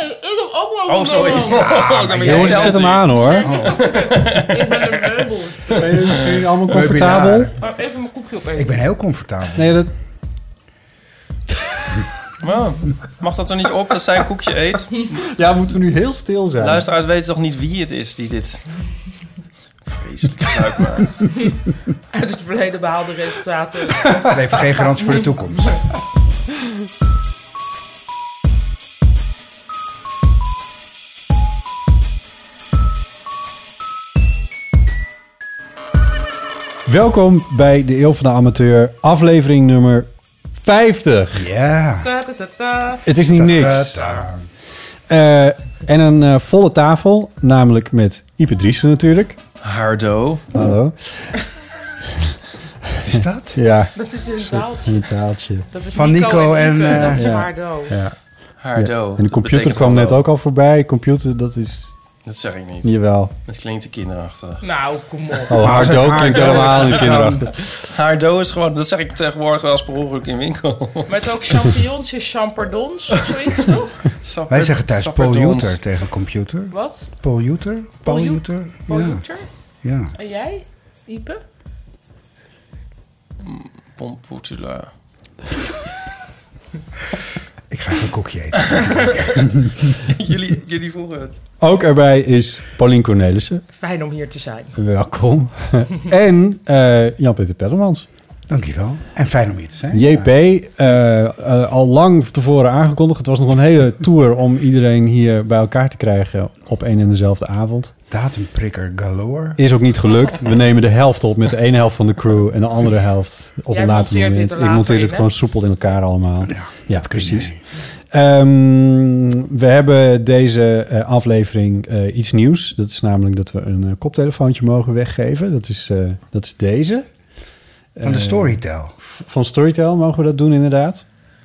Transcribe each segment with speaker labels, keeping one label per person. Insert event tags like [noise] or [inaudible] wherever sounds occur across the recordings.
Speaker 1: Nee, ik heb ook wel een
Speaker 2: Oh, sorry.
Speaker 1: meubel. [laughs]
Speaker 3: Jongens, ik zet hem aan hoor.
Speaker 1: Ik ben een meubel.
Speaker 3: Zijn jullie- zijn jullie allemaal comfortabel?
Speaker 1: Maar even mijn koekje opeten.
Speaker 4: Eh, Ik ben heel comfortabel.
Speaker 3: Nee, dat...
Speaker 5: Wow. Mag dat er niet op dat zij een koekje eet?
Speaker 3: Ja, moeten we nu heel stil zijn?
Speaker 5: Luisteraars weten toch niet wie het is die dit... Vreselijk gebruik maakt.
Speaker 1: Uit het verleden behaalde
Speaker 4: [laughs]
Speaker 1: resultaten.
Speaker 4: Dat heeft geen garantie voor de toekomst.
Speaker 3: Welkom bij de Eeuw van de Amateur, aflevering nummer 50.
Speaker 4: Ja.
Speaker 1: Ta, ta, ta, ta.
Speaker 3: Het is niet niks.
Speaker 4: Ta-ta.
Speaker 3: Eh, en een eh, volle tafel, namelijk met Ipe Driessen natuurlijk.
Speaker 5: Hardo.
Speaker 3: Hallo.
Speaker 4: Wat is dat?
Speaker 3: [laughs] Ja,
Speaker 1: Dat is een
Speaker 3: dat
Speaker 1: taaltje.
Speaker 3: een taaltje.
Speaker 1: Dat is
Speaker 4: Van Nico en, eh,
Speaker 1: dat is
Speaker 3: ja.
Speaker 1: Waardo.
Speaker 5: Hardo.
Speaker 3: En de
Speaker 5: Dat
Speaker 3: computer
Speaker 5: betekent
Speaker 3: kwam net
Speaker 5: hallo.
Speaker 3: ook al voorbij. Computer, dat is...
Speaker 5: Dat zeg ik niet.
Speaker 3: Jawel.
Speaker 5: Dat klinkt te kinderachtig.
Speaker 1: Nou, kom op.
Speaker 3: Oh,
Speaker 4: als het
Speaker 3: hardo
Speaker 4: haar
Speaker 3: klinkt
Speaker 4: dood
Speaker 3: helemaal
Speaker 4: is,
Speaker 3: aan de
Speaker 4: dan-
Speaker 3: kinderachtig.
Speaker 5: Hardo is gewoon... Dat zeg ik tegenwoordig wel eens per ongeluk in winkel.
Speaker 1: Met ook champignonsjes, champardons of zoiets, toch?
Speaker 5: Sapper-
Speaker 4: [laughs] Wij zeggen thuis
Speaker 5: sapperdons.
Speaker 4: polluter tegen computer.
Speaker 1: Wat?
Speaker 4: Polluter? Polluter? Ja.
Speaker 1: Polluter?
Speaker 4: ja.
Speaker 1: En jij? Ipe?
Speaker 5: Pomputula.
Speaker 4: Ik ga even een
Speaker 5: [laughs]
Speaker 4: koekje eten.
Speaker 5: jullie, jullie voelen het.
Speaker 3: Ook erbij is Paulien Cornelissen.
Speaker 1: Fijn om hier te zijn.
Speaker 5: [laughs]
Speaker 3: Welkom. en eh, Jan-Peter Pellemans.
Speaker 4: Dankjewel. En fijn om hier te zijn.
Speaker 3: JP, eh, eh, al lang tevoren aangekondigd. Het was nog een hele tour om iedereen hier bij elkaar te krijgen op één en dezelfde avond.
Speaker 4: Datumprikker galore.
Speaker 3: Is ook niet gelukt. We nemen de helft op met de ene helft van de crew en de andere helft op
Speaker 1: Jij
Speaker 3: een later
Speaker 1: monteert dit
Speaker 3: moment.
Speaker 1: er
Speaker 3: Ik
Speaker 1: later
Speaker 3: monteer
Speaker 1: in,
Speaker 3: dit
Speaker 1: hè?
Speaker 3: gewoon soepel in elkaar allemaal. Ja,
Speaker 4: kun je
Speaker 3: precies. Ehm, we hebben deze eh, aflevering eh, iets nieuws. Dat is namelijk dat we een eh, koptelefoontje mogen weggeven. Dat is, eh, dat is deze.
Speaker 4: Van de
Speaker 3: Eh,
Speaker 4: Storytel.
Speaker 3: Van Storytel mogen we dat doen inderdaad.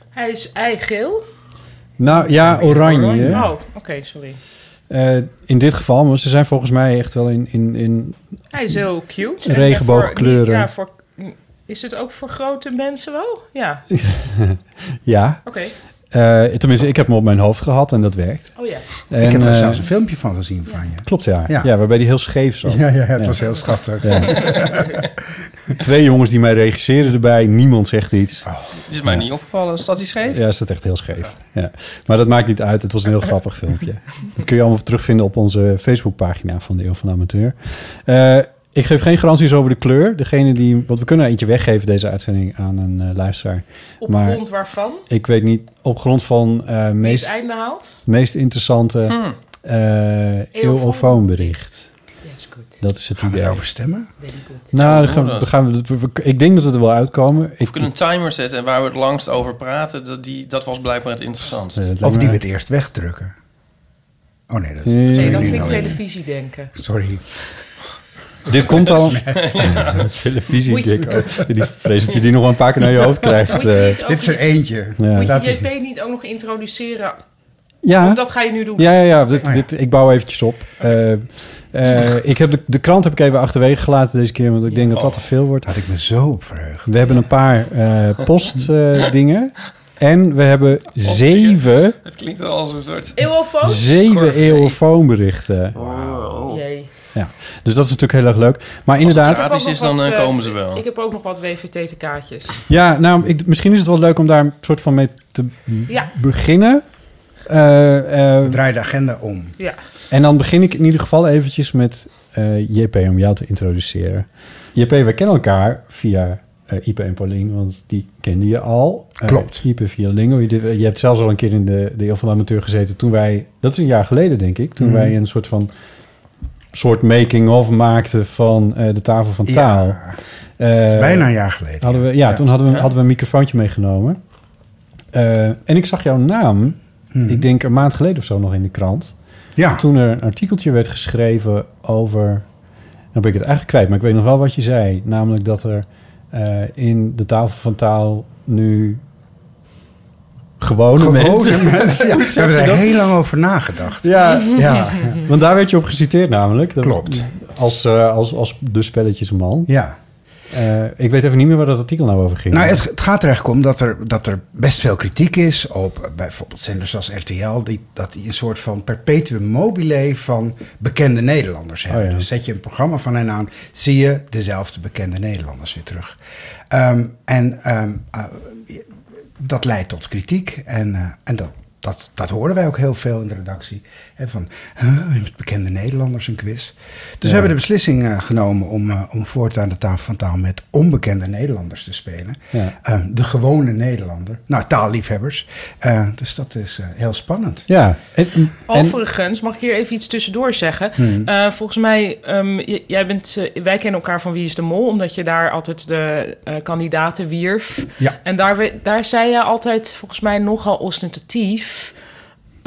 Speaker 1: Hij is eigeel.
Speaker 3: Nou ja, oranje.
Speaker 1: Oh, oké, sorry.
Speaker 3: Eh, in dit geval, maar ze zijn volgens mij echt wel in. in, in
Speaker 1: Hij is heel cute. En
Speaker 3: Regenboogkleuren.
Speaker 1: Ja, voor, is het ook voor grote mensen wel?
Speaker 3: [laughs]
Speaker 1: Ja, oké.
Speaker 3: ja, Eh, tenminste, ik heb hem op mijn hoofd gehad en dat werkt.
Speaker 1: Oh ja.
Speaker 3: En,
Speaker 4: ik heb er
Speaker 3: eh,
Speaker 4: zelfs een filmpje van gezien van je.
Speaker 3: Klopt, ja. ja.
Speaker 4: Ja.
Speaker 3: waarbij die heel scheef zat.
Speaker 4: Ja, ja, het
Speaker 3: Ja.
Speaker 4: was heel schattig. [laughs]
Speaker 3: Twee jongens die mij regisseerden erbij, niemand zegt iets.
Speaker 4: Oh.
Speaker 5: Is mij niet opgevallen. Staat hij scheef?
Speaker 3: Ja, is dat echt heel scheef. Ja. Maar dat maakt niet uit, het was een heel
Speaker 1: [laughs]
Speaker 3: grappig filmpje. Dat kun je allemaal terugvinden op onze Facebookpagina van de Eeuw van de Amateur. Eh, ik geef geen garanties over de kleur. Degene die, want we kunnen er eentje weggeven deze uitzending aan een eh, luisteraar.
Speaker 1: Op
Speaker 3: Maar-
Speaker 1: grond waarvan?
Speaker 3: Ik weet niet, op grond van
Speaker 1: Wie
Speaker 3: eh
Speaker 1: het
Speaker 3: meest...
Speaker 1: einde haalt? Hm.
Speaker 3: meest interessante eh eeuwofoonbericht.
Speaker 1: That's good.
Speaker 3: Dat is het
Speaker 4: Gaan we
Speaker 3: idee.
Speaker 4: erover stemmen?
Speaker 1: Very good.
Speaker 3: Nou, dan
Speaker 5: Hoe
Speaker 3: gaan we,
Speaker 5: dat?
Speaker 3: dan gaan we, we- we- ik denk dat we er wel uitkomen.
Speaker 5: Of
Speaker 3: Ik,
Speaker 5: we kunnen een timer zetten en waar we het langst over praten, dat, die, dat was blijkbaar het interessantst.
Speaker 3: eh, het lijkt
Speaker 4: Of
Speaker 3: me-
Speaker 4: die we het eerst wegdrukken? Oh nee, dat is...
Speaker 3: Nee,
Speaker 1: Nee, dat
Speaker 4: nu
Speaker 1: vind ik
Speaker 4: nooit.
Speaker 1: televisie denken.
Speaker 4: Sorry. [laughs]
Speaker 3: Dit komt al. [laughs] Televisie, Dick. Oh, die vrees dat je die nog wel een paar keer naar je hoofd krijgt.
Speaker 1: Moet je,
Speaker 3: eh.
Speaker 1: niet ook,
Speaker 4: Dit is er eentje.
Speaker 3: Ja.
Speaker 1: moet je
Speaker 4: Laat
Speaker 1: JP
Speaker 4: het-
Speaker 1: niet ook nog introduceren?
Speaker 3: ja.
Speaker 1: Of dat ga je nu doen?
Speaker 3: Ja, ja, ja. Dit,
Speaker 4: Oh, ja.
Speaker 3: Dit, ik bouw eventjes op. Eh, eh, ik heb de, de krant heb ik even achterwege gelaten deze keer, want ik denk dat dat te
Speaker 1: Oh.
Speaker 3: veel wordt.
Speaker 4: Had ik me zo op verheugd.
Speaker 3: We hebben een paar
Speaker 1: [laughs]
Speaker 3: eh, postdingen. en we
Speaker 1: Oh,
Speaker 3: hebben zeven,
Speaker 5: Het klinkt wel als een soort...
Speaker 1: Eeuwofoon?
Speaker 3: zeven
Speaker 5: Corvée.
Speaker 3: eeuwfoonberichten.
Speaker 1: Jee.
Speaker 3: Dus dat is natuurlijk heel erg leuk. Maar inderdaad,
Speaker 5: Gratis
Speaker 1: Ik heb
Speaker 5: is,
Speaker 1: ook nog
Speaker 5: dan,
Speaker 1: wat,
Speaker 5: eh,
Speaker 1: eh,
Speaker 5: komen ze wel.
Speaker 1: Ik heb ook nog wat WVT-kaartjes.
Speaker 3: ja, nou, ik, misschien is het wel leuk om daar een soort van mee te
Speaker 1: Ja.
Speaker 3: beginnen. Eh, eh, eh,
Speaker 4: Draai de agenda om.
Speaker 1: Ja.
Speaker 3: en dan begin ik in ieder geval eventjes met eh, JP om jou te introduceren. JP, we kennen elkaar via eh Ipe en Paulien, want die kende je al. Eh,
Speaker 4: Klopt.
Speaker 3: Ipe via Lingo. Je, je hebt zelfs al een keer in de, de Eeuw van de Amateur gezeten toen wij... Dat is een jaar geleden, denk ik.
Speaker 4: Mhm.
Speaker 3: Toen wij een soort van soort making-of maakten van eh, de tafel van
Speaker 4: Ja.
Speaker 3: taal. Eh,
Speaker 4: Bijna een jaar geleden.
Speaker 3: Hadden we, ja, toen hadden we, hadden we een microfoontje meegenomen. Eh, en ik zag jouw naam, ik denk een maand geleden of zo nog in de krant.
Speaker 4: Hmm. Ja,
Speaker 3: Toen er een artikeltje werd geschreven over... Nou ben ik het eigenlijk kwijt, maar ik weet nog wel wat je zei. Namelijk dat er eh, in de tafel van taal nu gewone, mensen...
Speaker 4: gewone mensen.
Speaker 3: [laughs]
Speaker 4: Ja, we hebben er heel lang over nagedacht.
Speaker 3: Ja, ja, want daar werd je op geciteerd namelijk. Dat-
Speaker 4: Klopt.
Speaker 3: Als, eh, als, als de spelletjesman.
Speaker 4: Ja.
Speaker 3: Eh, ik weet even niet meer waar dat artikel nou over ging.
Speaker 4: Nou, het, het gaat er eigenlijk om dat er, dat er best veel kritiek is op eh, bijvoorbeeld zenders als RTL, die, dat die een soort van perpetuum mobile van bekende Nederlanders hebben.
Speaker 3: ja.
Speaker 4: Dus zet je een programma van hen aan, zie je dezelfde bekende Nederlanders weer terug. Ehm, en ehm, eh, dat leidt tot kritiek en, eh, en dat. Dat, dat horen wij ook heel veel in de redactie. Hè, van huh, met bekende Nederlanders een quiz. Dus we hebben de beslissing eh, genomen om, eh, om voortaan de tafel van taal met onbekende Nederlanders te spelen.
Speaker 3: Ja.
Speaker 4: Eh, de gewone Nederlander. Nou, taalliefhebbers. Eh, dus dat is eh, heel spannend.
Speaker 3: Ja. En, en,
Speaker 1: Overigens, mag ik hier even iets tussendoor zeggen?
Speaker 3: Hmm.
Speaker 1: Eh, volgens mij, ehm, j- jij bent, eh, wij kennen elkaar van Wie is de Mol, omdat je daar altijd de eh, kandidaten wierf.
Speaker 4: Ja.
Speaker 1: En daar, we- daar zei je altijd, volgens mij nogal ostentatief,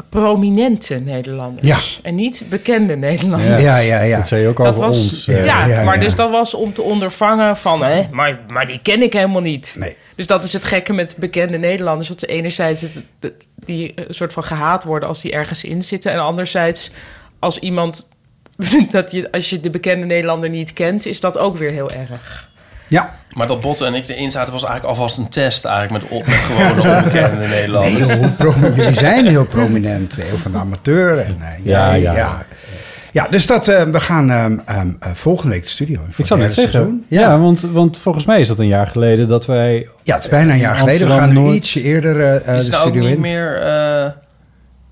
Speaker 1: prominente Nederlanders. En niet bekende Nederlanders.
Speaker 4: Ja,
Speaker 3: Ja.
Speaker 4: ja, ja.
Speaker 3: Dat zei je ook
Speaker 1: Dat
Speaker 3: over
Speaker 1: was,
Speaker 3: ons.
Speaker 1: ja,
Speaker 3: eh.
Speaker 4: ja,
Speaker 1: maar
Speaker 4: ja.
Speaker 1: dus dat was om te ondervangen van, hè, maar, maar die ken ik helemaal niet.
Speaker 4: Nee.
Speaker 1: Dus dat is het gekke met bekende Nederlanders. Dat ze enerzijds het, het- die eh, soort van gehaat worden als die ergens in zitten. En anderzijds als iemand, [laughs] dat je, als je de bekende Nederlander niet kent, is dat ook weer heel erg.
Speaker 4: Ja.
Speaker 5: Maar dat Botten en ik erin zaten was eigenlijk alvast een test eigenlijk met, op, met gewone onbekende
Speaker 4: Nee, [laughs]
Speaker 5: Nederlanders.
Speaker 4: joh, hoe prom- jullie
Speaker 5: [laughs]
Speaker 4: zijn heel prominent. eh, Heel van de amateur. En, eh,
Speaker 3: Ja, ja.
Speaker 4: ja. Ja, dus dat, eh, we gaan ehm, ehm, eh, volgende week de studio in. voor
Speaker 3: Ik zou
Speaker 4: het
Speaker 3: net
Speaker 4: derde
Speaker 3: zeggen.
Speaker 4: seizoen.
Speaker 3: Ja, want, want volgens mij is dat een jaar geleden dat wij...
Speaker 4: Ja, het is bijna een jaar
Speaker 3: In
Speaker 4: geleden. We
Speaker 3: Amsterdam
Speaker 4: gaan nu
Speaker 3: Noord.
Speaker 4: ietsje eerder eh, eh, de
Speaker 5: is het nou ook
Speaker 4: studio
Speaker 5: niet
Speaker 4: in.
Speaker 5: meer eh,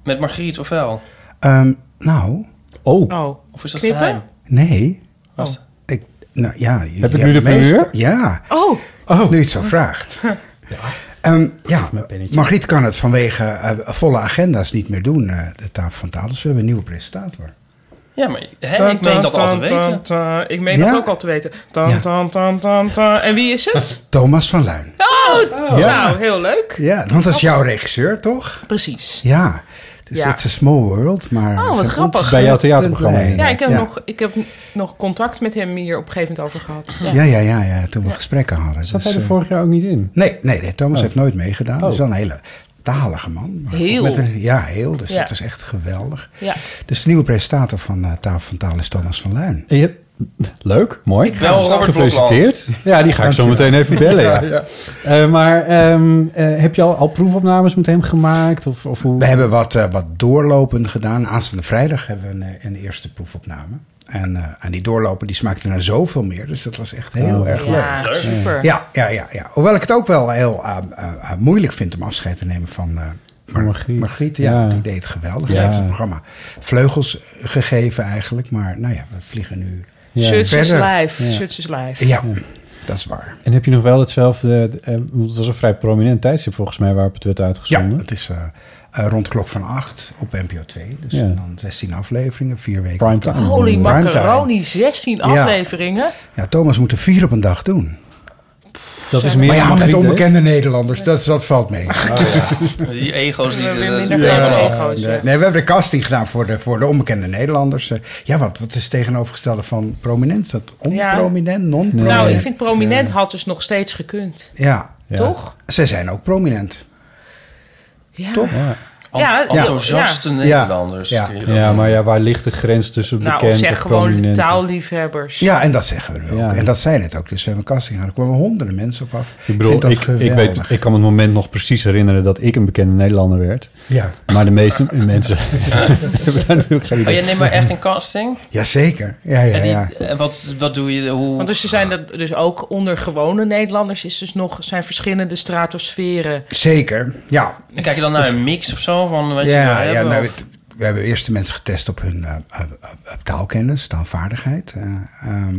Speaker 5: met Margriet of wel?
Speaker 4: Ehm, nou,
Speaker 3: Oh,
Speaker 1: Oh,
Speaker 5: Of is dat
Speaker 1: Knippen?
Speaker 5: geheim?
Speaker 4: [laughs] nee.
Speaker 5: Oh.
Speaker 4: Ik, nou ja. jullie
Speaker 3: Heb ik nu
Speaker 4: hebben
Speaker 3: de
Speaker 4: meest-
Speaker 3: primeur?
Speaker 4: Ja.
Speaker 1: oh
Speaker 4: Nu je het zo vraagt. Ja, ja
Speaker 3: mijn pennetje.
Speaker 4: Margriet kan het vanwege eh, volle agenda's niet meer doen, eh, de tafel van taal. Dus we hebben een nieuwe presentator.
Speaker 5: Ja, maar hè, ik meen dat al te weten.
Speaker 1: Ik meen
Speaker 4: Ja.
Speaker 1: dat ook al te weten. Tan,
Speaker 4: Ja.
Speaker 1: tan, tan, tan, tan. En wie is
Speaker 4: [laughs]
Speaker 1: het?
Speaker 4: Thomas van Luin.
Speaker 1: Oh,
Speaker 4: Ja.
Speaker 1: nou, heel leuk.
Speaker 4: Ja, want dat is jouw regisseur, toch?
Speaker 1: Precies.
Speaker 4: Ja. Dus
Speaker 1: Ja.
Speaker 4: it's a small world, maar...
Speaker 1: Oh, wat
Speaker 4: we zijn
Speaker 1: grappig.
Speaker 4: ontzettend
Speaker 3: Bij jouw theaterprogramma,
Speaker 4: blij.
Speaker 1: Ja, ik heb, Nog, ik heb nog contact met hem hier op een gegeven moment over gehad. Ja.
Speaker 4: Ja, ja, ja, ja, toen we gesprekken hadden.
Speaker 3: zat
Speaker 4: Dus,
Speaker 3: hij er
Speaker 4: eh,
Speaker 3: vorig jaar ook niet in?
Speaker 4: Nee, nee, nee, Thomas heeft nooit meegedaan. Hij is
Speaker 3: Oh.
Speaker 4: wel een hele talige man. maar ook
Speaker 1: Heel.
Speaker 4: met een- ja, heel. Dus
Speaker 1: Ja.
Speaker 4: dat is echt geweldig.
Speaker 1: Ja.
Speaker 4: Dus de nieuwe presentator van eh, Tafel van Taal is Thomas van Luin.
Speaker 3: En je- Leuk, mooi.
Speaker 5: ga Wel nog Robert
Speaker 3: Gefeliciteerd. Ja, die ga ik zo meteen even bellen. [laughs] Ja. Eh, maar ehm, eh, heb je al, al proefopnames met hem gemaakt? Of, of hoe?
Speaker 4: We hebben wat, eh, wat doorlopen gedaan. Aanstaande vrijdag hebben we een, eh, een eerste proefopname. En, eh en die doorlopen die smaakte naar zoveel meer. Dus dat was echt heel
Speaker 3: Oh.
Speaker 4: erg leuk.
Speaker 1: Ja, super.
Speaker 4: Ja, ja, ja, ja. Hoewel ik het ook wel heel eh, eh, eh, moeilijk vind om afscheid te nemen van, eh, Mar-
Speaker 3: Margriet.
Speaker 4: ja,
Speaker 3: Ja.
Speaker 4: Die deed het geweldig.
Speaker 3: Ja.
Speaker 4: Hij heeft het programma vleugels eh, gegeven eigenlijk. Maar nou ja, we vliegen nu.
Speaker 3: Ja.
Speaker 1: Suits is
Speaker 4: Verder.
Speaker 1: live. Suits is live.
Speaker 4: Ja, dat is waar.
Speaker 3: En heb je nog wel hetzelfde... eh, want het was een vrij prominent tijdstip volgens mij waarop het werd
Speaker 4: Ja,
Speaker 3: uitgezonden.
Speaker 4: het is eh, eh, rond de klok van acht op NPO 2. Dus
Speaker 3: Ja.
Speaker 4: dan 16 afleveringen, vier weken.
Speaker 3: Prime time.
Speaker 1: Holy
Speaker 4: Ruimte.
Speaker 1: macaroni, 16 afleveringen.
Speaker 4: Ja, Thomas moet er vier op een dag doen.
Speaker 3: Dat is meer
Speaker 4: Maar
Speaker 3: dan
Speaker 4: ja, met
Speaker 3: Margriet deed.
Speaker 4: onbekende Nederlanders, dat, dat valt mee.
Speaker 5: Oh, Die ego's die...
Speaker 1: We hebben
Speaker 5: dat-
Speaker 1: minder grote ego's.
Speaker 4: Nee, we hebben de casting gedaan voor de, voor de onbekende Nederlanders. Eh, Ja, wat, wat is het tegenovergestelde van prominent? Is dat onprominent, non-prominent?
Speaker 1: Nou, ik vind prominent had dus nog steeds gekund.
Speaker 4: Ja,
Speaker 3: Ja.
Speaker 1: Toch?
Speaker 4: ze zijn ook prominent.
Speaker 1: Ja.
Speaker 4: Toch?
Speaker 5: Ent-
Speaker 1: Ja, Ah, ja.
Speaker 5: enthousiaste
Speaker 4: Ja.
Speaker 5: Nederlanders.
Speaker 4: Ja.
Speaker 5: kun je dat-
Speaker 3: Ja, maar ja, waar ligt de grens tussen
Speaker 1: Nou, of
Speaker 3: bekend
Speaker 1: zeg
Speaker 3: of
Speaker 1: gewoon
Speaker 3: prominent? of-
Speaker 1: taalliefhebbers.
Speaker 4: Ja, en dat zeggen we ook.
Speaker 3: Ja.
Speaker 4: En dat zijn het ook. Dus we hebben een casting gedaan. Er kwamen honderden mensen op af.
Speaker 3: Ik bedoel,
Speaker 4: vind dat
Speaker 3: ik, ik,
Speaker 4: geweldig.
Speaker 3: weet, ik kan me het moment nog precies herinneren dat ik een bekende Nederlander werd.
Speaker 4: Ja.
Speaker 3: Maar de meeste [laughs] mensen [laughs] hebben daar natuurlijk geen
Speaker 5: Oh,
Speaker 3: idee.
Speaker 5: jij neemt maar echt een casting?
Speaker 4: [laughs] Jazeker. Ja, ja,
Speaker 5: En die,
Speaker 4: ja.
Speaker 5: en wat, wat doe je? Hoe...
Speaker 1: Want dus ze zijn dat, dus ook onder gewone Nederlanders is dus nog, zijn verschillende stratosferen. Dus-
Speaker 4: Zeker, ja.
Speaker 5: En Kijk je dan naar een mix of zo? wel van wat je wil
Speaker 4: ja, ja
Speaker 5: hebben.
Speaker 4: nou,
Speaker 5: of- Eh,
Speaker 4: het- we hebben eerst de mensen getest op hun eh, eh, eh, taalkennis, taalvaardigheid. eh, ehm,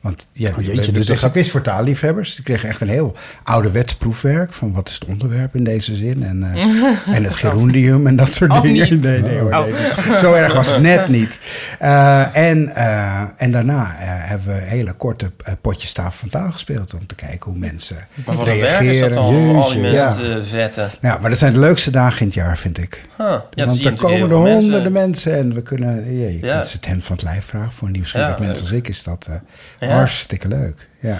Speaker 4: want ja,
Speaker 3: Oh, jeetje,
Speaker 4: we- we
Speaker 3: dus
Speaker 4: kregen
Speaker 3: dat-
Speaker 4: quiz voor taalliefhebbers. Die kregen echt een heel ouderwets proefwerk van wat is het onderwerp in deze zin. En,
Speaker 1: [laughs]
Speaker 4: eh, en het gerundium en dat soort
Speaker 1: Oh,
Speaker 4: dingen.
Speaker 1: niet.
Speaker 4: [laughs] Nee, nee, hoor,
Speaker 1: Oh.
Speaker 4: nee, niet. Zo erg was het
Speaker 1: [laughs]
Speaker 4: net niet. Eh, en, eh, en daarna eh, hebben we hele korte eh, potjes tafel van taal gespeeld. Om te kijken hoe mensen
Speaker 5: Maar wat een
Speaker 4: reageren.
Speaker 5: werk is dat dan om al die
Speaker 3: Jeetje.
Speaker 5: mensen
Speaker 4: Ja.
Speaker 5: te vetten.
Speaker 4: Nou, maar dat zijn de leukste dagen in het jaar, vind ik.
Speaker 5: Huh. Ja, dat
Speaker 4: Want
Speaker 5: zie je
Speaker 4: er
Speaker 5: natuurlijk heel
Speaker 4: komen er
Speaker 5: veel mensen.
Speaker 4: honderden mensen. en we kunnen... Ja, je
Speaker 5: Ja.
Speaker 4: kunt het hem van het lijf vragen. Voor een nieuwsgierig
Speaker 5: Ja,
Speaker 4: mens
Speaker 5: leuk.
Speaker 4: als ik is dat eh,
Speaker 5: Ja.
Speaker 4: hartstikke leuk. Ja.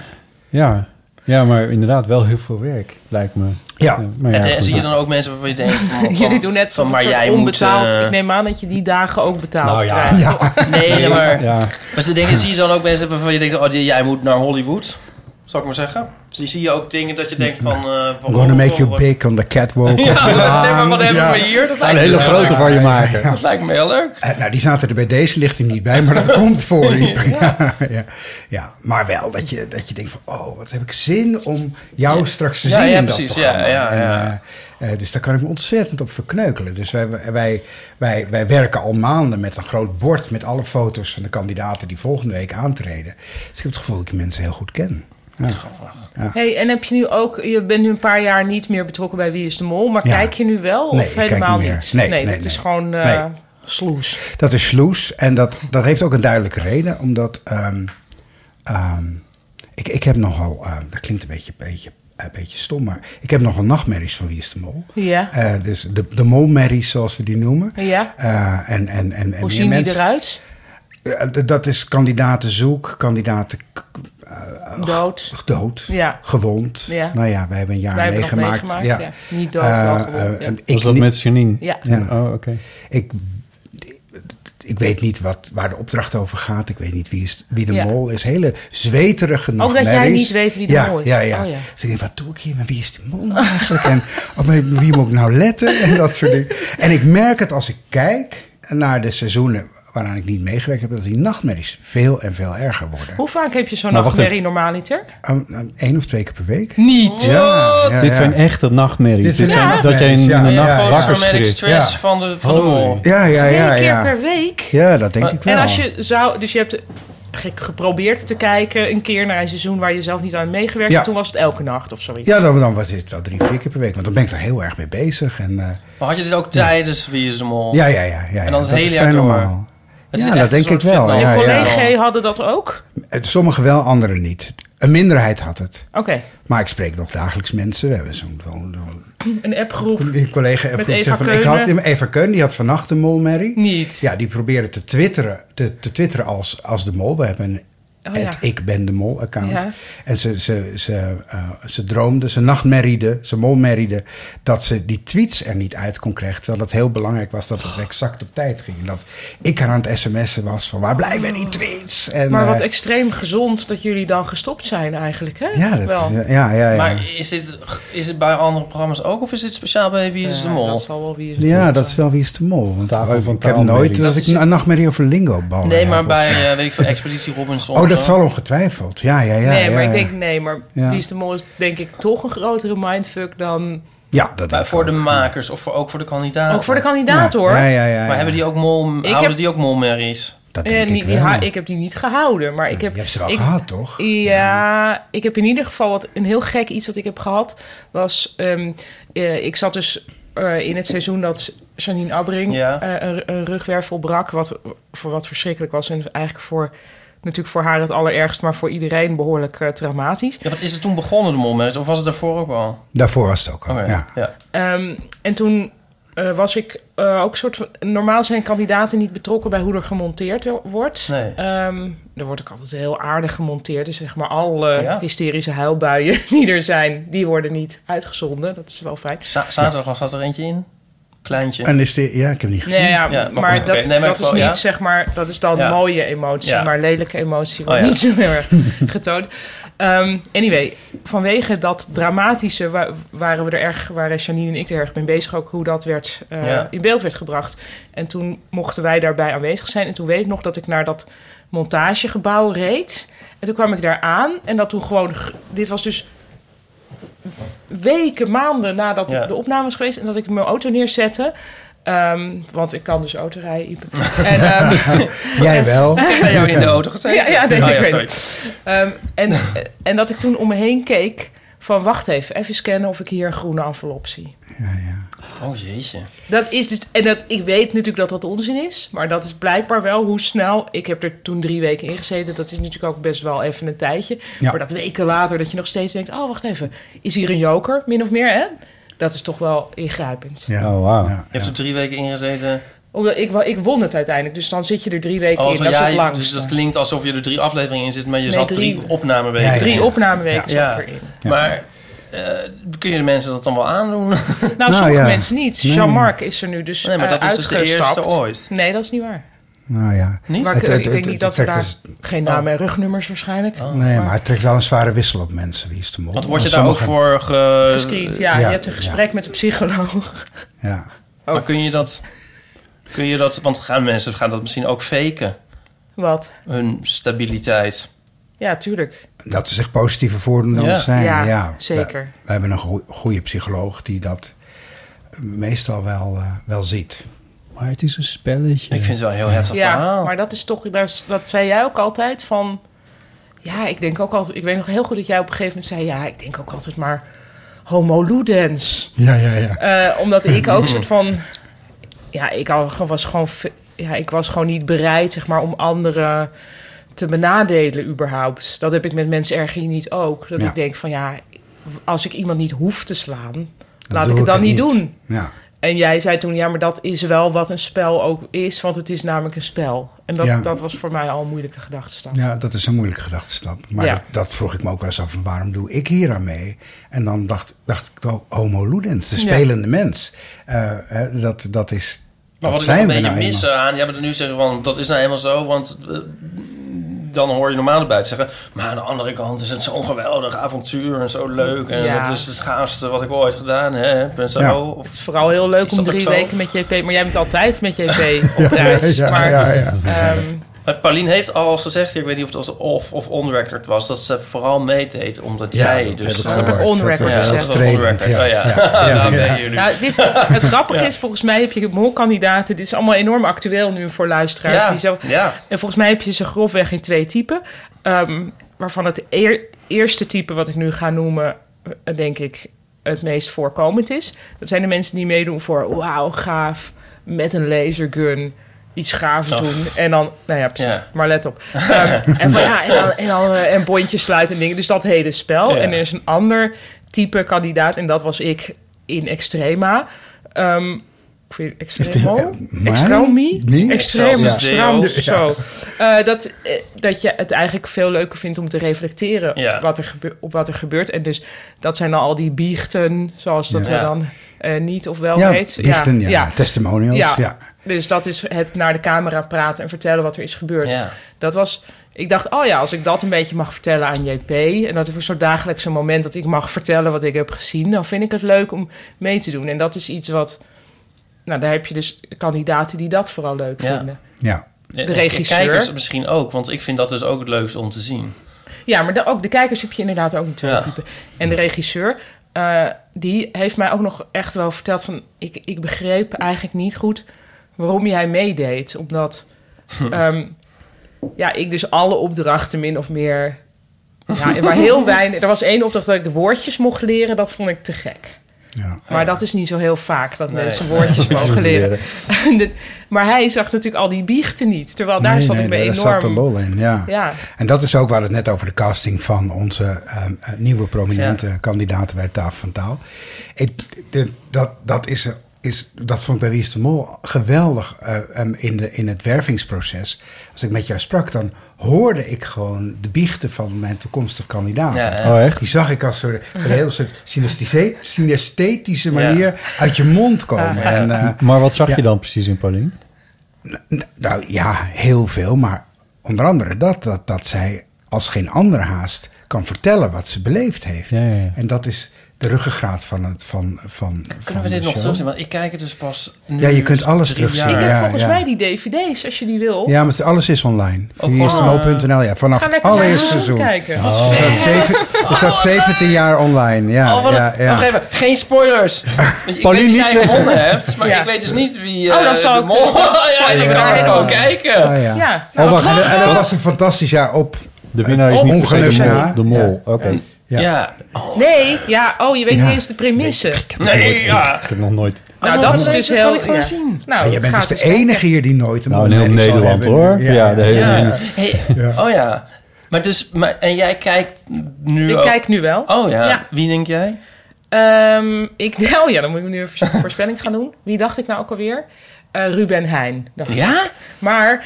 Speaker 3: Ja. ja, maar inderdaad wel heel veel werk, lijkt me.
Speaker 4: Ja.
Speaker 3: maar
Speaker 5: en
Speaker 3: goed.
Speaker 5: zie je dan ook mensen waarvan je denkt...
Speaker 1: [laughs]
Speaker 5: Van, oh, van-
Speaker 1: Jullie doen net
Speaker 5: van,
Speaker 1: zo
Speaker 5: maar jij
Speaker 1: onbetaald.
Speaker 5: Moet, eh,
Speaker 1: Ik neem aan dat je die dagen ook betaald
Speaker 3: Nou ja.
Speaker 1: krijgt.
Speaker 5: [laughs] Nee, nee, maar...
Speaker 3: Ja,
Speaker 5: Maar ze denken, zie je dan ook mensen waarvan je denkt... Oh, die- jij moet naar Hollywood, zal ik maar zeggen. Dus Zie, zie je ook dingen dat je denkt van... eh van
Speaker 4: I'm gonna
Speaker 5: oh,
Speaker 4: make
Speaker 5: oh,
Speaker 4: you big on the
Speaker 5: [laughs]
Speaker 4: catwalk.
Speaker 5: Ja, nee, maar wat hebben
Speaker 4: Ja.
Speaker 5: we hier? Dat
Speaker 3: een
Speaker 5: lijkt, me
Speaker 3: hele
Speaker 5: dus heel
Speaker 3: grote
Speaker 5: leuk.
Speaker 3: van je maken.
Speaker 5: dat lijkt me heel leuk.
Speaker 4: Eh, nou, die zaten er bij deze lichting niet bij, maar
Speaker 5: [laughs]
Speaker 4: dat komt voor. je. Ja, ja. ja, maar wel dat je, dat je denkt van, oh, wat heb ik zin om jou straks te
Speaker 5: Ja,
Speaker 4: zien
Speaker 5: ja,
Speaker 4: in
Speaker 5: precies.
Speaker 4: dat
Speaker 5: Ja,
Speaker 4: programma.
Speaker 5: ja,
Speaker 4: En,
Speaker 5: ja.
Speaker 4: eh, eh, dus daar kan ik me ontzettend op verkneukelen. Dus wij, wij, wij, wij werken al maanden met een groot bord met alle foto's van de kandidaten die volgende week aantreden. Dus ik heb het gevoel dat ik die mensen heel goed ken. Ja.
Speaker 1: Hey, en heb je nu ook, je bent nu een paar jaar niet meer betrokken bij Wie is de Mol, maar
Speaker 4: Ja.
Speaker 1: kijk je nu wel
Speaker 4: Nee,
Speaker 1: of
Speaker 4: ik kijk
Speaker 1: helemaal
Speaker 4: niet meer.
Speaker 1: niet?
Speaker 4: Nee, nee,
Speaker 1: dat
Speaker 4: nee.
Speaker 1: is gewoon eh
Speaker 4: Nee.
Speaker 1: sloes.
Speaker 4: Dat is sloes. En dat, dat heeft ook een duidelijke reden. Omdat ehm, ehm, ik, ik heb nogal... ehm, dat klinkt een beetje, beetje, een beetje stom, maar... Ik heb nogal nachtmerries van Wie is de Mol.
Speaker 1: Ja.
Speaker 4: Eh, dus de, de molmerries, zoals we die noemen.
Speaker 1: Ja.
Speaker 4: Eh, en, en, en, en
Speaker 1: Hoe
Speaker 4: meer
Speaker 1: zien die
Speaker 4: mensen-
Speaker 1: eruit?
Speaker 4: Eh, d- dat is kandidatenzoek, kandidaten k-
Speaker 1: Dood.
Speaker 4: eh, dood,
Speaker 1: Ja.
Speaker 4: gewond.
Speaker 1: Ja.
Speaker 4: Nou ja, wij hebben een jaar
Speaker 1: Wij hebben nog
Speaker 4: meegemaakt.
Speaker 1: meegemaakt, ja. Niet dood, wel
Speaker 4: Eh,
Speaker 1: gewond,
Speaker 4: eh,
Speaker 1: ja.
Speaker 4: ik
Speaker 3: was dat
Speaker 4: niet-
Speaker 3: met Janine?
Speaker 1: Ja.
Speaker 4: Ja.
Speaker 3: Oh, oké.
Speaker 4: ik, ik weet niet wat, waar de opdracht over gaat. Ik weet niet wie, is, wie de
Speaker 1: Ja.
Speaker 4: mol is. Hele zweterige
Speaker 1: dat jij
Speaker 4: nachtmerries.
Speaker 1: niet weet wie de
Speaker 4: ja,
Speaker 1: mol is.
Speaker 4: Ja, ja.
Speaker 1: Oh, ja.
Speaker 4: Dus ik denk, wat doe ik hier? Maar wie is de mol nou eigenlijk? en op wie- wie moet ik nou letten? En dat soort dingen. En ik merk het als ik kijk naar de seizoenen waaraan ik niet meegewerkt heb... dat die nachtmerries veel en veel erger worden.
Speaker 1: Hoe vaak heb je zo'n
Speaker 4: Nou,
Speaker 3: Maar wacht
Speaker 1: nachtmerrie normaliter?
Speaker 4: Eén Oh, of twee keer per week.
Speaker 3: Niet!
Speaker 4: Ja, ja,
Speaker 3: Dit
Speaker 4: ja.
Speaker 3: zijn echte nachtmerries.
Speaker 4: Dit zijn
Speaker 3: Dit, zijn
Speaker 4: echt
Speaker 3: dat jij in, in de
Speaker 4: nachtmerries, ja.
Speaker 3: nacht
Speaker 4: Ja.
Speaker 3: wakker
Speaker 5: Posttraumatic
Speaker 3: schrikt.
Speaker 5: stress
Speaker 4: Ja.
Speaker 5: van de, van de
Speaker 3: Holy.
Speaker 5: mol.
Speaker 4: Ja, ja,
Speaker 1: Twee
Speaker 4: ja,
Speaker 1: keer
Speaker 4: ja.
Speaker 1: per week?
Speaker 4: Ja, dat denk ik wel.
Speaker 1: Eh, En als je zou, dus je hebt ge- geprobeerd te kijken een keer naar een seizoen waar je zelf niet aan meegewerkt
Speaker 4: Ja.
Speaker 1: hebt, toen was het elke nacht of zoiets.
Speaker 4: Ja, dan, dan was dit wel drie, vier keer per week. Want dan ben ik daar heel erg mee bezig. En, eh,
Speaker 5: Maar had je dit ook tijdens Wie is de Mol?
Speaker 4: ja, ja, ja, ja.
Speaker 5: Oh. En dan het
Speaker 4: ja, dat
Speaker 5: hele
Speaker 4: is
Speaker 5: jaar
Speaker 4: vrij
Speaker 5: door.
Speaker 4: normaal.
Speaker 5: Het is
Speaker 4: Ja,
Speaker 5: echt
Speaker 4: dat
Speaker 5: een
Speaker 4: denk
Speaker 5: soort
Speaker 4: ik wel,
Speaker 5: fitna-
Speaker 4: ja,
Speaker 1: En
Speaker 4: ja.
Speaker 1: collega's hadden dat ook?
Speaker 4: Sommigen wel, anderen niet. Een minderheid had het.
Speaker 1: Oké,
Speaker 4: Maar ik spreek nog dagelijks mensen. We hebben zo'n zo'n- zo'n-
Speaker 1: een appgroep.
Speaker 4: een collega
Speaker 1: Met
Speaker 4: die
Speaker 1: Eva
Speaker 4: zegt van, ik
Speaker 1: Keunen.
Speaker 4: had Eva Keun, die had vannacht een molmerrie.
Speaker 1: Niet.
Speaker 4: Ja, die probeerde te twitteren, te, te twitteren als, als de mol. We hebben een
Speaker 1: Oh, ja.
Speaker 4: het ik ben de mol account.
Speaker 1: Ja.
Speaker 4: En ze, ze, ze, eh, ze droomde, ze nachtmerriede, ze molmerriede... dat ze die tweets er niet uit kon krijgen. Terwijl het heel belangrijk was dat
Speaker 1: Oh.
Speaker 4: het exact op tijd ging. Dat ik haar aan het sms'en was van waar blijven die tweets? En,
Speaker 1: Maar wat
Speaker 4: eh,
Speaker 1: extreem gezond dat jullie dan gestopt zijn eigenlijk, hè?
Speaker 4: ja, dat,
Speaker 1: Wel.
Speaker 4: is- eh, ja, ja, ja.
Speaker 5: Maar is dit, is het bij andere programma's ook? Of is dit speciaal bij Wie is de
Speaker 1: Ja,
Speaker 5: Mol?
Speaker 1: Dat zal wel wie is
Speaker 4: Ja, Nou, dat is wel wie is de mol. Want oh,
Speaker 3: Tafel
Speaker 4: ik
Speaker 3: van
Speaker 4: heb
Speaker 3: taalmerrie.
Speaker 4: nooit eh, dat,
Speaker 5: Dat
Speaker 4: ik
Speaker 5: is-
Speaker 4: een nachtmerrie over lingo ballen
Speaker 5: Nee, maar
Speaker 4: heb
Speaker 5: bij,
Speaker 4: of zo.
Speaker 5: eh, weet ik veel, Expeditie Robinson.
Speaker 4: oh,
Speaker 5: of
Speaker 4: dat
Speaker 5: zo.
Speaker 4: zal ongetwijfeld. Ja, ja, ja.
Speaker 1: nee,
Speaker 4: ja,
Speaker 1: maar ik
Speaker 4: ja.
Speaker 1: denk, nee, maar
Speaker 4: Ja.
Speaker 1: Wie is de Mol is denk ik toch een grotere mindfuck dan...
Speaker 4: Ja, dat denk
Speaker 5: Maar
Speaker 4: ik
Speaker 5: voor de
Speaker 4: ook.
Speaker 5: makers of voor, ook voor de kandidaten.
Speaker 1: Ook voor de
Speaker 4: Ja,
Speaker 1: kandidaat, hoor.
Speaker 4: Ja, ja, ja.
Speaker 5: Maar hebben die ook mol,
Speaker 1: Ik
Speaker 5: houden
Speaker 1: heb-
Speaker 5: die ook molmerries?
Speaker 4: Dat
Speaker 1: Eh,
Speaker 4: denk
Speaker 1: die-
Speaker 4: ik
Speaker 1: die
Speaker 4: wel.
Speaker 1: ha- ik heb die niet gehouden, maar ik heb...
Speaker 4: Je hebt ze wel
Speaker 1: ik-
Speaker 4: gehad, toch?
Speaker 1: Ja, ik heb in ieder geval wat een heel gek iets wat ik heb gehad. Was, ehm, eh, ik zat dus eh, in het seizoen dat Janine Abbring
Speaker 5: Ja.
Speaker 1: eh, een, een rugwervel brak. Wat, voor wat verschrikkelijk was. En eigenlijk voor, natuurlijk voor haar het allerergst, maar voor iedereen behoorlijk eh, traumatisch.
Speaker 5: Ja, wat is het toen begonnen, de molmerries? Of was het daarvoor ook al?
Speaker 4: Daarvoor was het ook al.
Speaker 5: Oké,
Speaker 4: Ja.
Speaker 5: Oh ja.
Speaker 1: Ehm, en toen eh, was ik eh, ook soort van... Normaal zijn kandidaten niet betrokken bij hoe er gemonteerd wo- wordt.
Speaker 5: Nee.
Speaker 1: Ehm, er wordt ook altijd heel aardig gemonteerd. Dus zeg maar alle
Speaker 5: Oh Ja.
Speaker 1: hysterische huilbuien [laughs] die er zijn... die worden niet uitgezonden. Dat is wel fijn.
Speaker 5: Za- zaterdag was zat er eentje in. Kleintje.
Speaker 4: En is die, ja, ik heb niet gezien.
Speaker 1: Nee, ja,
Speaker 5: Ja,
Speaker 1: maar,
Speaker 5: maar goed,
Speaker 1: dat,
Speaker 5: oké. Nee, maar
Speaker 1: dat
Speaker 5: ik
Speaker 1: is
Speaker 5: wou-
Speaker 1: niet,
Speaker 5: ja.
Speaker 1: zeg maar... Dat is dan
Speaker 5: Ja.
Speaker 1: mooie emotie,
Speaker 5: Ja.
Speaker 1: maar lelijke emotie wordt
Speaker 5: Oh, ja.
Speaker 1: niet zo heel
Speaker 5: [laughs]
Speaker 1: erg getoond. Ehm, anyway, vanwege dat dramatische wa- waren we er erg... waren Janine en ik er erg mee bezig ook... hoe dat werd, eh,
Speaker 5: Ja.
Speaker 1: in beeld werd gebracht. En toen mochten wij daarbij aanwezig zijn. En toen weet ik nog dat ik naar dat montagegebouw reed. En toen kwam ik daar aan en dat toen gewoon... g- Dit was dus weken, maanden nadat
Speaker 5: Ja.
Speaker 1: de opname is geweest... en dat ik mijn auto neerzette. Ehm, want ik kan dus auto rijden. Iep. En, ehm,
Speaker 4: [laughs]
Speaker 1: [laughs]
Speaker 4: Jij wel.
Speaker 5: Ik heb jou in de auto gezeten.
Speaker 1: Ja, ja, nee,
Speaker 5: Oh,
Speaker 1: ik weet
Speaker 5: sorry.
Speaker 1: Ehm, en, en dat ik toen om me heen keek van wacht even, even scannen of ik hier een groene envelop zie.
Speaker 4: Ja, ja.
Speaker 5: Oh jeetje.
Speaker 1: Dat is dus, en dat, ik weet natuurlijk dat dat onzin is, maar dat is blijkbaar wel hoe snel. Ik heb er toen drie weken in gezeten, dat is natuurlijk ook best wel even een tijdje.
Speaker 4: Ja.
Speaker 1: Maar dat weken later dat je nog steeds denkt, oh wacht even, is hier een joker, min of meer hè? Dat is toch wel ingrijpend.
Speaker 4: Ja.
Speaker 3: Oh, wauw.
Speaker 4: Ja,
Speaker 5: Je hebt
Speaker 4: ja.
Speaker 5: er drie weken in gezeten.
Speaker 1: Omdat ik, wel- ik won het uiteindelijk, dus dan zit je er drie weken
Speaker 5: Oh,
Speaker 1: in.
Speaker 5: zo-
Speaker 1: Dat
Speaker 5: ja,
Speaker 1: is het
Speaker 5: je-
Speaker 1: langste.
Speaker 5: dus dat klinkt alsof je er drie afleveringen in zit, maar je
Speaker 1: Nee,
Speaker 5: zat
Speaker 1: drie.
Speaker 5: drie, opnameweken.
Speaker 4: Ja, ja.
Speaker 1: Drie opnameweken
Speaker 5: Ja.
Speaker 1: zat ik erin.
Speaker 4: Ja.
Speaker 5: Maar eh, kun je de mensen dat dan wel aandoen?
Speaker 1: Nou,
Speaker 4: Nou,
Speaker 1: sommige
Speaker 4: ja.
Speaker 1: mensen niet.
Speaker 4: Nee.
Speaker 1: Jean-Marc is er nu dus
Speaker 5: Nee, maar
Speaker 1: eh,
Speaker 5: dat is dus de
Speaker 1: uitgestapt.
Speaker 5: eerste ooit.
Speaker 1: Nee, dat is niet waar.
Speaker 4: Nou ja.
Speaker 5: Niet?
Speaker 1: Maar
Speaker 4: Het-
Speaker 1: ik,
Speaker 4: het-
Speaker 1: ik denk
Speaker 4: het-
Speaker 1: niet
Speaker 4: het
Speaker 1: dat we
Speaker 4: trekt
Speaker 1: daar... Oh,
Speaker 4: dus-
Speaker 1: Geen naam en rugnummers waarschijnlijk.
Speaker 5: Oh.
Speaker 4: Nee, maar het trekt wel een zware wissel op mensen. Wie is de mol?
Speaker 5: Want word je
Speaker 4: Maar
Speaker 5: daar ook
Speaker 4: sommigen-
Speaker 5: voor ge...
Speaker 1: Gescreend, ja.
Speaker 4: ja,
Speaker 1: je hebt een gesprek met een psycholoog.
Speaker 4: Ja.
Speaker 1: Oh.
Speaker 5: Maar kun je dat... Kun je dat... Want gaan mensen gaan dat misschien ook faken?
Speaker 1: Wat?
Speaker 5: Hun stabiliteit.
Speaker 1: Ja, tuurlijk.
Speaker 4: Dat ze zich positiever voordoen dan
Speaker 5: Ja.
Speaker 4: ze zijn.
Speaker 1: Ja,
Speaker 4: Ja,
Speaker 1: zeker.
Speaker 4: We, we hebben een goe- goede psycholoog die dat meestal wel, eh, wel ziet.
Speaker 3: Maar het is een spelletje.
Speaker 5: Ik vind het wel een heel heftig
Speaker 1: ja,
Speaker 5: verhaal.
Speaker 1: maar dat is toch... daar is- Dat zei jij ook altijd van... Ja, ik denk ook altijd... Ik weet nog heel goed dat jij op een gegeven moment zei... Ja, ik denk ook altijd maar homo ludens.
Speaker 4: Ja, ja, ja.
Speaker 1: Eh, omdat ik ook soort van. Ja, ik al- was gewoon. ve- Ja, ik was gewoon niet bereid, zeg maar, om anderen te benadelen, überhaupt. Dat heb ik met mensen erg hier niet ook. Dat
Speaker 4: Ja.
Speaker 1: ik denk van ja, als ik iemand niet hoef te slaan, laat
Speaker 4: doe
Speaker 1: ik het dan niet doen.
Speaker 4: Ja.
Speaker 1: En jij zei toen, ja, maar dat is wel wat een spel ook is, want het is namelijk een spel. En dat,
Speaker 4: Ja.
Speaker 1: dat was voor mij al een moeilijke gedachtestand.
Speaker 4: ja, dat is een moeilijke gedachtenstap. Maar
Speaker 1: Ja.
Speaker 4: dat, dat vroeg ik me ook wel eens af, van waarom doe ik hier aan mee? En dan dacht, dacht ik ook, homo ludens, de
Speaker 1: Ja.
Speaker 4: spelende mens. Eh, hè, dat, dat is...
Speaker 5: Maar
Speaker 4: dat
Speaker 5: wat ik nog een
Speaker 4: we
Speaker 5: beetje
Speaker 4: nou
Speaker 5: mis
Speaker 4: eenmaal.
Speaker 5: aan... Ja, maar nu zeggen van... Dat is nou eenmaal zo, want... eh, dan hoor je normaal erbij te zeggen... Maar aan de andere kant is het zo'n geweldig avontuur... en zo leuk. En
Speaker 1: Ja.
Speaker 5: het is het gaafste wat ik ooit gedaan heb. En zo.
Speaker 4: Ja.
Speaker 5: Of,
Speaker 1: Het is vooral heel leuk
Speaker 5: Is
Speaker 1: om
Speaker 5: dat ook
Speaker 1: drie
Speaker 5: zo?
Speaker 1: weken met JP, maar jij bent altijd met
Speaker 4: [laughs]
Speaker 1: JP op reis.
Speaker 4: Ja,
Speaker 1: maar,
Speaker 4: ja, ja.
Speaker 1: ehm,
Speaker 5: Maar Paulien heeft al eens gezegd... Ik weet niet of het off of on-record was... dat ze vooral meedeed omdat
Speaker 4: Ja,
Speaker 5: jij...
Speaker 4: dat
Speaker 5: dus,
Speaker 4: heb ik
Speaker 5: eh,
Speaker 1: heb ik
Speaker 4: gehoord.
Speaker 1: on
Speaker 4: Dat
Speaker 1: record
Speaker 4: is-
Speaker 5: Ja,
Speaker 1: gezegd.
Speaker 5: dat is
Speaker 4: is
Speaker 5: wel
Speaker 4: trainend,
Speaker 5: on-record.
Speaker 4: ja.
Speaker 5: Oh, ja. [laughs]
Speaker 4: Ja, ja.
Speaker 5: Daar ben je nu.
Speaker 1: Nou, dit,
Speaker 4: [laughs]
Speaker 1: het grappige is, volgens mij heb je molkandidaten. Dit is allemaal enorm actueel nu voor luisteraars.
Speaker 5: ja.
Speaker 1: Die zo,
Speaker 5: ja.
Speaker 1: en volgens mij heb je ze grofweg in twee typen. ehm, waarvan het eer- eerste type, wat ik nu ga noemen, eh, denk ik het meest voorkomend is. Dat zijn de mensen die meedoen voor wauw, gaaf, met een lasergun. Iets gaafs
Speaker 5: Oh.
Speaker 1: doen. En dan, nou ja, precies.
Speaker 5: Ja.
Speaker 1: Maar let op. Ehm, en, van, ja, en, dan, en, dan, eh, en bondjes sluiten en dingen. Dus dat hele spel.
Speaker 5: Ja.
Speaker 1: En er is een ander type kandidaat. En dat was ik in Extrema. Ehm ik vind
Speaker 4: Is
Speaker 1: Extremo.
Speaker 4: die- eh, maar-
Speaker 1: Extromie?
Speaker 4: Nee?
Speaker 1: Extreem,
Speaker 5: Excelsior.
Speaker 1: stram,
Speaker 5: Ja.
Speaker 1: zo. Eh, dat, eh, dat je het eigenlijk veel leuker vindt om te reflecteren
Speaker 5: Ja.
Speaker 1: op, wat er gebe- op wat er gebeurt. En dus dat zijn dan al die biechten, zoals dat
Speaker 5: Ja.
Speaker 1: er dan eh, niet of wel
Speaker 4: Ja,
Speaker 1: heet.
Speaker 4: biechten, ja. Testimonials,
Speaker 1: Ja.
Speaker 4: ja.
Speaker 1: Dus dat is het naar de camera praten en vertellen wat er is gebeurd.
Speaker 5: Ja.
Speaker 1: Dat was, ik dacht, oh ja, als ik dat een beetje mag vertellen aan JP... en dat is een soort dagelijkse moment dat ik mag vertellen wat ik heb gezien... dan vind ik het leuk om mee te doen. En dat is iets wat... Nou, daar heb je dus kandidaten die dat vooral leuk
Speaker 5: Ja.
Speaker 1: vinden.
Speaker 4: Ja.
Speaker 5: De
Speaker 1: regisseur.
Speaker 5: Kijkers misschien ook, want ik vind dat dus ook het leukste om te zien.
Speaker 1: Ja, maar de, ook de kijkers heb je inderdaad ook in twee
Speaker 5: Ja.
Speaker 1: typen. En de regisseur, eh, die heeft mij ook nog echt wel verteld van... Ik, ik begreep eigenlijk niet goed waarom jij meedeed. Omdat
Speaker 5: Hm.
Speaker 1: ehm, ja, ik dus alle opdrachten min of meer... Ja, maar
Speaker 5: [laughs]
Speaker 1: heel weinig... Er was één opdracht dat ik de woordjes mocht leren. Dat vond ik te gek.
Speaker 4: Ja.
Speaker 1: Maar dat is niet zo heel vaak dat
Speaker 5: Nee.
Speaker 1: mensen
Speaker 5: [laughs]
Speaker 1: woordjes mogen leren. [laughs] maar hij zag natuurlijk al die biechten niet. Terwijl daar
Speaker 4: Nee,
Speaker 1: zat
Speaker 4: nee,
Speaker 1: ik me
Speaker 4: daar
Speaker 1: enorm...
Speaker 4: zat de lol in, ja.
Speaker 1: Ja.
Speaker 4: En dat is ook waar het net over de casting van onze ehm, eh, nieuwe prominente kandidaten bij Tafel van Taal. Ik, de- dat, dat, is, er- is, dat vond ik bij Wie is de Mol geweldig eh, ehm, in, de, in het wervingsproces. Als ik met jou sprak, dan hoorde ik gewoon de biechten van mijn toekomstige kandidaten.
Speaker 5: Ja, hè?
Speaker 3: Oh, echt?
Speaker 4: Die zag ik als soort, een heel soort synesthese- synesthetische manier
Speaker 5: Ja.
Speaker 4: uit je mond komen. En, eh,
Speaker 3: Maar wat zag
Speaker 4: Ja.
Speaker 3: je dan precies in Paulien?
Speaker 4: nou ja, heel veel. Maar onder andere dat, dat, dat zij als geen ander haast kan vertellen wat ze beleefd heeft.
Speaker 3: Ja, ja, ja.
Speaker 4: En dat is, de ruggengraat van het van van.
Speaker 5: Kunnen we dit nog terugzien? Want ik kijk het dus pas nu
Speaker 4: Ja, je kunt alles
Speaker 5: drie
Speaker 4: terugzien.
Speaker 5: jaar.
Speaker 1: Ik heb
Speaker 4: Ja,
Speaker 1: volgens
Speaker 4: ja.
Speaker 1: mij die dvd's, als je die wil.
Speaker 4: Ja, maar alles is online.
Speaker 5: Ook
Speaker 4: Via istmo.nl. Ja, vanaf
Speaker 1: Ga
Speaker 4: het
Speaker 1: lekker naar
Speaker 4: allereerste
Speaker 1: het
Speaker 4: seizoen.
Speaker 1: kijken. Oh.
Speaker 4: Er staat zeven- Er staat 17 jaar online. Ja,
Speaker 5: Oh, wat
Speaker 4: ja,
Speaker 5: een,
Speaker 4: ja.
Speaker 5: Wacht even, geen
Speaker 4: [laughs]
Speaker 5: spoilers. Want ik
Speaker 4: Paulien
Speaker 5: weet
Speaker 4: niet
Speaker 5: dat jij
Speaker 4: zeggen.
Speaker 5: gewonnen hebt, maar
Speaker 1: Ja.
Speaker 5: ik weet dus niet wie
Speaker 1: Oh,
Speaker 5: eh,
Speaker 1: dan zal
Speaker 5: de
Speaker 1: ik-
Speaker 5: mol... ja, Oh, ik kan
Speaker 4: Ja.
Speaker 5: er gewoon kijken.
Speaker 4: Ah, ja.
Speaker 1: Ja,
Speaker 3: Oh,
Speaker 1: nou,
Speaker 3: wacht.
Speaker 4: En, en dat
Speaker 3: dat-
Speaker 4: was een fantastisch jaar op.
Speaker 3: De winnaar is niet per se de mol. De mol. Oké.
Speaker 4: Ja.
Speaker 5: Ja.
Speaker 1: nee, ja, oh, je weet
Speaker 4: Ja.
Speaker 1: niet eens de premisse.
Speaker 5: Nee, ja.
Speaker 3: Ik heb nog nooit...
Speaker 1: Nou, dat is dus heel...
Speaker 5: Dat wil ik
Speaker 1: ja.
Speaker 5: gewoon zien.
Speaker 1: Nou,
Speaker 4: Maar jij bent
Speaker 1: gaat
Speaker 4: dus de
Speaker 1: eens kijken.
Speaker 4: enige hier die nooit een
Speaker 3: Nou, in
Speaker 4: mol
Speaker 3: heel
Speaker 4: zal
Speaker 3: Nederland
Speaker 4: hebben.
Speaker 3: hoor. Ja, de hele
Speaker 5: Ja.
Speaker 3: Nederland.
Speaker 5: Hey, Oh ja. Maar dus, maar, en jij kijkt nu
Speaker 1: Ik
Speaker 5: ook-
Speaker 1: kijk nu wel.
Speaker 5: Oh ja.
Speaker 1: Ja.
Speaker 5: wie denk jij?
Speaker 1: Ehm, ik, [laughs] nou ja, dan moet ik nu een voors- voorspelling gaan doen. Wie dacht ik nou ook alweer? Eh, Ruben Heijn. dacht ik.
Speaker 5: Ja?
Speaker 1: Maar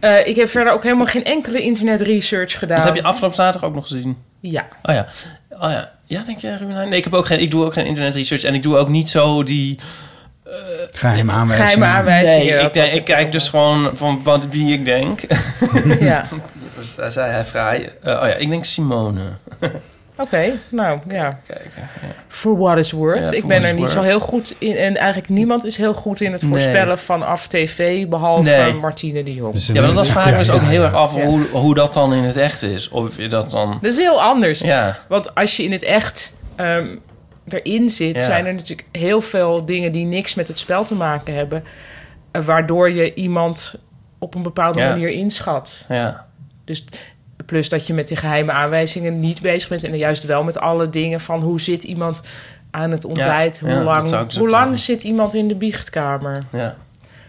Speaker 1: eh, ik heb verder ook helemaal geen enkele internet research gedaan.
Speaker 5: Dat heb je afgelopen zaterdag ook nog gezien.
Speaker 1: Ja.
Speaker 5: Oh ja. Oh ja. Ja, denk jij, Ruben? Heijn? Nee, ik, heb ook geen, ik doe ook geen internet research en ik doe ook niet zo die...
Speaker 4: Geheim aanwijzing.
Speaker 1: Geheime aanwijzingen.
Speaker 5: Nee, ik,
Speaker 1: dat-
Speaker 5: denk,
Speaker 1: dat-
Speaker 5: ik kijk dus gewoon van wat, wie ik denk.
Speaker 1: [laughs] Ja.
Speaker 5: Dus [laughs] daar zei hij vrij. Eh, oh ja, ik denk Simone.
Speaker 1: Oké, nou ja.
Speaker 5: Kijken.
Speaker 1: For what it's worth.
Speaker 5: Ja,
Speaker 1: ik ben
Speaker 5: for
Speaker 1: er
Speaker 5: what it's
Speaker 1: niet zo
Speaker 5: worth.
Speaker 1: heel goed in. En eigenlijk niemand is heel goed in het
Speaker 5: Nee.
Speaker 1: voorspellen vanaf tv. Behalve
Speaker 5: Nee.
Speaker 1: Martine de Jong.
Speaker 5: Ja, maar dat vraag ik me dus ook heel erg af
Speaker 1: Ja.
Speaker 5: hoe, hoe dat dan in het echt is. Of je dat dan...
Speaker 1: Dat is heel anders.
Speaker 5: Ja,
Speaker 1: Want als je in het echt ehm, erin zit,
Speaker 5: Ja.
Speaker 1: zijn er natuurlijk heel veel dingen die niks met het spel te maken hebben. eh, waardoor je iemand op een bepaalde
Speaker 5: Ja.
Speaker 1: manier inschat.
Speaker 5: ja.
Speaker 1: Dus plus dat je met die geheime aanwijzingen niet bezig bent. En dan juist wel met alle dingen van hoe zit iemand aan het ontbijt?
Speaker 5: ja,
Speaker 1: hoe
Speaker 5: dat
Speaker 1: lang,
Speaker 5: zou ik dus
Speaker 1: hoe
Speaker 5: ook
Speaker 1: lang
Speaker 5: doen.
Speaker 1: zit iemand in de biechtkamer?
Speaker 5: ja.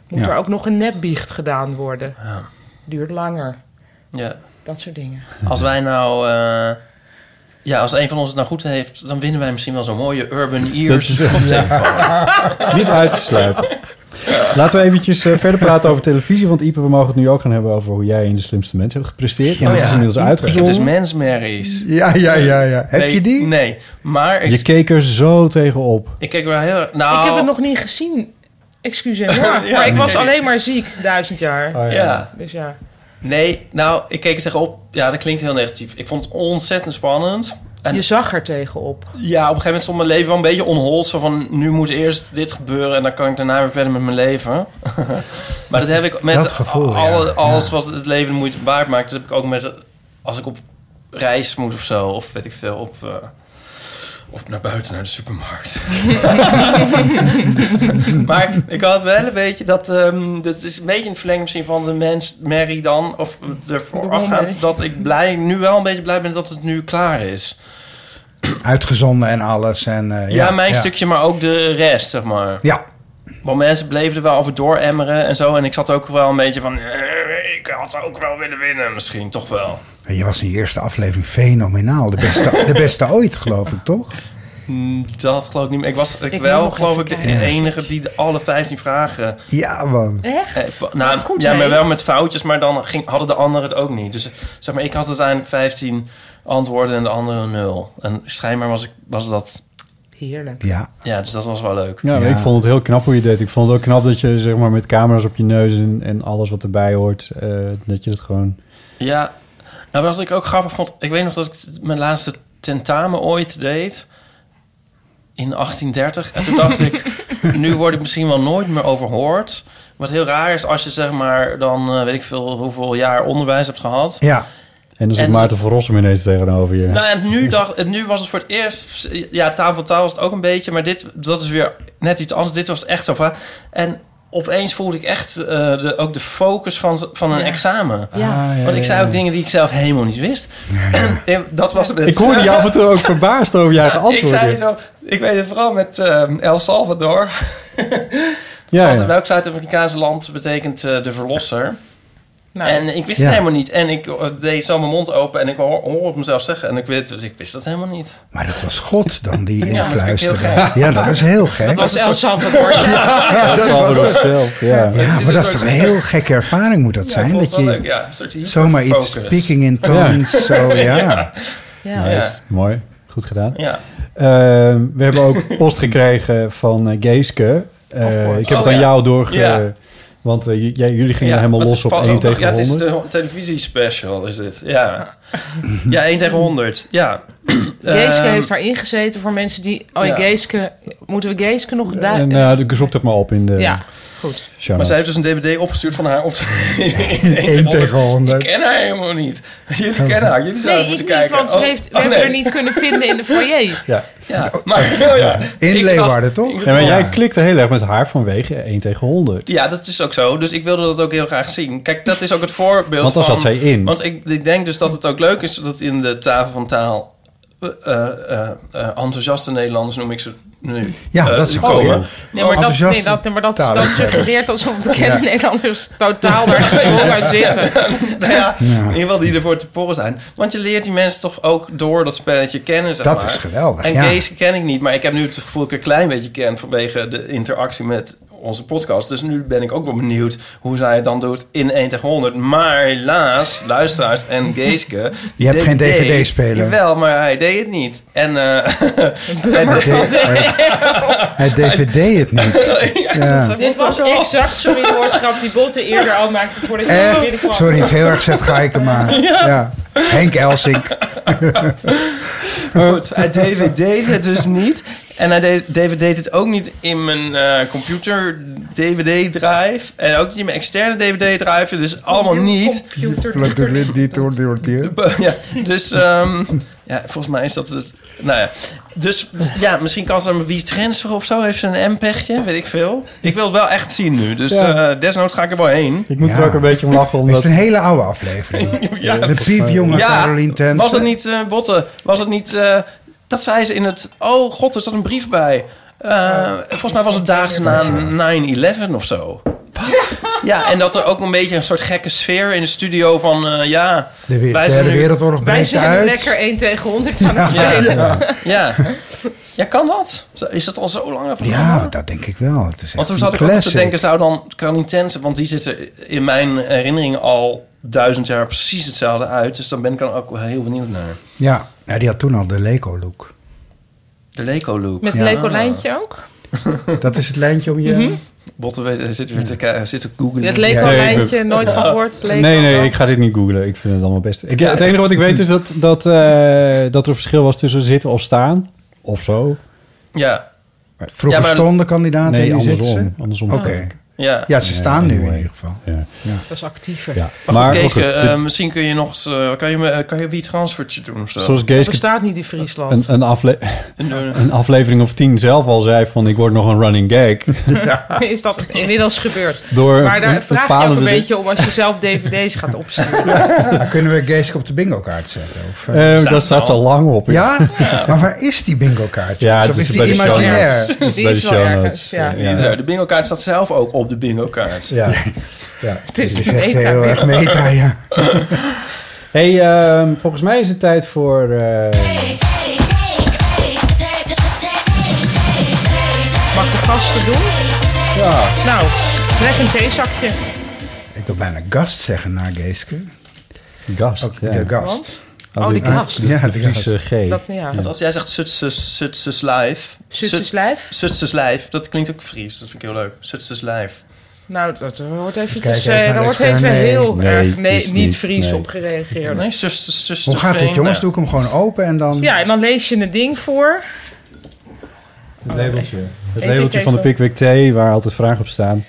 Speaker 1: Moet
Speaker 4: Ja.
Speaker 1: er ook nog een nepbiecht gedaan worden?
Speaker 5: Ja.
Speaker 1: Duurt langer.
Speaker 5: ja.
Speaker 1: Dat soort dingen.
Speaker 5: Als wij nou... eh, ja, als een van ons het nou goed heeft... dan winnen wij misschien wel zo'n mooie Urban Ears.
Speaker 3: Dat is- [laughs] Niet uit te sluiten. Laten we eventjes eh, verder praten over televisie. Want Ipe, we mogen het nu ook gaan hebben over hoe jij in de slimste mensen hebt
Speaker 5: Oh
Speaker 3: gepresteerd. Ja, dat is inmiddels
Speaker 5: Ik heb dus
Speaker 3: uitgezonden.
Speaker 5: mensmerries.
Speaker 4: Ja, ja, ja, ja. Heb
Speaker 5: Nee,
Speaker 4: je die?
Speaker 5: Nee, maar ik,
Speaker 3: Je keek er zo tegen op.
Speaker 5: ik keek wel heel erg... Nou,
Speaker 1: Ik heb het nog niet gezien. Excuseer.
Speaker 5: [laughs] Ja,
Speaker 1: maar ik was
Speaker 5: nee.
Speaker 1: alleen maar ziek duizend
Speaker 4: Oh,
Speaker 1: jaar.
Speaker 5: Ja,
Speaker 1: Dus ja.
Speaker 5: nee, nou, ik keek er tegenop. Ja, dat klinkt heel negatief. Ik vond het ontzettend spannend. En-
Speaker 1: Je zag er tegenop.
Speaker 5: Ja, op een gegeven moment stond mijn leven wel een beetje onhold. Zo van, nu moet eerst dit gebeuren en dan kan ik daarna weer verder met mijn leven. [laughs] maar dat heb ik met
Speaker 4: Dat gevoel,
Speaker 5: al-
Speaker 4: ja.
Speaker 5: alles
Speaker 4: Ja.
Speaker 5: wat het leven de moeite waard maakt. Dat heb ik ook met, als ik op reis moet of zo. Of weet ik veel, op... eh, of naar buiten, naar de supermarkt. [laughs] maar ik had wel een beetje dat... ehm, dat is een beetje in het verlengde misschien van de mens Mary dan. Of ervoor
Speaker 1: De
Speaker 5: afgaand
Speaker 1: Mary.
Speaker 5: dat ik blij, nu wel een beetje blij ben dat het nu klaar is.
Speaker 4: Uitgezonden en alles. En, eh,
Speaker 5: Ja, mijn
Speaker 4: ja.
Speaker 5: stukje, maar ook de rest, zeg maar.
Speaker 4: Ja,
Speaker 5: Want mensen bleven er wel over dooremmeren en zo. En ik zat ook wel een beetje van... eh, ik had ook wel willen winnen, misschien, toch wel.
Speaker 4: En je was in je eerste aflevering fenomenaal. De beste, de beste ooit, geloof ik, toch?
Speaker 5: Mm, Dat geloof ik niet meer. Ik was ik
Speaker 1: Ik moet
Speaker 5: wel,
Speaker 1: nog
Speaker 5: geloof
Speaker 1: even
Speaker 5: ik, de
Speaker 1: kijken.
Speaker 5: enige die de alle 15 vragen...
Speaker 4: Ja, man.
Speaker 1: Echt?
Speaker 5: eh, va- nou,
Speaker 1: goed,
Speaker 5: ja,
Speaker 1: hè?
Speaker 5: maar wel met foutjes, maar dan ging, hadden de anderen het ook niet. Dus zeg maar, ik had uiteindelijk 15 antwoorden en de anderen nul. En schijnbaar was, ik, was dat...
Speaker 1: Heerlijk.
Speaker 4: Ja.
Speaker 5: Ja, dus dat was wel leuk.
Speaker 3: Ja,
Speaker 4: Ja.
Speaker 3: ik vond het heel knap hoe je deed. Ik vond het ook knap dat je zeg maar, met camera's op je neus en, en alles wat erbij hoort... eh, dat je dat gewoon...
Speaker 5: Ja, nou wat ik ook grappig vond... Ik weet nog dat ik mijn laatste tentamen ooit deed. In 1830. En toen dacht ik, nu word ik misschien wel nooit meer overhoord. Wat heel raar is als je zeg maar dan eh, weet ik veel hoeveel jaar onderwijs hebt gehad.
Speaker 4: Ja.
Speaker 3: En dan zit
Speaker 5: En-
Speaker 3: Maarten van Rossum ineens tegenover je.
Speaker 5: Nou, en nu, dacht, en nu was het voor het eerst... Ja, taal van taal was het ook een beetje... maar dit, dat is weer net iets anders. Dit was echt zo van... En opeens voelde ik echt eh, de, ook de focus van, van een
Speaker 1: Ja.
Speaker 5: examen.
Speaker 1: Ja.
Speaker 3: Ah,
Speaker 5: Want ik zei ook dingen die ik zelf helemaal niet
Speaker 3: [clears throat]
Speaker 5: wist. dat was met,
Speaker 3: Ik hoorde je af en toe ook verbaasd over je
Speaker 5: [laughs]
Speaker 3: eigen
Speaker 5: Ik
Speaker 3: antwoorden.
Speaker 5: zei zo, ik weet het vooral met ehm, El Salvador. [laughs]
Speaker 3: Ja,
Speaker 5: Als-
Speaker 3: ja.
Speaker 5: Welk Zuid-Afrikaanse land betekent eh, de verlosser?
Speaker 1: Nou,
Speaker 5: En ik wist
Speaker 4: Ja.
Speaker 5: het helemaal niet. En ik eh, deed zo mijn mond open en ik hoor, hoor het mezelf zeggen. En ik, weet, dus ik wist dat helemaal niet.
Speaker 4: Maar dat was God dan
Speaker 5: Ja,
Speaker 4: die
Speaker 5: maar dat vind ik heel
Speaker 4: influisterde. Ja, dat is heel gek.
Speaker 1: dat was El
Speaker 5: [laughs]
Speaker 1: Salvador.
Speaker 4: Ja, dat
Speaker 3: Van
Speaker 4: was-
Speaker 3: Rossum zelf, ja.
Speaker 4: ja,
Speaker 5: is
Speaker 4: maar
Speaker 5: een
Speaker 4: dat is
Speaker 5: soort-
Speaker 4: toch een heel gekke ervaring moet dat
Speaker 5: Ja, ik
Speaker 4: zijn.
Speaker 5: vond
Speaker 4: Dat
Speaker 5: het wel leuk.
Speaker 4: je
Speaker 5: Ja, een soort
Speaker 4: zomaar iets
Speaker 5: hyperfocus.
Speaker 4: speaking in tones.
Speaker 3: [laughs]
Speaker 4: Zo, ja.
Speaker 1: Ja.
Speaker 5: Ja.
Speaker 3: Nice. Mooi, goed gedaan.
Speaker 5: Ja.
Speaker 3: Ehm, we hebben
Speaker 5: [laughs]
Speaker 3: ook post gekregen van eh, Geeske. Eh, ik heb het
Speaker 5: Oh,
Speaker 3: aan
Speaker 5: ja.
Speaker 3: jou doorge...
Speaker 5: Ja.
Speaker 3: Want eh, j- jij- jullie gingen
Speaker 5: Ja,
Speaker 3: helemaal
Speaker 5: want
Speaker 3: los
Speaker 5: het
Speaker 3: op
Speaker 5: valt
Speaker 3: 1
Speaker 5: ook nog-
Speaker 3: tegen
Speaker 5: Ja, het
Speaker 1: [laughs]
Speaker 3: 100.
Speaker 5: is een televisiespecial, is dit. Ja, ja 1 tegen 100. Ja,
Speaker 1: [laughs] Geeske
Speaker 5: Ehm,
Speaker 1: heeft daarin gezeten voor mensen die... Oh, ja.
Speaker 5: Ja.
Speaker 1: Geeske... Moeten we Geeske nog... daar-
Speaker 3: En, nou, ik zoek dat maar op in de
Speaker 1: ja, goed.
Speaker 3: show
Speaker 5: Maar
Speaker 3: notes.
Speaker 5: zij heeft dus een dvd opgestuurd van haar op [laughs]
Speaker 4: Eén tegen honderd.
Speaker 5: Ik ken haar helemaal niet. Jullie kennen haar. Jullie zouden
Speaker 1: Nee, ik
Speaker 5: moeten
Speaker 1: niet,
Speaker 5: kijken.
Speaker 1: want ze
Speaker 5: Oh,
Speaker 1: heeft, we
Speaker 5: oh,
Speaker 1: hebben
Speaker 5: nee.
Speaker 1: haar niet kunnen vinden in de foyer.
Speaker 3: ja.
Speaker 5: Ja,
Speaker 3: [laughs]
Speaker 5: maar wel ja.
Speaker 4: In
Speaker 5: Ik
Speaker 4: Leeuwarden, toch?
Speaker 3: Ja, maar jij klikte heel erg met haar vanwege 1 tegen 100.
Speaker 5: Ja, dat is ook zo. Dus ik wilde dat ook heel graag zien. Kijk, dat is ook het voorbeeld
Speaker 3: Want daar
Speaker 5: van-
Speaker 3: zat zij in.
Speaker 5: Want ik, ik denk dus dat het ook leuk is dat in de tafel van taal... eh, eh, eh, enthousiaste Nederlanders noem ik ze nu.
Speaker 4: Ja,
Speaker 5: eh,
Speaker 4: [laughs] dat is Nou, een
Speaker 5: komen.
Speaker 4: goeie.
Speaker 1: Nee, maar dat, nee,
Speaker 4: Enthousiaste
Speaker 1: dat, nee, maar dat,
Speaker 4: talen.
Speaker 1: dat suggereert alsof bekende Nederlanders totaal
Speaker 5: [laughs]
Speaker 1: daar gewoon maar zitten.
Speaker 5: Nou ja, in ieder geval die ervoor te porren zijn. Want je leert die mensen toch ook door dat spelletje kennen, zeg
Speaker 4: Dat
Speaker 5: maar.
Speaker 4: is geweldig,
Speaker 5: En
Speaker 4: ja.
Speaker 5: Kees ken ik niet, maar ik heb nu het gevoel dat ik een klein beetje ken... vanwege de interactie met onze podcast. Dus nu ben ik ook wel benieuwd hoe zij het dan doet in 1 tegen 100. Maar helaas, luisteraars
Speaker 4: [laughs]
Speaker 5: en Geeske...
Speaker 4: Je hebt geen DVD-speler.
Speaker 5: Jawel, maar hij deed het niet. En, [laughs] eh en-
Speaker 4: Hij dvd het
Speaker 5: [laughs]
Speaker 4: niet. Ja.
Speaker 1: Dit was exact, sorry voor het grap, die botten eerder al maakte voordat je naar binnen
Speaker 4: Echt?
Speaker 1: kwam.
Speaker 4: Sorry, het heel erg zet geiken, maar...
Speaker 5: [laughs]
Speaker 4: Ja. Henk Elsink.
Speaker 5: [laughs] Goed, hij dvd het dus niet. En hij deed- dvd het ook niet in mijn eh, computer dvd-drive. En ook niet in mijn externe dvd-drive. Dus allemaal niet. [laughs] Ja, dus ehm, ja, volgens mij is dat het... Nou ja, dus ja, misschien kan ze hem wie transfer of zo. Heeft ze een M-pechje, weet ik veel. Ik wil het wel echt zien nu. Dus
Speaker 3: Ja.
Speaker 5: eh, desnoods ga ik er wel heen.
Speaker 3: Ik moet
Speaker 4: Ja.
Speaker 3: er ook een beetje om lachen,
Speaker 4: Het is
Speaker 3: omdat...
Speaker 4: een hele oude aflevering.
Speaker 5: Ja,
Speaker 4: De piepjonge
Speaker 5: Ja,
Speaker 4: Caroline Tent.
Speaker 5: Was het niet, eh Botte, was het niet... eh, dat zei ze in het... Oh god, er zat een brief bij. Eh, volgens mij was het daags na 9-11 of zo. Ja, en dat er ook een beetje een soort gekke sfeer in de studio van... eh, ja,
Speaker 4: De, wer-
Speaker 5: wij zijn
Speaker 4: derde
Speaker 5: nu-
Speaker 4: wereldoorlog
Speaker 1: Wij
Speaker 4: breekt
Speaker 1: zijn nu
Speaker 4: uit.
Speaker 1: lekker 1 tegen 100 aan het spelen.
Speaker 5: ja. Ja, kan dat? Zo- Is dat al zo lang? een programma?
Speaker 4: Ja, dat denk ik wel. Het
Speaker 5: Want
Speaker 4: is echt
Speaker 5: toen
Speaker 4: een
Speaker 5: zat ik ook te
Speaker 4: classic.
Speaker 5: denken, zou dan Canintense... Want die zitten in mijn herinnering al duizend jaar precies hetzelfde uit. Dus dan ben ik dan ook heel benieuwd naar.
Speaker 4: Ja. ja, die had toen al de
Speaker 3: [laughs]
Speaker 4: Leco-look.
Speaker 5: De Leco-look.
Speaker 1: Met een lekker lijntje ook?
Speaker 4: Dat is het lijntje om je...
Speaker 5: Botten weet- hij zit weer te, ki- hij zit te googlen.
Speaker 1: Mhm. Het
Speaker 4: Nee,
Speaker 3: ik
Speaker 1: Lego-lijntje, nooit van gehoord. Lego.
Speaker 3: Nee, nee, ik ga dit niet googlen. Ik vind het allemaal best. Ik, ja, het enige wat ik weet is dat, dat, eh, dat er een verschil was tussen zitten of staan. Of zo.
Speaker 5: Ja,
Speaker 4: Vroeger
Speaker 5: Ja, maar-
Speaker 4: stonden kandidaten
Speaker 3: Nee,
Speaker 4: en nu zitten
Speaker 3: andersom.
Speaker 4: ze.
Speaker 3: Andersom.
Speaker 4: Oké.
Speaker 5: ja.
Speaker 4: Ja, ze staan nu in
Speaker 3: anyway.
Speaker 4: ieder geval.
Speaker 3: Ja.
Speaker 1: Dat is actiever.
Speaker 3: Ja.
Speaker 5: Maar goed,
Speaker 3: goed,
Speaker 5: Keeske,
Speaker 3: dit-
Speaker 5: eh, misschien kun je nog eens... eh, kan, je, me- eh, kan je wie transfertje doen of zo?
Speaker 3: zoals
Speaker 1: Dat
Speaker 3: Geeske
Speaker 1: bestaat niet in Friesland.
Speaker 3: een, een, afle-
Speaker 5: En, eh,
Speaker 3: [laughs] een aflevering of tien zelf al zei van... ik word nog een running
Speaker 4: [laughs]
Speaker 3: gag.
Speaker 1: is dat inmiddels gebeurd.
Speaker 3: Door
Speaker 1: Maar daar vraag je ook
Speaker 3: falende-
Speaker 1: een beetje om als je zelf dvd's gaat opsturen.
Speaker 4: Maar kunnen we Geeske op de bingo-kaart zetten? Of, eh?
Speaker 3: Eh,
Speaker 5: Staat
Speaker 3: dat
Speaker 5: er
Speaker 3: staat
Speaker 5: al.
Speaker 3: al lang op.
Speaker 4: ja?
Speaker 3: [laughs]
Speaker 4: maar waar is die bingo-kaart?
Speaker 3: Ja,
Speaker 4: Of
Speaker 3: het is
Speaker 4: die
Speaker 3: bij de show
Speaker 4: imaginair?
Speaker 3: notes. Het is
Speaker 1: Die
Speaker 3: bij de
Speaker 1: is wel
Speaker 3: show
Speaker 1: ergens,
Speaker 3: notes. eh,
Speaker 1: ja.
Speaker 5: die is er. De bingo-kaart staat zelf ook op de bingo-kaart.
Speaker 3: Ja.
Speaker 4: Ja, het
Speaker 1: is
Speaker 4: is
Speaker 1: de
Speaker 4: echt
Speaker 1: meta.
Speaker 4: heel erg meta, ja.
Speaker 3: [laughs]
Speaker 5: [laughs]
Speaker 3: Hey, ehm, volgens mij is het tijd voor... eh,
Speaker 1: Mag ik de gasten doen? Ja. Nou, trek een theezakje.
Speaker 4: Ik wil bijna gast zeggen na Geeske.
Speaker 3: gast.
Speaker 4: Ook
Speaker 3: ja.
Speaker 4: de gast.
Speaker 1: Oh, die
Speaker 3: de-
Speaker 1: gast.
Speaker 3: De,
Speaker 4: Ja,
Speaker 3: de
Speaker 4: de
Speaker 3: Friese G.
Speaker 1: Dat, ja.
Speaker 5: Want als jij zegt Sutses Sutses Live...
Speaker 1: Zutses lijf?
Speaker 5: Sutses Live, dat klinkt ook Fries. Dat vind ik heel leuk. Sutses Live.
Speaker 1: Nou, dat wordt
Speaker 4: Kijk
Speaker 1: eventjes...
Speaker 4: even
Speaker 1: eh,
Speaker 4: naar
Speaker 1: daar wordt
Speaker 4: rechts.
Speaker 1: even
Speaker 4: Nee.
Speaker 1: heel
Speaker 3: Nee,
Speaker 1: erg nee,
Speaker 3: is
Speaker 1: niet,
Speaker 3: niet,
Speaker 1: Fries
Speaker 3: nee.
Speaker 1: op gereageerd.
Speaker 5: Nee, Sutses... Sutses
Speaker 4: Hoe gaat dit,
Speaker 5: Veen, nou.
Speaker 4: jongens? Doe ik hem gewoon open en dan...
Speaker 1: Ja, en dan lees je een ding voor.
Speaker 3: Het labeltje.
Speaker 1: Eet
Speaker 3: Het
Speaker 1: ik
Speaker 3: labeltje van de
Speaker 1: even.
Speaker 3: Pickwick Thee, waar altijd vragen op staan.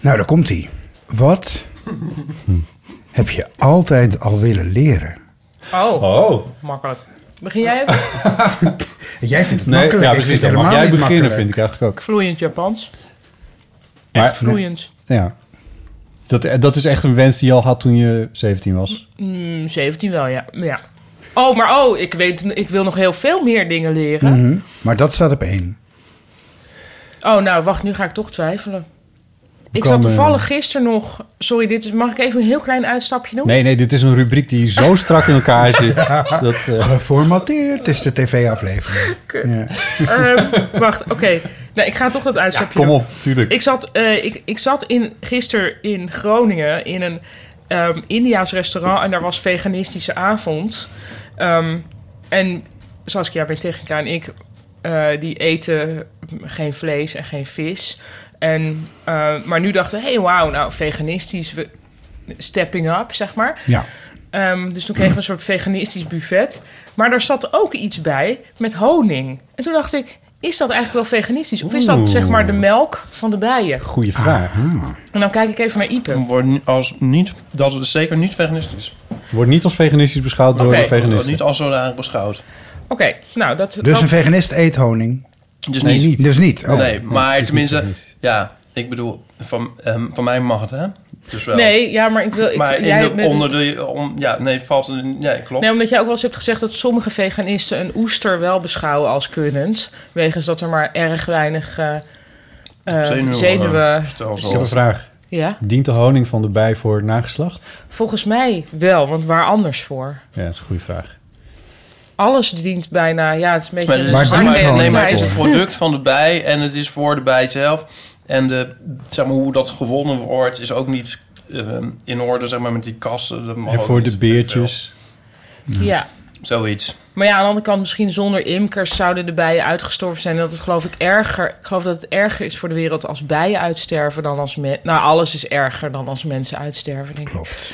Speaker 4: Nou, daar komt hij. Wat
Speaker 3: [laughs]
Speaker 4: heb je altijd al willen leren?
Speaker 1: Oh,
Speaker 3: Oh.
Speaker 1: makkelijk. Begin jij
Speaker 3: [laughs]
Speaker 1: even?
Speaker 4: Jij vindt het
Speaker 3: Nee,
Speaker 4: makkelijk.
Speaker 3: ja,
Speaker 4: ik
Speaker 3: precies.
Speaker 4: vind
Speaker 3: Dan
Speaker 4: het
Speaker 3: mag
Speaker 4: helemaal
Speaker 3: jij
Speaker 4: niet
Speaker 3: beginnen,
Speaker 4: makkelijk.
Speaker 3: vind ik eigenlijk ook.
Speaker 1: Vloeiend Japans.
Speaker 3: Maar,
Speaker 1: Vloeiend.
Speaker 3: ja. Dat, eh, dat is echt een wens die je al had toen je 17 was.
Speaker 1: Mm, 17 wel, ja. ja. Oh, maar oh, ik, weet, ik wil nog heel veel meer dingen leren.
Speaker 4: Mhm. Maar dat staat op één.
Speaker 3: Hm.
Speaker 1: Oh, nou, wacht, nu ga ik toch twijfelen. Ik
Speaker 3: kan,
Speaker 1: zat
Speaker 3: eh,
Speaker 1: toevallig gisteren nog... Sorry, dit is, mag ik even een heel klein uitstapje doen?
Speaker 3: Nee, nee, dit is een rubriek die
Speaker 1: [laughs]
Speaker 3: zo strak in elkaar zit. Dat, eh,
Speaker 4: Geformateerd is de tv-aflevering.
Speaker 1: [laughs] Ehm, wacht, oké. Nou, ik ga toch dat uitstapje
Speaker 3: kom
Speaker 1: doen.
Speaker 3: op, tuurlijk.
Speaker 1: Ik zat, eh, ik, ik zat in, gisteren in Groningen in een ehm Indiaas restaurant en daar was veganistische avond. Ehm en Saskia, mijn technica en ik, eh, die eten geen vlees en geen vis. En, eh, maar nu dachten we, hey, wauw, nou veganistisch, we, stepping up, zeg maar.
Speaker 4: Ja.
Speaker 1: Ehm, dus toen kregen we een soort veganistisch buffet. Maar daar zat ook iets bij met honing. En toen dacht ik, is dat eigenlijk wel veganistisch? Of is dat
Speaker 5: Oeh.
Speaker 1: zeg maar de melk van de bijen?
Speaker 3: Goeie
Speaker 5: Ah.
Speaker 3: vraag.
Speaker 1: En dan kijk ik even naar Ipe.
Speaker 5: Wordt ni- als niet, dat is zeker niet veganistisch.
Speaker 3: Wordt niet als veganistisch beschouwd door
Speaker 5: Oké,
Speaker 3: de veganisten.
Speaker 5: wordt Niet als zodanig beschouwd.
Speaker 1: Oké, nou dat...
Speaker 4: Dus
Speaker 1: dat-
Speaker 4: een veganist eet honing.
Speaker 5: Dus Nee, niet. niet.
Speaker 4: Dus niet. Oh.
Speaker 5: nee, maar
Speaker 4: is niet
Speaker 5: tenminste, ja, ik bedoel, van, ehm, van mij mag het, hè? Dus wel.
Speaker 1: Nee, ja, maar ik wil... Ik,
Speaker 5: maar in
Speaker 1: jij-
Speaker 5: de, onder de, om, ja, nee, valt, er- nee, klopt.
Speaker 1: Nee, omdat jij ook wel eens hebt gezegd dat sommige veganisten een oester wel beschouwen als kunnend. Wegens dat er maar erg weinig eh eh,
Speaker 3: Zenuwen,
Speaker 1: zenuwen...
Speaker 3: Ik heb een vraag.
Speaker 1: Ja?
Speaker 3: Dient de honing van de bij voor het nageslacht?
Speaker 1: Volgens mij wel, want waar anders voor?
Speaker 3: Ja, dat is een goede vraag.
Speaker 1: Alles dient bijna... Ja, het is een beetje...
Speaker 5: Maar, het is-
Speaker 1: een zwarte
Speaker 5: maar- nee, maar het is
Speaker 1: realiteit.
Speaker 5: een product van de bij en het is voor de bij zelf. En de, zeg maar, hoe dat gewonnen wordt is ook niet ehm, in orde zeg maar, met die kassen. Dat mag
Speaker 3: en
Speaker 5: ook
Speaker 3: voor
Speaker 5: niet.
Speaker 3: de beertjes.
Speaker 1: Ja.
Speaker 5: Zoiets.
Speaker 1: Maar ja, aan de andere kant, misschien zonder imkers zouden de bijen uitgestorven zijn. En dat is geloof ik erger. Ik geloof dat het erger is voor de wereld als bijen uitsterven dan als mensen. Nou, alles is erger dan als mensen uitsterven, denk ik. Klopt.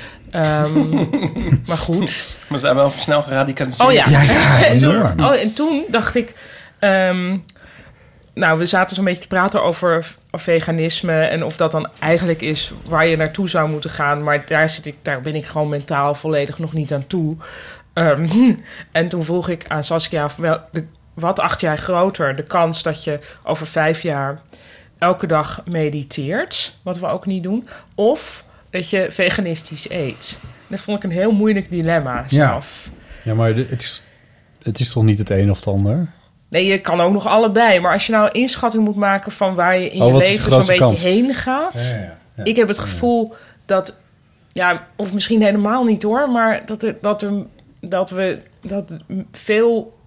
Speaker 1: [laughs] maar goed.
Speaker 5: Maar ze zijn wel snel geradicaliseerd.
Speaker 1: Oh ja. [laughs] en toen, oh, en toen dacht ik. ehm, nou, we zaten zo'n beetje te praten over v- veganisme en of dat dan eigenlijk is waar je naartoe zou moeten gaan. Maar daar, zit ik, daar ben ik gewoon mentaal volledig nog niet aan toe. Ehm, [laughs] en toen vroeg ik aan Saskia, wel, de, wat acht jij groter? De kans dat je over vijf jaar elke dag mediteert, wat we ook niet doen, of dat je veganistisch eet. Dat vond ik een heel moeilijk dilemma
Speaker 3: Ja.
Speaker 1: zelf.
Speaker 3: Ja, maar de- het is, het is toch niet het een of het ander?
Speaker 1: Nee, je kan ook nog allebei. Maar als je nou een inschatting moet maken van waar je in
Speaker 3: Oh,
Speaker 1: je
Speaker 3: wat is de
Speaker 1: leven zo'n
Speaker 3: grootste
Speaker 1: beetje
Speaker 3: kans?
Speaker 1: heen gaat.
Speaker 3: Ja, ja, ja. Ja.
Speaker 1: Ik heb het gevoel dat, ja, of misschien helemaal niet hoor, maar dat, er, dat, er, dat we dat veel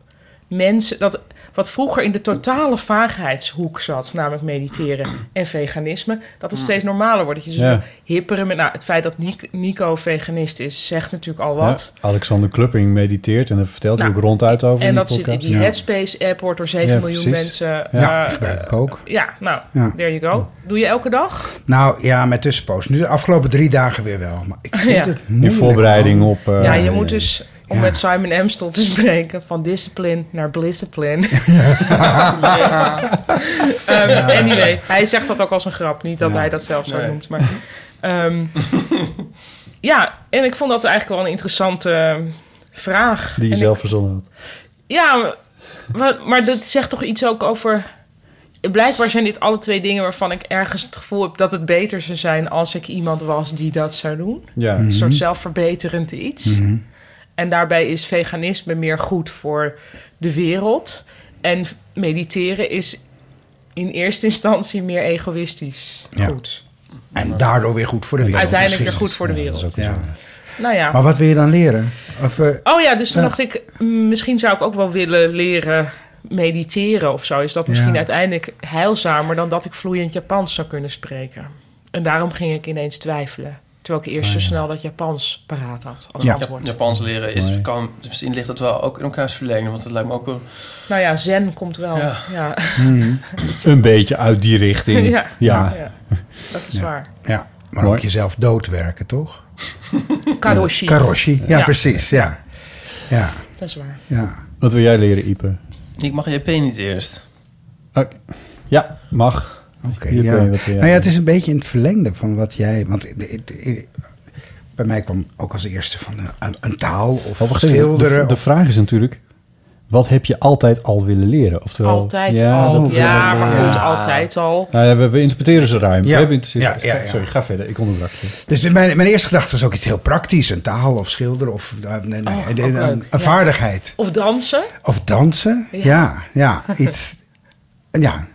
Speaker 1: mensen, dat wat vroeger in de totale vaagheidshoek zat, namelijk mediteren en veganisme, dat het steeds normaler wordt. Dat je dus
Speaker 3: Ja.
Speaker 1: wil hipperen met, nou, het feit dat Nic- Nico veganist is, zegt natuurlijk al wat.
Speaker 3: Ja, Alexander Klupping mediteert en daar vertelt hij
Speaker 1: Nou,
Speaker 3: ook ronduit over
Speaker 1: En
Speaker 3: in
Speaker 1: dat
Speaker 3: die
Speaker 1: zit in
Speaker 3: podcast.
Speaker 1: die Headspace-app wordt door 7
Speaker 3: Ja,
Speaker 1: miljoen
Speaker 3: precies.
Speaker 1: mensen.
Speaker 3: Ja,
Speaker 1: eh,
Speaker 3: die gebruik ik
Speaker 4: ook.
Speaker 1: Ja, nou,
Speaker 4: Ja.
Speaker 1: there you go. Doe je elke dag?
Speaker 4: Nou ja, met tussenpoos. Nu de afgelopen drie dagen weer wel. Maar
Speaker 1: [laughs]
Speaker 4: ik vind
Speaker 1: Ja.
Speaker 4: het moeilijk.
Speaker 3: In voorbereiding op, eh,
Speaker 1: ja, je moet dus, om met Simon Amstel te [laughs] spreken, van discipline naar [laughs]
Speaker 3: [laughs]
Speaker 1: discipline. Ehm, Anyway, hij zegt dat ook als een grap. Niet dat
Speaker 6: Ja.
Speaker 1: hij dat zelf zo
Speaker 6: Nee.
Speaker 1: noemt, maar...
Speaker 3: [laughs]
Speaker 1: ehm, ja, en ik vond dat eigenlijk wel een interessante eh, vraag.
Speaker 3: Die je
Speaker 1: En
Speaker 3: zelf verzonnen had.
Speaker 1: Ja, maar, maar dat zegt toch iets ook over. Blijkbaar zijn dit alle twee dingen waarvan ik ergens het gevoel heb dat het beter zou zijn als ik iemand was die dat zou doen.
Speaker 3: Ja.
Speaker 1: Een soort
Speaker 3: Mhm.
Speaker 1: zelfverbeterend iets.
Speaker 3: Mhm.
Speaker 1: En daarbij is veganisme meer goed voor de wereld. En mediteren is in eerste instantie meer egoïstisch.
Speaker 4: Ja.
Speaker 1: Goed.
Speaker 4: En daardoor weer goed voor de wereld.
Speaker 1: Uiteindelijk weer
Speaker 4: misschien.
Speaker 1: goed voor de wereld.
Speaker 4: Ja.
Speaker 1: Nou ja.
Speaker 4: Maar wat wil je dan leren? Of, eh,
Speaker 1: Oh ja, dus toen
Speaker 4: Ja.
Speaker 1: dacht ik, mm, misschien zou ik ook wel willen leren mediteren of zo. Is dat misschien
Speaker 4: Ja.
Speaker 1: uiteindelijk heilzamer dan dat ik vloeiend Japans zou kunnen spreken? En daarom ging ik ineens twijfelen. Terwijl ik eerst
Speaker 4: Oh
Speaker 1: zo snel dat Japans paraat had als antwoord.
Speaker 5: Japans leren is, kan, misschien ligt dat wel ook in elkaars verlengde, want het lijkt me ook wel...
Speaker 1: Nou ja, zen komt wel. Ja.
Speaker 5: Ja.
Speaker 3: Een beetje uit die richting.
Speaker 1: [laughs] Ja.
Speaker 3: Ja.
Speaker 1: Ja. Dat is waar.
Speaker 4: Ja, maar
Speaker 3: Mooi.
Speaker 4: ook jezelf doodwerken, toch?
Speaker 1: Karoshi.
Speaker 4: Karoshi, ja,
Speaker 1: Ja.
Speaker 4: precies. Ja. Ja.
Speaker 1: Dat is waar.
Speaker 4: Ja.
Speaker 3: Wat wil jij leren, Ipe?
Speaker 5: Ik mag JP niet eerst.
Speaker 3: Oké. Ja, mag.
Speaker 4: Oké,
Speaker 5: [laughs]
Speaker 3: Ipe,
Speaker 4: ja.
Speaker 3: wat wil jij
Speaker 4: Nou ja, het is een beetje in het verlengde van wat jij... Want ik- ik- ik- bij mij kwam ook als eerste van eh, een, een taal of
Speaker 3: Oh, wacht even.
Speaker 4: schilderen.
Speaker 3: De, de
Speaker 4: of-
Speaker 3: vraag is natuurlijk, wat heb je altijd al willen leren? Oftewel,
Speaker 1: Altijd al.
Speaker 3: dat-
Speaker 1: ja, maar goed,
Speaker 4: Ah.
Speaker 1: altijd al.
Speaker 3: Nou ja, we, we interpreteren ze ruim.
Speaker 4: Ja.
Speaker 3: We hebben interesse-
Speaker 4: Ja, ja, ja.
Speaker 3: Sorry, ga verder. Ik onderbrak je.
Speaker 4: Dus mijn, mijn eerste gedachte is ook iets heel praktisch. Een taal of schilderen of eh, nee, nee,
Speaker 1: Oh,
Speaker 4: een,
Speaker 1: ook
Speaker 4: een-
Speaker 1: leuk,
Speaker 4: een
Speaker 1: ja.
Speaker 4: vaardigheid.
Speaker 1: Of dansen.
Speaker 4: Of dansen.
Speaker 1: Ja.
Speaker 4: Ja, ja,
Speaker 1: [laughs]
Speaker 4: iets. ja.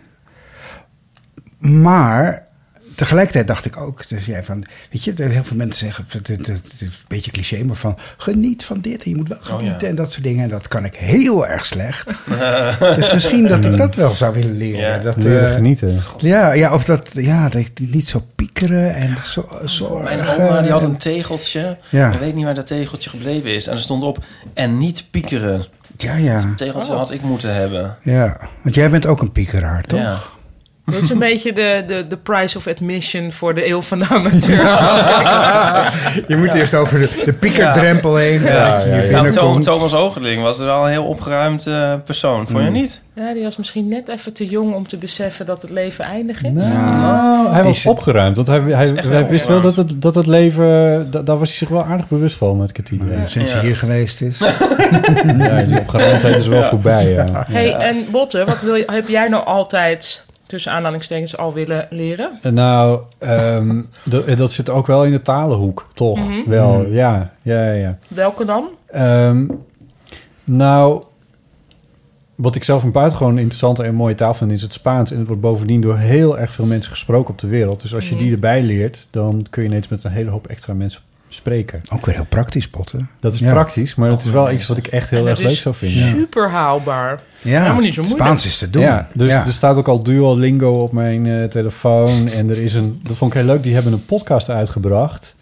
Speaker 4: Maar tegelijkertijd dacht ik ook, dus jij van, weet je, heel veel mensen zeggen, het het- het- het is een beetje cliché, maar van geniet van dit en je moet
Speaker 1: Oh,
Speaker 4: wel genieten en dat soort dingen. En dat kan ik heel erg slecht. [laughs] dus misschien dat
Speaker 3: [laughs]
Speaker 4: ik dat wel zou willen leren. Dat,
Speaker 3: Leren
Speaker 4: eh,
Speaker 3: genieten.
Speaker 4: Ja, ja, of dat, ja, dat ik niet zo piekeren en zo, zo
Speaker 5: Mijn oma die had een tegeltje.
Speaker 4: Eh, Ja.
Speaker 5: Ik weet niet waar dat tegeltje gebleven is. En er stond op, en niet piekeren.
Speaker 4: Ja, ja.
Speaker 5: Dus dat tegeltje had ik moeten hebben.
Speaker 4: Ja, want jij bent ook een piekeraar, toch?
Speaker 5: Ja.
Speaker 1: Dat is
Speaker 4: [laughs]
Speaker 1: een beetje de, de, de price of admission voor de eeuw van de amateur.
Speaker 4: [laughs]
Speaker 1: [laughs]
Speaker 4: Je moet eerst over de, de piekerdrempel heen.
Speaker 5: Ja,
Speaker 4: voordat je hier
Speaker 5: Nou,
Speaker 4: binnenkomt.
Speaker 5: Thomas Oogeling was er wel een heel opgeruimd eh, persoon. Vond je
Speaker 4: Mm.
Speaker 3: Hmm.
Speaker 5: niet?
Speaker 1: Ja, die was misschien net even te jong om te beseffen dat het leven eindig is.
Speaker 3: Nou, hij
Speaker 4: die
Speaker 3: was
Speaker 4: is-
Speaker 3: opgeruimd. Want hij, hij,
Speaker 5: echt
Speaker 3: hij
Speaker 5: wel
Speaker 3: wist wel dat
Speaker 5: opgeruimd.
Speaker 3: het, dat het leven... da- daar was hij zich wel aardig bewust van met Katina. Ja.
Speaker 4: Sinds hij
Speaker 5: Ja.
Speaker 4: hier
Speaker 5: [laughs]
Speaker 4: geweest is.
Speaker 3: die opgeruimdheid is wel voorbij. Ja.
Speaker 1: Hey, en Botte, wat wil je, heb jij nou altijd tussen aanhalingstekens al willen leren?
Speaker 3: En Nou, ehm, [laughs] d- dat zit ook wel in de talenhoek, toch? Wel,
Speaker 4: Mhm.
Speaker 3: ja. ja, ja, ja.
Speaker 1: Mhm. Welke dan?
Speaker 3: Ehm, nou, wat ik zelf een buitengewoon interessante en mooie taal vind, is het Spaans. En het wordt bovendien door heel erg veel mensen gesproken op de wereld. Dus als
Speaker 1: Mhm.
Speaker 3: je die erbij leert, dan kun je ineens met een hele hoop extra mensen spreken.
Speaker 4: Ook weer heel praktisch, potten.
Speaker 3: Dat is
Speaker 4: Ja.
Speaker 3: praktisch, maar het is wel iets wat ik echt heel
Speaker 1: En
Speaker 3: erg
Speaker 1: dat
Speaker 3: leuk
Speaker 1: is
Speaker 3: zou vinden.
Speaker 1: super haalbaar.
Speaker 4: Ja,
Speaker 1: Helemaal niet zo moeilijk.
Speaker 4: Spaans is te doen.
Speaker 3: Ja, dus
Speaker 4: Ja.
Speaker 3: er staat ook al Duolingo op mijn eh, telefoon. En er is een, dat vond ik heel leuk, die hebben een podcast uitgebracht.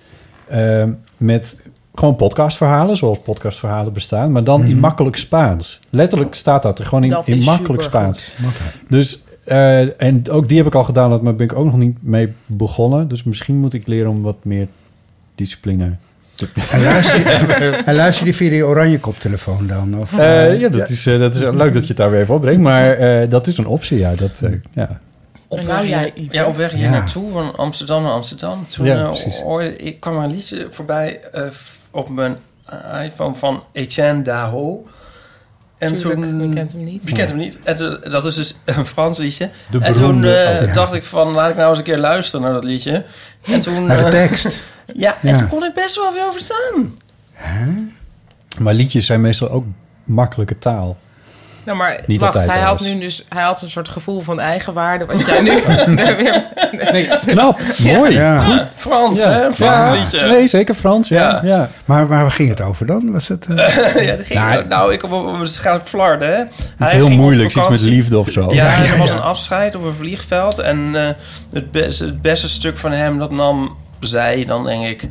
Speaker 3: ehm, met gewoon podcastverhalen, zoals podcastverhalen bestaan. Maar dan
Speaker 4: Mhm.
Speaker 3: in makkelijk Spaans. Letterlijk staat dat er gewoon in,
Speaker 1: Dat
Speaker 3: in
Speaker 1: is
Speaker 3: makkelijk
Speaker 1: supergoed.
Speaker 3: Spaans. Dus, eh, en ook die heb ik al gedaan, maar ben ik ook nog niet mee begonnen. Dus misschien moet ik leren om wat meer discipline.
Speaker 4: En luister,
Speaker 3: [laughs]
Speaker 4: je- en luister je die via die oranje koptelefoon dan? Of,
Speaker 3: Eh, ja, dat, Is, eh, dat is leuk dat je het daar weer even opbrengt. Maar eh, dat is een optie, ja. Dat, eh, ja.
Speaker 5: Op
Speaker 1: En
Speaker 5: weg
Speaker 1: nou jij,
Speaker 5: hier,
Speaker 1: Ipe.
Speaker 5: ja, op weg hier
Speaker 4: Ja.
Speaker 5: naartoe, van Amsterdam naar Amsterdam. Toen
Speaker 3: Ja,
Speaker 5: eh,
Speaker 3: precies.
Speaker 5: hoorde- ik kwam een liedje voorbij eh, f- op mijn eh, iPhone van Etienne Daho. En
Speaker 1: Tuurlijk,
Speaker 5: toen...
Speaker 1: je kent hem niet.
Speaker 5: Wie kent hem niet? En toen- dat is dus een Frans liedje.
Speaker 3: De
Speaker 5: en toen
Speaker 3: beroemde-
Speaker 5: eh,
Speaker 3: oh, ja.
Speaker 5: dacht ik van, laat ik nou eens een keer luisteren naar dat liedje. En toen,
Speaker 4: naar de
Speaker 5: eh, [laughs]
Speaker 4: tekst.
Speaker 5: ja, en
Speaker 4: Ja.
Speaker 5: toen kon ik best wel veel verstaan.
Speaker 3: Maar liedjes zijn meestal ook makkelijke taal.
Speaker 1: Nou, maar
Speaker 3: Niet
Speaker 1: wacht,
Speaker 3: altijd
Speaker 1: hij had
Speaker 3: trouwens.
Speaker 1: nu dus hij had een soort gevoel van eigenwaarde. Wat jij
Speaker 3: [laughs]
Speaker 1: nu [laughs] daar weer-
Speaker 3: Knap, mooi.
Speaker 4: Ja.
Speaker 5: Ja, Frans, hè? Een Frans
Speaker 3: Ja.
Speaker 5: liedje.
Speaker 3: Nee, zeker Frans. Ja.
Speaker 5: Ja.
Speaker 3: ja.
Speaker 4: Maar waar waar ging het over dan? Was het, eh,
Speaker 5: [laughs] Ja, dat ging,
Speaker 3: Nou,
Speaker 5: nou, ik op, op, op, het gaat flarden, hè?
Speaker 3: Het is heel moeilijk, iets met
Speaker 5: liefde.
Speaker 3: liefde of zo.
Speaker 5: Ja,
Speaker 4: Ja, ja,
Speaker 5: er was
Speaker 4: ja.
Speaker 5: een afscheid op een vliegveld. En eh, het, beste, het beste stuk van hem, dat nam zij dan, denk ik,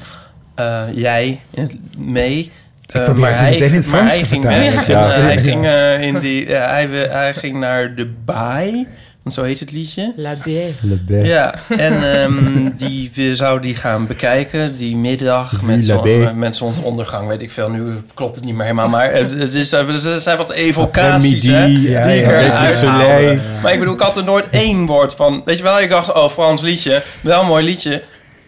Speaker 5: eh, jij in het- mee. Eh,
Speaker 4: probeer het nu meteen in het
Speaker 5: maar
Speaker 4: Frans
Speaker 5: hij
Speaker 4: te
Speaker 5: ging
Speaker 4: vertalen.
Speaker 5: weg.
Speaker 3: Ja.
Speaker 5: En, eh,
Speaker 3: Ja.
Speaker 5: Hij ging, eh, in die, eh, hij, we- hij ging naar de baai, want zo heet het liedje.
Speaker 1: La Bée.
Speaker 3: Le Bec.
Speaker 5: Ja, en ehm, die, we zouden die gaan bekijken, die middag met,
Speaker 3: Villa
Speaker 5: zon,
Speaker 3: B.
Speaker 5: met zonsondergang, weet ik veel. Nu klopt het niet meer helemaal, maar het, het is, er zijn wat evocaties, hè?
Speaker 3: Midi,
Speaker 4: Ja,
Speaker 5: die ik
Speaker 4: ja, ja.
Speaker 5: eruit
Speaker 3: Beetje
Speaker 5: haalde.
Speaker 3: soleil.
Speaker 5: Maar ik bedoel, ik had er nooit één woord van. Weet je wel, ik dacht, oh, Frans liedje, wel een mooi liedje.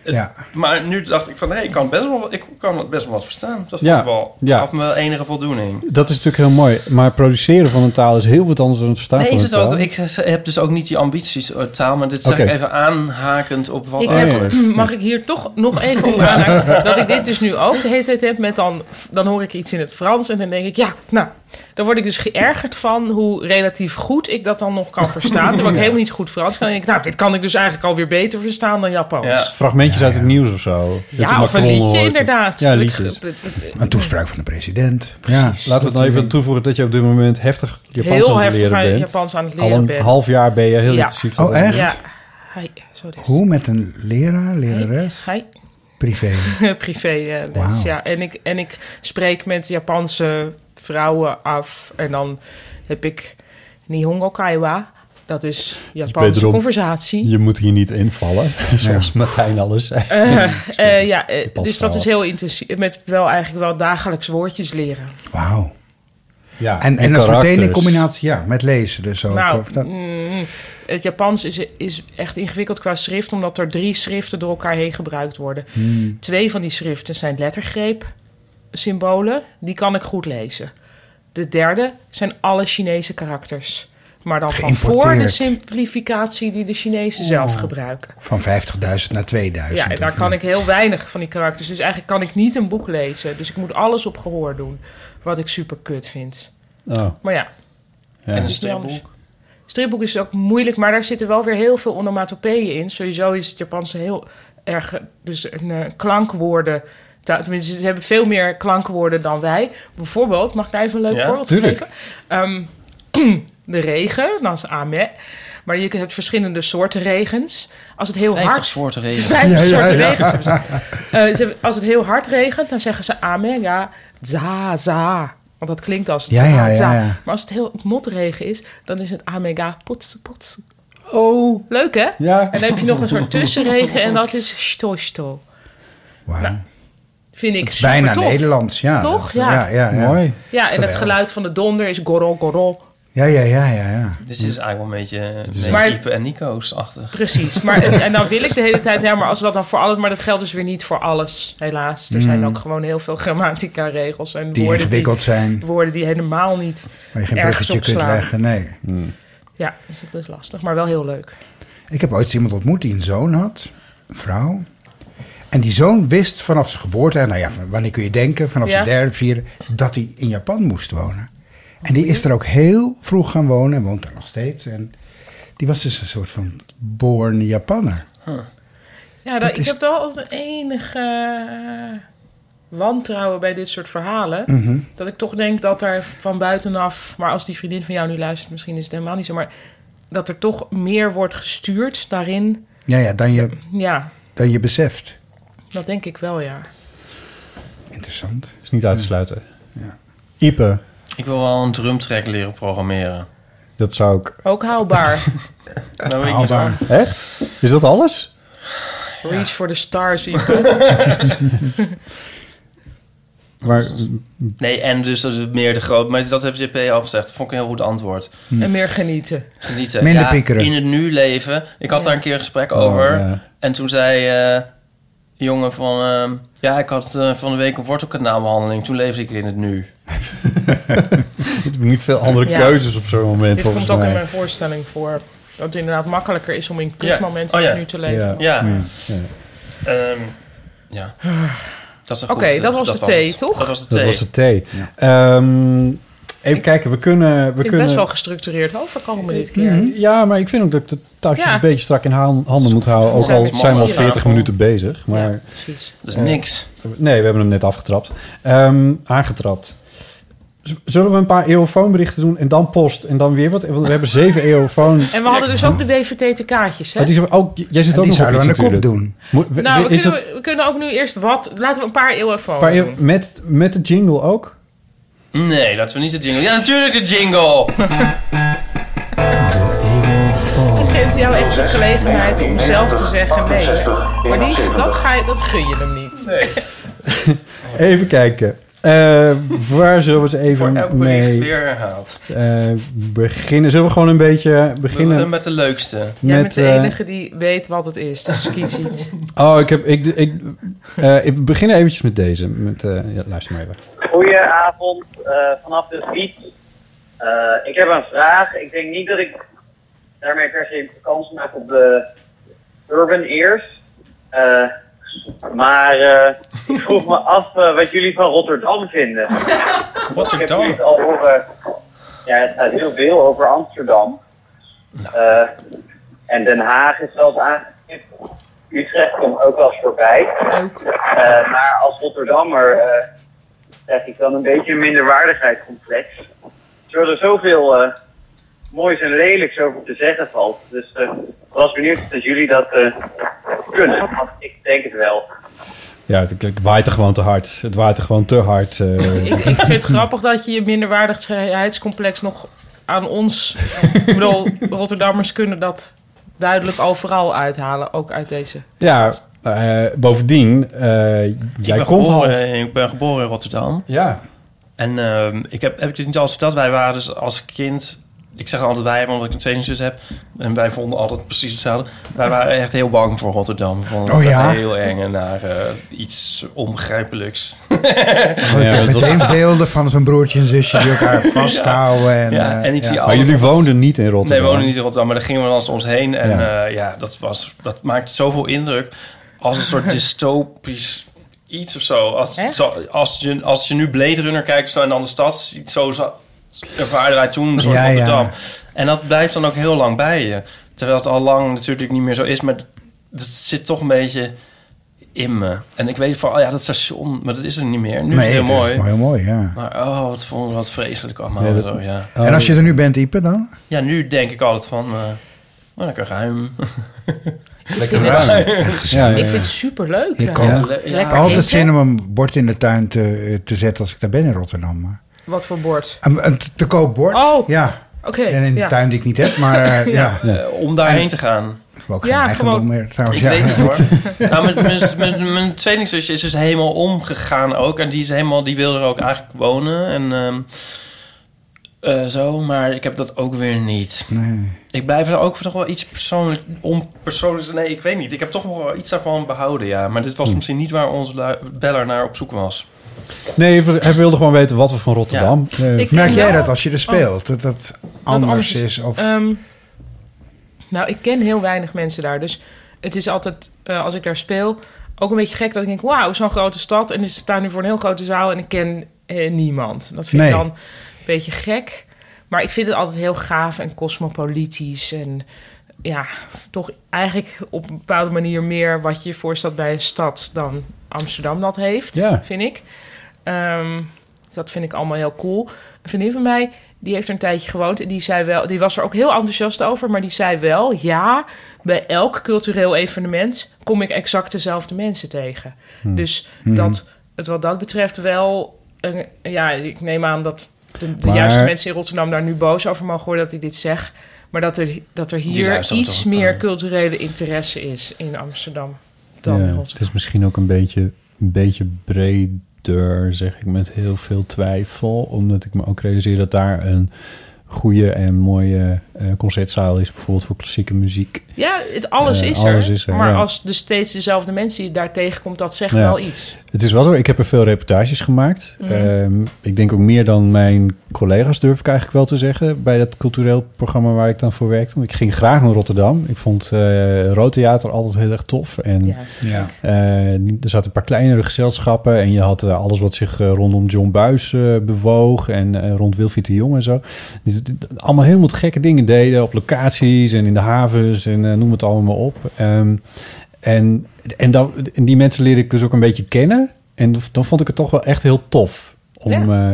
Speaker 5: Het-
Speaker 4: Ja.
Speaker 5: Maar nu dacht ik van, hé, ik kan best wel, ik kan het best wel wat verstaan. Dat
Speaker 3: Ja,
Speaker 5: vond ik wel,
Speaker 3: ja.
Speaker 5: gaf me wel enige voldoening.
Speaker 3: Dat is natuurlijk heel mooi. Maar produceren van een taal is heel wat anders dan het verstaan
Speaker 5: Nee,
Speaker 3: van
Speaker 5: is
Speaker 3: een
Speaker 5: het
Speaker 3: taal.
Speaker 5: ook, ik heb dus ook niet die ambities eh, taal, maar dit zeg
Speaker 3: Oké.
Speaker 5: ik even aanhakend op wat
Speaker 1: Ik
Speaker 5: er
Speaker 1: heb, [clears throat] mag ik hier toch nog even op
Speaker 3: [laughs]
Speaker 1: aanhaken dat ik dit dus nu ook de hele tijd heb met dan, dan hoor ik iets in het Frans en dan denk ik, ja, nou, dan word ik dus geërgerd van hoe relatief goed ik dat dan nog kan verstaan. Terwijl
Speaker 3: [laughs]
Speaker 1: ik helemaal niet goed Frans kan. En denk ik, nou, dit kan ik dus eigenlijk alweer beter verstaan dan Japans.
Speaker 5: Ja.
Speaker 1: Ja,
Speaker 3: Fragmentjes uit het nieuws of zo. Dat
Speaker 1: of
Speaker 3: je
Speaker 1: een
Speaker 3: Macron
Speaker 1: liedje
Speaker 3: hoort of-
Speaker 1: inderdaad.
Speaker 3: Ja,
Speaker 1: Dat ik-
Speaker 3: liedjes.
Speaker 1: dat- dat-
Speaker 4: een toespraak van de president. Ja.
Speaker 3: Laten we het nou even toevoegen dat je op dit moment heftig Japans
Speaker 1: heel
Speaker 3: aan het
Speaker 1: heftig
Speaker 3: leren
Speaker 1: aan
Speaker 3: bent.
Speaker 1: Japans aan het
Speaker 3: Al
Speaker 1: leren
Speaker 3: een
Speaker 1: ben.
Speaker 3: half jaar ben je heel
Speaker 1: Ja.
Speaker 3: intensief.
Speaker 4: Oh,
Speaker 3: aan het
Speaker 4: echt?
Speaker 1: Ja. Hi, zo dus.
Speaker 4: Hoe met een leraar, lerares,
Speaker 1: Hi.
Speaker 4: privé.
Speaker 1: [laughs] privé eh, les,
Speaker 4: Wauw.
Speaker 1: ja. En ik, en ik spreek met Japanse vrouwen af. En dan heb ik Nihongo Kaiwa. Dat is Japanse
Speaker 3: beter om-
Speaker 1: conversatie.
Speaker 3: Je moet hier niet invallen, [laughs] zoals Martijn alles zei.
Speaker 1: [laughs] Eh, ja, eh,
Speaker 3: Japanse
Speaker 1: dus dat is heel intensief. Met wel eigenlijk wel dagelijks woordjes leren.
Speaker 4: Wauw.
Speaker 3: Ja,
Speaker 4: En, en dat is
Speaker 3: karakters.
Speaker 4: meteen in combinatie ja, met lezen dus ook.
Speaker 1: nou,
Speaker 4: of dat,
Speaker 1: mm, het Japans is, is echt ingewikkeld qua schrift... omdat er drie schriften door elkaar heen gebruikt worden.
Speaker 4: Hmm.
Speaker 1: Twee van die schriften zijn lettergreep-symbolen. Die kan ik goed lezen. De derde zijn alle Chinese karakters. Maar dan van voor de
Speaker 4: Geïmporteerd. Oh.
Speaker 1: simplificatie die de Chinezen zelf gebruiken.
Speaker 4: van 50.000 naar 2000.
Speaker 1: Ja, en daar
Speaker 4: of
Speaker 1: kan
Speaker 4: niet.
Speaker 1: ik heel weinig van die karakters. Dus eigenlijk kan ik niet een boek lezen. Dus ik moet alles op gehoor doen. Wat ik super kut vind.
Speaker 3: Oh,
Speaker 1: Maar ja,
Speaker 3: ja.
Speaker 5: En een
Speaker 1: is niet
Speaker 5: stripboek.
Speaker 1: anders. Stripboek is ook moeilijk, maar daar zitten wel weer heel veel onomatopeeën in. Sowieso is het Japanse heel erg, eh, dus een eh, klankwoorden. ta- Tenminste, ze hebben veel meer klankwoorden dan wij. Bijvoorbeeld, mag ik daar even een leuk
Speaker 5: Ja,
Speaker 1: voorbeeld
Speaker 3: tuurlijk.
Speaker 1: geven? Ehm, [clears throat] de regen, dan is ame. Maar je hebt verschillende soorten regens. Als het heel
Speaker 5: 50
Speaker 1: hard...
Speaker 5: soorten
Speaker 1: [laughs]
Speaker 5: regels.
Speaker 1: 50
Speaker 4: Ja, ja,
Speaker 1: soorten
Speaker 4: ja.
Speaker 1: regens hebben ze. Eh, ze hebben- als het heel hard regent, dan zeggen ze amen, ja, za, za. Want dat klinkt als
Speaker 4: Ja,
Speaker 1: za,
Speaker 4: ja, ja,
Speaker 1: za.
Speaker 4: ja.
Speaker 1: E, Maar als het heel motregen is, dan is het amega pots, pots.
Speaker 3: Oh.
Speaker 1: Leuk hè?
Speaker 3: Ja.
Speaker 1: En dan heb je nog een
Speaker 4: [laughs]
Speaker 1: soort tussenregen en dat is sto sto. Nou,
Speaker 4: Wauw.
Speaker 1: Vind ik
Speaker 4: Het is bijna
Speaker 1: supertof.
Speaker 4: Nederlands, ja.
Speaker 1: Toch?
Speaker 4: Dat-
Speaker 1: Ja.
Speaker 4: Ja, ja, ja.
Speaker 3: Mooi.
Speaker 1: Ja, en
Speaker 4: Geweldig.
Speaker 1: het geluid van de donder is gorrel gorrel.
Speaker 4: Ja, ja, ja, ja, ja.
Speaker 5: Dus dit is eigenlijk wel een beetje, een beetje
Speaker 1: Maar-
Speaker 5: Ipe en Nico's-achtig.
Speaker 1: Precies.
Speaker 4: [laughs]
Speaker 1: Maar, en, en dan wil ik de hele tijd, ja, maar als dat dan voor alles, maar dat geldt dus weer niet voor alles, helaas. Er zijn ook gewoon heel veel grammatica regels en
Speaker 4: Mm. Die
Speaker 1: woorden, die,
Speaker 4: ingewikkeld zijn,
Speaker 1: woorden die helemaal niet.
Speaker 4: waar je geen
Speaker 1: ergens
Speaker 4: bruggetje
Speaker 1: op
Speaker 4: kunt
Speaker 1: slaan.
Speaker 4: leggen. Nee.
Speaker 1: Ja, dus dat is lastig, maar wel heel leuk.
Speaker 4: Ik heb ooit iemand ontmoet die een zoon had, een vrouw. En die zoon wist vanaf zijn geboorte, nou ja, van- wanneer kun je denken, vanaf
Speaker 1: Ja.
Speaker 4: zijn derde, vierde, dat hij in Japan moest wonen. En
Speaker 1: Oh,
Speaker 4: die is er ook heel vroeg gaan wonen en woont daar nog steeds. En die was dus een soort van born Japanner.
Speaker 1: Ja, dat,
Speaker 4: Dat
Speaker 1: ik
Speaker 4: is-
Speaker 1: heb toch altijd enige eh, wantrouwen bij dit soort verhalen.
Speaker 4: Mhm.
Speaker 1: Dat ik toch denk dat er van buitenaf, maar als die vriendin van jou nu luistert, misschien is het helemaal niet zo, maar dat er toch meer wordt gestuurd daarin.
Speaker 4: Ja, ja, dan je,
Speaker 1: Ja,
Speaker 4: dan je beseft.
Speaker 1: dat denk ik wel, ja.
Speaker 4: Interessant.
Speaker 3: Is niet uit te sluiten.
Speaker 4: Ja.
Speaker 3: Ipe,
Speaker 5: Ik wil wel een drumtrack leren programmeren.
Speaker 3: dat zou ik...
Speaker 1: Ook
Speaker 3: [laughs]
Speaker 1: haalbaar.
Speaker 5: Nou, weet ik niet
Speaker 4: Haalbaar.
Speaker 3: Echt? Is dat alles?
Speaker 1: Reach for the stars.
Speaker 3: [laughs]
Speaker 1: Iep.
Speaker 3: Maar
Speaker 5: Nee, en dus dat is meer de groot. Maar dat heeft JP al gezegd. Dat vond ik een heel goed antwoord.
Speaker 1: [laughs] En meer genieten.
Speaker 5: Genieten.
Speaker 4: Minder
Speaker 5: ja,
Speaker 4: piekeren.
Speaker 5: In het nu leven. Ik had daar een keer een gesprek
Speaker 3: Oh,
Speaker 5: over.
Speaker 3: ja.
Speaker 5: En toen zei eh, een jongen van... ehm, ja, ik had eh, van de week een wortelkanaalbehandeling. Toen leefde ik in het nu.
Speaker 3: niet veel andere
Speaker 1: Ja.
Speaker 3: keuzes op zo'n moment,
Speaker 1: Dit
Speaker 3: volgens
Speaker 1: komt ook
Speaker 3: mij.
Speaker 1: in mijn voorstelling voor. Dat het inderdaad makkelijker is om in
Speaker 5: Ja.
Speaker 1: kutmomenten
Speaker 5: Oh ja.
Speaker 1: nu te leven.
Speaker 3: Ja.
Speaker 5: Ja.
Speaker 3: Ja.
Speaker 5: Ehm, ja. Dat is een
Speaker 1: Oké,
Speaker 5: goed-
Speaker 1: dat was de thee,
Speaker 5: het.
Speaker 1: toch?
Speaker 5: Dat was de
Speaker 3: Dat
Speaker 5: thee.
Speaker 3: was de thee. Ehm, even kijken, we kunnen... We
Speaker 1: Ik
Speaker 3: kunnen
Speaker 1: best wel gestructureerd overkomen dit keer.
Speaker 3: Mhm. Ja, maar ik vind ook dat ik de touwtjes
Speaker 1: Ja.
Speaker 3: een beetje strak in haan- handen moet houden. Ook
Speaker 1: Zijn
Speaker 3: al
Speaker 1: we
Speaker 3: zijn we al
Speaker 1: hier
Speaker 3: 40
Speaker 1: aan?
Speaker 3: minuten bezig. Maar eh,
Speaker 1: Ja, precies.
Speaker 5: Dat is niks.
Speaker 3: nee, we hebben hem net afgetrapt. Ehm, aangetrapt. Z- Zullen we een paar eeuwfoonberichten doen en dan post en dan weer wat? Want we hebben
Speaker 1: [laughs]
Speaker 3: zeven eeuwfoon.
Speaker 1: En we hadden dus ook de WVT-kaartjes, hè?
Speaker 3: Oh, die zijn- oh, j- jij zit
Speaker 4: En
Speaker 3: ook
Speaker 4: die
Speaker 3: nog op
Speaker 4: zouden we
Speaker 3: iets
Speaker 4: aan de kop
Speaker 3: natuurlijk.
Speaker 4: doen.
Speaker 3: Moet- we-
Speaker 1: Nou, we
Speaker 3: is
Speaker 1: kunnen,
Speaker 3: dat
Speaker 1: we kunnen ook nu eerst wat... Laten we een paar eeuwenfoon
Speaker 3: een paar eeuw-
Speaker 1: doen.
Speaker 3: met, met de jingle ook?
Speaker 5: Nee, laten we niet de jingle. Ja, natuurlijk de jingle!
Speaker 1: Ik geef jou echt de gelegenheid om zelf te zeggen nee. Maar die, dat, ga je, dat gun je hem niet.
Speaker 3: [laughs] Even kijken. Eh, waar zullen we ze
Speaker 5: Voor
Speaker 3: even
Speaker 5: elk bericht
Speaker 3: mee
Speaker 5: weer herhaald.
Speaker 3: eh, beginnen? Zullen we gewoon een beetje
Speaker 5: We beginnen
Speaker 3: beginnen
Speaker 5: met de leukste.
Speaker 1: Jij bent de
Speaker 3: eh,
Speaker 1: enige die weet wat het is, dus kies iets.
Speaker 3: Oh, ik heb. Ik, ik, eh, ik begin eventjes met deze. Met, eh, ja, luister maar even.
Speaker 6: Goedenavond, eh, vanaf de fiets. Eh, ik heb een vraag. Ik denk niet dat ik daarmee per se kans maak op de Urban Ears. Eh, maar eh, ik vroeg me af eh, wat jullie van Rotterdam vinden.
Speaker 5: Wat
Speaker 6: Ik
Speaker 5: er
Speaker 6: heb jullie
Speaker 5: dan?
Speaker 6: het al horen. Ja, het gaat heel veel over Amsterdam. Eh, en Den Haag is zelfs aangestipt. Utrecht komt ook wel eens voorbij. Eh, maar als Rotterdammer eh, krijg ik dan een beetje een minderwaardigheidscomplex. Terwijl er zoveel eh, moois en lelijks over te zeggen valt. Dus eh, ik was benieuwd of jullie dat eh, kunnen. Want ik denk het wel.
Speaker 3: Ja, het, het waait er gewoon te hard. Het waait er gewoon te hard. eh.
Speaker 1: [laughs] Ik, ik vind het grappig dat je je minderwaardigheidscomplex nog aan ons... Ik bedoel, Rotterdammers kunnen dat duidelijk overal uithalen, ook uit deze.
Speaker 3: ja, eh, bovendien, eh,
Speaker 5: Ik
Speaker 3: jij
Speaker 5: ben
Speaker 3: komt
Speaker 5: geboren-
Speaker 3: half.
Speaker 5: Ik ben geboren in Rotterdam.
Speaker 3: Ja.
Speaker 5: En ehm, ik heb, heb ik dit niet al eens verteld? Wij waren dus als kind... Ik zeg altijd wij, omdat ik een tweelingzus heb. En wij vonden altijd precies hetzelfde. Wij waren echt heel bang voor Rotterdam. We vonden
Speaker 4: Oh
Speaker 5: het
Speaker 4: ja?
Speaker 5: heel eng en naar eh, iets ongrijpelijks.
Speaker 3: Oh,
Speaker 4: Want ik heb
Speaker 3: dat-
Speaker 4: meteen beelden van zo'n broertje en zusje die
Speaker 1: [laughs]
Speaker 4: elkaar vasthouden. En,
Speaker 5: ja,
Speaker 4: eh,
Speaker 5: en ik zie
Speaker 3: Maar
Speaker 5: altijd-
Speaker 3: jullie woonden niet in
Speaker 5: Oh, Nee,
Speaker 3: Rotterdam.
Speaker 5: we wonen niet in Rotterdam, maar daar gingen we dan soms heen. En
Speaker 3: Ja.
Speaker 5: ja, ja dat, was, dat maakt zoveel indruk als een
Speaker 4: [laughs]
Speaker 5: soort dystopisch iets of zo. Als,
Speaker 1: Echt?
Speaker 5: zo- als, je, als je nu Blade Runner kijkt of zo, en dan de stad ziet, zo za- ervaarden wij toen een soort
Speaker 4: Ja, ja.
Speaker 5: Rotterdam. En dat blijft dan ook heel lang bij je. Terwijl het al lang natuurlijk niet meer zo is, maar d- dat zit toch een beetje in me. En ik weet van, oh ja, dat station, maar dat is er niet meer. Nu
Speaker 4: nee,
Speaker 5: is het heel mooi.
Speaker 4: maar heel mooi, ja.
Speaker 5: Maar oh, wat vond ik wat vreselijk allemaal.
Speaker 3: Ja, dat-
Speaker 5: zo, ja.
Speaker 3: Oh,
Speaker 4: en als je er nu bent, Ipe, dan?
Speaker 5: Ja, nu denk ik altijd van... eh maar lekker ruim.
Speaker 1: Ik vind het,
Speaker 3: ja, ja,
Speaker 1: ik
Speaker 3: ja.
Speaker 1: vind het superleuk.
Speaker 4: Ik
Speaker 1: ja.
Speaker 4: ook. Ja.
Speaker 1: Lekker
Speaker 4: Altijd
Speaker 1: eten.
Speaker 4: zin om een bord in de tuin eh, te, te zetten als ik daar ben in Rotterdam. maar-
Speaker 1: Wat voor bord?
Speaker 4: Een, een te koop bord?
Speaker 1: Oh.
Speaker 4: Ja.
Speaker 1: Oké,
Speaker 4: En in de
Speaker 1: ja.
Speaker 4: tuin die ik niet heb,
Speaker 5: [laughs]
Speaker 4: maar eh, ja.
Speaker 5: Eh, om daarheen te gaan.
Speaker 4: Ik heb ook
Speaker 1: Ja,
Speaker 4: geen eigendom
Speaker 1: gewoon-
Speaker 4: meer trouwens.
Speaker 5: Ik
Speaker 4: ja.
Speaker 5: weet het
Speaker 4: [laughs]
Speaker 5: hoor. nou, mijn, mijn, mijn, mijn tweelingzusje is dus helemaal omgegaan ook. En die, is helemaal, die wil er ook eigenlijk wonen. En ehm, eh, zo, maar ik heb dat ook weer niet.
Speaker 4: Nee.
Speaker 5: Ik blijf er ook toch wel iets persoonlijk, onpersoonlijks... Nee, ik weet niet. Ik heb toch nog wel iets daarvan behouden, ja. Maar dit was
Speaker 4: Hm.
Speaker 5: misschien niet waar onze lu- beller naar op zoek was.
Speaker 3: Nee, hij wilde gewoon weten wat we van Rotterdam... eh,
Speaker 1: Ik
Speaker 4: Merk
Speaker 1: denk
Speaker 4: jij
Speaker 1: wel- Oh.
Speaker 4: dat als je er speelt? Dat dat
Speaker 1: Wat
Speaker 4: anders, is? Of,
Speaker 1: Ehm, nou, ik ken heel weinig mensen daar. Dus het is altijd, eh, als ik daar speel, ook een beetje gek dat ik denk... wauw, zo'n grote stad en ik sta nu voor een heel grote zaal... en ik ken eh, niemand. Dat vind
Speaker 4: Nee.
Speaker 1: ik dan een beetje gek. Maar ik vind het altijd heel gaaf en cosmopolitisch... en ja, toch eigenlijk op een bepaalde manier meer... wat je voorstelt bij een stad dan Amsterdam dat heeft,
Speaker 3: Ja.
Speaker 1: vind ik. Ehm, dat vind ik allemaal heel cool. Een vriendin van mij, die heeft er een tijdje gewoond. En die, zei wel, die was er ook heel enthousiast over. Maar die zei wel, ja, bij elk cultureel evenement... kom ik exact dezelfde mensen tegen. Dus
Speaker 4: Hmm.
Speaker 3: Hmm.
Speaker 1: dat het wat dat betreft wel... een- ja, ik neem aan dat de, de
Speaker 3: Maar-
Speaker 1: juiste mensen in Rotterdam... daar nu boos over mogen worden dat ik dit zeg. Maar dat er, dat er hier
Speaker 5: luisteren
Speaker 1: iets
Speaker 5: toch?
Speaker 1: meer
Speaker 5: Ah.
Speaker 1: culturele interesse is in Amsterdam dan in
Speaker 3: ja,
Speaker 1: Rotterdam.
Speaker 3: het is misschien ook een beetje, een beetje breder, zeg ik, met heel veel twijfel. Omdat ik me ook realiseer dat daar een goede en mooie eh, concertzaal is... bijvoorbeeld voor klassieke muziek.
Speaker 1: Ja, het, alles,
Speaker 3: Eh,
Speaker 1: is,
Speaker 3: alles
Speaker 1: er,
Speaker 3: is er,
Speaker 1: Maar
Speaker 3: ja.
Speaker 1: als de steeds dezelfde mensen je daar tegenkomt, dat zegt
Speaker 3: Ja.
Speaker 1: wel iets. Mhm.
Speaker 3: Het is wel zo, ik heb er veel reportages gemaakt. Ehm, ik denk ook meer dan mijn collega's, durf ik eigenlijk wel te zeggen... bij dat cultureel programma waar ik dan voor werkte. Want ik ging graag naar Rotterdam. Ik vond eh Rood Theater altijd heel erg tof. En
Speaker 1: Juist.
Speaker 4: ja.
Speaker 3: Eh, niet- er zaten een paar kleinere gezelschappen en je had eh, alles wat zich eh, rondom John Buis eh, bewoog en eh, rond Wilfried de Jong en zo. Dus, d- d- allemaal helemaal te gekke dingen deden op locaties en in de havens en eh, noem het allemaal maar op. Ehm, en, en, dan, en die mensen leerde ik dus ook een beetje kennen en v- dan vond ik het toch wel echt heel tof om... eh,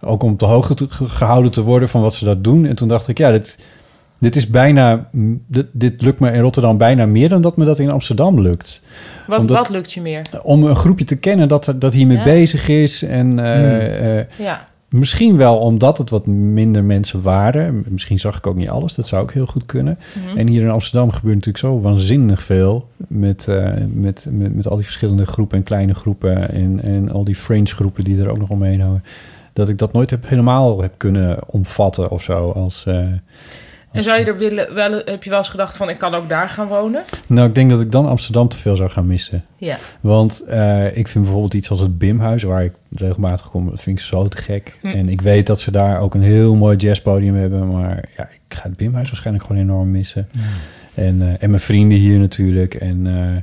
Speaker 3: ook om op de hoogte te- ge- gehouden te worden van wat ze dat doen. En toen dacht ik, ja, dit, dit is bijna. mm, Dit, dit lukt me in Rotterdam bijna meer dan dat me dat in Amsterdam lukt
Speaker 1: Wat,
Speaker 3: Omdat- Oh.
Speaker 1: wat lukt je meer?
Speaker 3: om een groepje te kennen dat, dat hiermee
Speaker 1: Ja.
Speaker 3: bezig is. En eh, eh,
Speaker 1: Ja.
Speaker 3: misschien wel omdat het wat minder mensen waren. Misschien zag ik ook niet alles. Dat zou ook heel goed kunnen.
Speaker 1: Mhm.
Speaker 3: En hier in Amsterdam gebeurt natuurlijk zo waanzinnig veel. Met, eh, met, met, met al die verschillende groepen en kleine groepen. En, en al die fringe groepen die er ook nog omheen hangen. Dat ik dat nooit heb, helemaal heb kunnen omvatten of zo. Als, eh,
Speaker 1: En zou je er willen, wel, heb je wel eens gedacht van ik kan ook daar gaan wonen?
Speaker 3: nou, ik denk dat ik dan Amsterdam te veel zou gaan missen.
Speaker 1: Ja.
Speaker 3: Want eh, ik vind bijvoorbeeld iets als het Bimhuis, waar ik regelmatig kom, dat vind ik zo te gek.
Speaker 1: Hm.
Speaker 3: En ik weet dat ze daar ook een heel mooi jazzpodium hebben, maar ja, ik ga het Bimhuis waarschijnlijk gewoon enorm missen. En, eh, en mijn vrienden hier natuurlijk. En, eh,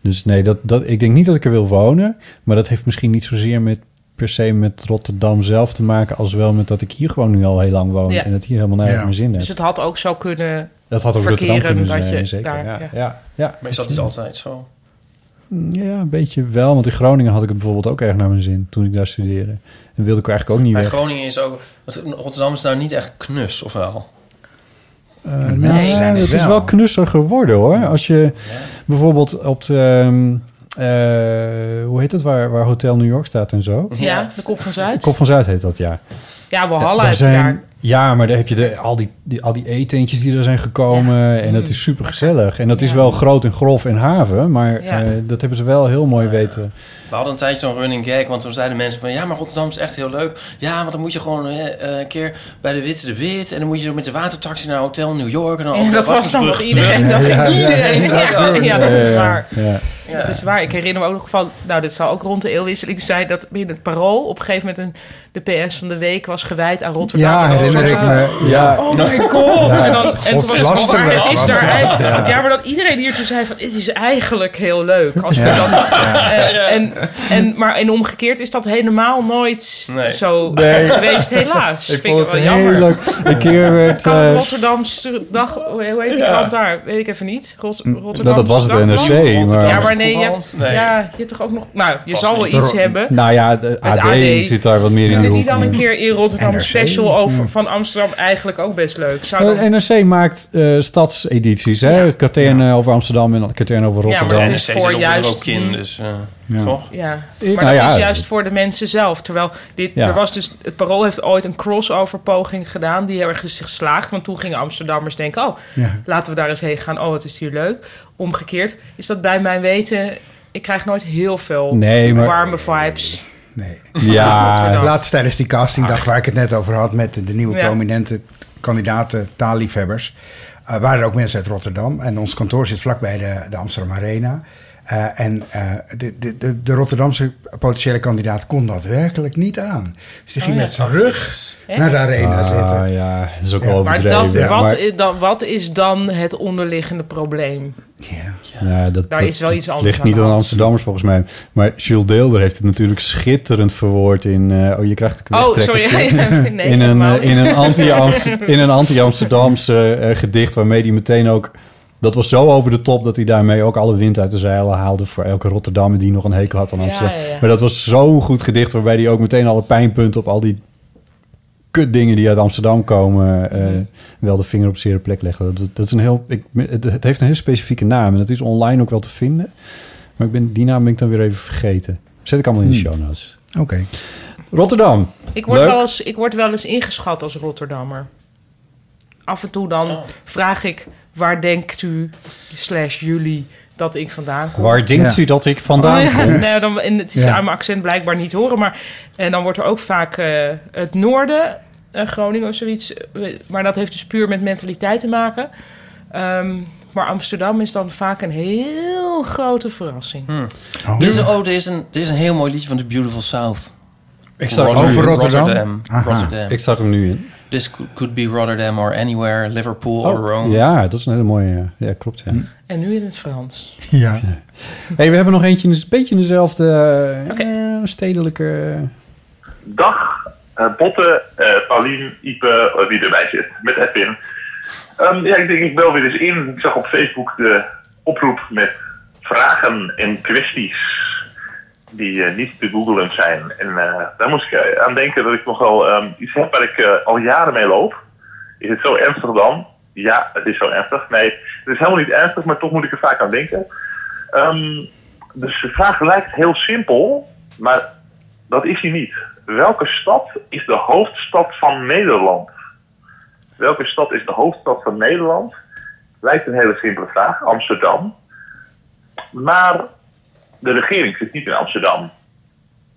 Speaker 3: dus nee, dat, dat, ik denk niet dat ik er wil wonen, maar dat heeft misschien niet zozeer met per se met Rotterdam zelf te maken, als wel met dat ik hier gewoon nu al heel lang woon
Speaker 1: Ja.
Speaker 3: en dat hier helemaal naar
Speaker 4: Ja.
Speaker 3: mijn zin
Speaker 1: Dus
Speaker 3: is.
Speaker 1: het had ook zo kunnen.
Speaker 3: Dat had ook Rotterdam
Speaker 1: verkeren
Speaker 3: kunnen
Speaker 1: dat
Speaker 3: zijn,
Speaker 1: je
Speaker 3: zeker.
Speaker 1: daar-
Speaker 3: ja,
Speaker 1: ja.
Speaker 3: ja, ja. Hm.
Speaker 5: Maar is dat niet altijd zo?
Speaker 3: Ja, een beetje wel. Want in Groningen had ik het bijvoorbeeld ook erg naar mijn zin toen ik daar studeerde. En wilde ik eigenlijk ook niet
Speaker 5: Maar
Speaker 3: weg.
Speaker 5: Groningen is ook... want Rotterdam is daar niet echt knus, of wel?
Speaker 3: Eh,
Speaker 4: mensen
Speaker 3: nou,
Speaker 4: zijn het
Speaker 3: het is
Speaker 4: wel.
Speaker 3: wel knusser geworden hoor. Als je bijvoorbeeld op de... ehm, eh, hoe heet dat? Waar, waar Hotel New York staat en zo.
Speaker 1: Ja, de kop van Zuid.
Speaker 3: Kop van Zuid heet dat, ja.
Speaker 1: Ja, we
Speaker 3: Daar-
Speaker 1: hadden
Speaker 3: daar
Speaker 1: het
Speaker 3: zijn,
Speaker 1: jaar.
Speaker 3: ja, maar daar heb je de, al, die, die, al die eetentjes die er zijn gekomen. En dat is super gezellig. En dat is
Speaker 1: Mm. Ja.
Speaker 3: wel groot en grof en haven. Maar
Speaker 1: Ja.
Speaker 3: eh, dat hebben ze wel heel mooi weten.
Speaker 5: We hadden een tijdje zo'n running gag, want toen zeiden mensen van... ja, maar Rotterdam is echt heel leuk. Ja, want dan moet je gewoon eh, eh, een keer bij de Witte de Wit... en dan moet je met de watertaxi naar Hotel New York... en dan over
Speaker 1: En
Speaker 5: de
Speaker 1: dat was dan wat
Speaker 5: Erasmusbrug
Speaker 1: iedereen dacht. Ja, ja, ja, dat is
Speaker 3: Eh,
Speaker 1: waar.
Speaker 3: ja.
Speaker 1: Dat is waar. Ik herinner me ook nog van, nou, dit zal ook rond de eeuwwisseling zijn, dat in het parool op een gegeven moment een, de PS van de week was gewijd aan Rotterdam.
Speaker 4: ja,
Speaker 1: En dat was
Speaker 4: herinner ik
Speaker 1: zo'n-
Speaker 4: me.
Speaker 3: Ja,
Speaker 1: Oh my god! en dan, en toen was het van,
Speaker 4: godslasterlijk
Speaker 1: waar, het is
Speaker 4: was
Speaker 1: daar
Speaker 4: dat,
Speaker 1: eigenlijk-
Speaker 4: ja.
Speaker 1: Ja, maar dat iedereen hier toen zei van, het is eigenlijk heel leuk. Als we dat, eh, en, en, maar en omgekeerd is dat helemaal nooit
Speaker 4: Hmm.
Speaker 5: Nee.
Speaker 1: zo
Speaker 2: [laughs]
Speaker 3: Nee.
Speaker 1: geweest, helaas. Ik Ah, Vind ik wel jammer.
Speaker 3: heel leuk. Een keer werd...
Speaker 1: Kan het
Speaker 3: eh,
Speaker 1: Rotterdamse dag, hoe hoe heet die krant daar? Weet ik even niet. Rot, Rotterdam.
Speaker 3: nou, dat was het NRC. Maar,
Speaker 1: Ja, maar nee, je hebt,
Speaker 5: Nee.
Speaker 1: Ja, je hebt toch ook nog... Nou, je
Speaker 5: Vast
Speaker 1: zal wel
Speaker 5: niet.
Speaker 1: iets hebben.
Speaker 3: Nou ja, de AD,
Speaker 1: AD.
Speaker 3: zit daar wat meer in de
Speaker 1: Kunnen die
Speaker 3: hoek.
Speaker 1: dan een keer in Rotterdam een
Speaker 4: NRC?
Speaker 1: special over, van van Amsterdam eigenlijk ook best leuk. Zou dan...
Speaker 3: Mm. Eh, NRC maakt eh, stadsedities, hè? Katern eh, over Amsterdam en Katern over
Speaker 1: Ja,
Speaker 3: Rotterdam.
Speaker 1: maar
Speaker 5: En
Speaker 1: het
Speaker 5: NRC
Speaker 1: is
Speaker 5: zit
Speaker 1: voor
Speaker 5: er
Speaker 1: juist
Speaker 5: ook in,
Speaker 1: die-
Speaker 5: dus eh,
Speaker 3: Ja.
Speaker 5: toch?
Speaker 1: Ja,
Speaker 3: Ik-
Speaker 1: maar
Speaker 3: nou
Speaker 1: dat
Speaker 3: ja,
Speaker 1: is juist voor de mensen zelf. Terwijl dit,
Speaker 3: Ja.
Speaker 1: er was dus, het Parool heeft ooit een crossover poging gedaan... die heel erg is geslaagd. Want toen gingen Amsterdammers denken... oh,
Speaker 4: Ja.
Speaker 1: laten we daar eens heen gaan. Oh, wat is hier leuk. Omgekeerd is dat bij mijn weten... ik krijg nooit heel veel
Speaker 3: Nee, maar-
Speaker 1: warme vibes.
Speaker 4: Nee.
Speaker 1: [laughs]
Speaker 3: Ja,
Speaker 1: Rotterdam.
Speaker 4: Laatst tijdens die castingdag waar ik het net over had met de nieuwe
Speaker 1: Ah. Ja.
Speaker 4: prominente kandidaten, taalliefhebbers, eh, waren er ook mensen uit Rotterdam. En ons kantoor zit vlakbij de, de Amsterdam Arena. Eh, en eh, de, de, de, de Rotterdamse potentiële kandidaat kon dat werkelijk niet aan. Dus die ging
Speaker 1: Oh ja.
Speaker 4: met zijn rug naar de arena
Speaker 3: Ah,
Speaker 4: zitten.
Speaker 3: ja, dat is ook
Speaker 4: Ja.
Speaker 3: wel
Speaker 1: Maar,
Speaker 3: overdreven.
Speaker 1: dat,
Speaker 4: Ja.
Speaker 1: wat,
Speaker 3: Maar-
Speaker 1: i- dan, wat is dan het onderliggende probleem?
Speaker 4: Ja.
Speaker 3: Ja, dat,
Speaker 1: Daar
Speaker 3: dat-
Speaker 1: is wel iets
Speaker 3: dat
Speaker 1: anders
Speaker 3: ligt
Speaker 1: aan
Speaker 3: niet
Speaker 1: de
Speaker 3: aan
Speaker 1: hand.
Speaker 3: Amsterdammers volgens mij. Maar Jules Deelder heeft het natuurlijk schitterend verwoord in... eh, oh, je krijgt een
Speaker 1: Oh,
Speaker 3: wegtrekkertje.
Speaker 1: sorry. [laughs] nee,
Speaker 3: in, een,
Speaker 1: helemaal
Speaker 3: eh, in,
Speaker 1: niet. [laughs]
Speaker 3: een anti-Amst- in een anti-Amsterdamse eh, gedicht waarmee hij meteen ook... Dat was zo over de top dat hij daarmee ook alle wind uit de zeilen haalde... voor elke Rotterdammer die nog een hekel had aan
Speaker 1: Ja,
Speaker 3: Amsterdam.
Speaker 1: ja, ja.
Speaker 3: Maar dat was zo'n goed gedicht waarbij hij ook meteen alle pijnpunten... op al die kutdingen die uit Amsterdam komen... eh, wel de vinger op zere plek legde. Dat, dat is een heel, ik, het, het heeft een heel specifieke naam en dat is online ook wel te vinden. Maar ik ben, die naam ben ik dan weer even vergeten. Zet ik allemaal in de show notes.
Speaker 4: Hmm. Oké.
Speaker 3: Rotterdam.
Speaker 1: Ik word,
Speaker 3: Leuk.
Speaker 1: wel eens, ik word wel eens ingeschat als Rotterdammer. Af en toe dan vraag ik... waar denkt u, slash jullie, dat ik vandaan kom?
Speaker 3: Waar denkt
Speaker 4: Ja.
Speaker 3: u dat ik vandaan kom?
Speaker 1: Nee, dan, en het is
Speaker 4: Ja.
Speaker 1: aan mijn accent blijkbaar niet horen. Maar, en dan wordt er ook vaak eh, het noorden, eh, Groningen of zoiets. eh, Maar dat heeft dus puur met mentaliteit te maken. Ehm, maar Amsterdam is dan vaak een heel grote verrassing.
Speaker 4: Oh.
Speaker 5: Dit is, een- oh, dit is, een, dit is een heel mooi liedje van The Beautiful South.
Speaker 3: Ik
Speaker 5: zag
Speaker 3: zag,
Speaker 4: Rotterdam.
Speaker 3: hem
Speaker 4: Over
Speaker 3: nu,
Speaker 4: Rotterdam?
Speaker 5: Rotterdam.
Speaker 4: Aha.
Speaker 5: Rotterdam.
Speaker 3: ik zag hem nu in. Oh,
Speaker 5: This could, could be Rotterdam or anywhere, Liverpool or Rome.
Speaker 3: ja, dat is een hele mooie. ja. Ja, klopt. Ja.
Speaker 4: Hmm.
Speaker 1: En nu in het Frans.
Speaker 4: Ja.
Speaker 3: Hey, we hebben nog eentje, dus- een beetje in dezelfde eh, stedelijke.
Speaker 7: Dag, eh Botte, eh Paulien, Ipe, eh, wie erbij zit, met Edwin. Ehm, ja, ik denk ik bel weer eens in. Ik zag op Facebook de oproep met vragen en kwesties die eh, niet te googelen zijn. En eh, daar moest ik eh, aan denken dat ik nogal ehm iets heb waar ik eh, al jaren mee loop. Is het zo ernstig dan? Ja, het is zo ernstig. Nee, het is helemaal niet ernstig, maar toch moet ik er vaak aan denken. Ehm, dus de vraag lijkt heel simpel, maar dat is hij niet. Welke stad is de hoofdstad van Nederland? Welke stad is de hoofdstad van Nederland? Lijkt een hele simpele vraag, Amsterdam. Maar de regering zit niet in Amsterdam.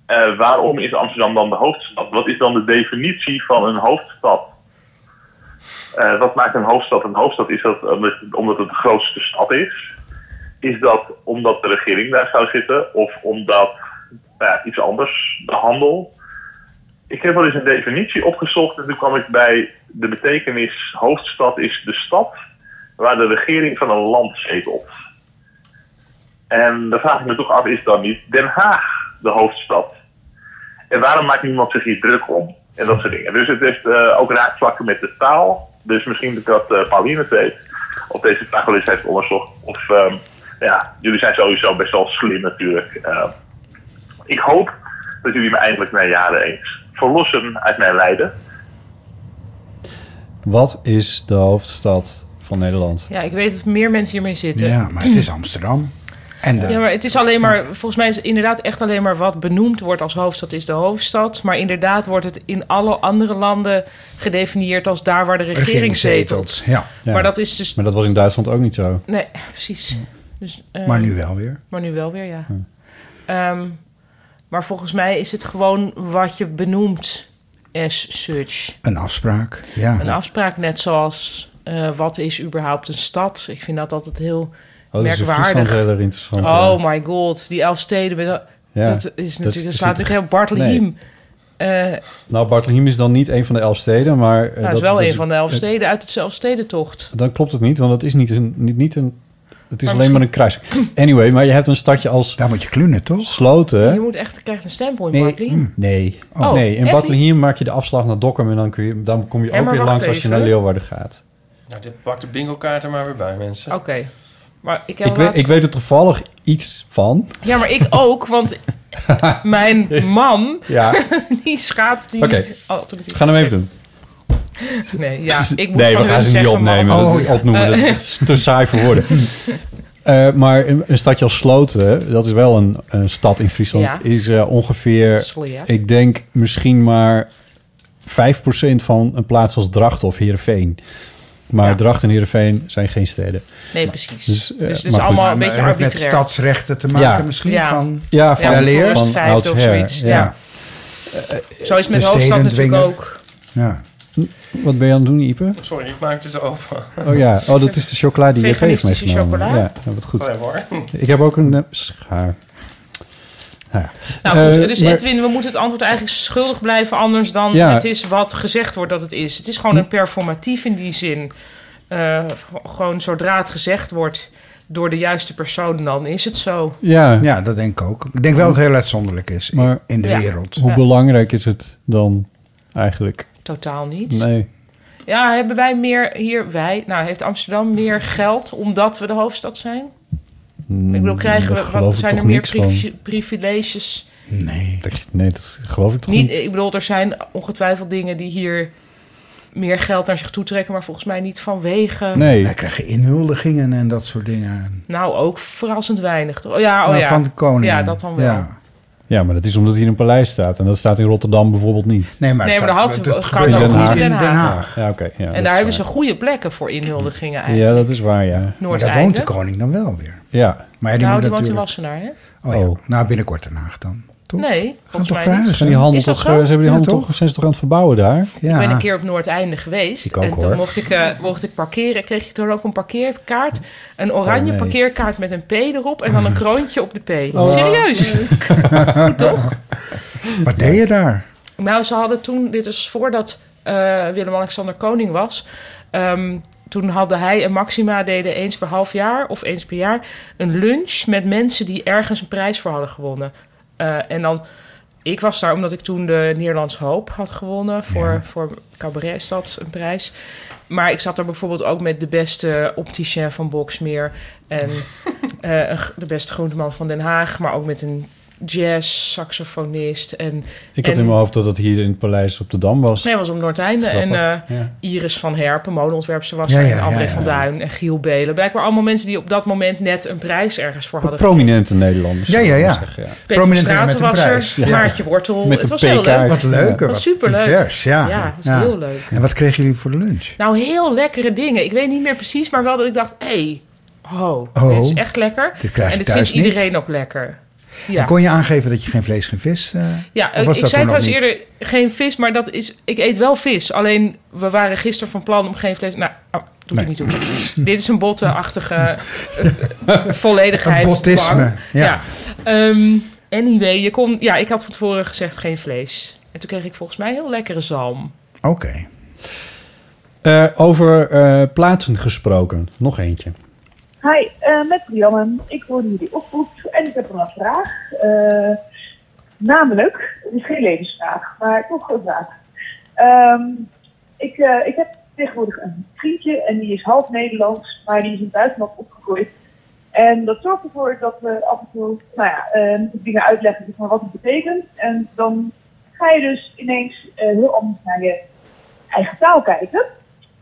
Speaker 7: Eh, waarom is Amsterdam dan de hoofdstad? Wat is dan de definitie van een hoofdstad? Eh, wat maakt een hoofdstad een hoofdstad? Is dat omdat, omdat het de grootste stad is? Is dat omdat de regering daar zou zitten? Of omdat nou ja, iets anders, de handel? Ik heb wel eens een definitie opgezocht en toen kwam ik bij de betekenis hoofdstad is de stad waar de regering van een land zetelt. En dan vraag ik me toch af, is dan niet Den Haag de hoofdstad? En waarom maakt niemand zich hier druk om? En dat soort dingen. Dus het heeft eh, ook raakvlakken met de taal. Dus misschien dat eh Pauline het weet, op deze vraag wel eens heeft onderzocht. Of, ehm, ja, jullie zijn sowieso best wel slim natuurlijk. Eh, ik hoop dat jullie me eindelijk na jaren eens verlossen uit mijn lijden.
Speaker 3: Wat is de hoofdstad van Nederland?
Speaker 1: Ja, ik weet dat meer mensen hiermee zitten.
Speaker 4: ja, maar het is Amsterdam. En de,
Speaker 1: Ja, maar het is alleen maar, volgens mij is het inderdaad echt alleen maar wat benoemd wordt als hoofdstad is de hoofdstad. Maar inderdaad wordt het in alle andere landen gedefinieerd als daar waar de regering, zetelt.
Speaker 4: regeringszetels. Ja.
Speaker 3: Ja.
Speaker 1: Maar dat is dus.
Speaker 3: Maar dat was in Duitsland ook niet zo.
Speaker 1: Nee, precies. Dus, eh,
Speaker 4: Maar nu wel weer.
Speaker 1: maar nu wel weer, ja. Ehm, maar volgens mij is het gewoon wat je benoemt as such.
Speaker 4: Een afspraak. Ja.
Speaker 1: Een afspraak net zoals eh, wat is überhaupt een stad. Ik vind dat altijd heel
Speaker 3: Oh, dat is in Friesland
Speaker 1: merkwaardig.
Speaker 3: heel erg interessant.
Speaker 1: Oh my god, die elf steden. Dat,
Speaker 3: Ja,
Speaker 1: dat is
Speaker 3: dat is
Speaker 1: natuurlijk, dat slaat
Speaker 3: niet-
Speaker 1: natuurlijk heel Bartleheim. Eh,
Speaker 3: Nou, Bartleheim is dan niet een van de elf steden, maar... eh,
Speaker 1: nou, dat is wel een van de elf
Speaker 3: eh,
Speaker 1: steden uit het zelfstedentocht.
Speaker 3: Dan klopt het niet, want het is niet een... Niet, niet een het is
Speaker 1: Maar
Speaker 3: alleen maar een kruis. Anyway, maar je hebt een stadje als
Speaker 4: Daar moet je klunen, toch?
Speaker 1: Je
Speaker 3: Sloten.
Speaker 1: moet echt, je krijgt een stempel in
Speaker 3: [clears throat] Nee, mm,
Speaker 1: Bartleheim.
Speaker 3: nee.
Speaker 1: Oh,
Speaker 3: nee. In
Speaker 1: echt
Speaker 3: Bartleheim maak je de afslag naar Dokkum... en dan, kun je, dan kom je
Speaker 1: Hé,
Speaker 3: ook
Speaker 1: maar
Speaker 3: weer
Speaker 1: wacht
Speaker 3: langs als je
Speaker 1: even.
Speaker 3: naar Leeuwarden gaat.
Speaker 5: Nou, dit pakt de bingo kaart er maar weer bij, mensen.
Speaker 1: Oké. Maar ik, heb
Speaker 3: Ik weet,
Speaker 1: laatst-
Speaker 3: ik weet er toevallig iets van.
Speaker 1: Ja, maar ik ook,
Speaker 3: [laughs]
Speaker 1: want mijn man,
Speaker 3: Ja,
Speaker 1: [laughs] die schaadt die
Speaker 3: Oké.
Speaker 1: alternatief.
Speaker 3: we gaan hem even nou doen.
Speaker 1: Nee,
Speaker 3: [laughs]
Speaker 1: ja, ik moet
Speaker 3: nee,
Speaker 1: van
Speaker 3: we gaan
Speaker 1: hun
Speaker 3: ze niet
Speaker 1: zeggen,
Speaker 3: opnemen.
Speaker 1: man.
Speaker 3: Dat- opnoemen.
Speaker 1: Eh,
Speaker 3: Dat is echt te saai voor
Speaker 1: [laughs]
Speaker 3: woorden. Eh, maar een, een stadje als Sloten, dat is wel een, een stad in Friesland,
Speaker 1: Ja.
Speaker 3: is eh, ongeveer,
Speaker 1: Slecht.
Speaker 3: ik denk misschien maar 5% van een plaats als Drachten of Heerenveen. Maar Drachten en Heerenveen zijn geen steden.
Speaker 1: Nee, precies.
Speaker 3: Dus,
Speaker 1: Dus,
Speaker 3: eh,
Speaker 1: het
Speaker 3: maar
Speaker 1: is
Speaker 3: goed.
Speaker 1: allemaal
Speaker 3: Maar
Speaker 1: een beetje
Speaker 4: heeft met
Speaker 1: arbitrair.
Speaker 4: stadsrechten te maken misschien, van-
Speaker 3: ja, van,
Speaker 4: Ja, Weleer?
Speaker 3: van
Speaker 1: Vijfde of
Speaker 3: oudsher,
Speaker 1: zoiets, ja.
Speaker 3: Eh,
Speaker 1: Zo is het met
Speaker 3: de
Speaker 1: hoofdstad
Speaker 3: steden
Speaker 1: natuurlijk
Speaker 3: dwingen.
Speaker 1: ook.
Speaker 4: Ja.
Speaker 3: Wat ben je aan het doen, Ipe?
Speaker 5: Sorry, ik maak het dus open.
Speaker 3: Oh ja, oh, dat is de chocola die je geeft
Speaker 5: Veganistische
Speaker 3: meegenomen.
Speaker 5: chocola?
Speaker 3: Ja, wat goed.
Speaker 5: Oh ja, hoor.
Speaker 3: Ik heb ook een eh, schaar. Nou, ja.
Speaker 1: Nou goed,
Speaker 3: Eh,
Speaker 1: dus
Speaker 3: maar-
Speaker 1: Edwin, we moeten het antwoord eigenlijk schuldig blijven... anders dan
Speaker 3: Ja. Hm.
Speaker 1: het is wat gezegd wordt dat het is. Het is gewoon een performatief in die zin. Eh, gewoon zodra het gezegd wordt door de juiste persoon, dan is het zo.
Speaker 3: Ja.
Speaker 4: ja, dat denk ik ook. Ik denk wel dat het heel uitzonderlijk is in-
Speaker 3: Maar-
Speaker 4: in de
Speaker 1: Ja.
Speaker 4: wereld.
Speaker 3: Hoe
Speaker 1: Ja.
Speaker 3: belangrijk is het dan eigenlijk?
Speaker 1: Totaal niet.
Speaker 3: Nee.
Speaker 1: Ja, hebben wij meer hier, wij, nou heeft Amsterdam meer geld omdat we de hoofdstad zijn? ik bedoel, krijgen
Speaker 3: mm, daar
Speaker 1: we,
Speaker 3: geloof ik
Speaker 1: wat zijn
Speaker 3: toch
Speaker 1: er meer
Speaker 3: niks van.
Speaker 1: privi- privileges?
Speaker 4: Nee.
Speaker 3: Dat, nee, dat geloof ik toch
Speaker 1: Niet,
Speaker 3: niet.
Speaker 1: ik bedoel, er zijn ongetwijfeld dingen die hier meer geld naar zich toe trekken, maar volgens mij niet vanwege.
Speaker 4: Nee. Wij krijgen inhuldigingen en dat soort dingen.
Speaker 1: Nou, ook verrassend weinig. toch? Oh ja, oh
Speaker 4: Nou,
Speaker 1: ja.
Speaker 4: van de koning.
Speaker 1: Ja, dat dan wel.
Speaker 4: Ja.
Speaker 3: Ja, maar dat is omdat hier een paleis staat. En dat staat in Rotterdam bijvoorbeeld niet.
Speaker 4: Nee, maar
Speaker 1: Nee, maar dat houdt-
Speaker 4: dat
Speaker 1: kan
Speaker 4: gebeurt
Speaker 1: ook
Speaker 4: niet
Speaker 1: goed
Speaker 4: in
Speaker 1: in Den
Speaker 4: Den
Speaker 1: Haag.
Speaker 4: Haag.
Speaker 3: Ja, oké. ja, dat
Speaker 1: en
Speaker 3: is
Speaker 1: daar hebben
Speaker 3: waar.
Speaker 1: ze goede plekken voor inhuldigingen eigenlijk.
Speaker 3: Ja, dat is waar, ja.
Speaker 4: Maar daar
Speaker 1: Noordeinde.
Speaker 4: woont de koning dan wel weer.
Speaker 3: Ja.
Speaker 4: Maar ja,
Speaker 1: nou,
Speaker 4: die moet
Speaker 1: die woont in
Speaker 4: natuurlijk...
Speaker 1: Wassenaar, hè?
Speaker 4: Oh, ja. Nou, binnenkort Den Haag dan. Toch?
Speaker 1: Nee, volgens
Speaker 4: toch
Speaker 1: mij
Speaker 4: verhuizen?
Speaker 1: niet.
Speaker 3: Zijn die handel
Speaker 1: Is dat
Speaker 3: toch,
Speaker 1: zo?
Speaker 3: eh, ze hebben die
Speaker 4: Ja,
Speaker 3: handel
Speaker 4: toch?
Speaker 3: toch? Zijn ze toch aan het verbouwen Oh, daar?
Speaker 4: Ja.
Speaker 1: Ik ben een keer op Noordeinde geweest.
Speaker 3: Ik ook,
Speaker 1: en toen
Speaker 3: hoor.
Speaker 1: Mocht, ik, eh, mocht ik parkeren, kreeg ik toen ook een parkeerkaart. Een oranje
Speaker 3: Oh, nee.
Speaker 1: parkeerkaart met een P erop en dan een kroontje op de P.
Speaker 3: Oh.
Speaker 1: Serieus?
Speaker 3: [laughs]
Speaker 1: [laughs] Goed toch?
Speaker 4: Wat deed je daar?
Speaker 1: Nou, ze hadden toen, dit is voordat eh, Willem-Alexander koning was. ehm, toen hadden hij en Maxima deden eens per half jaar of eens per jaar een lunch met mensen die ergens een prijs voor hadden gewonnen. Eh, en dan, ik was daar omdat ik toen de Nederlands Hoop had gewonnen voor, voor Cabaret is dat een prijs. Maar ik zat daar bijvoorbeeld ook met de beste opticien van Boksmeer
Speaker 3: [laughs]
Speaker 1: en eh, een g- de beste groenteman van Den Haag, maar ook met een jazz saxofonist en
Speaker 3: Ik had
Speaker 1: en-
Speaker 3: in mijn hoofd dat dat hier in het paleis op de Dam was.
Speaker 1: Nee, was op Noordeinde. En
Speaker 3: Grappig,
Speaker 1: eh,
Speaker 3: ja.
Speaker 1: Iris van Herpen, modeontwerpster was
Speaker 3: Ja,
Speaker 1: er.
Speaker 3: ja,
Speaker 1: en André
Speaker 3: ja, ja.
Speaker 1: van Duin en Giel Belen. Blijkbaar allemaal mensen die op dat moment net een prijs ergens voor hadden.
Speaker 3: Prominente Nederlanders.
Speaker 4: Ja, ja,
Speaker 3: zou ik
Speaker 4: ja.
Speaker 3: maar zeggen,
Speaker 1: gekregen. Peter
Speaker 4: Prominent
Speaker 1: Straten
Speaker 4: met een
Speaker 1: was
Speaker 4: prijs.
Speaker 1: er,
Speaker 4: Ja.
Speaker 1: Maartje Wortel.
Speaker 3: Met
Speaker 1: het
Speaker 3: een
Speaker 1: was heel
Speaker 3: PK.
Speaker 1: leuk.
Speaker 4: Wat leuker.
Speaker 1: Wat
Speaker 4: Wat
Speaker 1: superleuk.
Speaker 4: divers, ja.
Speaker 1: Ja, dat is
Speaker 4: Ja.
Speaker 1: heel leuk.
Speaker 4: En wat kregen jullie voor de lunch?
Speaker 1: Nou, heel lekkere dingen. Ik weet niet meer precies, maar wel dat ik dacht... Hé, hey, ho,
Speaker 4: Oh,
Speaker 1: dit is echt lekker.
Speaker 4: dit krijg
Speaker 1: en
Speaker 4: ik
Speaker 1: dit
Speaker 4: thuis
Speaker 1: vindt
Speaker 4: niet.
Speaker 1: iedereen ook lekker. Ja.
Speaker 4: En kon je aangeven dat je geen vlees, geen vis... eh,
Speaker 1: Ja,
Speaker 4: of
Speaker 1: ik,
Speaker 4: was
Speaker 1: ik
Speaker 4: dat
Speaker 1: zei
Speaker 4: toen nog
Speaker 1: trouwens
Speaker 4: niet?
Speaker 1: eerder geen vis, maar dat is. Ik eet wel vis. Alleen we waren gisteren van plan om geen vlees. Nou, oh, doe
Speaker 4: Nee.
Speaker 1: ik niet toe. [laughs] Dit is een
Speaker 4: [laughs]
Speaker 1: bottenachtige eh, volledigheidsdwang.
Speaker 4: Een bottisme, ja.
Speaker 1: Ehm, anyway, je kon. Ja, ik had van tevoren gezegd geen vlees. En toen kreeg ik volgens mij heel lekkere
Speaker 4: [laughs]
Speaker 1: zalm.
Speaker 4: Oké.
Speaker 3: ja. Eh, over eh, plaatsen gesproken. Nog eentje.
Speaker 8: Hi, eh, met Brianne. Ik hoor jullie oproep en ik heb een vraag. Eh, namelijk, het is geen levensvraag, maar toch een vraag. Ehm, ik, eh, ik heb tegenwoordig een vriendje en die is half Nederlands, maar die is in het buitenland opgegroeid. En dat zorgt ervoor dat we af en toe nou ja, eh, moet ik dingen uitleggen zeg maar, wat het betekent. En dan ga je dus ineens eh, heel anders naar je eigen taal kijken.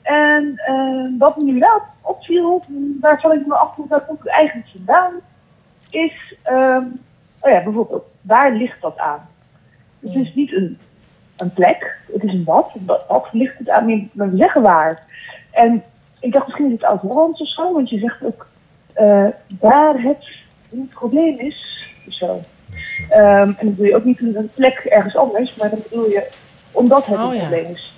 Speaker 8: En eh, wat me nu wel opviel, daar zal ik me afvragen, waar komt het eigenlijk vandaan, is, ehm, oh ja, bijvoorbeeld, waar ligt dat aan? Het is niet een, een plek, het is een wat. Wat, wat ligt het aan? Je- We zeggen waar. En ik dacht, misschien is het oud-Hollands of zo, want je zegt ook eh, waar het een probleem is. of Zo. Ehm, en dan bedoel je ook niet een plek ergens anders, maar dan bedoel je omdat het
Speaker 1: Oh,
Speaker 8: een
Speaker 1: ja.
Speaker 8: probleem is.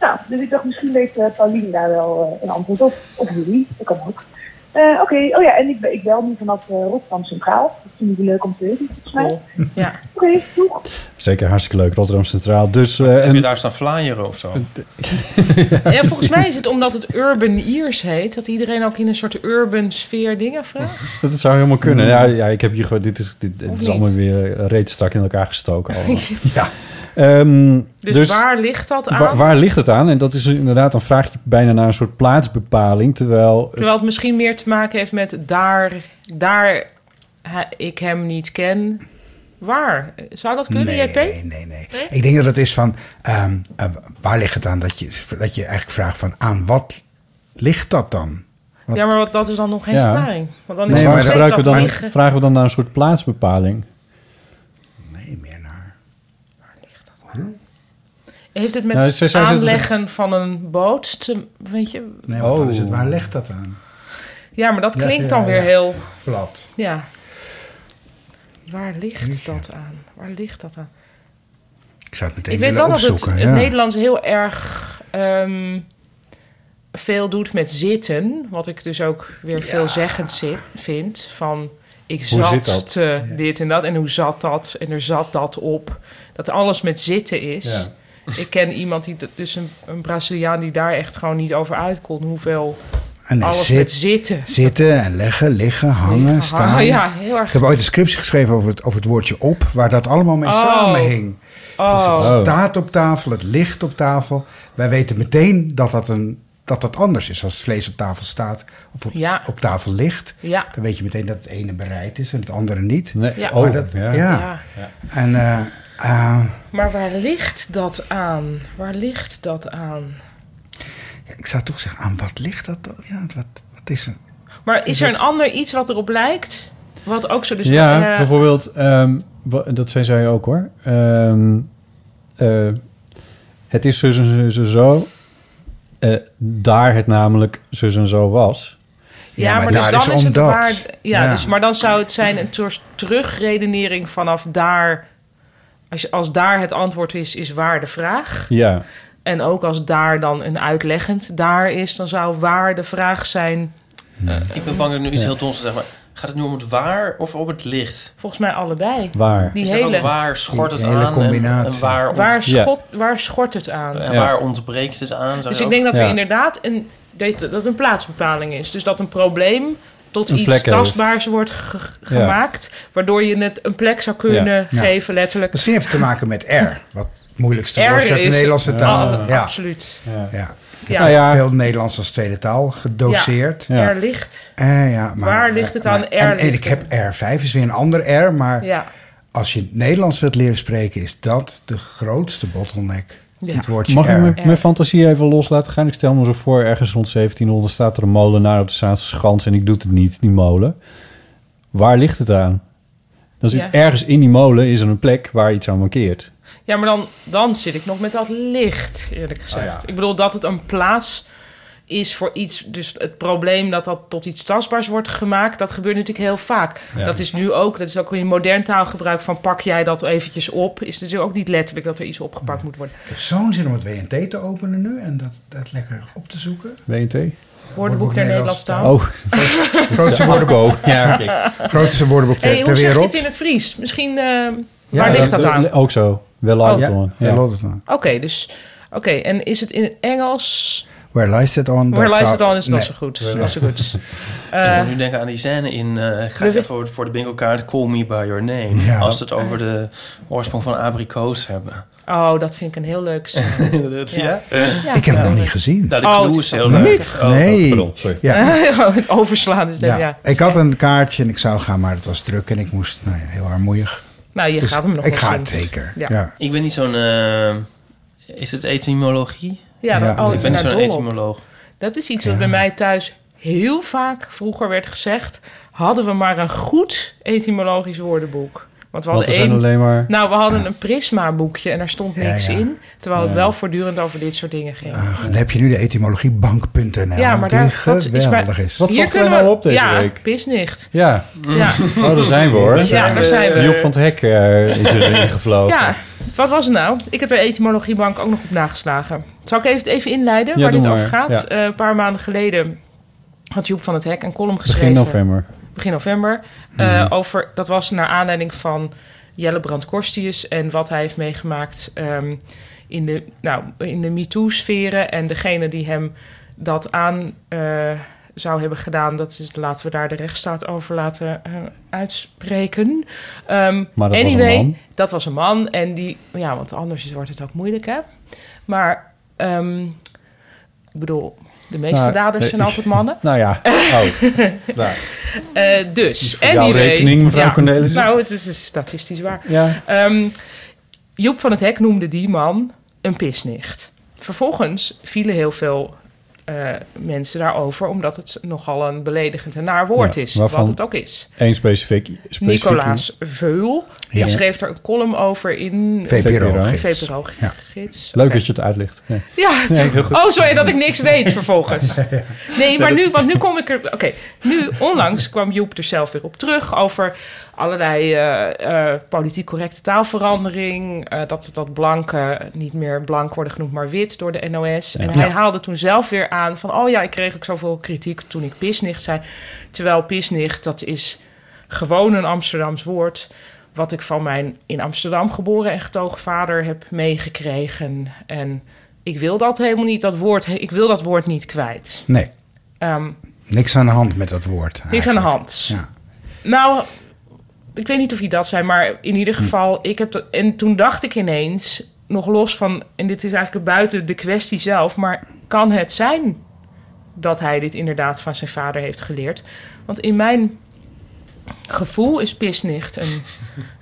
Speaker 8: Nou, dus ik dacht, misschien weet eh, Paulien daar wel eh, een antwoord op. Of jullie, dat kan ook. Eh, Oké, oh ja, en ik, be- ik bel nu vanaf eh, Rotterdam Centraal. Dat vind ik leuk om te weten, volgens mij. Oké,
Speaker 1: Ja.
Speaker 8: doeg.
Speaker 3: Zeker hartstikke leuk, Rotterdam Centraal. Dus, eh,
Speaker 5: Heb je
Speaker 3: en,
Speaker 5: daar staan flyeren of zo?
Speaker 1: ja, volgens mij is het omdat het Urban Ears heet, dat iedereen ook in een soort urban sfeer dingen vraagt.
Speaker 3: [laughs] dat zou helemaal kunnen. Ja, ja ik heb hier gewoon... Dit is, dit,
Speaker 1: Of
Speaker 3: het is
Speaker 1: niet?
Speaker 3: allemaal weer eh, reeds strak in elkaar
Speaker 1: [laughs]
Speaker 3: gestoken. allemaal.
Speaker 4: Oh. Ja.
Speaker 3: Ehm,
Speaker 1: Dus, waar ligt dat aan?
Speaker 3: Waar, waar ligt het aan? En dat is inderdaad een vraagje bijna naar een soort plaatsbepaling. Terwijl,
Speaker 1: Terwijl het misschien meer te maken heeft met daar, daar hij- ik hem niet ken, Waar? Zou dat kunnen,
Speaker 4: Nee,
Speaker 1: JP?
Speaker 4: nee, nee. Ik denk dat het is van, ehm, eh, waar ligt het aan? Dat je, dat je eigenlijk vraagt van, aan wat ligt dat dan? Want-
Speaker 1: Ja, maar wat, dat is dan nog geen
Speaker 4: Ja.
Speaker 1: verklaring. Want dan is
Speaker 3: Nee,
Speaker 1: het nog
Speaker 3: maar
Speaker 1: steeds
Speaker 3: gebruiken we
Speaker 1: dat
Speaker 3: dan,
Speaker 1: liggen.
Speaker 3: vragen we dan naar een soort plaatsbepaling?
Speaker 1: Heeft het met
Speaker 3: Nou, ze- ze- ze-
Speaker 1: aanleggen van een boot te, weet je?
Speaker 4: Nee, want dan is het, waar legt dat aan?
Speaker 1: Ja, maar dat
Speaker 4: Ja,
Speaker 1: klinkt
Speaker 4: ja,
Speaker 1: dan
Speaker 4: ja.
Speaker 1: weer heel...
Speaker 4: Plat.
Speaker 1: Ja. Waar ligt dat aan? Waar ligt dat aan?
Speaker 4: Ik zou het meteen
Speaker 1: Ik weet wel
Speaker 4: willen
Speaker 1: dat het,
Speaker 4: opzoeken.
Speaker 1: het
Speaker 4: ja.
Speaker 1: Nederlands heel erg ehm, veel doet met zitten. Wat ik dus ook weer veelzeggend zi- vind. Van ik
Speaker 9: Hoe zit
Speaker 1: zat
Speaker 9: dat?
Speaker 1: te dit en dat. En hoe zat dat? En er zat dat op. Dat alles met zitten is. Ik ken iemand, die, dat- dus een, een Braziliaan, die daar echt gewoon niet over uit kon. Hoeveel
Speaker 4: En nee,
Speaker 1: alles
Speaker 4: zit-
Speaker 1: met zitten.
Speaker 4: Zitten en leggen, liggen, hangen,
Speaker 1: hangen,
Speaker 4: staan.
Speaker 1: ja, heel erg.
Speaker 4: Ik heb ooit een scriptie geschreven over het, over het woordje op, waar dat allemaal mee
Speaker 1: Oh.
Speaker 4: samenhing. Dus
Speaker 1: Oh.
Speaker 4: het staat op tafel, het ligt op tafel. Wij weten meteen dat dat, een, dat, dat anders is. Als het vlees op tafel staat of op,
Speaker 1: Ja.
Speaker 4: op tafel ligt,
Speaker 1: Ja.
Speaker 4: dan weet je meteen dat het ene bereid is en het andere niet.
Speaker 3: Nee.
Speaker 1: Ja.
Speaker 4: Maar
Speaker 1: oh,
Speaker 4: dat,
Speaker 1: ja.
Speaker 4: ja.
Speaker 1: Ja.
Speaker 4: En eh, eh,
Speaker 1: Maar waar ligt dat aan? Waar ligt dat aan?
Speaker 4: ik zou toch zeggen, aan wat ligt dat dan? Ja, wat, wat is er?
Speaker 1: Maar is
Speaker 4: Is
Speaker 1: er
Speaker 4: het-
Speaker 1: een ander iets wat erop lijkt? Wat ook zo dus...
Speaker 3: ja,
Speaker 1: eh,
Speaker 3: bijvoorbeeld, ehm, wa- dat zei zij ook hoor. Ehm, eh, het is zo, zo, zo, zo. Eh, daar het namelijk zo en zo was.
Speaker 1: Ja, maar, dus dan is, het waar... Ja,
Speaker 3: Ja.
Speaker 1: Dus, maar dan zou het zijn een soort terugredenering vanaf daar... Als, je, als daar het antwoord is, is waar de vraag.
Speaker 3: Ja.
Speaker 1: En ook als daar dan een uitleggend daar is... dan zou waar de vraag zijn...
Speaker 5: Eh, Ik ben bang dat ik nu iets
Speaker 1: Ja.
Speaker 5: heel dons zeg, maar gaat het nu om het waar of om het licht?
Speaker 1: Volgens mij allebei.
Speaker 5: Waar.
Speaker 1: Die
Speaker 5: Is er ook
Speaker 1: hele...
Speaker 5: waar schort het
Speaker 1: Die hele
Speaker 5: aan en-
Speaker 1: combinatie.
Speaker 5: en waar ont-
Speaker 1: Waar,
Speaker 5: Ja.
Speaker 1: schot, waar schort het aan?
Speaker 5: En waar ontbreekt het aan?
Speaker 1: Dus ik denk dat er inderdaad een, dat dat een plaatsbepaling is. Dus dat een probleem tot
Speaker 5: Een
Speaker 1: iets
Speaker 5: plek heeft.
Speaker 1: tastbaars wordt ge- ge-
Speaker 4: Ja.
Speaker 1: gemaakt... waardoor je het een plek zou kunnen
Speaker 4: Ja.
Speaker 1: geven, letterlijk.
Speaker 4: Misschien heeft het te maken met R, wat het moeilijkste
Speaker 1: R
Speaker 4: woord is uit de
Speaker 1: is-
Speaker 4: Nederlandse taal.
Speaker 1: Ah,
Speaker 4: ja.
Speaker 1: absoluut.
Speaker 4: Ja. Ik heb
Speaker 1: Ja. Nou ja.
Speaker 4: veel Nederlands als tweede taal gedoseerd.
Speaker 1: Ja, Ja. R ligt.
Speaker 4: Eh, ja, maar,
Speaker 1: Waar ligt het
Speaker 4: eh,
Speaker 1: aan?
Speaker 4: maar-
Speaker 1: R
Speaker 4: En, en
Speaker 1: ligt
Speaker 4: ik heb R5, is weer een ander R, maar
Speaker 1: Ja.
Speaker 4: als je Nederlands wilt leren spreken, is dat de grootste bottleneck.
Speaker 1: Ja.
Speaker 4: Het woordje
Speaker 3: Mag
Speaker 4: R.
Speaker 3: ik mijn, mijn fantasie even los laten gaan? Ik stel me zo voor, ergens rond 1700 staat er een molenaar op de Zaanse Schans... en ik doe het niet, die molen. Waar ligt het aan? Dan zit
Speaker 1: Ja.
Speaker 3: ergens in die molen is er een plek waar iets aan mankeert.
Speaker 1: Ja, maar dan, dan zit ik nog met dat licht, eerlijk gezegd.
Speaker 3: Ah, ja.
Speaker 1: Ik bedoel dat het een plaats is voor iets. Dus het probleem dat dat tot iets tastbaars wordt gemaakt, dat gebeurt natuurlijk heel vaak.
Speaker 9: Ja.
Speaker 1: Dat is nu ook, dat is ook in modern taalgebruik van pak jij dat eventjes op. Is natuurlijk ook niet letterlijk dat er iets opgepakt moet worden.
Speaker 4: Ik heb zo'n zin om het WNT te openen nu en dat, dat lekker op te zoeken.
Speaker 3: WNT?
Speaker 1: Woordenboek der Nederlandse taal.
Speaker 3: Oh.
Speaker 4: [laughs] Grootste woordenboek.
Speaker 3: Afko. Ja, oké.
Speaker 4: Grootste woordenboek ter,
Speaker 1: Hey, hoe
Speaker 4: ter
Speaker 1: zeg je
Speaker 4: wereld.
Speaker 1: het in het Fries? Misschien, eh,
Speaker 4: Ja,
Speaker 1: waar ligt dat,
Speaker 4: dat-
Speaker 1: aan?
Speaker 4: dat-
Speaker 3: Ook zo. Wel
Speaker 4: Oh.
Speaker 3: out
Speaker 4: Ja,
Speaker 3: on.
Speaker 4: wel out on.
Speaker 1: Oké, dus... Oké, en is het in het Engels?
Speaker 4: Where lies it on?
Speaker 1: Where
Speaker 4: Dat
Speaker 1: lies
Speaker 4: zou-
Speaker 1: it on is
Speaker 4: Nee.
Speaker 1: not zo goed. Not zo goed.
Speaker 4: [laughs]
Speaker 5: ik
Speaker 1: Eh,
Speaker 5: moet nu denken aan die scène in... eh, ik ga even voor, voor de bingo kaart Call Me By Your Name.
Speaker 4: Ja.
Speaker 5: Als we het over de oorsprong van abrikoos hebben.
Speaker 1: Oh, dat vind ik een heel
Speaker 5: [laughs]
Speaker 1: leuk scène.
Speaker 5: Ja?
Speaker 4: Eh. Ik heb hem nog niet gezien.
Speaker 5: Nou, de
Speaker 1: Oh,
Speaker 5: clue
Speaker 1: het
Speaker 5: is
Speaker 1: is
Speaker 5: heel
Speaker 1: wel- Oh,
Speaker 5: leuk.
Speaker 4: Niet?
Speaker 5: Oh,
Speaker 4: nee.
Speaker 5: pardon, sorry.
Speaker 4: Ja.
Speaker 1: [laughs] het overslaan is
Speaker 4: Ja.
Speaker 1: Dus dan, ja.
Speaker 4: Ik had een kaartje en ik zou gaan, maar het was druk en ik moest nou ja, heel armoeig.
Speaker 1: Nou, je
Speaker 4: Dus
Speaker 1: gaat hem nog
Speaker 4: Ik
Speaker 1: wel
Speaker 4: ga
Speaker 1: zien.
Speaker 4: het zeker.
Speaker 1: Ja.
Speaker 4: Ja.
Speaker 5: Ik ben niet zo'n... eh, is het etymologie?
Speaker 1: Ja, dat- oh,
Speaker 5: ik
Speaker 1: ik
Speaker 5: ben niet
Speaker 1: ben
Speaker 5: zo'n
Speaker 1: daar dol op.
Speaker 5: etymoloog.
Speaker 1: Dat is iets wat bij mij thuis heel vaak vroeger werd gezegd. Hadden we maar een goed etymologisch woordenboek. Want we hadden
Speaker 3: Want er zijn
Speaker 1: één-
Speaker 3: alleen maar-
Speaker 1: Nou, we hadden een prisma-boekje en daar stond
Speaker 4: Ja,
Speaker 1: niks
Speaker 4: ja.
Speaker 1: in. Terwijl het
Speaker 4: Ja.
Speaker 1: wel voortdurend over dit soort dingen ging.
Speaker 4: Dan heb je nu de etymologiebank.nl.
Speaker 1: ja, maar
Speaker 4: die
Speaker 1: daar, dat is maar...
Speaker 4: geweldig is.
Speaker 1: hier kunnen
Speaker 3: nou
Speaker 1: we- ja, pisnicht.
Speaker 3: Ja.
Speaker 1: Ja.
Speaker 3: Oh, daar zijn we hoor.
Speaker 1: Ja, daar zijn we.
Speaker 3: Job van het Hek eh,
Speaker 1: [laughs]
Speaker 3: is erin gevlogen.
Speaker 1: Ja, wat was het nou? Ik heb de etymologiebank ook nog op nageslagen. Zal ik even, het even inleiden
Speaker 3: Ja,
Speaker 1: waar
Speaker 3: doe
Speaker 1: dit
Speaker 3: maar.
Speaker 1: over gaat?
Speaker 3: Ja.
Speaker 1: Eh, een paar maanden geleden had Joep van het Hek een column geschreven.
Speaker 3: Begin november. Mhm.
Speaker 1: Begin november. eh, over, dat was naar aanleiding van Jelle Brand-Korstius... en wat hij heeft meegemaakt ehm, in de, nou, in de MeToo-sferen... en degene die hem dat aan eh, zou hebben gedaan... dat is, laten we daar de rechtsstaat over laten eh, uitspreken. Ehm,
Speaker 3: Maar dat was
Speaker 1: anyway,
Speaker 3: een man.
Speaker 1: dat was een man. En die, ja, want anders wordt het ook moeilijk, hè? Maar, ehm, ik bedoel, De meeste
Speaker 3: Nou,
Speaker 1: daders
Speaker 3: nee.
Speaker 1: zijn altijd mannen.
Speaker 3: [laughs] Nou
Speaker 1: [laughs]
Speaker 3: ja. Oh. Nou.
Speaker 1: Eh, dus,
Speaker 3: Iets voor jouw
Speaker 1: anyway.
Speaker 3: rekening, mevrouw Cornelissen.
Speaker 1: Nou, het is, is statistisch waar.
Speaker 3: Ja.
Speaker 1: Ehm, Joep van het Hek noemde die man een pisnicht. Vervolgens vielen heel veel eh, mensen daarover... omdat het nogal een beledigend en naar woord
Speaker 3: Ja,
Speaker 1: is,
Speaker 3: waarvan
Speaker 1: wat het ook is.
Speaker 3: Eén specifiek. specifiek
Speaker 1: Nicolaas Veul.
Speaker 3: Ja.
Speaker 1: Die schreef er een column over in... eh,
Speaker 3: VPRO-gids. Ja.
Speaker 1: VPRO-gids.
Speaker 3: Leuk dat je het uitlicht. Ja,
Speaker 1: Ja,
Speaker 3: Nee, heel goed.
Speaker 1: oh sorry dat ik niks weet
Speaker 3: [laughs]
Speaker 1: vervolgens. Nee, maar
Speaker 3: dat
Speaker 1: nu,
Speaker 3: is-
Speaker 1: want nu kom ik er... Oké, nu onlangs kwam Joep er zelf weer op terug... over allerlei eh, eh, politiek correcte taalverandering... eh, dat, dat blanken niet meer blank worden genoemd, maar wit door de NOS. En
Speaker 9: Ja.
Speaker 1: hij
Speaker 9: Ja.
Speaker 1: haalde toen zelf weer aan van... oh ja, ik kreeg ook zoveel kritiek toen ik pisnicht zei. Terwijl pisnicht, dat is gewoon een Amsterdams woord... wat ik van mijn in Amsterdam geboren en getogen vader heb meegekregen. En ik wil dat helemaal niet, dat woord, ik wil dat woord niet kwijt.
Speaker 4: Nee,
Speaker 1: Ehm,
Speaker 4: niks aan de hand met dat woord.
Speaker 1: niks aan de hand. Nou, ik weet niet of hij dat zei, maar in ieder geval, ik heb dat. En toen dacht ik ineens, nog los van, en dit is eigenlijk buiten de kwestie zelf, maar kan het zijn dat hij dit inderdaad van zijn vader heeft geleerd? Want in mijn gevoel is pisnicht een,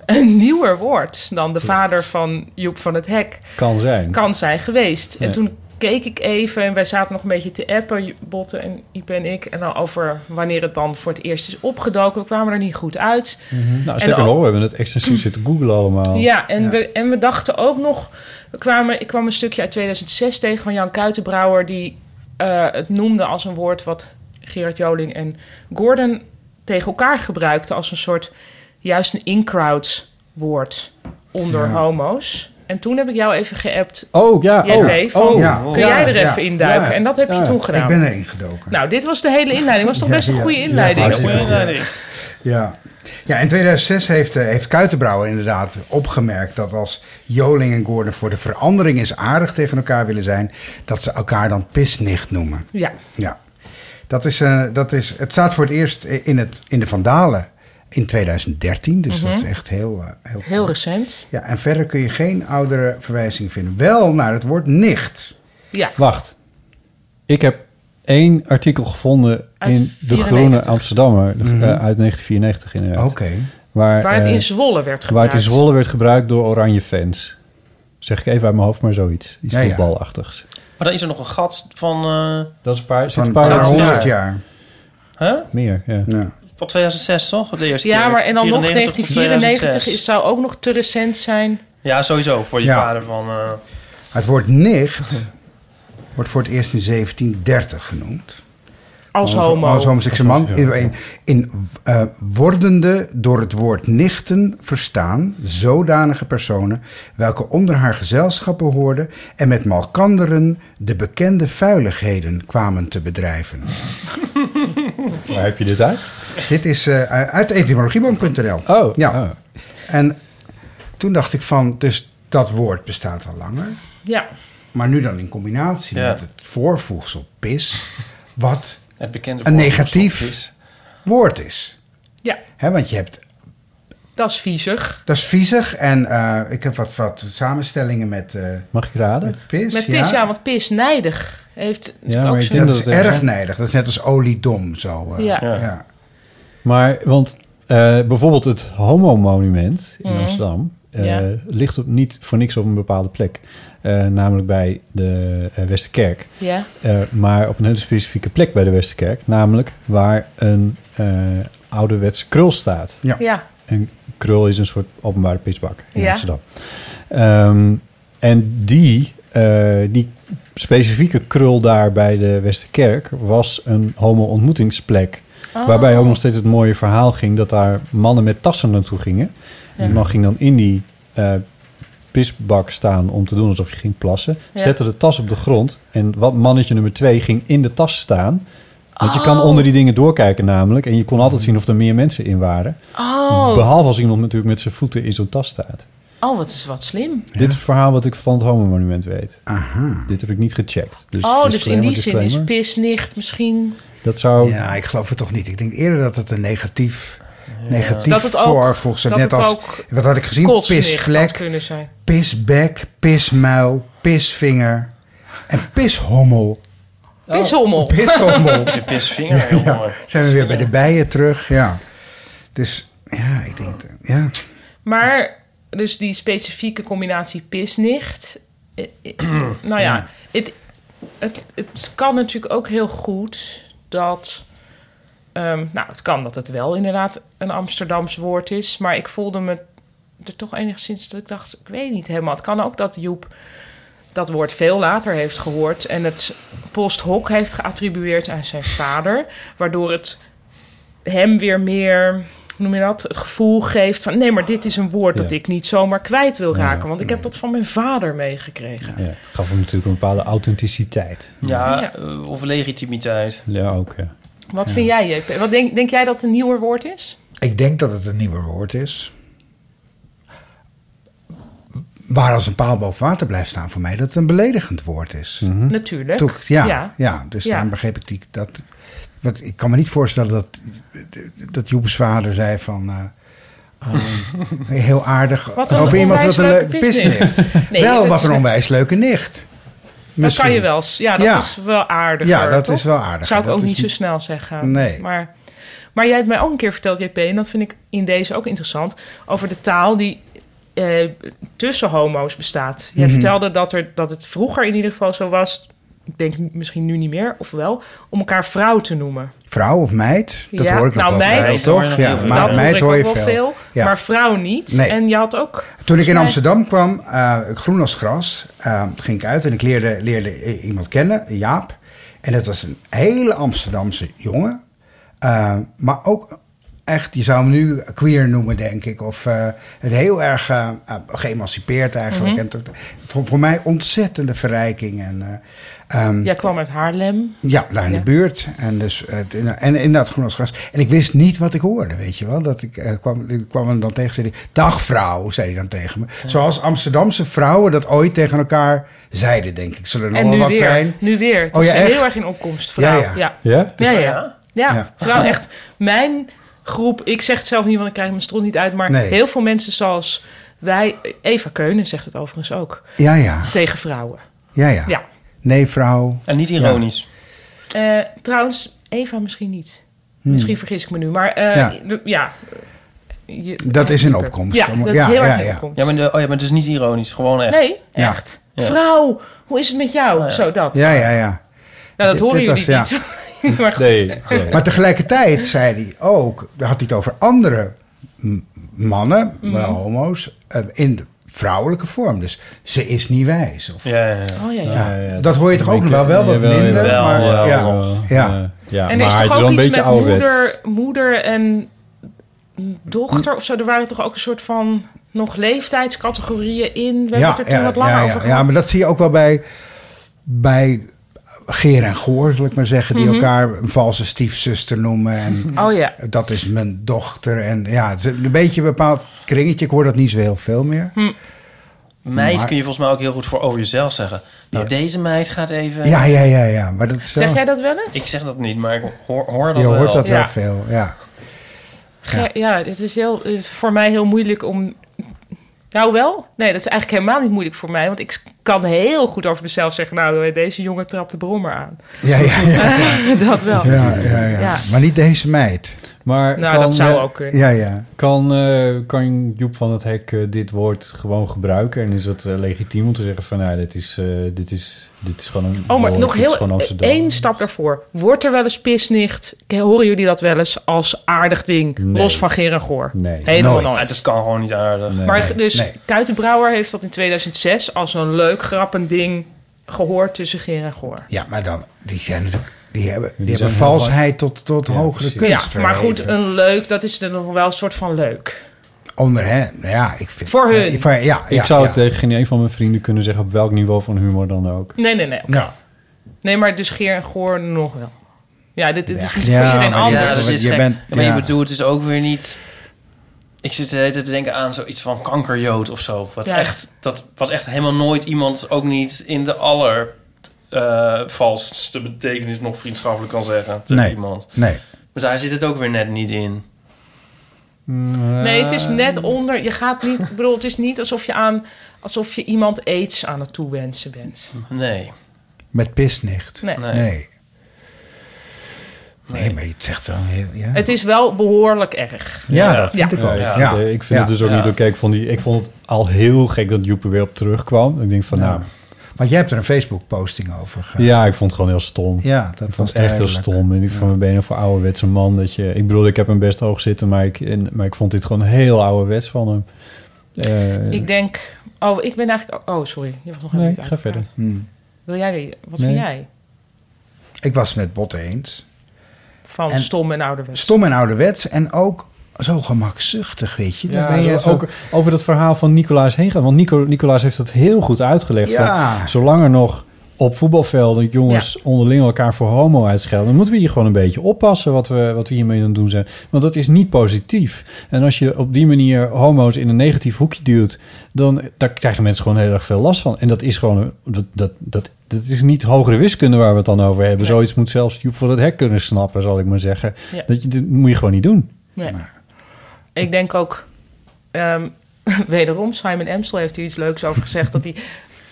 Speaker 1: een nieuwer woord dan de vader van Joep van het Hek
Speaker 3: Kan zijn.
Speaker 1: kan zijn geweest. En
Speaker 3: Ja.
Speaker 1: toen keek ik even en wij zaten nog een beetje te appen, Botten en Ipe en ik, en dan over wanneer het dan voor het eerst is opgedoken. We kwamen er niet goed uit.
Speaker 3: Mhm. Nou,
Speaker 1: En
Speaker 3: zeker
Speaker 1: al- Mm.
Speaker 3: nog. We hebben het extensief zitten googlen allemaal.
Speaker 1: Ja, en, We, en we dachten ook nog, we kwamen, ik kwam een stukje uit 2006 tegen van Jan Kuitenbrouwer, die eh, het noemde als een woord wat Gerard Joling en Gordon tegen elkaar gebruikten als een soort, juist een in-crowd woord onder
Speaker 3: Ja.
Speaker 1: homo's. En toen heb ik jou even geappt
Speaker 3: Oh, ja.
Speaker 1: Jij
Speaker 3: oh,
Speaker 1: weet van,
Speaker 3: oh,
Speaker 1: kun jij er even induiken? En dat heb je toen gedaan.
Speaker 4: Ik ben erin gedoken.
Speaker 1: Nou, dit was de hele inleiding. Was toch
Speaker 4: Ja,
Speaker 1: best een
Speaker 4: ja,
Speaker 1: goede
Speaker 4: ja,
Speaker 1: inleiding?
Speaker 4: hartstikke goed. Ja. ja, in 2006 heeft, eh, heeft Kuitenbrouwer inderdaad opgemerkt dat als Joling en Gordon voor de verandering eens aardig tegen elkaar willen zijn, dat ze elkaar dan pisnicht noemen.
Speaker 1: Ja.
Speaker 4: Ja, dat is, eh, dat is, het staat voor het eerst in, het, in de Vandalen in 2013, dus dat
Speaker 1: Mhm.
Speaker 4: is echt heel, eh, heel
Speaker 1: Heel recent.
Speaker 4: Ja, en verder kun je geen oudere verwijzing vinden. Wel naar het woord nicht.
Speaker 1: Ja.
Speaker 3: Wacht. Ik heb één artikel gevonden
Speaker 1: Uit
Speaker 3: in de
Speaker 1: 94.
Speaker 3: Groene Amsterdammer. de-
Speaker 4: Mhm.
Speaker 3: eh, uit 1994 inderdaad.
Speaker 4: Oké.
Speaker 3: Waar,
Speaker 1: Waar het
Speaker 3: eh,
Speaker 1: in Zwolle werd
Speaker 3: Waar het in
Speaker 1: gebruikt.
Speaker 3: Zwolle werd gebruikt door oranje fans. Zeg ik even uit mijn hoofd, maar zoiets. Iets
Speaker 5: Ja, ja.
Speaker 3: voetbalachtigs.
Speaker 5: Maar dan is er nog een gat van... eh,
Speaker 3: Dat is een paar,
Speaker 5: van
Speaker 3: zit een paar,
Speaker 5: honderd Huh?
Speaker 3: Meer, ja.
Speaker 5: Van 2006 toch? De eerste
Speaker 1: Ja,
Speaker 5: keer.
Speaker 1: maar en dan nog
Speaker 5: 94 tot
Speaker 1: 1994
Speaker 5: 2006.
Speaker 1: is, zou ook nog te recent zijn.
Speaker 5: Ja, sowieso. Voor je
Speaker 4: Ja.
Speaker 5: vader van... eh,
Speaker 4: Het woord
Speaker 1: [laughs]
Speaker 4: nicht wordt voor het eerst in 1730 genoemd.
Speaker 1: Als homo.
Speaker 4: Als homoseksueel man.
Speaker 1: Als homo, ja.
Speaker 4: In, in eh, wordende door het woord nichten verstaan zodanige personen... welke onder haar gezelschappen hoorden... en met malkanderen de bekende vuiligheden kwamen te bedrijven.
Speaker 3: [laughs] Waar heb je dit uit?
Speaker 4: Dit is eh, uit etymologieboom.nl.
Speaker 3: Oh.
Speaker 4: Ja. En toen dacht ik van, dus dat woord bestaat al langer...
Speaker 1: Ja.
Speaker 4: Maar nu dan in combinatie
Speaker 5: Ja.
Speaker 4: met het voorvoegsel pis, wat
Speaker 5: [laughs] Het bekende
Speaker 4: een
Speaker 5: voorvoegsel
Speaker 4: negatief woord is.
Speaker 1: Ja.
Speaker 4: Hè, want je hebt,
Speaker 1: Dat is viezig.
Speaker 4: dat is viezig en eh, ik heb wat, wat samenstellingen met, eh,
Speaker 3: Mag ik raden?
Speaker 4: met pis.
Speaker 1: Met pis, ja, want pis nijdig heeft Oh, ook
Speaker 4: dat,
Speaker 1: zo'n-
Speaker 4: is erg nijdig. Dat is net als oliedom zo. eh,
Speaker 1: Ja.
Speaker 4: ja.
Speaker 1: Ja.
Speaker 3: Maar, want eh, bijvoorbeeld het Homo-monument in
Speaker 1: Mhm.
Speaker 3: Amsterdam... eh,
Speaker 1: Ja.
Speaker 3: ligt op, niet voor niks op een bepaalde plek. Eh, namelijk bij de eh, Westerkerk.
Speaker 1: Ja.
Speaker 3: Eh, maar op een hele specifieke plek bij de Westerkerk. Namelijk waar een eh ouderwets krul staat.
Speaker 4: Ja.
Speaker 1: Ja.
Speaker 3: Een krul is een soort openbare pisbak in
Speaker 1: Ja.
Speaker 3: Amsterdam. Ehm, en die, eh, die specifieke krul daar bij de Westerkerk... was een homo-ontmoetingsplek.
Speaker 1: Oh.
Speaker 3: Waarbij ook nog steeds het mooie verhaal ging... dat daar mannen met tassen naartoe gingen. En
Speaker 1: Ja.
Speaker 3: die man ging dan in die eh, pisbak staan om te doen alsof je ging plassen.
Speaker 1: Ja.
Speaker 3: Zette de tas op de grond. En wat mannetje nummer twee ging in de tas staan. Want je kan
Speaker 1: Oh.
Speaker 3: onder die dingen doorkijken namelijk. En je kon altijd zien of er meer mensen in waren.
Speaker 1: Oh.
Speaker 3: Behalve als iemand natuurlijk met zijn voeten in zo'n tas staat.
Speaker 1: Oh, wat is wat slim.
Speaker 3: Dit is het verhaal wat ik van het homo-monument weet.
Speaker 4: Aha.
Speaker 3: Dit heb ik niet gecheckt. Dus
Speaker 1: oh, dus in
Speaker 3: disclaimer,
Speaker 1: die zin is
Speaker 3: disclaimer.
Speaker 1: pis nicht misschien...
Speaker 3: Dat zou...
Speaker 4: Ja, ik geloof het toch niet. Ik denk eerder dat het een negatief, negatief
Speaker 1: Dat het ook-
Speaker 4: voorvoegsel...
Speaker 1: dat
Speaker 4: Net
Speaker 1: het
Speaker 4: als,
Speaker 1: ook
Speaker 4: wat had ik gezien?
Speaker 1: kotsnicht had
Speaker 4: Pisvlek,
Speaker 1: kunnen zijn.
Speaker 4: pisbek, pismuil, pisvinger en pishommel.
Speaker 3: Oh.
Speaker 1: Pissommel.
Speaker 4: Pissommel.
Speaker 5: Je pisvinger,
Speaker 4: [laughs]
Speaker 5: jongen.
Speaker 4: Zijn we weer bij de bijen terug, ja. Dus ja, ik denk, eh, ja.
Speaker 1: Maar dus die specifieke combinatie pisnicht. eh, eh, nou ja,
Speaker 4: Ja.
Speaker 1: Het, het, het kan natuurlijk ook heel goed dat. ehm, nou, het kan dat het wel inderdaad een Amsterdams woord is. Maar ik voelde me er toch enigszins dat ik dacht, ik weet niet helemaal. Het kan ook dat Joep dat woord veel later heeft gehoord en het post hoc heeft geattribueerd aan zijn vader, waardoor het hem weer meer, hoe noem je dat, het gevoel geeft van nee, maar dit is een woord dat
Speaker 3: Ja.
Speaker 1: ik niet zomaar kwijt wil
Speaker 3: Ja,
Speaker 1: raken, want ik heb dat van mijn vader meegekregen.
Speaker 3: Ja, het gaf hem natuurlijk een bepaalde authenticiteit.
Speaker 5: Ja, eh, of legitimiteit.
Speaker 3: Ja, ook, ja.
Speaker 1: Wat vind jij, JP? Wat denk, denk jij dat het een nieuwer woord is?
Speaker 4: Ik denk dat het een nieuwer woord is. Waar als een paal boven water blijft staan voor mij, dat het een beledigend woord is.
Speaker 1: Natuurlijk.
Speaker 4: Toch, ja,
Speaker 1: Ja.
Speaker 4: ja. dus
Speaker 1: Ja.
Speaker 4: daarom begreep ik die, dat. Want ik kan me niet voorstellen dat, dat Joep's vader zei van. eh, ehm,
Speaker 1: [laughs]
Speaker 4: heel aardig.
Speaker 1: Wat een onwijs leuke pisnicht. Nee,
Speaker 4: wel,
Speaker 1: dat
Speaker 4: wat
Speaker 1: is-
Speaker 4: een onwijs leuke nicht.
Speaker 1: Dat
Speaker 4: Misschien.
Speaker 1: kan je wel. s- Ja, dat
Speaker 4: Ja.
Speaker 1: is wel aardiger.
Speaker 4: Ja, dat
Speaker 1: toch?
Speaker 4: is wel aardiger.
Speaker 1: Zou ik
Speaker 4: Dat
Speaker 1: ook
Speaker 4: is
Speaker 1: niet zo
Speaker 4: niet-
Speaker 1: snel zeggen.
Speaker 4: Nee.
Speaker 1: Maar, maar jij hebt mij ook een keer verteld, JP, en dat vind ik in deze ook interessant, over de taal die eh, tussen homo's bestaat. Jij
Speaker 9: Mhm.
Speaker 1: vertelde dat, er, dat het vroeger in ieder geval zo was, ik denk misschien nu niet meer, of wel, om elkaar vrouw te noemen.
Speaker 4: Vrouw of meid, dat hoor
Speaker 1: nou,
Speaker 4: ik nog wel
Speaker 1: meid,
Speaker 4: veel, toch? Ja,
Speaker 1: dat
Speaker 4: maar
Speaker 1: hoor
Speaker 4: meid
Speaker 1: ik
Speaker 4: hoor
Speaker 1: ook
Speaker 4: je
Speaker 1: wel
Speaker 4: veel.
Speaker 1: veel,
Speaker 4: Ja.
Speaker 1: maar vrouw niet.
Speaker 4: Nee.
Speaker 1: en je had ook...
Speaker 4: Toen ik in
Speaker 1: volgens mij-
Speaker 4: Amsterdam kwam, eh, groen als gras, eh, ging ik uit en ik leerde, leerde i- iemand kennen, Jaap. En dat was een hele Amsterdamse jongen. Eh, maar ook echt, je zou hem nu queer noemen, denk ik. Of eh, het heel erg eh, eh, geëmancipeerd eigenlijk.
Speaker 1: Mhm.
Speaker 4: En tot- voor, voor mij ontzettende verrijking. En, eh, ehm,
Speaker 1: Jij kwam uit Haarlem.
Speaker 4: ja, daar in
Speaker 1: Ja.
Speaker 4: de buurt. En, dus, eh, t- en, en inderdaad groen als gras. En ik wist niet wat ik hoorde, weet je wel. Dat ik, eh, kwam, ik kwam hem dan tegen, zei hij, dag vrouw, zei hij dan tegen me. Zoals Amsterdamse vrouwen dat ooit tegen elkaar zeiden, denk ik. Zullen er nog
Speaker 1: En
Speaker 4: wel
Speaker 1: nu
Speaker 4: wat
Speaker 1: weer.
Speaker 4: zijn?
Speaker 1: Nu weer. Het
Speaker 4: Oh,
Speaker 1: is
Speaker 4: ja, echt?
Speaker 1: heel erg in opkomst, vrouw.
Speaker 4: Ja, ja.
Speaker 1: Ja,
Speaker 4: Ja?
Speaker 1: ja, ja. Ja,
Speaker 4: Ja.
Speaker 1: vrouw echt. Mijn groep, ik zeg het zelf niet, want ik krijg mijn strot niet uit. Maar
Speaker 4: Nee.
Speaker 1: heel veel mensen zoals wij... Eva Keunen zegt het overigens ook.
Speaker 4: Ja, ja.
Speaker 1: Tegen vrouwen.
Speaker 4: Ja, ja.
Speaker 1: Ja.
Speaker 4: Nee, vrouw.
Speaker 5: En niet
Speaker 4: ironisch.
Speaker 1: Eh, trouwens, Eva misschien niet.
Speaker 4: Hmm.
Speaker 1: Misschien vergis ik me nu. Maar eh,
Speaker 4: Ja.
Speaker 1: de- ja. Je-
Speaker 4: Dat is in opkomst.
Speaker 1: Ja,
Speaker 4: Allemaal-
Speaker 1: dat
Speaker 4: ja,
Speaker 1: is heel
Speaker 4: ja,
Speaker 1: erg in
Speaker 4: ja.
Speaker 1: opkomst.
Speaker 5: Ja, maar, de- oh ja, maar dus niet ironisch, gewoon echt.
Speaker 1: Nee,
Speaker 5: Ja.
Speaker 1: echt.
Speaker 5: Ja.
Speaker 1: Vrouw, hoe is het met jou? Zo dat. [laughs]
Speaker 4: Ja, ja, ja.
Speaker 1: Nou, dat
Speaker 4: Dit-
Speaker 1: horen
Speaker 4: dit
Speaker 1: jullie
Speaker 4: was- ja.
Speaker 1: niet. maar goed. [laughs]
Speaker 4: Maar tegelijkertijd zei hij ook, had hij het over andere m- mannen,
Speaker 1: Mhm.
Speaker 4: wel homo's, eh, in de vrouwelijke vorm. Dus ze is niet wijs. Of,
Speaker 5: Ja, ja, ja.
Speaker 1: Oh, ja, ja.
Speaker 4: dat, hoor je toch ook nog wel, wel wat
Speaker 3: Jawel,
Speaker 4: minder.
Speaker 3: jawel,
Speaker 4: maar,
Speaker 3: jawel,
Speaker 4: ja,
Speaker 3: jawel.
Speaker 4: ja.
Speaker 3: Ja,
Speaker 1: en er
Speaker 3: maar
Speaker 1: is
Speaker 3: het
Speaker 1: toch
Speaker 3: is
Speaker 1: ook
Speaker 3: wel een
Speaker 1: iets
Speaker 3: beetje
Speaker 1: met
Speaker 3: ouderwets.
Speaker 1: moeder, moeder en dochter of zo. Er waren toch ook een soort van nog leeftijdscategorieën in. We hebben het er toen wat langer
Speaker 4: ja, ja.
Speaker 1: over
Speaker 4: Ja,
Speaker 1: gehad.
Speaker 4: maar dat zie je ook wel bij, bij Geer en Goor, zal ik maar zeggen. Die
Speaker 1: Mhm.
Speaker 4: elkaar een valse stiefzuster noemen. En
Speaker 1: [laughs] Oh ja.
Speaker 4: dat is mijn dochter. En ja, het is een beetje een bepaald kringetje. Ik hoor dat niet zo heel veel meer.
Speaker 5: Meid
Speaker 4: Maar-
Speaker 5: kun je volgens mij ook heel goed voor over jezelf zeggen. Nou, deze meid gaat even...
Speaker 4: Ja, ja, ja, ja. Maar dat is wel-
Speaker 1: Zeg jij dat wel eens?
Speaker 5: Ik zeg dat niet, maar ik hoor, hoor dat
Speaker 4: je
Speaker 5: wel.
Speaker 4: hoort dat wel
Speaker 1: Ja.
Speaker 4: veel, ja.
Speaker 1: Ge- ja, het is heel, eh, voor mij heel moeilijk om... Nou wel? Nee, dat is eigenlijk helemaal niet moeilijk voor mij. Want ik kan heel goed over mezelf zeggen... nou, deze jongen trapt de brommer aan.
Speaker 4: Ja, ja, ja.
Speaker 1: [laughs] dat wel.
Speaker 4: Ja, ja, ja.
Speaker 1: Ja.
Speaker 4: Maar niet deze meid.
Speaker 3: Maar eh,
Speaker 1: Nou, dat zou ook kunnen.
Speaker 4: Ja, ja.
Speaker 3: Kan, eh, kan Joep van het Hek eh, dit woord gewoon gebruiken? En is dat eh, legitiem om te zeggen van... Nou, dit is, eh, dit is, dit is gewoon een
Speaker 1: Oh, maar
Speaker 3: woord,
Speaker 1: nog
Speaker 3: dit is gewoon
Speaker 1: heel
Speaker 3: Amsterdam.
Speaker 1: één stap daarvoor. Wordt er wel eens pisnicht? K- Horen jullie dat wel eens als aardig ding?
Speaker 5: Nee.
Speaker 1: Los van Ger en Goor.
Speaker 3: Nee.
Speaker 1: Helemaal
Speaker 5: Nooit.
Speaker 1: nooit.
Speaker 5: Nou, Het kan gewoon niet aardig.
Speaker 1: maar dus Kuitenbrouwer heeft dat in 2006 als een leuk grappend ding gehoord tussen Ger en Goor.
Speaker 4: Ja, maar dan, die zijn natuurlijk, die hebben, die
Speaker 3: zijn
Speaker 4: hebben
Speaker 3: heel
Speaker 4: valsheid tot, tot hogere
Speaker 1: Ja,
Speaker 4: kunst.
Speaker 1: maar goed,
Speaker 4: verheven.
Speaker 1: een leuk, dat is er nog wel een soort van leuk.
Speaker 4: Onder hen, ja, ik vind...
Speaker 1: Voor hun.
Speaker 4: Ja, van- ja, ja,
Speaker 3: ik zou
Speaker 4: ja.
Speaker 3: het eh, tegen geen een van mijn vrienden kunnen zeggen... op welk niveau van humor dan ook.
Speaker 1: Nee, nee, nee. oké.
Speaker 4: Nou.
Speaker 3: Ja.
Speaker 1: Nee, maar dus Geer en Goor nog wel. Ja, dit, dit is niet
Speaker 3: Ja,
Speaker 1: voor iedereen
Speaker 3: maar
Speaker 1: anders.
Speaker 5: Ja, dat is
Speaker 3: Je
Speaker 5: gek.
Speaker 3: bent-
Speaker 5: maar
Speaker 3: ja.
Speaker 5: je bedoelt dus ook weer niet... Ik zit de hele tijd te denken aan zoiets van kankerjood of zo. Wat,
Speaker 1: Ja.
Speaker 5: echt, dat, wat echt helemaal nooit iemand, ook niet in de aller eh, valsste betekenis nog vriendschappelijk kan zeggen tegen
Speaker 4: Nee,
Speaker 5: iemand.
Speaker 4: nee.
Speaker 5: Maar daar zit het ook weer net niet in.
Speaker 1: Nee, het is
Speaker 4: Ehm.
Speaker 1: net onder. Je gaat niet. Ik bedoel, het is niet alsof je aan. alsof je iemand aids aan het toewensen bent.
Speaker 5: Nee.
Speaker 4: Met pisnicht.
Speaker 1: Nee.
Speaker 4: nee. Nee, maar je zegt wel heel... Ja,
Speaker 1: Het is wel behoorlijk erg.
Speaker 4: Ja, dat vind ik ook.
Speaker 3: ik vind,
Speaker 4: Ja.
Speaker 3: eh, ik vind
Speaker 4: Ja.
Speaker 3: het dus ook
Speaker 4: Ja.
Speaker 3: niet oké. Ik, vond die- ik vond het al heel gek dat Joep er weer op terugkwam. Ik denk van, nou...
Speaker 4: Want jij hebt er een Facebook-posting over ge-
Speaker 3: Ja, ik vond het gewoon heel stom.
Speaker 4: Ja, dat
Speaker 3: ik vond
Speaker 4: was
Speaker 3: het echt heel
Speaker 4: duidelijk.
Speaker 3: stom. En ik van mijn benen voor ouderwetse man. Dat je, ik bedoel, ik heb hem best hoog zitten, maar ik, en, maar ik vond dit gewoon heel ouderwets van hem. Eh,
Speaker 1: Ik denk... Oh, ik ben eigenlijk... Oh, sorry. Je was nog
Speaker 3: Nee,
Speaker 1: helemaal niet
Speaker 3: ga
Speaker 1: uitgepraat.
Speaker 3: verder.
Speaker 4: Hmm.
Speaker 1: Wil jij... die- Wat
Speaker 4: Nee.
Speaker 1: vind jij
Speaker 4: Ik was het met Botten eens.
Speaker 1: van
Speaker 4: En-
Speaker 1: stom en ouderwets?
Speaker 4: Stom en ouderwets en ook zo gemakzuchtig, weet je. Dan
Speaker 3: Ja,
Speaker 4: ben je
Speaker 3: zo-
Speaker 4: zo-
Speaker 3: ook over dat verhaal van Nicolaas heen gaan. Want Nico, Nicolaas heeft dat heel goed uitgelegd.
Speaker 4: Ja.
Speaker 3: Van, zolang er nog op voetbalvelden jongens onderling elkaar voor homo uitschelden... dan moeten we hier gewoon een beetje oppassen wat we, wat we hiermee aan het doen zijn. Want dat is niet positief. En als je op die manier homo's in een negatief hoekje duwt... dan daar krijgen mensen gewoon heel erg veel last van. En dat is gewoon... een- Dat, dat, dat, dat is niet hogere wiskunde waar we het dan over hebben. Zoiets moet zelfs Joep van het hek kunnen snappen, zal ik maar zeggen.
Speaker 1: Ja.
Speaker 3: Dat, je- dat moet je gewoon niet doen.
Speaker 1: Nee. Ik denk ook, ehm, [laughs] wederom, Simon Amstel heeft hier iets leuks over gezegd. Dat hij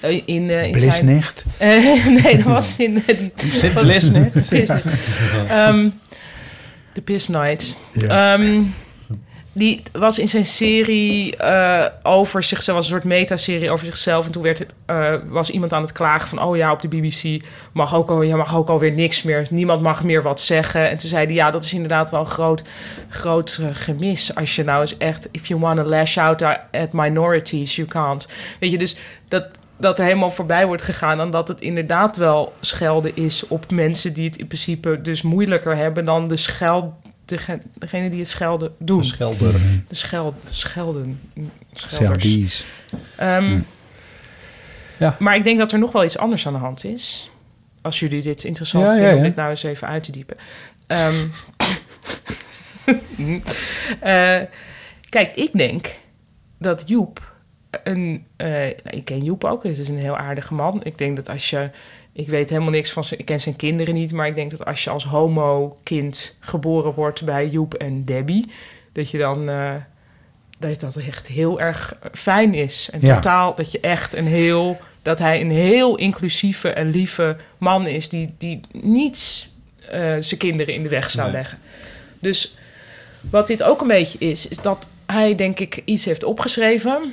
Speaker 1: eh, in, eh, in
Speaker 4: Blisnicht?
Speaker 1: zijn... Eh, [laughs] nee, dat was in... eh, die,
Speaker 4: Zit
Speaker 1: [laughs]
Speaker 4: Blisnicht?
Speaker 1: Blisnicht. Ehm, de Piss Nights.
Speaker 4: Ja.
Speaker 1: Ehm, die was in zijn serie eh, over zichzelf, was een soort metaserie over zichzelf. En toen werd, het, eh, was iemand aan het klagen van: Oh ja, op de BBC mag ook, al, ja, mag ook alweer niks meer. Niemand mag meer wat zeggen. En toen zei hij: Ja, dat is inderdaad wel een groot, groot eh, gemis. Als je nou eens echt, if you want to lash out at minorities, you can't. Weet je, dus dat, dat er helemaal voorbij wordt gegaan. En dat het inderdaad wel schelden is op mensen die het in principe dus moeilijker hebben dan de scheld. dege- Degene die het schelden doen.
Speaker 3: De schelder.
Speaker 1: De schel, schelden. Schelders.
Speaker 4: Seldies.
Speaker 1: Ehm,
Speaker 3: Mhm. Ja.
Speaker 1: Maar ik denk dat er nog wel iets anders aan de hand is. Als jullie dit interessant
Speaker 3: Ja, ja,
Speaker 1: vinden om
Speaker 3: ja.
Speaker 1: dit nou eens even uit te diepen. Ehm, [laughs] eh, kijk, ik denk dat Joep een... eh, nou, ik ken Joep ook, dus het is een heel aardige man. Ik denk dat als je... Ik weet helemaal niks van zijn... Ik ken zijn kinderen niet, maar ik denk dat als je als homo-kind geboren wordt bij Joep en Debbie... dat je dan... eh, dat dat echt heel erg fijn is. En
Speaker 9: Ja.
Speaker 1: totaal dat je echt een heel... dat hij een heel inclusieve en lieve man is... die, die niets eh, zijn kinderen in de weg zou
Speaker 9: Nee.
Speaker 1: leggen. Dus wat dit ook een beetje is... is dat hij denk ik iets heeft opgeschreven...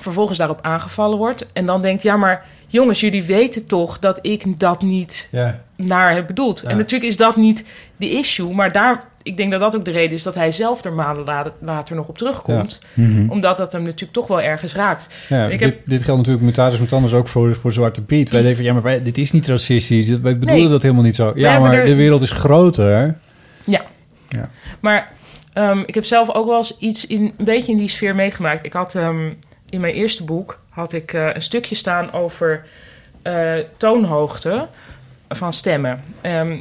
Speaker 1: vervolgens daarop aangevallen wordt... en dan denkt, ja maar jongens, jullie weten toch... dat ik dat niet
Speaker 3: Ja.
Speaker 1: naar heb bedoeld. En natuurlijk is dat niet de issue, maar daar, ik denk dat dat ook de reden is dat hij zelf er maanden la- later nog op terugkomt.
Speaker 3: Ja. Mhm.
Speaker 1: Omdat dat hem natuurlijk toch wel ergens raakt.
Speaker 3: Nou Ja,
Speaker 1: En ik
Speaker 3: dit,
Speaker 1: heb-
Speaker 3: dit geldt natuurlijk mutatis mutandis ook voor, voor Zwarte Piet. Wij denken, van, ja, maar wij- dit is niet racistisch. Dit- Wij bedoelen
Speaker 1: Nee.
Speaker 3: dat helemaal niet zo.
Speaker 1: Wij
Speaker 3: Ja,
Speaker 1: hebben
Speaker 3: maar
Speaker 1: er-
Speaker 3: de wereld is groter.
Speaker 1: ja.
Speaker 4: Ja.
Speaker 1: Maar ehm, ik heb zelf ook wel eens iets in, een beetje in die sfeer meegemaakt. Ik had ehm, in mijn eerste boek had ik, eh, een stukje staan over eh, toonhoogte van stemmen. Ehm,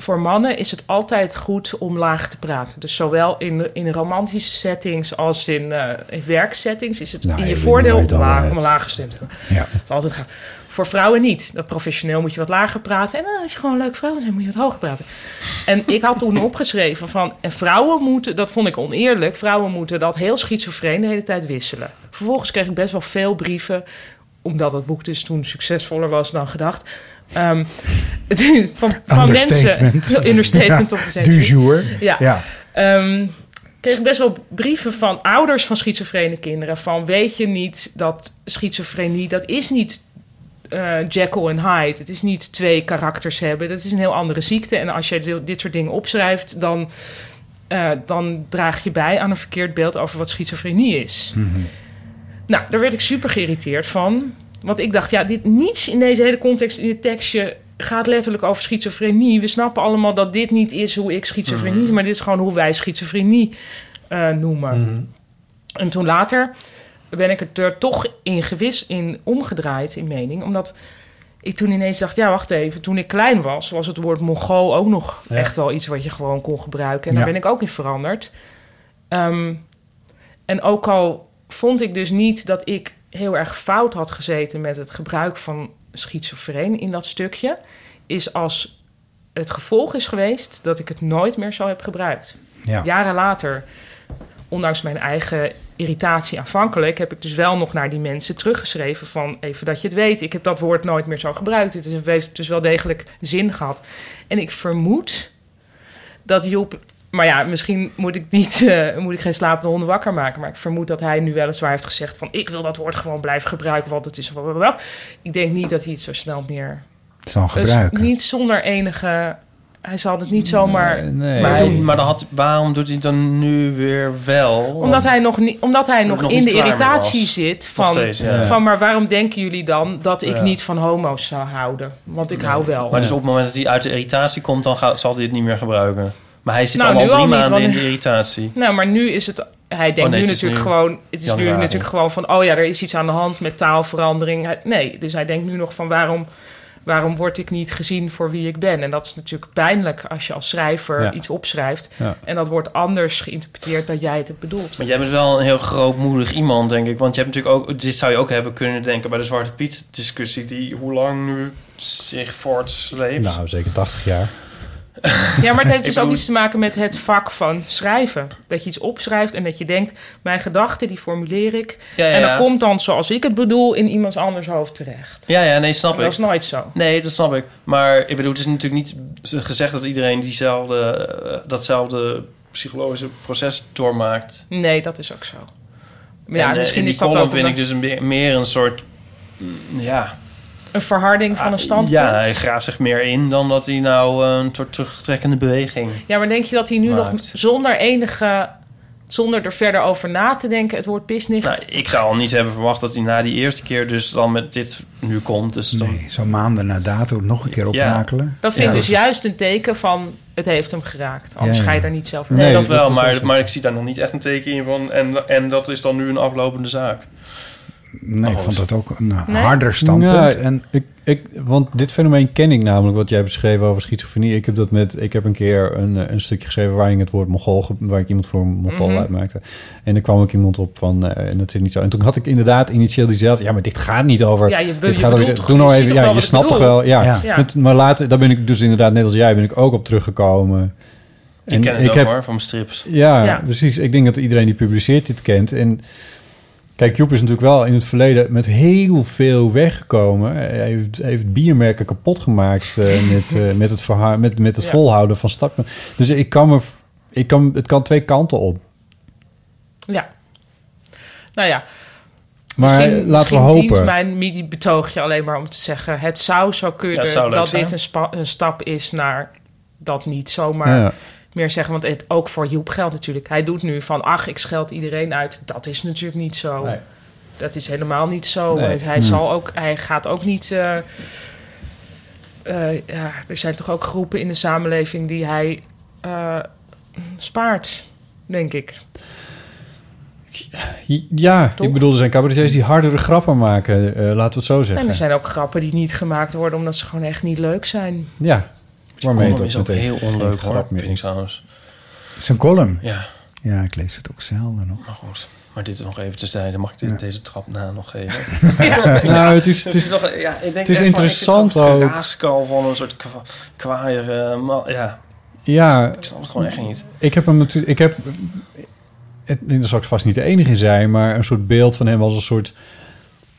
Speaker 1: voor mannen is het altijd goed om laag te praten. Dus zowel in, in romantische settings als in, eh, in werksettings is het
Speaker 9: Nou,
Speaker 1: in
Speaker 9: je
Speaker 1: je
Speaker 9: weet
Speaker 1: voordeel
Speaker 9: nooit
Speaker 1: om
Speaker 9: allemaal
Speaker 1: laag,
Speaker 9: hebt.
Speaker 1: om laag gestemd te hebben. Dat is altijd gaaf. Voor vrouwen niet. Dat professioneel moet je wat lager praten. En eh, als je gewoon een leuk vrouw bent, dan moet je wat hoger praten. En ik had
Speaker 9: [laughs]
Speaker 1: toen opgeschreven van... En vrouwen moeten, dat vond ik oneerlijk... vrouwen moeten dat heel schizofreen de hele tijd wisselen. Vervolgens kreeg ik best wel veel brieven... omdat het boek dus toen succesvoller was dan gedacht... Ehm, [laughs] het- van, van mensen...
Speaker 4: Understatement.
Speaker 1: Understatement
Speaker 4: Ja,
Speaker 1: op de zenuwen.
Speaker 4: du jour.
Speaker 1: Ja.
Speaker 4: Ja.
Speaker 1: Ehm, kreeg ik best wel brieven van ouders van schizofrene kinderen. Van weet je niet dat schizofrenie, dat is niet eh, Jekyll en Hyde. Het is niet twee karakters hebben. Dat is een heel andere ziekte. En als je dit- dit soort dingen opschrijft, dan, eh, dan draag je bij aan een verkeerd beeld over wat schizofrenie is.
Speaker 4: Mhm.
Speaker 1: Nou, daar werd ik super geïrriteerd van. Want ik dacht, ja, dit, niets in deze hele context, in dit tekstje, gaat letterlijk over schizofrenie. We snappen allemaal dat dit niet is hoe ik schizofrenie, maar dit is gewoon hoe wij schizofrenie eh, noemen. En toen later ben ik het er toch in gewis in omgedraaid in mening, omdat ik toen ineens dacht, ja, wacht even. Toen ik klein was, was het woord Mongool ook nog
Speaker 9: Ja.
Speaker 1: echt wel iets wat je gewoon kon gebruiken. En daar
Speaker 9: Ja.
Speaker 1: ben ik ook in veranderd. Ehm, en ook al vond ik dus niet dat ik heel erg fout had gezeten met het gebruik van schizofreen in dat stukje, is als het gevolg is geweest dat ik het nooit meer zo heb gebruikt.
Speaker 9: Ja.
Speaker 1: Jaren later, ondanks mijn eigen irritatie aanvankelijk, heb ik dus wel nog naar die mensen teruggeschreven van even dat je het weet. Ik heb dat woord nooit meer zo gebruikt. Het is- heeft dus wel degelijk zin gehad. En ik vermoed dat Job... Maar ja, misschien moet ik, niet, [laughs] eh, moet ik geen slapende honden wakker maken. Maar ik vermoed dat hij nu weliswaar heeft gezegd van... ik wil dat woord gewoon blijven gebruiken, want het is... blablabla. Ik denk niet dat hij het zo snel meer...
Speaker 4: Zal
Speaker 1: Dus
Speaker 4: gebruiken.
Speaker 1: niet zonder enige... Hij zal het niet zomaar
Speaker 5: Nee,
Speaker 1: maar
Speaker 5: maar,
Speaker 1: doen.
Speaker 5: maar dan had, waarom doet hij het dan nu weer wel?
Speaker 1: Omdat hij nog, niet, omdat hij nog,
Speaker 5: nog
Speaker 1: in
Speaker 5: niet
Speaker 1: de
Speaker 5: klaar mee
Speaker 1: irritatie
Speaker 5: was.
Speaker 1: zit
Speaker 5: Nog
Speaker 1: van,
Speaker 5: steeds, ja.
Speaker 1: van... maar waarom denken jullie dan dat ik
Speaker 5: Ja.
Speaker 1: niet van homo's zou houden? Want ik hou wel.
Speaker 5: Maar dus op het moment dat hij uit de irritatie komt, dan gaat, zal hij het niet meer gebruiken. Maar hij zit
Speaker 1: Nou,
Speaker 5: al
Speaker 1: nu
Speaker 5: drie
Speaker 1: al niet,
Speaker 5: maanden
Speaker 1: want-
Speaker 5: in de irritatie.
Speaker 1: [laughs] Nou, maar nu is het... Hij denkt
Speaker 5: Oh,
Speaker 1: nu
Speaker 5: nee, het is
Speaker 1: natuurlijk
Speaker 5: nu
Speaker 1: gewoon... Het is nu
Speaker 5: januari.
Speaker 1: natuurlijk gewoon van... Oh ja, er is iets aan de hand met taalverandering. Hij- nee, dus hij denkt nu nog van... Waarom, waarom word ik niet gezien voor wie ik ben? En dat is natuurlijk pijnlijk als je als schrijver
Speaker 5: Ja.
Speaker 1: iets opschrijft.
Speaker 5: Ja.
Speaker 1: En dat wordt anders geïnterpreteerd dan jij het hebt bedoeld.
Speaker 5: Maar jij bent wel een heel grootmoedig iemand, denk ik. Want je hebt natuurlijk ook, dit zou je ook hebben kunnen denken bij de Zwarte Piet discussie, die hoe lang nu zich voortsleept.
Speaker 3: Nou, zeker 80 jaar.
Speaker 1: Ja, maar het
Speaker 5: [laughs]
Speaker 1: heeft
Speaker 5: Ik
Speaker 1: dus ook
Speaker 5: bedoel-
Speaker 1: iets te maken met het vak van schrijven. Dat je iets opschrijft en dat je denkt... mijn gedachten, die formuleer ik.
Speaker 5: Ja, ja,
Speaker 1: En dat
Speaker 5: ja.
Speaker 1: komt dan, zoals ik het bedoel... in iemands anders hoofd terecht.
Speaker 5: Ja, ja, nee, snap
Speaker 1: En
Speaker 5: ik.
Speaker 1: dat is nooit zo.
Speaker 5: Nee, dat snap ik. Maar ik bedoel, het is natuurlijk niet gezegd dat iedereen diezelfde, eh, datzelfde psychologische proces doormaakt.
Speaker 1: Nee, dat is ook zo. Maar ja,
Speaker 5: En, eh,
Speaker 1: misschien
Speaker 5: in die
Speaker 1: is dat
Speaker 5: column
Speaker 1: ook
Speaker 5: vind
Speaker 1: een,
Speaker 5: ik dus een, meer- meer een soort, mm, ja...
Speaker 1: een verharding van een standpunt.
Speaker 5: dus- Ah, Ja, hij graaft zich meer in dan dat hij nou eh, een soort terugtrekkende beweging...
Speaker 1: Ja, maar denk je dat hij nu nog
Speaker 5: Maakt.
Speaker 1: zonder enige... zonder er verder over na te denken... het woord pisnicht...
Speaker 5: Nou, ik zou al niet hebben verwacht dat hij na die eerste keer dus dan met dit nu komt. Dus dan...
Speaker 4: Zo maanden na dato nog een keer opnakelen.
Speaker 1: dat vind ik
Speaker 4: Ja.
Speaker 1: dus juist een teken van... het heeft hem geraakt. Anders
Speaker 4: Ja, ja.
Speaker 1: ga je daar niet zelf
Speaker 5: Nee,
Speaker 1: naar
Speaker 5: dat wel, maar, maar ik zie daar nog niet echt een teken in van. En, en dat is dan nu een aflopende zaak.
Speaker 4: Nee, ik vond dat ook een eh,
Speaker 5: Nee?
Speaker 4: harder standpunt.
Speaker 3: Ja,
Speaker 4: en...
Speaker 3: ik, ik, want dit fenomeen ken ik namelijk, wat jij beschreven over schizofrenie. Ik heb, dat met, ik heb een keer een, eh, een stukje geschreven waarin het woord Mongool, ge- waar ik iemand voor Mongool
Speaker 9: Mhm.
Speaker 3: uitmaakte. En er kwam ook iemand op van, eh, en dat is niet zo. En toen had ik inderdaad initieel diezelfde, ja, maar dit gaat niet over.
Speaker 9: Ja, je be-
Speaker 3: dit
Speaker 9: je
Speaker 3: gaat over-
Speaker 9: bedoelt toch-
Speaker 3: doe
Speaker 9: je
Speaker 3: nou
Speaker 9: ziet
Speaker 3: even,
Speaker 9: toch
Speaker 3: ja,
Speaker 9: wel
Speaker 3: je
Speaker 9: wat ik
Speaker 3: snapt toch
Speaker 9: bedoel?
Speaker 3: wel. Ja.
Speaker 9: Ja. Ja.
Speaker 3: Maar t- maar later, daar ben ik dus inderdaad, net als jij, ben ik ook op teruggekomen.
Speaker 5: Ik ken het ook, hoor, van mijn strips.
Speaker 3: Ja,
Speaker 5: Ja.
Speaker 3: precies. Ik denk dat iedereen die publiceert dit kent. En kijk, Joep is natuurlijk wel in het verleden met heel veel weggekomen. Hij heeft, hij heeft biermerken kapot gemaakt eh,
Speaker 1: [laughs]
Speaker 3: met, eh, met het, verha- met, met het
Speaker 1: Ja.
Speaker 3: volhouden van stappen. Dus ik kan me, v- ik kan, het kan twee kanten op.
Speaker 1: Ja. Nou ja.
Speaker 3: Maar laten
Speaker 1: misschien
Speaker 3: we hopen.
Speaker 1: dient mijn midi-betoogje alleen maar om te zeggen... het zou zo kunnen
Speaker 5: Ja, zou leuk
Speaker 1: dat
Speaker 5: zijn.
Speaker 1: dit een, spa- een stap is naar dat niet zomaar
Speaker 3: Ja.
Speaker 1: meer zeggen. Want het, ook voor Joep geldt natuurlijk. Hij doet nu van, ach, ik scheld iedereen uit. Dat is natuurlijk niet zo. Dat is helemaal niet zo.
Speaker 9: Nee.
Speaker 1: Want Hij,
Speaker 3: Mm.
Speaker 9: Hmm.
Speaker 1: zal ook, hij gaat ook niet... eh, eh, ja, er zijn toch ook groepen in de samenleving die hij eh, spaart, denk ik.
Speaker 3: Ja,
Speaker 1: Toch?
Speaker 3: ik bedoel, er zijn cabaretiers die hardere grappen maken. eh, laten we het zo
Speaker 1: En
Speaker 3: zeggen.
Speaker 1: er zijn ook grappen die niet gemaakt worden omdat ze gewoon echt niet leuk zijn.
Speaker 3: Ja, waarmee het
Speaker 5: column is ook
Speaker 3: meteen
Speaker 5: heel
Speaker 3: geen
Speaker 5: onleuk,
Speaker 3: grap
Speaker 5: hoor,
Speaker 3: meer
Speaker 5: vind ik trouwens.
Speaker 4: Zijn column.
Speaker 5: Ja.
Speaker 4: Ja, ik lees het ook zelden nog.
Speaker 5: Maar goed, maar dit nog even terzijde. Mag ik dit, deze trap na nog geven?
Speaker 3: [laughs] Nou, het is- het is-
Speaker 5: nog- ja,
Speaker 3: het
Speaker 5: ik denk
Speaker 3: is
Speaker 5: echt van,
Speaker 3: interessant
Speaker 5: ik vind zo'n
Speaker 3: ook.
Speaker 5: geraaskal van een soort kwa kwaaier... eh, man- ja,
Speaker 3: Ja.
Speaker 5: Ik snap het gewoon echt niet.
Speaker 3: Ik heb hem natuurlijk. Ik heb. Het, daar zal ik vast niet de enige in zijn, maar een soort beeld van hem als een soort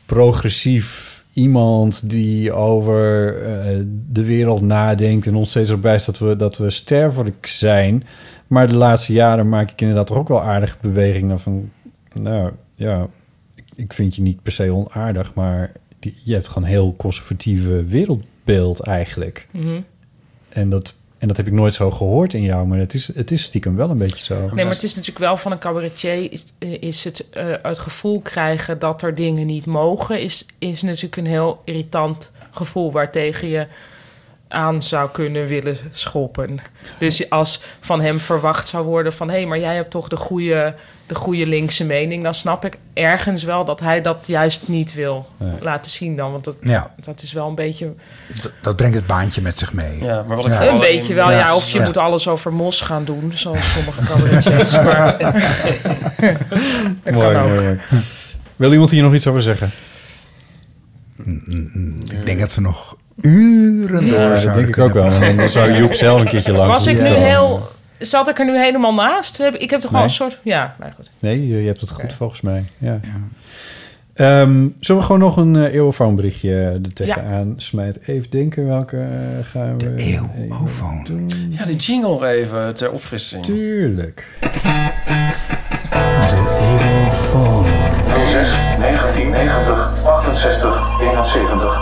Speaker 3: progressief iemand die over eh, de wereld nadenkt en ons steeds erbij staat dat we, dat we sterfelijk zijn. Maar de laatste jaren maak ik inderdaad toch ook wel aardige bewegingen van. Nou ja, ik, ik vind je niet per se onaardig, maar die- je hebt gewoon een heel conservatieve wereldbeeld eigenlijk.
Speaker 1: Mhm.
Speaker 3: En dat, en dat heb ik nooit zo gehoord in jou, maar het is, het is stiekem wel een beetje zo.
Speaker 1: Nee, maar het is natuurlijk wel van een cabaretier is, eh, is het, eh, het gevoel krijgen dat er dingen niet mogen, is, is natuurlijk een heel irritant gevoel waartegen je aan zou kunnen willen schoppen. Dus als van hem verwacht zou worden van... hé, hey, maar jij hebt toch de goede, de goede linkse mening... dan snap ik ergens wel dat hij dat juist niet wil
Speaker 4: Nee.
Speaker 1: laten zien dan. Want dat,
Speaker 4: Ja.
Speaker 1: dat is wel een beetje...
Speaker 4: Dat, dat brengt het baantje met zich mee.
Speaker 5: Ja, maar wat
Speaker 1: Een beetje wel, ja. Of je
Speaker 4: Ja.
Speaker 1: moet alles over mos gaan doen, zoals sommige cabaretiers. maar... dat
Speaker 3: Mooi,
Speaker 1: kan ook.
Speaker 3: mooi, mooi.
Speaker 1: [laughs]
Speaker 3: Wil iemand hier nog iets over zeggen? Mm,
Speaker 4: Ik denk dat we nog uren
Speaker 3: Ja,
Speaker 4: door
Speaker 3: dat
Speaker 4: zouden
Speaker 3: denk ik
Speaker 4: kunnen
Speaker 3: ook wel,
Speaker 4: praten.
Speaker 3: want dan zou Joep zelf een keertje langs
Speaker 1: Was ik nu
Speaker 3: moeten komen.
Speaker 1: heel... Zat ik er nu helemaal naast? Heb- Ik heb toch wel
Speaker 3: Nee.
Speaker 1: een soort... Ja, maar nou goed.
Speaker 3: Nee, je, je hebt het goed volgens mij. Ja. Ehm, zullen we gewoon nog een eh, eeuwofoonberichtje er tegenaan smijten? Even denken welke eh, gaan we... De eeuwofoon.
Speaker 5: Ja, de jingle nog even ter opfrissing.
Speaker 3: Tuurlijk.
Speaker 9: 06 1990 68 71.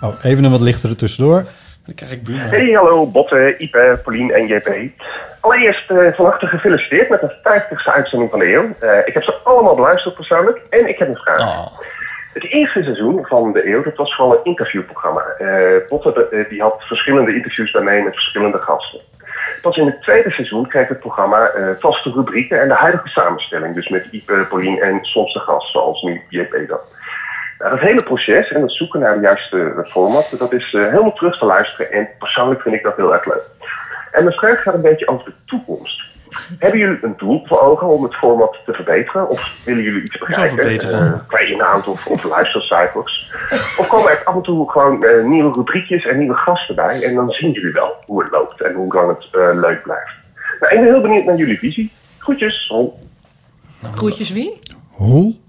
Speaker 3: Oh, even een wat lichtere tussendoor.
Speaker 5: Dan krijg ik buurman.
Speaker 9: Hey, hallo Botte, Ipe, Paulien en JP. Allereerst eh, van harte gefeliciteerd met de 50ste uitzending van de eeuw. Eh, ik heb ze allemaal beluisterd persoonlijk en ik heb een vraag. Het eerste seizoen van de eeuw, dat was vooral een interviewprogramma. Eh Botte eh, die had verschillende interviews bij mij met verschillende gasten. Pas in het tweede seizoen kreeg het programma eh, vaste rubrieken en de huidige samenstelling. Dus met Ipe, Paulien en soms de gast, zoals nu JP dan. Nou, dat hele proces en het zoeken naar de juiste format, dat is eh, helemaal terug te luisteren. En persoonlijk vind ik dat heel erg leuk. En mijn vraag gaat een beetje over de toekomst. Hebben jullie een doel voor ogen om het format te verbeteren? Of willen jullie iets
Speaker 5: Hoezo
Speaker 9: bereiken?
Speaker 5: verbeteren?
Speaker 9: Eh, qua inhoud of, of luistercijfers? Of komen er af en toe gewoon eh, nieuwe rubriekjes en nieuwe gasten bij? En dan zien jullie wel hoe het loopt en hoe lang het eh, leuk blijft. Nou, ik ben heel benieuwd naar jullie visie. Groetjes. Hoi.
Speaker 1: Groetjes wie?
Speaker 3: Hol?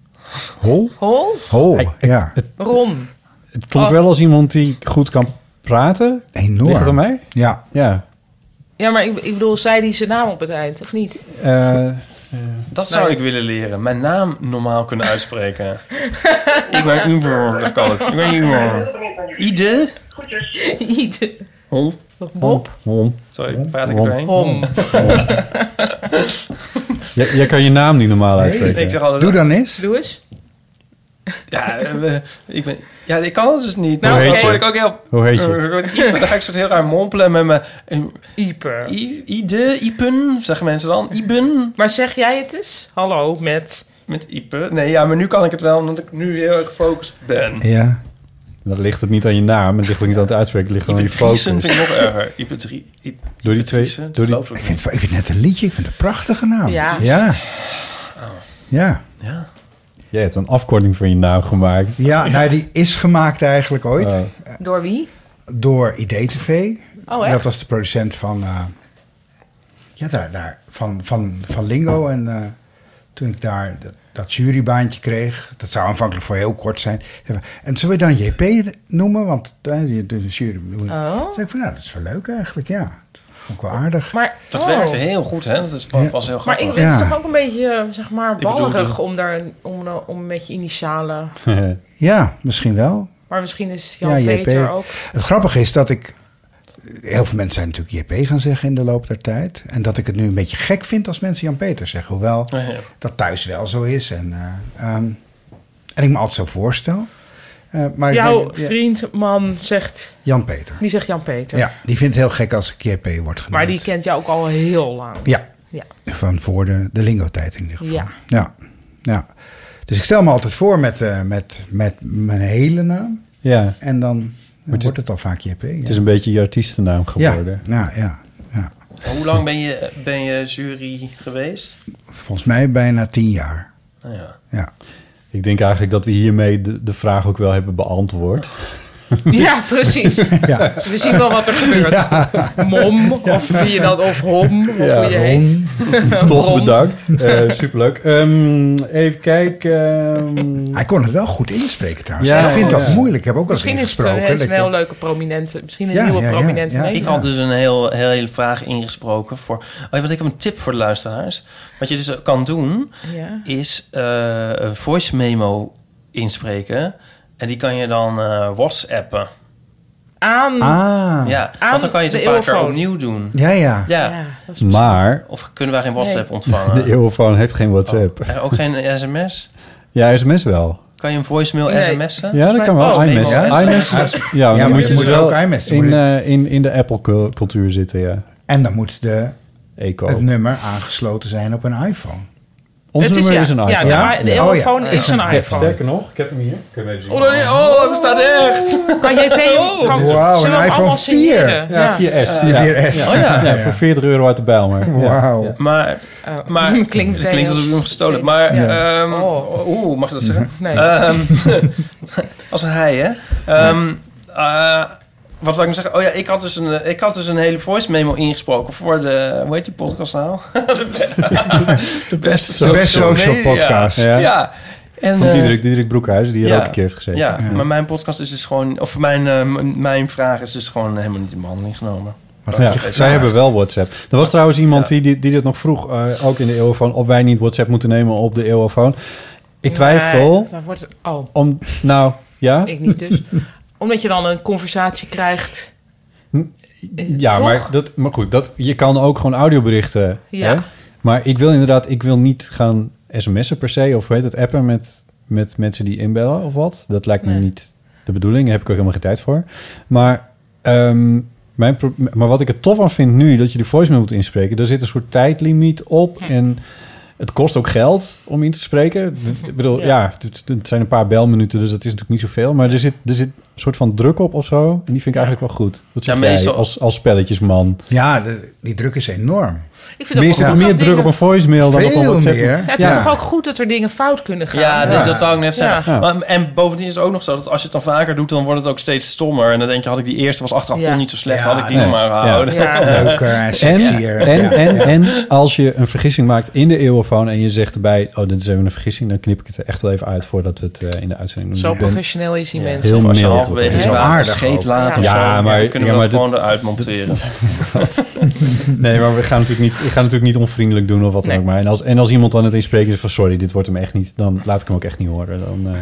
Speaker 3: Hol?
Speaker 1: Hol?
Speaker 3: Hol, ja. Het,
Speaker 1: Ron.
Speaker 3: het klonk
Speaker 1: Oh.
Speaker 3: wel als iemand die goed kan praten. Enorm. Ligt het aan mij?
Speaker 4: Ja.
Speaker 3: Ja.
Speaker 1: Ja, maar ik, ik bedoel, zei die zijn naam op het eind, of niet?
Speaker 3: Eh,
Speaker 5: Dat zou ik willen leren. Mijn naam normaal
Speaker 3: [laughs]
Speaker 5: kunnen uitspreken. ik ben Uber, dat kan het. Ik ben Uber. Ide?
Speaker 1: [laughs] Ieder.
Speaker 5: Hol?
Speaker 1: Bob?
Speaker 3: Hom.
Speaker 5: Sorry, praat ik
Speaker 3: Hom.
Speaker 5: erheen?
Speaker 1: Hom.
Speaker 3: [laughs]
Speaker 5: [laughs]
Speaker 3: Jij, jij kan je naam niet normaal uitspreken.
Speaker 5: Ik zeg altijd...
Speaker 1: Doe eens.
Speaker 5: Ja, eh, we- ik, ben, ja ik kan het dus niet.
Speaker 3: Nou, Hoe heet
Speaker 5: dat
Speaker 3: je?
Speaker 5: word ik ook heel...
Speaker 3: Hoe heet je?
Speaker 5: Eh, word ik Ieper. Dan ga ik soort heel raar mompelen met mijn... en-
Speaker 1: Ieper.
Speaker 5: I- Ide, Ipen, zeggen mensen dan. Iben.
Speaker 1: Maar zeg jij het eens? Hallo, met...
Speaker 5: Met Ipe. Nee, ja, maar nu kan ik het wel, omdat ik nu heel erg gefocust ben.
Speaker 3: Ja. Dan ligt het niet aan je naam, het ligt ook niet aan het uitspreken, het ligt gewoon aan je focus.
Speaker 5: Driesen vind ik nog erger. Ipe drie. Ipe-
Speaker 3: Door die twee. Door die...
Speaker 4: Ik vind, ik vind net een liedje, ik vind het een prachtige naam.
Speaker 5: Ja.
Speaker 4: Ja.
Speaker 5: Oh.
Speaker 4: Ja.
Speaker 3: Jij hebt een afkorting van je naam gemaakt.
Speaker 4: Ja, nou, die is gemaakt eigenlijk ooit
Speaker 3: Oh.
Speaker 1: Door wie?
Speaker 4: door IDTV.
Speaker 1: Oh, echt?
Speaker 4: Dat was de producent van, eh, ja, daar, daar, van, van, van Lingo. En eh, toen ik daar dat, dat jurybaantje kreeg, dat zou aanvankelijk voor heel kort zijn. En zullen we dan JP noemen? Want eh, de de jury noemen.
Speaker 1: Oh.
Speaker 4: Toen zei ik van, nou, dat is wel leuk eigenlijk, ja. Dat vond ik wel aardig.
Speaker 1: Maar,
Speaker 5: Dat
Speaker 1: oh.
Speaker 5: werkte heel goed, hè? Dat is vast heel
Speaker 1: Maar
Speaker 5: grappig.
Speaker 1: ik, het is toch ook een beetje, eh, zeg maar,
Speaker 4: bedoel,
Speaker 1: ballerig
Speaker 4: de-
Speaker 1: om daar een- om, eh, om met je initialen...
Speaker 4: ja, misschien wel.
Speaker 1: Maar misschien is Jan-Peter ook...
Speaker 4: Het grappige is dat ik... Heel veel mensen zijn natuurlijk JP gaan zeggen in de loop der tijd. En dat ik het nu een beetje gek vind als mensen Jan-Peter zeggen. Hoewel dat thuis wel zo is. En, eh, ehm, en ik me altijd zo voorstel. Eh, maar ik
Speaker 1: Jouw
Speaker 4: denk- ja,
Speaker 1: vriend, man, zegt...
Speaker 4: Jan-Peter.
Speaker 1: Die zegt Jan-Peter.
Speaker 4: Ja, die vindt het heel gek als ik JP word genoemd.
Speaker 1: Maar die kent jou ook al heel lang.
Speaker 4: Ja,
Speaker 1: Ja.
Speaker 4: van voor de, de lingo-tijd in ieder geval.
Speaker 1: Ja.
Speaker 4: Ja. ja. Dus ik stel me altijd voor met, eh, met, met mijn hele naam.
Speaker 3: Ja.
Speaker 4: En dan, dan wordt het, al vaak JP. ja.
Speaker 3: Het is een beetje je artiestennaam geworden.
Speaker 4: Ja, ja,
Speaker 5: Maar Hoe lang ben je, ben je jury geweest?
Speaker 4: Volgens mij bijna tien jaar.
Speaker 5: Nou ja.
Speaker 4: Ja.
Speaker 3: Ik denk eigenlijk dat we hiermee de, de vraag ook wel hebben beantwoord.
Speaker 1: Ja,
Speaker 4: [laughs]
Speaker 1: precies.
Speaker 3: Ja.
Speaker 1: We zien wel wat er gebeurt.
Speaker 3: Ja.
Speaker 1: Mom, of wie je dan, of hom, of
Speaker 3: Ja,
Speaker 1: hoe je
Speaker 3: hom.
Speaker 1: heet.
Speaker 3: [laughs] Toch
Speaker 1: Hom. [laughs]
Speaker 3: bedankt. Eh, superleuk. Ehm, even kijken. ehm.
Speaker 4: Hij kon het wel goed inspreken trouwens.
Speaker 3: Ja,
Speaker 4: ik vind
Speaker 3: ja.
Speaker 4: dat moeilijk. Ik heb ook wel eens
Speaker 1: Misschien is het
Speaker 4: ingesproken.
Speaker 1: een, is
Speaker 4: dat
Speaker 1: een
Speaker 4: je-
Speaker 1: heel leuke prominente. Misschien een
Speaker 4: Ja,
Speaker 1: nieuwe
Speaker 4: ja, ja,
Speaker 1: prominente.
Speaker 4: ja.
Speaker 5: Ik had dus een heel, heel hele vraag ingesproken voor. Oh, ja, want ik heb een tip voor de luisteraars. Wat je dus kan doen,
Speaker 1: Ja.
Speaker 5: is eh, een voice memo inspreken. En die kan je dan eh WhatsAppen.
Speaker 1: Aan...
Speaker 4: Ah.
Speaker 5: Ja,
Speaker 1: Mm. Aan
Speaker 5: want dan kan je het
Speaker 1: de
Speaker 5: een paar keer
Speaker 1: eeuwfoon.
Speaker 5: opnieuw doen.
Speaker 4: Ja, ja.
Speaker 5: Ja.
Speaker 3: Maar
Speaker 5: Of kunnen wij geen WhatsApp
Speaker 4: [laughs]
Speaker 1: Nee.
Speaker 5: ontvangen?
Speaker 3: [laughs] de eeuwfoon heeft geen WhatsApp.
Speaker 5: Eh, Ook geen sms?
Speaker 3: Ja, sms wel.
Speaker 5: Kan je een voicemail
Speaker 1: Nee.
Speaker 5: sms'en?
Speaker 3: Ja, dat kan wel.
Speaker 5: Voicemail
Speaker 3: iMessage.
Speaker 5: sms'en.
Speaker 3: iMessage. Ja, maar dan moet je dus wel in, eh, in, in de Apple-cultuur zitten, ja.
Speaker 4: En dan moet de,
Speaker 3: Eco.
Speaker 4: het nummer aangesloten zijn op een iPhone.
Speaker 3: Ons
Speaker 1: Het is
Speaker 3: nummer
Speaker 1: ja.
Speaker 3: is een iPhone.
Speaker 1: Ja, de i- de
Speaker 4: Oh,
Speaker 1: eeuwfoon is een iPhone.
Speaker 3: Sterker nog, ik heb hem hier. Kun je hem even zien?
Speaker 5: Oh, nee, oh, hij bestaat echt! Oh.
Speaker 1: Kan JP... Kan, zullen
Speaker 4: Wauw,
Speaker 1: we
Speaker 4: Oh,
Speaker 1: hem
Speaker 4: een iPhone
Speaker 1: allemaal
Speaker 4: 4.
Speaker 1: signeren?
Speaker 3: Ja, 4S.
Speaker 5: Eh,
Speaker 4: Ja,
Speaker 3: Ja.
Speaker 4: 4S.
Speaker 3: Ja.
Speaker 4: Oh, ja.
Speaker 3: Ja, voor 40 euro uit de Bijlmer.
Speaker 4: Wauw.
Speaker 5: Maar, maar
Speaker 1: Klinkt
Speaker 5: het
Speaker 1: meteen
Speaker 5: klinkt alsof
Speaker 1: als-
Speaker 5: we hem gestolen hebben. Maar,
Speaker 1: Ja.
Speaker 5: ehm,
Speaker 1: Oh.
Speaker 5: oeh, mag ik dat
Speaker 3: Mhm.
Speaker 5: zeggen?
Speaker 1: Nee.
Speaker 5: Ehm, [laughs] als een hij, hè? Ehm, eh, wat wil ik nog zeggen? Oh ja, ik had dus een, ik had dus een hele voice memo ingesproken voor de... Hoe heet die podcast nou? [laughs] de, be-
Speaker 3: De Best Social
Speaker 5: Media.
Speaker 3: Podcast.
Speaker 5: Ja.
Speaker 3: Ja.
Speaker 5: En,
Speaker 3: van
Speaker 5: eh,
Speaker 3: Diederik, Diederik Broekhuis, die hier ook een keer heeft gezeten.
Speaker 5: Ja, maar mijn podcast is dus gewoon... Of mijn, eh, m- mijn vraag is dus gewoon helemaal niet in behandeling genomen.
Speaker 3: Wat
Speaker 5: Dat
Speaker 3: ja,
Speaker 5: is
Speaker 3: zij
Speaker 5: echt-
Speaker 3: hebben wel WhatsApp. Er was trouwens iemand die, die, die dat nog vroeg, eh, ook in de eeuwofoon, of wij niet WhatsApp moeten nemen op de eeuwofoon. Ik twijfel.
Speaker 1: Nee, dan wordt het- oh.
Speaker 3: Om, nou, ja?
Speaker 1: Ik niet dus. Omdat je dan een conversatie krijgt. eh,
Speaker 3: Ja,
Speaker 1: Toch?
Speaker 3: maar, dat, maar goed, dat, je kan ook gewoon audioberichten.
Speaker 1: Ja.
Speaker 3: Hè? Maar ik wil inderdaad, ik wil niet gaan sms'en per se, of hoe heet het, appen met, met mensen die inbellen of wat. Dat lijkt me niet de bedoeling, daar heb ik ook helemaal geen tijd voor. Maar, ehm, mijn, pro- maar wat ik er tof aan vind nu, dat je de voicemail moet inspreken, daar zit een soort tijdlimiet op en... Het kost ook geld om in te spreken. Ik bedoel, ja, het, het zijn een paar belminuten, dus dat is natuurlijk niet zoveel. Maar er zit, er zit een soort van druk op of zo. En die vind ik eigenlijk wel goed. Wat zeg
Speaker 4: Ja,
Speaker 3: jij
Speaker 4: meestal-
Speaker 3: als, als spelletjesman?
Speaker 4: Ja, de- Eh, die druk is enorm.
Speaker 1: Ik vind
Speaker 3: Meer,
Speaker 1: ook wel goed
Speaker 3: meer
Speaker 1: dat
Speaker 3: druk op
Speaker 1: dingen-
Speaker 3: een voicemail dan op een
Speaker 4: Veel
Speaker 3: WhatsApp.
Speaker 4: meer.
Speaker 1: Ja, het is toch ook goed dat er dingen fout kunnen gaan.
Speaker 5: Ja, nee, dat wou ik net zeggen.
Speaker 1: Ja.
Speaker 5: Maar, en bovendien is het ook nog zo dat als je het dan vaker doet, dan wordt het ook steeds stommer. En dan denk je, had ik die eerste, was achteraf
Speaker 1: Ja.
Speaker 5: toch niet zo slecht,
Speaker 1: Ja,
Speaker 5: had ik die
Speaker 3: nee.
Speaker 5: nog maar
Speaker 3: Ja.
Speaker 5: gehouden. [laughs]
Speaker 3: Ja. En, en, en, en als je een vergissing maakt in de eeuwofoon en je zegt erbij... oh, dit is even een vergissing, dan knip ik het er echt wel even uit... voordat we het eh, in de uitzending doen.
Speaker 1: Zo
Speaker 3: Ik ben
Speaker 1: professioneel is die mensen.
Speaker 3: Heel
Speaker 1: Of als je
Speaker 3: mild.
Speaker 1: halverwege
Speaker 3: wat
Speaker 1: is
Speaker 3: dat
Speaker 1: waar,
Speaker 3: is.
Speaker 1: een scheet laat of zo,
Speaker 3: Ja,
Speaker 1: dan
Speaker 3: maar...
Speaker 5: kunnen we
Speaker 3: ja, maar
Speaker 5: dat gewoon
Speaker 3: dit-
Speaker 5: eruit [laughs] monteren.
Speaker 3: Wat? [laughs] nee, maar we gaan natuurlijk niet, ik ga natuurlijk niet onvriendelijk doen of wat dan
Speaker 5: Nee.
Speaker 3: ook. Maar en als, en als iemand dan het inspreken is van sorry, dit wordt hem echt niet, dan laat ik hem ook echt niet horen. Dan, eh,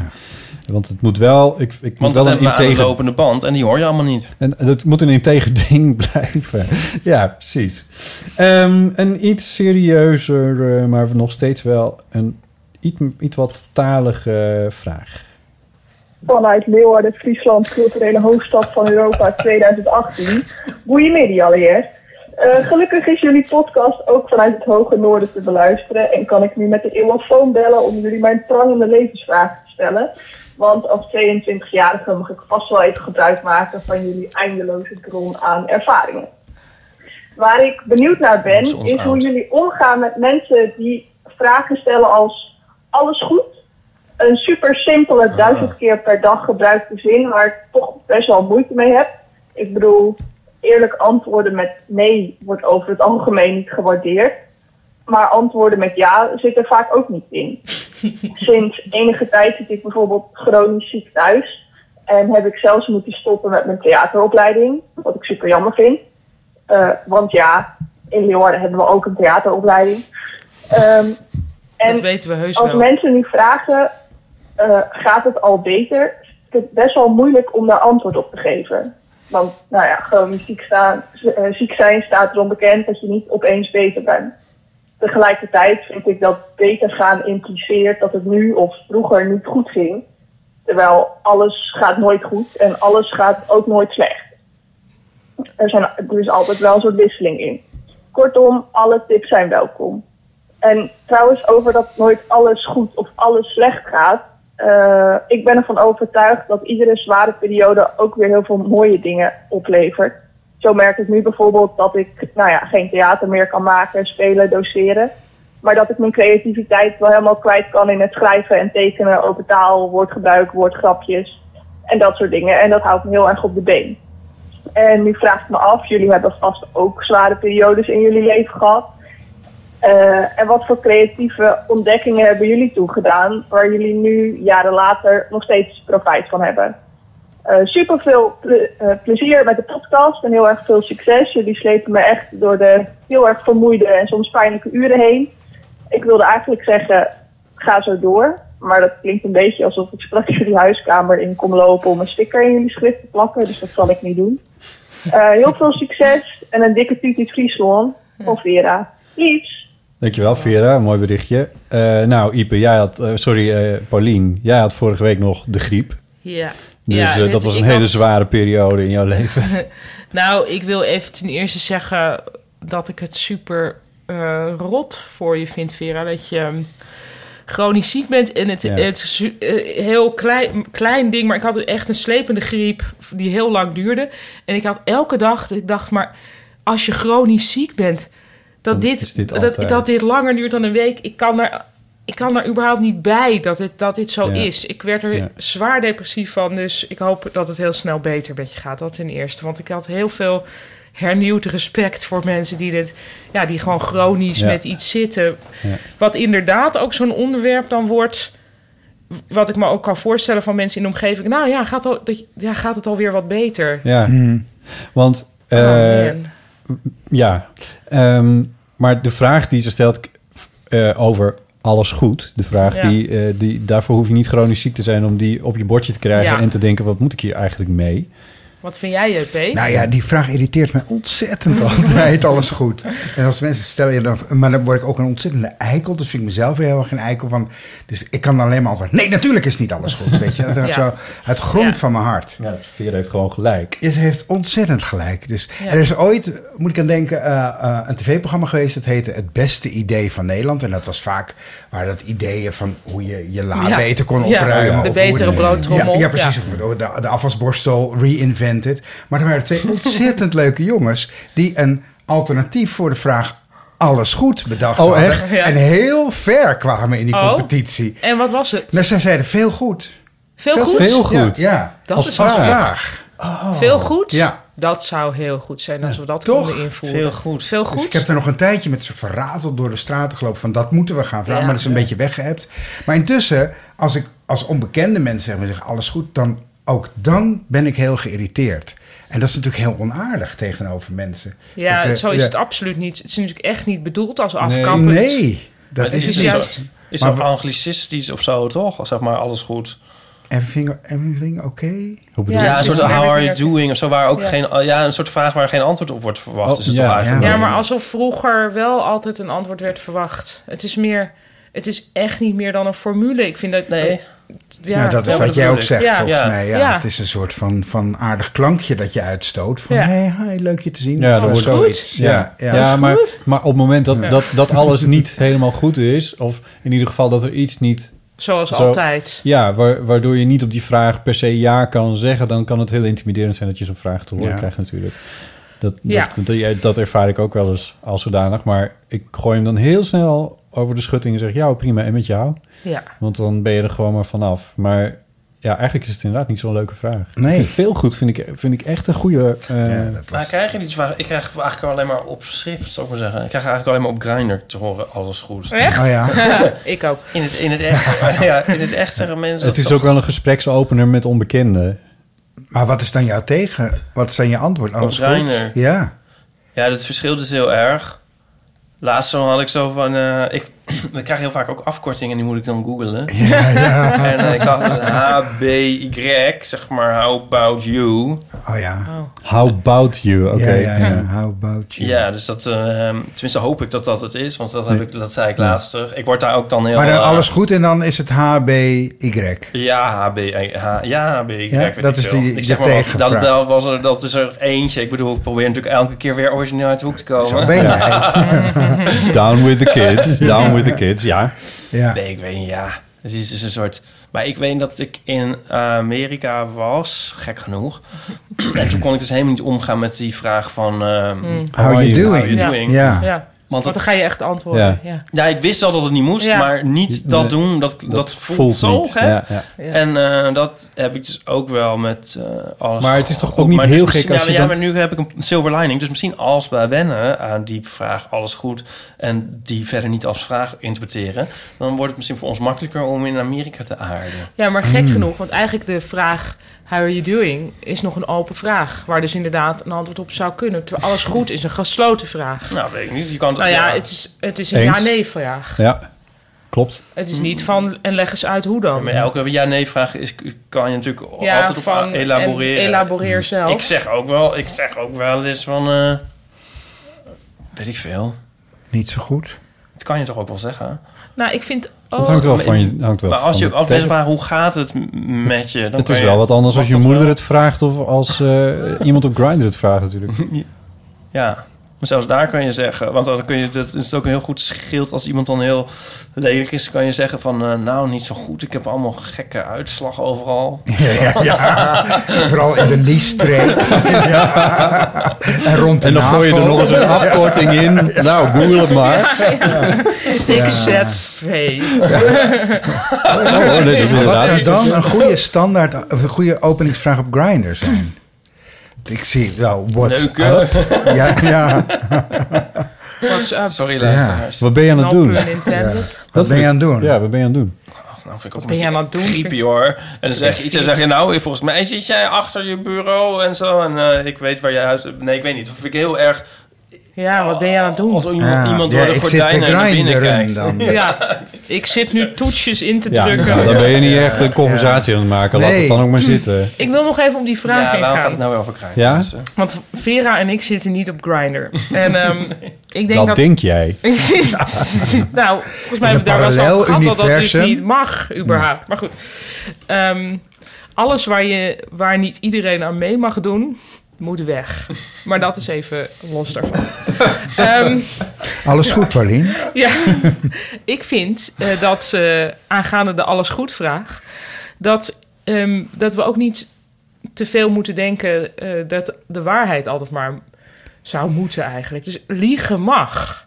Speaker 3: want het moet wel, ik, ik moet
Speaker 5: Want dat
Speaker 3: wel een
Speaker 5: hebben we aan de
Speaker 3: integer
Speaker 5: lopende band en die hoor je allemaal niet.
Speaker 3: En dat moet een integer [laughs] ding blijven. Ja, precies. Ehm, een iets serieuzer, eh, maar nog steeds wel een iets, iets wat talige vraag.
Speaker 8: Vanuit Leeuwarden, Friesland, culturele hoofdstad van Europa 2018. Boeien media allereerst. Eh, gelukkig is jullie podcast ook vanuit het hoge noorden te beluisteren. En kan ik nu met de eeuwofoon bellen om jullie mijn prangende levensvraag te stellen. Want als 22-jarige mag ik vast wel even gebruik maken van jullie eindeloze bron aan ervaringen. Waar ik benieuwd naar ben,
Speaker 10: Dat is ons
Speaker 8: is hoe
Speaker 10: oud.
Speaker 8: jullie omgaan met mensen die vragen stellen als alles goed? Een super simpele, duizend keer per dag gebruikte zin waar ik toch best wel moeite mee heb. Ik bedoel, eerlijk antwoorden met nee wordt over het algemeen niet gewaardeerd. Maar antwoorden met ja zit er vaak ook niet in. Sinds enige tijd zit ik bijvoorbeeld chronisch ziek thuis. En heb ik zelfs moeten stoppen met mijn theateropleiding. Wat ik super jammer vind. Eh, want ja, in Leeuwarden hebben we ook een theateropleiding. Ehm, en
Speaker 1: Dat weten we heus
Speaker 8: als
Speaker 1: wel.
Speaker 8: mensen nu vragen, eh, gaat het al beter? Is het best wel moeilijk om daar antwoord op te geven. Want, nou ja, chronisch ziek, staan, eh, ziek zijn staat erom bekend dat je niet opeens beter bent. Tegelijkertijd vind ik dat beter gaan impliceert dat het nu of vroeger niet goed ging. Terwijl alles gaat nooit goed en alles gaat ook nooit slecht. Er, zijn, er is altijd wel een soort wisseling in. Kortom, alle tips zijn welkom. En trouwens, over dat nooit alles goed of alles slecht gaat. eh, ik ben ervan overtuigd dat iedere zware periode ook weer heel veel mooie dingen oplevert. Zo merk ik nu bijvoorbeeld dat ik nou ja, geen theater meer kan maken, spelen, doseren. Maar dat ik mijn creativiteit wel helemaal kwijt kan in het schrijven en tekenen over taal, woordgebruik, woordgrapjes en dat soort dingen. En dat houdt me heel erg op de been. En nu vraag ik me af, jullie hebben vast ook zware periodes in jullie leven gehad. Eh, en wat voor creatieve ontdekkingen hebben jullie toegedaan waar jullie nu jaren later nog steeds profijt van hebben? Eh, super veel eh, plezier met de podcast en heel erg veel succes. Jullie slepen me echt door de heel erg vermoeide en soms pijnlijke uren heen. Ik wilde eigenlijk zeggen, ga zo door. Maar dat klinkt een beetje alsof ik straks jullie huiskamer in kom lopen om een sticker in jullie schrift te plakken. Dus dat zal ik niet doen. Eh, heel veel succes en een dikke tuut in Friesland. Of Vera. Liefs!
Speaker 3: Dankjewel, Vera. Mooi berichtje. Eh, nou, Ipe, jij had... eh, sorry, eh Paulien. Jij had vorige week nog de griep.
Speaker 1: Ja.
Speaker 3: Dus
Speaker 1: Ja,
Speaker 3: eh,
Speaker 1: dit-
Speaker 3: dat was een
Speaker 1: ik
Speaker 3: hele
Speaker 1: had-
Speaker 3: zware periode in jouw leven.
Speaker 1: [laughs] nou, ik wil even ten eerste zeggen dat ik het super eh, rot voor je vind, Vera. Dat je ehm, chronisch ziek bent en het,
Speaker 3: Ja.
Speaker 1: het is su- eh, heel klein, klein ding. Maar ik had echt een slepende griep die heel lang duurde. En ik had elke dag, ik dacht maar, als je chronisch ziek bent, dat,
Speaker 3: Dan
Speaker 1: dit,
Speaker 3: is dit
Speaker 1: dat,
Speaker 3: altijd.
Speaker 1: dat dit langer duurt dan een week. Ik kan daar, ik kan daar überhaupt niet bij dat dit, dat dit zo
Speaker 3: Ja.
Speaker 1: is. Dus Ik werd er
Speaker 3: Ja.
Speaker 1: zwaar depressief van. Dus ik hoop dat het heel snel beter met je gaat. Dat ten eerste. Want ik had heel veel hernieuwd respect voor mensen die dit... Ja, die gewoon chronisch
Speaker 3: Ja.
Speaker 1: met iets zitten.
Speaker 3: Ja.
Speaker 1: Wat inderdaad ook zo'n onderwerp dan wordt... wat ik me ook kan voorstellen van mensen in de omgeving. Nou ja, gaat, al, dat, ja, gaat het alweer wat beter?
Speaker 3: Ja,
Speaker 4: Mm.
Speaker 3: want... eh,
Speaker 1: Oh,
Speaker 3: ja, Ehm, maar de vraag die ze stelt eh, over alles goed... de vraag
Speaker 1: Ja.
Speaker 3: die, eh, die... daarvoor hoef je niet chronisch ziek te zijn... om die op je bordje te krijgen
Speaker 1: Ja.
Speaker 3: en te denken... wat moet ik hier eigenlijk mee?
Speaker 1: Wat vind jij, JP?
Speaker 4: Nou ja, die vraag irriteert me
Speaker 1: [laughs]
Speaker 4: ontzettend altijd. Alles goed. En als mensen stellen je dan. Maar dan word ik ook een ontzettende eikel. Dus vind ik mezelf weer heel erg een eikel van. Dus ik kan dan alleen maar antwoorden. Nee, natuurlijk is niet alles goed. Weet je, dat
Speaker 3: Ja.
Speaker 4: is zo uit grond van mijn hart.
Speaker 3: Ja, Veer heeft gewoon gelijk.
Speaker 4: Het heeft ontzettend gelijk. Dus
Speaker 3: Ja.
Speaker 4: er is ooit, moet ik aan denken, eh, eh, een tv-programma geweest. Dat heette Het Beste Idee van Nederland. En dat was vaak waar dat ideeën van hoe je je la
Speaker 1: Ja.
Speaker 4: beter kon
Speaker 1: Ja,
Speaker 4: opruimen.
Speaker 1: de
Speaker 4: of hoe
Speaker 1: betere
Speaker 4: het-
Speaker 1: broodtrommel.
Speaker 4: Ja, ja, precies.
Speaker 1: Ja.
Speaker 4: Of De, de afwasborstel reinvented. Maar er
Speaker 1: [laughs]
Speaker 4: waren twee ontzettend leuke jongens die een alternatief voor de vraag alles goed bedacht
Speaker 3: Oh,
Speaker 4: hadden.
Speaker 3: echt? Ja.
Speaker 4: En heel ver kwamen in die
Speaker 1: Oh.
Speaker 4: competitie.
Speaker 1: En wat was het?
Speaker 4: Nou, zij zeiden veel goed.
Speaker 1: Veel goed?
Speaker 4: Veel
Speaker 1: Ja.
Speaker 4: goed. Ja,
Speaker 1: Dat
Speaker 4: als
Speaker 1: is
Speaker 4: vraag.
Speaker 1: waar. Veel goed?
Speaker 4: Ja.
Speaker 1: Dat zou heel goed zijn als we dat konden invoeren.
Speaker 4: Veel
Speaker 5: goed.
Speaker 1: Veel
Speaker 4: Dus
Speaker 1: goed?
Speaker 4: ik heb er nog een tijdje met een soort verratel door de straten gelopen van dat moeten we gaan vragen.
Speaker 1: Ja.
Speaker 4: maar dat is een
Speaker 1: Ja.
Speaker 4: beetje weggeëpt. Maar intussen, als ik als onbekende mensen zeg maar, zeggen alles goed, dan ook dan ben ik heel geïrriteerd. En dat is natuurlijk heel onaardig tegenover mensen.
Speaker 1: Ja,
Speaker 4: Dat, eh,
Speaker 1: zo is
Speaker 4: ja.
Speaker 1: het absoluppend niet. Het is natuurlijk echt niet bedoeld als afkampend.
Speaker 4: Nee, dat
Speaker 5: Maar
Speaker 4: is
Speaker 5: het
Speaker 4: het
Speaker 5: een
Speaker 4: juist.
Speaker 5: soort- Is dus
Speaker 4: Maar
Speaker 5: ook
Speaker 4: we-
Speaker 5: anglicistisch of zo, toch? Zeg maar, alles goed.
Speaker 4: Everything, everything oké?
Speaker 5: Ja, een soort how are you doing of zo, waar ook
Speaker 1: Ja.
Speaker 5: geen, ja, een soort vraag waar geen antwoord op wordt verwacht.
Speaker 3: Oh,
Speaker 5: is het
Speaker 3: ja.
Speaker 5: toch eigenlijk?
Speaker 1: Ja, maar alsof vroeger wel altijd een antwoord werd verwacht. Het is meer... Het is echt niet meer dan een formule. Ik vind dat... Nee. Ja.
Speaker 4: nou, dat is
Speaker 1: Ja,
Speaker 4: wat jij
Speaker 1: bedoel
Speaker 4: ook
Speaker 1: ik.
Speaker 4: zegt
Speaker 1: Ja.
Speaker 4: volgens
Speaker 1: Ja.
Speaker 4: mij. Ja,
Speaker 1: Ja.
Speaker 4: Het is een soort van, van aardig klankje dat je uitstoot. Van,
Speaker 1: Ja.
Speaker 4: hey, hi, leuk je te zien.
Speaker 3: Ja,
Speaker 4: Of
Speaker 3: dat wordt
Speaker 4: zoiets.
Speaker 3: Ja, ja, maar, maar op het moment dat,
Speaker 4: Ja.
Speaker 3: dat,
Speaker 4: [laughs]
Speaker 3: dat alles niet helemaal goed is, of in ieder geval dat er iets niet.
Speaker 1: Zoals altijd.
Speaker 3: Ja, wa- waardoor je niet op die vraag per se ja kan zeggen, dan kan het heel intimiderend zijn dat je zo'n vraag te horen
Speaker 1: Ja.
Speaker 3: krijgt, natuurlijk. Dat, dat,
Speaker 1: Ja.
Speaker 3: dat, dat, ervaar ik ook wel eens als zodanig, maar ik gooi hem dan heel snel over de schutting en zeg: Ja, prima, en met jou?
Speaker 1: Ja.
Speaker 3: Want dan ben je er gewoon maar vanaf. Maar ja, eigenlijk is het inderdaad niet zo'n leuke vraag.
Speaker 4: Nee.
Speaker 3: Ik vind veel goed vind ik, vind ik echt een goede. eh,
Speaker 5: Maar krijg je niet zo vaak- Ik krijg eigenlijk alleen maar op schrift, zou ik maar zeggen. Ik krijg eigenlijk alleen maar op Grindr te horen, alles goed.
Speaker 1: Oh, Echt?
Speaker 4: Oh
Speaker 1: [laughs] ik ook.
Speaker 5: In het, in het echt. [laughs] ja, in het echt zeggen mensen...
Speaker 3: Het
Speaker 5: dat
Speaker 3: is
Speaker 5: toch-
Speaker 3: ook wel een gespreksopener met onbekenden.
Speaker 4: Maar wat is dan jouw tegen? Wat is dan je antwoord? Alles
Speaker 5: Op Grindr.
Speaker 4: goed? Ja.
Speaker 5: Ja, dat verschilt dus heel erg. Laatst zo had ik zo van... eh, ik, [clears throat] ik krijg heel vaak ook afkortingen en die moet ik dan googlen.
Speaker 4: ja.
Speaker 5: [laughs] En eh, ik zag dus HBY, zeg maar, how about you?
Speaker 4: Oh ja.
Speaker 3: How about you? Oké.
Speaker 4: Ja, ja, ja. How about you?
Speaker 5: Ja, dus dat... ehm, tenminste hoop ik dat dat het is, want dat, heb ik, dat zei ik laatst terug. Ik word daar ook dan heel...
Speaker 4: maar dan
Speaker 5: eh,
Speaker 4: alles goed en dan is het HBY.
Speaker 5: Ja, HB. H, ja, HB.
Speaker 4: Ja, dat is die-
Speaker 5: ik zeg
Speaker 4: de
Speaker 5: maar wat, dat,
Speaker 4: tegenvraag.
Speaker 5: dat, was er, dat is er eentje. Ik bedoel, ik probeer natuurlijk elke keer weer origineel uit de hoek te komen.
Speaker 3: Zo ben jij.
Speaker 5: [laughs]
Speaker 3: Down with the
Speaker 4: [laughs]
Speaker 3: kids. Down with the kids, ja.
Speaker 4: Ja.
Speaker 5: Nee, ik weet niet, ja. Het is dus een soort... Maar ik weet dat ik in Amerika was, gek genoeg. en toen kon ik dus helemaal niet omgaan met die vraag van... ehm,
Speaker 1: Mm.
Speaker 4: How are you doing?
Speaker 5: How you doing?
Speaker 4: Ja. Ja.
Speaker 1: Ja.
Speaker 5: Want
Speaker 1: Want
Speaker 5: dat-
Speaker 1: dan ga je echt antwoorden. Ja.
Speaker 5: Ja, ik wist wel dat het niet moest,
Speaker 1: Ja.
Speaker 5: maar niet dat
Speaker 1: Nee,
Speaker 5: doen, dat, dat,
Speaker 3: dat
Speaker 5: voelt,
Speaker 3: voelt
Speaker 5: zo
Speaker 3: niet.
Speaker 5: gek.
Speaker 3: Ja, ja.
Speaker 1: Ja.
Speaker 5: En eh, dat heb ik dus ook wel met eh, alles.
Speaker 3: Maar het is toch
Speaker 5: goed,
Speaker 3: ook niet
Speaker 5: maar
Speaker 3: heel
Speaker 5: misschien-
Speaker 3: gek als
Speaker 5: ja,
Speaker 3: je
Speaker 5: Ja,
Speaker 3: dan-
Speaker 5: maar nu heb ik een silver lining. Dus misschien als we wennen aan die vraag alles goed... en die verder niet als vraag interpreteren... dan wordt het misschien voor ons makkelijker om in Amerika te aarden.
Speaker 1: Ja, maar gek
Speaker 4: Hmm.
Speaker 5: Mm.
Speaker 1: genoeg, want eigenlijk de vraag how are you doing is nog een open vraag, waar dus inderdaad een antwoord op zou kunnen. Terwijl alles goed is een gesloten vraag.
Speaker 5: Nou, weet ik niet. Je kan het-
Speaker 1: nou ja,
Speaker 5: ja.
Speaker 1: het is, het is een
Speaker 5: Eens.
Speaker 1: ja-nee-vraag.
Speaker 3: Ja, klopt.
Speaker 1: Het is niet van en leg eens uit hoe dan.
Speaker 5: Maar elke ja-nee-vraag is, kan je natuurlijk
Speaker 1: Ja,
Speaker 5: altijd op
Speaker 1: van-
Speaker 5: a- elaboreren. Hmm.
Speaker 1: en elaboreer zelf.
Speaker 5: Ik zeg ook wel, ik zeg ook wel eens van... eh, weet ik veel.
Speaker 4: Niet zo goed.
Speaker 5: Dat kan je toch ook wel zeggen?
Speaker 1: Nou, ik
Speaker 3: [laughs]
Speaker 1: vind ook...
Speaker 3: Het hangt wel van je. Hangt wel
Speaker 5: maar als
Speaker 3: van
Speaker 5: je
Speaker 3: de
Speaker 5: als mensen
Speaker 3: tegen-
Speaker 5: vragen hoe gaat het m- met je... Dan
Speaker 3: Het
Speaker 5: kan
Speaker 3: is
Speaker 5: je-
Speaker 3: wel wat anders als je moeder het vraagt of als eh, iemand op Grindr het vraagt natuurlijk.
Speaker 5: [laughs] Ja, maar zelfs daar kan je zeggen... Want dan kun je, dat is ook een heel goed schild als iemand dan heel lelijk is... kan je zeggen van, eh, nou, niet zo goed. Ik heb allemaal gekke uitslag overal.
Speaker 4: [laughs] Ja, ja. Vooral in de liesstreek. [laughs] Ja. En rond de
Speaker 3: En dan gooi je er
Speaker 4: navel.
Speaker 3: nog eens een afkorting in. Nou, google het maar.
Speaker 1: Ik zet
Speaker 3: [laughs]
Speaker 1: V.
Speaker 3: oh, nee, dat is
Speaker 4: Maar Wat zou
Speaker 3: inderdaad-
Speaker 4: dan een goede standaard, of een goede openingsvraag op Grindr zijn? Ik zie wel, what's
Speaker 5: Leuke.
Speaker 4: up? Ja, ja.
Speaker 1: What's up?
Speaker 5: Sorry,
Speaker 4: luisteraars.
Speaker 3: Wat ben je aan het
Speaker 1: No
Speaker 3: doen?
Speaker 1: pun intended.
Speaker 4: Wat ben je aan het doen?
Speaker 3: Ja, wat ben je aan het doen?
Speaker 5: Nou, vind ik ook
Speaker 1: ben
Speaker 5: een
Speaker 1: jij
Speaker 5: beetje
Speaker 1: aan het doen?
Speaker 5: griepie, hoor. En dan zeg je iets en
Speaker 1: vies.
Speaker 5: zeg je, nou, volgens mij zit jij achter je bureau en zo. En eh, ik weet waar jij huis... Nee, ik weet niet. Dat vind ik heel erg...
Speaker 1: Ja, wat ben je aan het doen? Als
Speaker 5: iemand- Ja, iemand door ja, de ik zit te gordijnen naar binnen grinderen kijkt. dan.
Speaker 1: Ja, ik zit nu toetsjes in te
Speaker 3: Ja,
Speaker 1: drukken.
Speaker 3: nou, dan ben je niet echt een conversatie aan het maken. Laat
Speaker 1: Nee.
Speaker 3: het dan
Speaker 4: Hm.
Speaker 3: ook maar zitten.
Speaker 1: Ik wil nog even om die vraag heen
Speaker 5: waarom gaat
Speaker 1: gaan.
Speaker 5: het nou weer over krijgen?
Speaker 3: Ja?
Speaker 1: Want Vera en ik zitten niet op Grindr. En ehm, ik denk dat...
Speaker 3: Dat denk
Speaker 1: [laughs]
Speaker 3: jij.
Speaker 1: nou, volgens mij
Speaker 3: In
Speaker 1: hebben we
Speaker 3: een
Speaker 1: daar wel eens
Speaker 3: parallel
Speaker 1: over gehad dat dat dus
Speaker 3: universum.
Speaker 1: niet mag, überhaupt. Maar goed. Ehm, alles waar, je, waar niet iedereen aan mee mag doen, moet weg. Maar dat is even los
Speaker 3: [laughs]
Speaker 1: daarvan. Ehm,
Speaker 4: Alles goed, Paulien?
Speaker 1: [laughs] ja, ik vind eh, dat eh, aangaande de alles goed vraag, dat, ehm, dat we ook niet te veel moeten denken eh, dat de waarheid altijd maar zou moeten eigenlijk. Dus liegen mag.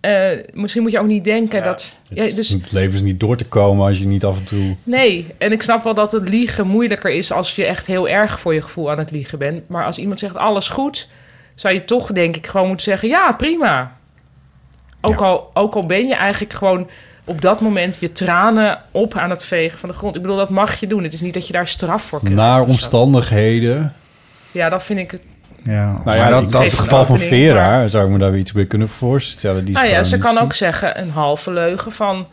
Speaker 1: Eh, misschien moet je ook niet denken dat. Ja, dus,
Speaker 3: Het leven is niet door te komen als je niet af en toe...
Speaker 1: nee, en ik snap wel dat het liegen moeilijker is als je echt heel erg voor je gevoel aan het liegen bent. Maar als iemand zegt alles goed, zou je toch denk ik gewoon moeten zeggen ja, prima. Ook, al, ook al ben je eigenlijk gewoon op dat moment je tranen op aan het vegen van de grond. Ik bedoel, dat mag je doen. Het is niet dat je daar straf voor krijgt.
Speaker 3: Naar omstandigheden.
Speaker 1: Ja, dat vind ik het
Speaker 4: Ja.
Speaker 3: Nou ja,
Speaker 4: Maar
Speaker 3: in
Speaker 4: dat-
Speaker 3: het
Speaker 4: dat-
Speaker 3: geval van
Speaker 1: opening, maar-
Speaker 3: Vera zou ik me daar weer iets bij kunnen voorstellen. Die is
Speaker 1: Nou ja,
Speaker 3: gewoon
Speaker 1: ze kan
Speaker 3: niet-
Speaker 1: ook zeggen een halve leugen van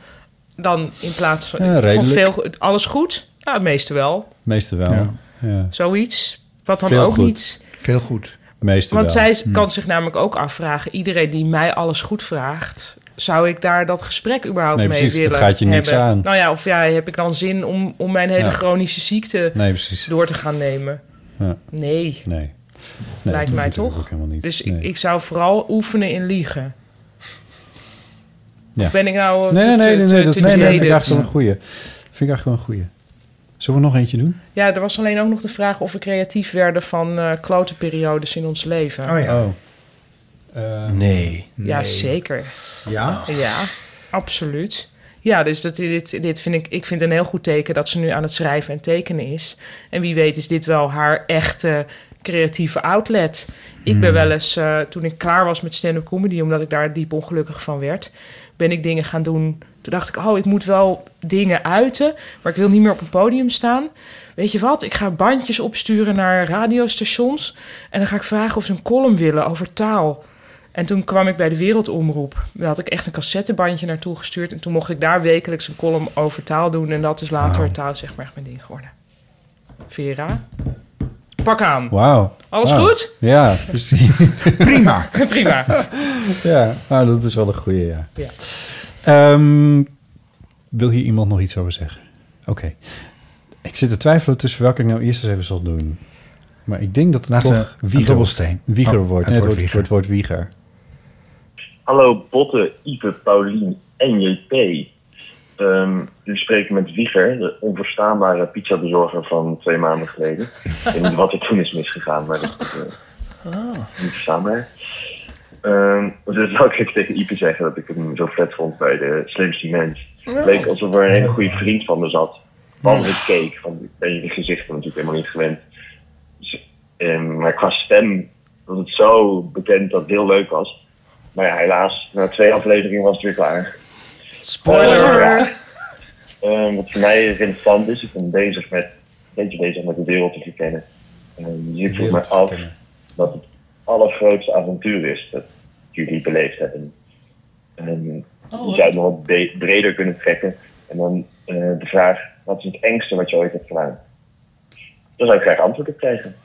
Speaker 1: dan in plaats van
Speaker 3: Ja,
Speaker 1: ik vond
Speaker 3: redelijk.
Speaker 1: veel alles goed. Nou, het meeste wel.
Speaker 3: Meeste wel.
Speaker 4: Ja.
Speaker 3: Ja.
Speaker 1: Zoiets. Wat dan
Speaker 3: Veel
Speaker 1: ook
Speaker 3: goed.
Speaker 1: niet.
Speaker 4: Veel goed.
Speaker 3: Meeste
Speaker 1: Want
Speaker 3: wel.
Speaker 1: zij
Speaker 3: Hm.
Speaker 1: kan zich namelijk ook afvragen: iedereen die mij alles goed vraagt, zou ik daar dat gesprek überhaupt
Speaker 3: Nee,
Speaker 1: mee
Speaker 3: precies,
Speaker 1: willen
Speaker 3: dat gaat je niks
Speaker 1: hebben?
Speaker 3: aan.
Speaker 1: Nou ja, of ja, heb ik dan zin om, om mijn hele
Speaker 3: Ja.
Speaker 1: chronische ziekte
Speaker 3: Nee, precies.
Speaker 1: door te gaan nemen?
Speaker 3: Ja.
Speaker 1: Nee.
Speaker 3: Nee. Nee,
Speaker 1: Lijkt
Speaker 3: dat
Speaker 1: mij
Speaker 3: hoeft
Speaker 1: toch?
Speaker 3: ook helemaal niet.
Speaker 1: Dus ik,
Speaker 3: Nee.
Speaker 1: ik zou vooral oefenen in liegen.
Speaker 3: Ja.
Speaker 1: Of ben ik nou. eh,
Speaker 3: Nee,
Speaker 1: te-
Speaker 3: nee, nee,
Speaker 1: te-
Speaker 3: nee,
Speaker 1: te-
Speaker 3: nee, dat,
Speaker 1: te
Speaker 3: nee, nee, dat vind ik
Speaker 1: jaded?
Speaker 3: eigenlijk wel een goeie. vind ik eigenlijk wel een goeie. Zullen we nog eentje doen?
Speaker 1: Ja, er was alleen ook nog de vraag of we creatief werden van eh klote periodes in ons leven.
Speaker 4: Oh ja.
Speaker 5: nee.
Speaker 1: Ja, zeker.
Speaker 4: Ja?
Speaker 1: Ja, absoluut. Ja, dus dat, dit, dit vind ik, ik vind een heel goed teken dat ze nu aan het schrijven en tekenen is. En wie weet is dit wel haar echte creatieve outlet. Ik ben wel eens, eh, toen ik klaar was met stand-up comedy, omdat ik daar diep ongelukkig van werd, ben ik dingen gaan doen. Toen dacht ik, oh, ik moet wel dingen uiten, maar ik wil niet meer op een podium staan. Weet je wat, ik ga bandjes opsturen naar radiostations en dan ga ik vragen of ze een column willen over taal. En toen kwam ik bij de Wereldomroep. Daar had ik echt een cassettebandje naartoe gestuurd. En toen mocht ik daar wekelijks een column over taal doen. En dat is later
Speaker 3: Wauw.
Speaker 1: taal zeg maar echt mijn ding geworden. Vera, pak aan.
Speaker 3: Wauw.
Speaker 1: Alles
Speaker 3: Wauw.
Speaker 1: goed?
Speaker 3: Ja, precies.
Speaker 4: Prima.
Speaker 1: [laughs] Prima.
Speaker 3: ja, nou, dat is wel een goeie, ja.
Speaker 1: Ja.
Speaker 3: Ehm, wil hier iemand nog iets over zeggen? Oké. Ik zit te twijfelen tussen welke ik nou eerst eens even zal doen. Maar ik denk dat het
Speaker 4: Laten
Speaker 3: toch
Speaker 4: we een
Speaker 3: Wieger,
Speaker 4: dobbelsteen.
Speaker 3: Wieger
Speaker 4: Oh,
Speaker 3: wordt.
Speaker 4: het
Speaker 3: Nee,
Speaker 4: wordt
Speaker 3: het wordt, wordt, wordt Wieger.
Speaker 6: Hallo Botte, Ipe, Paulien en JP. Ehm, u spreekt met Wieger, de onverstaanbare pizzabezorger van twee maanden geleden. ik weet niet wat er toen is misgegaan, maar dat eh, is
Speaker 4: Ah.
Speaker 6: niet verstaanbaar. Ehm dus zou ik tegen Ipe zeggen dat ik hem zo vet vond bij de slimste mens.
Speaker 7: Ja.
Speaker 6: Leek alsof er een hele goede vriend van me zat. Behalve ik keek, want ik ben je gezichten natuurlijk helemaal niet gewend. Dus, ehm, maar qua stem was het zo bekend dat het heel leuk was. Maar ja, helaas, na twee afleveringen was het weer klaar.
Speaker 5: Spoiler!
Speaker 6: Eh, ja. Eh, wat voor mij relevant is, ik ben bezig met, een beetje bezig met de wereld te verkennen. Eh, dus ik vroeg me af wat het allergrootste avontuur is dat jullie beleefd hebben. Ehm
Speaker 7: Oh,
Speaker 6: je
Speaker 7: wat-
Speaker 6: zou het nog wat be- breder kunnen trekken. En dan eh, de vraag, wat is het engste wat je ooit hebt gedaan? Daar zou ik graag antwoord op krijgen.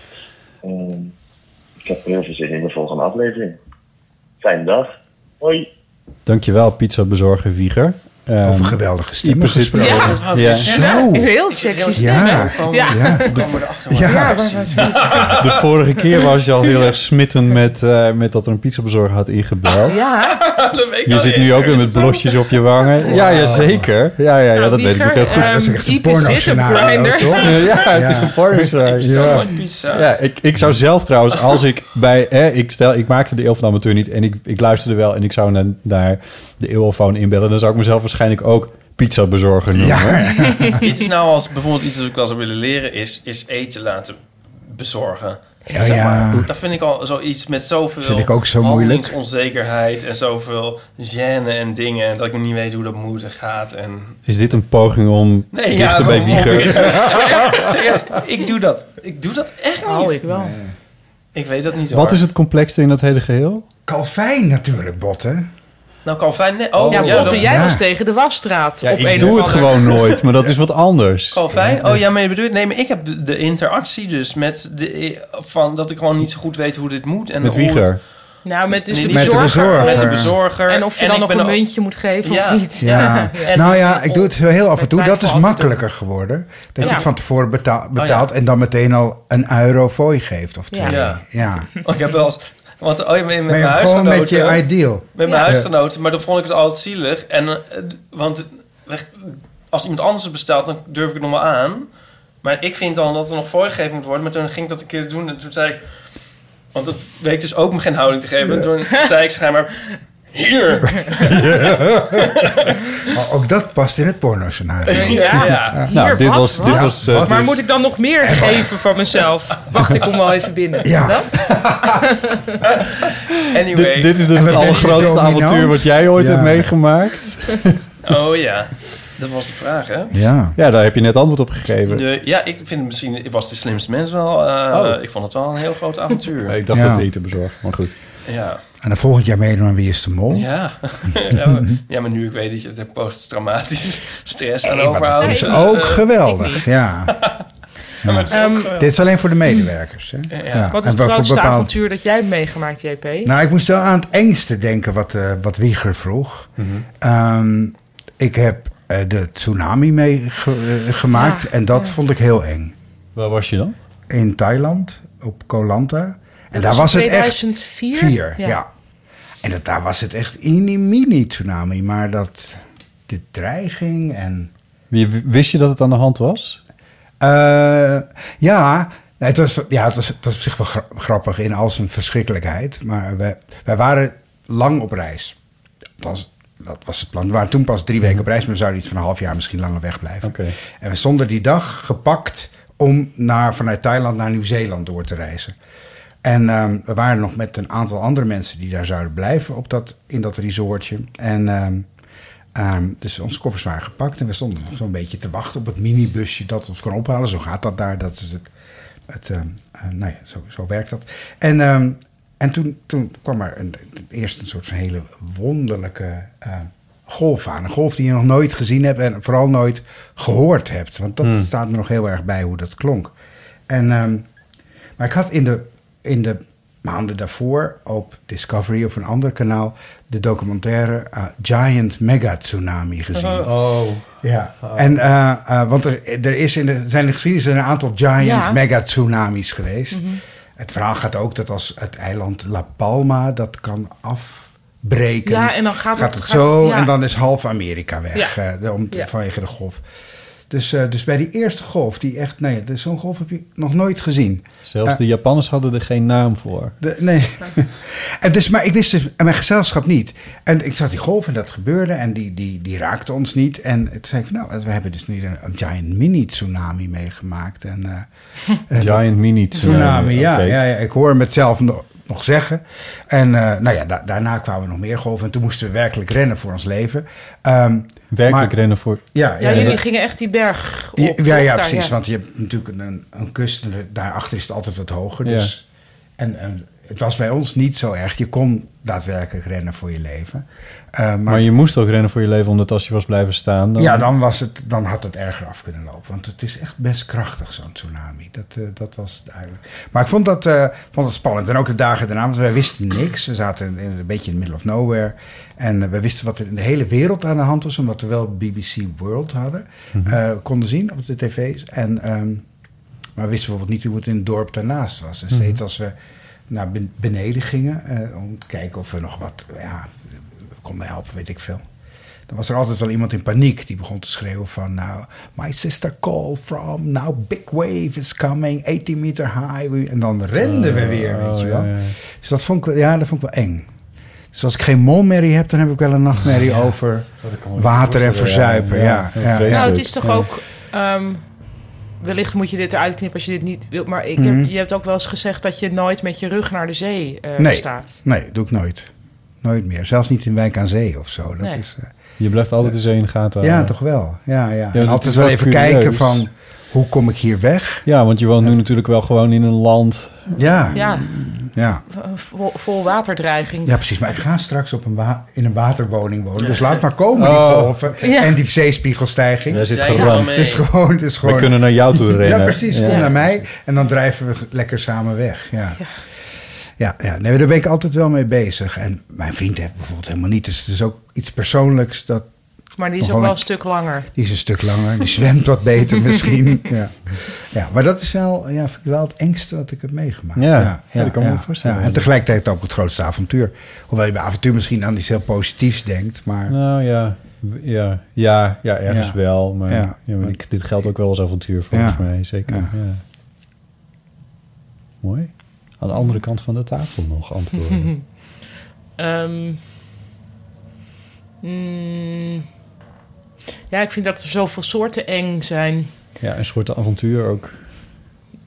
Speaker 6: Ehm, ik heb heel veel zin in de volgende aflevering. Fijne dag. Hoi.
Speaker 3: Dankjewel, pizza bezorger Wieger. Ehm,
Speaker 4: Over geweldige stemmen
Speaker 3: Ieper zit-
Speaker 4: gesproken. Ja,
Speaker 5: Oh,
Speaker 4: dat wou ik net zeggen. Zo.
Speaker 1: Heel sexy stem,
Speaker 4: Ja.
Speaker 1: hè? Ja.
Speaker 4: Ja. Ja.
Speaker 5: [laughs]
Speaker 4: Ja.
Speaker 1: Ja, maar wat-
Speaker 3: De vorige keer was je al heel erg smitten met, eh, met dat er een pizzabezorger had ingebeld. [laughs]
Speaker 1: Ja.
Speaker 3: Je zit nu ook weer met blosjes op je wangen. Ja, ja, zeker. Ja, ja,
Speaker 5: Nou,
Speaker 3: ja dat weet ik ook heel goed.
Speaker 1: ehm, Dat is echt een Iep is porno zit op scenario, Grindr.
Speaker 4: [laughs]
Speaker 1: toch?
Speaker 5: [laughs]
Speaker 3: Ja, het is een porno scenario.
Speaker 5: zou
Speaker 3: Ja.
Speaker 5: nooit pizza.
Speaker 3: Ja, ik, ik zou zelf trouwens, als ik bij... Hè, ik, stel, ik maakte de Eeuw van de Amateur niet en ik, ik luisterde wel... en ik zou naar, naar de Eeuwfoon inbellen... dan zou ik mezelf waarschijnlijk ook pizzabezorger noemen.
Speaker 5: Dit is nou als bijvoorbeeld iets dat ik wel zou willen leren is, is eten laten bezorgen.
Speaker 4: Ja,
Speaker 5: Zeg
Speaker 4: ja.
Speaker 5: maar, Dat vind ik al zoiets met zoveel
Speaker 4: Vind ik ook zo moeilijk.
Speaker 5: onzekerheid en zoveel gêne en dingen. En dat ik niet weet hoe dat moet en gaat. En...
Speaker 3: Is dit een poging om
Speaker 5: Nee,
Speaker 3: dichter
Speaker 5: ja,
Speaker 3: bij
Speaker 5: om-
Speaker 3: Wieger? [laughs]
Speaker 5: om- Serieus, ik doe dat. Ik doe dat echt niet.
Speaker 1: Oh, ik wel. Nee.
Speaker 5: Ik weet dat niet
Speaker 3: Wat
Speaker 5: hoor.
Speaker 3: is het complexste in dat hele geheel?
Speaker 4: Calvijn natuurlijk, Botten.
Speaker 5: Nou, Calvijn... Nee. Oh,
Speaker 1: ja,
Speaker 5: ja,
Speaker 1: Botte,
Speaker 5: dat-
Speaker 1: jij was tegen de wasstraat.
Speaker 3: Ja,
Speaker 1: op een
Speaker 3: ik doe
Speaker 1: of
Speaker 3: het
Speaker 1: ander-
Speaker 3: gewoon nooit, maar dat is wat anders.
Speaker 5: Calvijn?
Speaker 4: Dus
Speaker 5: Oh
Speaker 3: dus-
Speaker 5: ja, maar je bedoelt... Nee, maar ik heb de interactie dus met... De, van dat ik gewoon niet zo goed weet hoe dit moet. En
Speaker 3: Met
Speaker 5: hoe-
Speaker 3: Wieger.
Speaker 1: Nou, met, dus
Speaker 5: Nee,
Speaker 1: de
Speaker 5: niet
Speaker 1: bezorger.
Speaker 5: Met de bezorger.
Speaker 1: En of je
Speaker 5: En
Speaker 1: dan
Speaker 5: ik
Speaker 1: nog
Speaker 5: ben
Speaker 1: een
Speaker 5: al-
Speaker 1: muntje moet geven
Speaker 5: Ja.
Speaker 1: of niet. [laughs]
Speaker 4: Ja.
Speaker 1: Ja.
Speaker 4: [laughs] nou ja, ik doe het heel af en toe. Dat is
Speaker 1: twijfel altijd
Speaker 4: makkelijker geworden. Dat je
Speaker 1: Ja.
Speaker 4: het van tevoren betaal-
Speaker 5: ja.
Speaker 4: betaalt en dan meteen al een euro voor je geeft of twee.
Speaker 5: Ja.
Speaker 4: Ja.
Speaker 1: [laughs]
Speaker 4: [laughs]
Speaker 5: Oh, [laughs] ik heb wel eens... Want oh, ja, met
Speaker 4: Maar
Speaker 5: mijn
Speaker 4: ja, gewoon
Speaker 5: huisgenoten...
Speaker 4: met je ideal.
Speaker 5: Met mijn
Speaker 4: Ja.
Speaker 5: huisgenoten. Maar dan vond ik het altijd zielig. En, eh, want weg- als iemand anders het bestelt, dan durf ik het nog wel aan. Maar ik vind dan dat er nog voorgegeven moet worden. Maar toen ging ik dat een keer doen. En toen zei ik... Want dat weet dus ook me geen houding te geven. En toen zei ik schijnbaar... Hier! [laughs]
Speaker 4: Maar ook dat past in het porno scenario.
Speaker 1: Eh, Ja.
Speaker 4: Nou,
Speaker 1: Hier,
Speaker 4: dit
Speaker 1: wat?
Speaker 4: was- dit
Speaker 1: Wat?
Speaker 4: was, eh,
Speaker 1: maar
Speaker 4: dus-
Speaker 1: moet ik dan nog meer geven van mezelf? Wacht, ik kom wel even binnen. [laughs]
Speaker 4: Ja.
Speaker 1: Dat?
Speaker 5: Anyway.
Speaker 3: Dit is dus het allergrootste avontuur wat jij ooit hebt meegemaakt.
Speaker 5: Oh ja. Dat was de vraag, hè?
Speaker 3: Ja. ja, daar heb je net antwoord op gegeven.
Speaker 5: Nee, ja, ik vind het misschien... Ik was de slimste mens wel. eh, Ik vond het wel een heel groot avontuur.
Speaker 3: [laughs] Ik dacht
Speaker 4: Oh. Ja.
Speaker 3: dat eten bezorgd, maar goed.
Speaker 5: Ja.
Speaker 4: En dan volgend jaar meedoen aan Wie is de Mol. [laughs]
Speaker 5: Ja. ja, maar, ja, maar nu ik weet dat je het hebt posttraumatisch [laughs] stress aan
Speaker 4: Hey, maar
Speaker 5: overhoudt.
Speaker 4: dat is
Speaker 5: eh,
Speaker 4: ook
Speaker 5: eh,
Speaker 4: geweldig. Ja.
Speaker 5: [laughs] Ja, maar het is ook,
Speaker 1: Ehm,
Speaker 5: eh,
Speaker 4: Dit is alleen voor de medewerkers. Hè? Ja.
Speaker 1: Wat
Speaker 4: En
Speaker 1: is het
Speaker 4: voor
Speaker 1: grootste
Speaker 4: bepaald-
Speaker 1: avontuur dat jij hebt meegemaakt, JP?
Speaker 4: Nou, ik moest wel aan het engste denken wat, eh, wat Wieger vroeg.
Speaker 5: Mhm.
Speaker 4: Ehm, ik heb eh, de tsunami meegemaakt
Speaker 3: Ja,
Speaker 4: en dat vond ik heel eng.
Speaker 3: Waar was je dan?
Speaker 4: In Thailand, op Koh Lanta. En
Speaker 1: Dat
Speaker 4: daar
Speaker 1: was in
Speaker 4: was het echt...
Speaker 1: 2004?
Speaker 4: Vier,
Speaker 1: Ja.
Speaker 4: ja. En dat, daar was het echt mini tsunami, maar dat... De dreiging en...
Speaker 3: Wie- Wist je dat het aan de hand was?
Speaker 4: Eh, ja, nee, het was, ja, het was, het was op zich wel gra- grappig in al zijn verschrikkelijkheid. Maar wij, wij waren lang op reis. Althans, dat was het plan. We waren toen pas drie weken op reis, maar we zouden iets van een half jaar misschien langer wegblijven. En we stonden die dag gepakt om naar, vanuit Thailand naar Nieuw-Zeeland door te reizen. En ehm, we waren nog met een aantal andere mensen die daar zouden blijven op dat, in dat resortje. En ehm, ehm, dus onze koffers waren gepakt en we stonden nog zo'n beetje te wachten op het minibusje dat ons kon ophalen. Zo gaat dat daar. Dat is het. het ehm, eh, nou ja, zo, zo werkt dat. En, ehm, en toen, toen kwam er een, eerst een soort van hele wonderlijke eh, golf aan. Een golf die je nog nooit gezien hebt en vooral nooit gehoord hebt. Want dat
Speaker 3: Hmm.
Speaker 4: staat me nog heel erg bij hoe dat klonk. En, ehm, maar ik had in de, in de maanden daarvoor op Discovery of een ander kanaal de documentaire eh, Giant Mega Tsunami gezien.
Speaker 3: Oh.
Speaker 4: Ja, en, eh, eh, want er, er is in de, zijn de geschiedenis een aantal giant
Speaker 3: Ja.
Speaker 4: mega tsunamis geweest.
Speaker 9: Mhm.
Speaker 4: Het verhaal gaat ook dat als het eiland La Palma dat kan afbreken,
Speaker 1: Ja, en dan gaat het-
Speaker 4: het
Speaker 1: gaat-
Speaker 4: zo
Speaker 1: ja.
Speaker 4: en dan is half Amerika weg
Speaker 1: Ja.
Speaker 4: eh, om,
Speaker 1: Ja.
Speaker 4: vanwege de golf. Dus, eh, dus bij die eerste golf, die echt, nee, dus zo'n golf heb je nog nooit gezien.
Speaker 3: Zelfs
Speaker 4: Eh,
Speaker 3: de Japanners hadden er geen naam voor.
Speaker 4: de- nee. [laughs] en dus, maar ik wist dus, en mijn gezelschap niet. En ik zag die golf en dat gebeurde en die, die, die raakte ons niet. En toen zei ik van, nou, we hebben dus nu een, een giant mini-tsunami meegemaakt. En, eh, eh, dat-
Speaker 3: Giant mini tsunami.
Speaker 4: ja,
Speaker 3: eh, Oké.
Speaker 4: ja, ja. Ik hoor hem het zelf nog, nog zeggen. En eh, nou ja, da- daarna kwamen nog meer golven. En toen moesten we werkelijk rennen voor ons leven. Ehm,
Speaker 3: werkelijk rennen voor...
Speaker 4: Ja,
Speaker 1: Ja,
Speaker 4: ja,
Speaker 1: jullie
Speaker 4: dat-
Speaker 1: gingen echt die berg op.
Speaker 4: ja,
Speaker 1: toch?
Speaker 4: ja,
Speaker 1: Daar,
Speaker 4: precies. Want je hebt natuurlijk een, een kust en daarachter is het altijd wat hoger. Dus, en, en het was bij ons niet zo erg. Je kon daadwerkelijk rennen voor je leven. Eh, maar,
Speaker 3: Maar je moest ook rennen voor je leven, omdat als je was blijven staan... Dan...
Speaker 4: ja, dan, was het, dan had het erger af kunnen lopen. Want het is echt best krachtig, zo'n tsunami. Dat, eh, dat was duidelijk. Maar ik vond dat, eh, vond dat spannend. En ook de dagen daarna, want wij wisten niks. We zaten in- in een beetje in the middle of nowhere. En eh, we wisten wat er in de hele wereld aan de hand was. Omdat we wel BBC World hadden.
Speaker 3: Mhm.
Speaker 4: eh, konden zien op de tv's. En, ehm, maar we wisten bijvoorbeeld niet hoe het in het dorp daarnaast was. En steeds
Speaker 3: Mhm.
Speaker 4: als we naar ben- beneden gingen... eh, om te kijken of we nog wat ja, konden helpen, weet ik veel. Dan was er altijd wel iemand in paniek die begon te schreeuwen van... Nou, my sister called from, now big wave is coming, 18 meter high. We- En dan renden we
Speaker 3: Oh,
Speaker 4: weer, weet je wel.
Speaker 3: ja, ja.
Speaker 4: Dus dat vond, ik, wel- ja, dat vond ik wel eng. Dus als ik geen molmerrie heb, dan heb ik wel een nachtmerrie
Speaker 3: [laughs]
Speaker 4: over
Speaker 3: dat Oh, kan me
Speaker 4: water en
Speaker 3: voorstellen, ja.
Speaker 4: verzuipen. Ja,
Speaker 3: Ja,
Speaker 4: ja,
Speaker 3: ja,
Speaker 4: ja.
Speaker 1: Nou, het is toch ook... ehm, wellicht moet je dit eruit knippen als je dit niet wilt. Maar ik heb-
Speaker 4: Mhm.
Speaker 1: je hebt ook wel eens gezegd dat je nooit met je rug naar de zee eh,
Speaker 4: nee,
Speaker 1: staat.
Speaker 4: nee, doe ik nooit. Nooit meer. Zelfs niet in Wijk aan Zee of zo. Dat
Speaker 1: Nee.
Speaker 4: is, eh,
Speaker 3: Je blijft altijd eens in de gaten
Speaker 4: ja,
Speaker 3: houden.
Speaker 4: toch wel. Ja, ja.
Speaker 3: dat
Speaker 4: en
Speaker 3: is
Speaker 4: altijd wel even
Speaker 3: curieus.
Speaker 4: kijken van, hoe kom ik hier weg?
Speaker 3: Ja, want je woont nu natuurlijk wel gewoon in een land.
Speaker 4: Ja.
Speaker 1: Ja,
Speaker 4: Ja.
Speaker 1: vol, vol waterdreiging.
Speaker 4: Ja, precies. Maar ik ga straks op een wa- in een waterwoning wonen. Dus
Speaker 1: Ja.
Speaker 4: laat maar komen,
Speaker 1: Oh.
Speaker 4: die golven.
Speaker 1: Ja.
Speaker 4: En die zeespiegelstijging.
Speaker 3: Daar zit Jij gerand. kan mee.
Speaker 4: Het is gewoon... Het is
Speaker 3: We
Speaker 4: gewoon
Speaker 3: kunnen naar jou toe
Speaker 4: [laughs] Ja,
Speaker 3: rennen.
Speaker 4: precies. Kom
Speaker 3: Ja.
Speaker 4: naar mij. En dan drijven we lekker samen weg. Ja. Ja, ja. Nee, daar ben ik altijd wel mee bezig. En mijn vriend heeft bijvoorbeeld helemaal niet. Dus het is ook iets persoonlijks. Dat
Speaker 1: Maar die is
Speaker 4: nog
Speaker 1: ook wel
Speaker 4: een-
Speaker 1: een stuk
Speaker 4: [laughs]
Speaker 1: langer.
Speaker 4: Die is een stuk langer. Die zwemt wat beter misschien. Ja. ja, maar dat is wel, ja, vind ik wel het engste wat ik heb meegemaakt.
Speaker 3: Ja, ja, dat kan ik me voorstellen.
Speaker 4: ja. En tegelijkertijd ook het grootste avontuur. Hoewel je bij avontuur misschien aan iets heel positiefs denkt. Maar
Speaker 3: Nou ja, w- ja, ja, ja ergens
Speaker 4: Ja.
Speaker 3: wel. Maar,
Speaker 4: Ja.
Speaker 3: ja. maar ik- dit geldt ook wel als avontuur volgens
Speaker 4: Ja.
Speaker 3: mij, zeker. Ja. Mooi. Aan de andere kant van de tafel nog antwoorden.
Speaker 4: [laughs]
Speaker 1: Ehm, mm, ja, ik vind dat er zoveel soorten eng zijn.
Speaker 3: ja, een soort avontuur ook.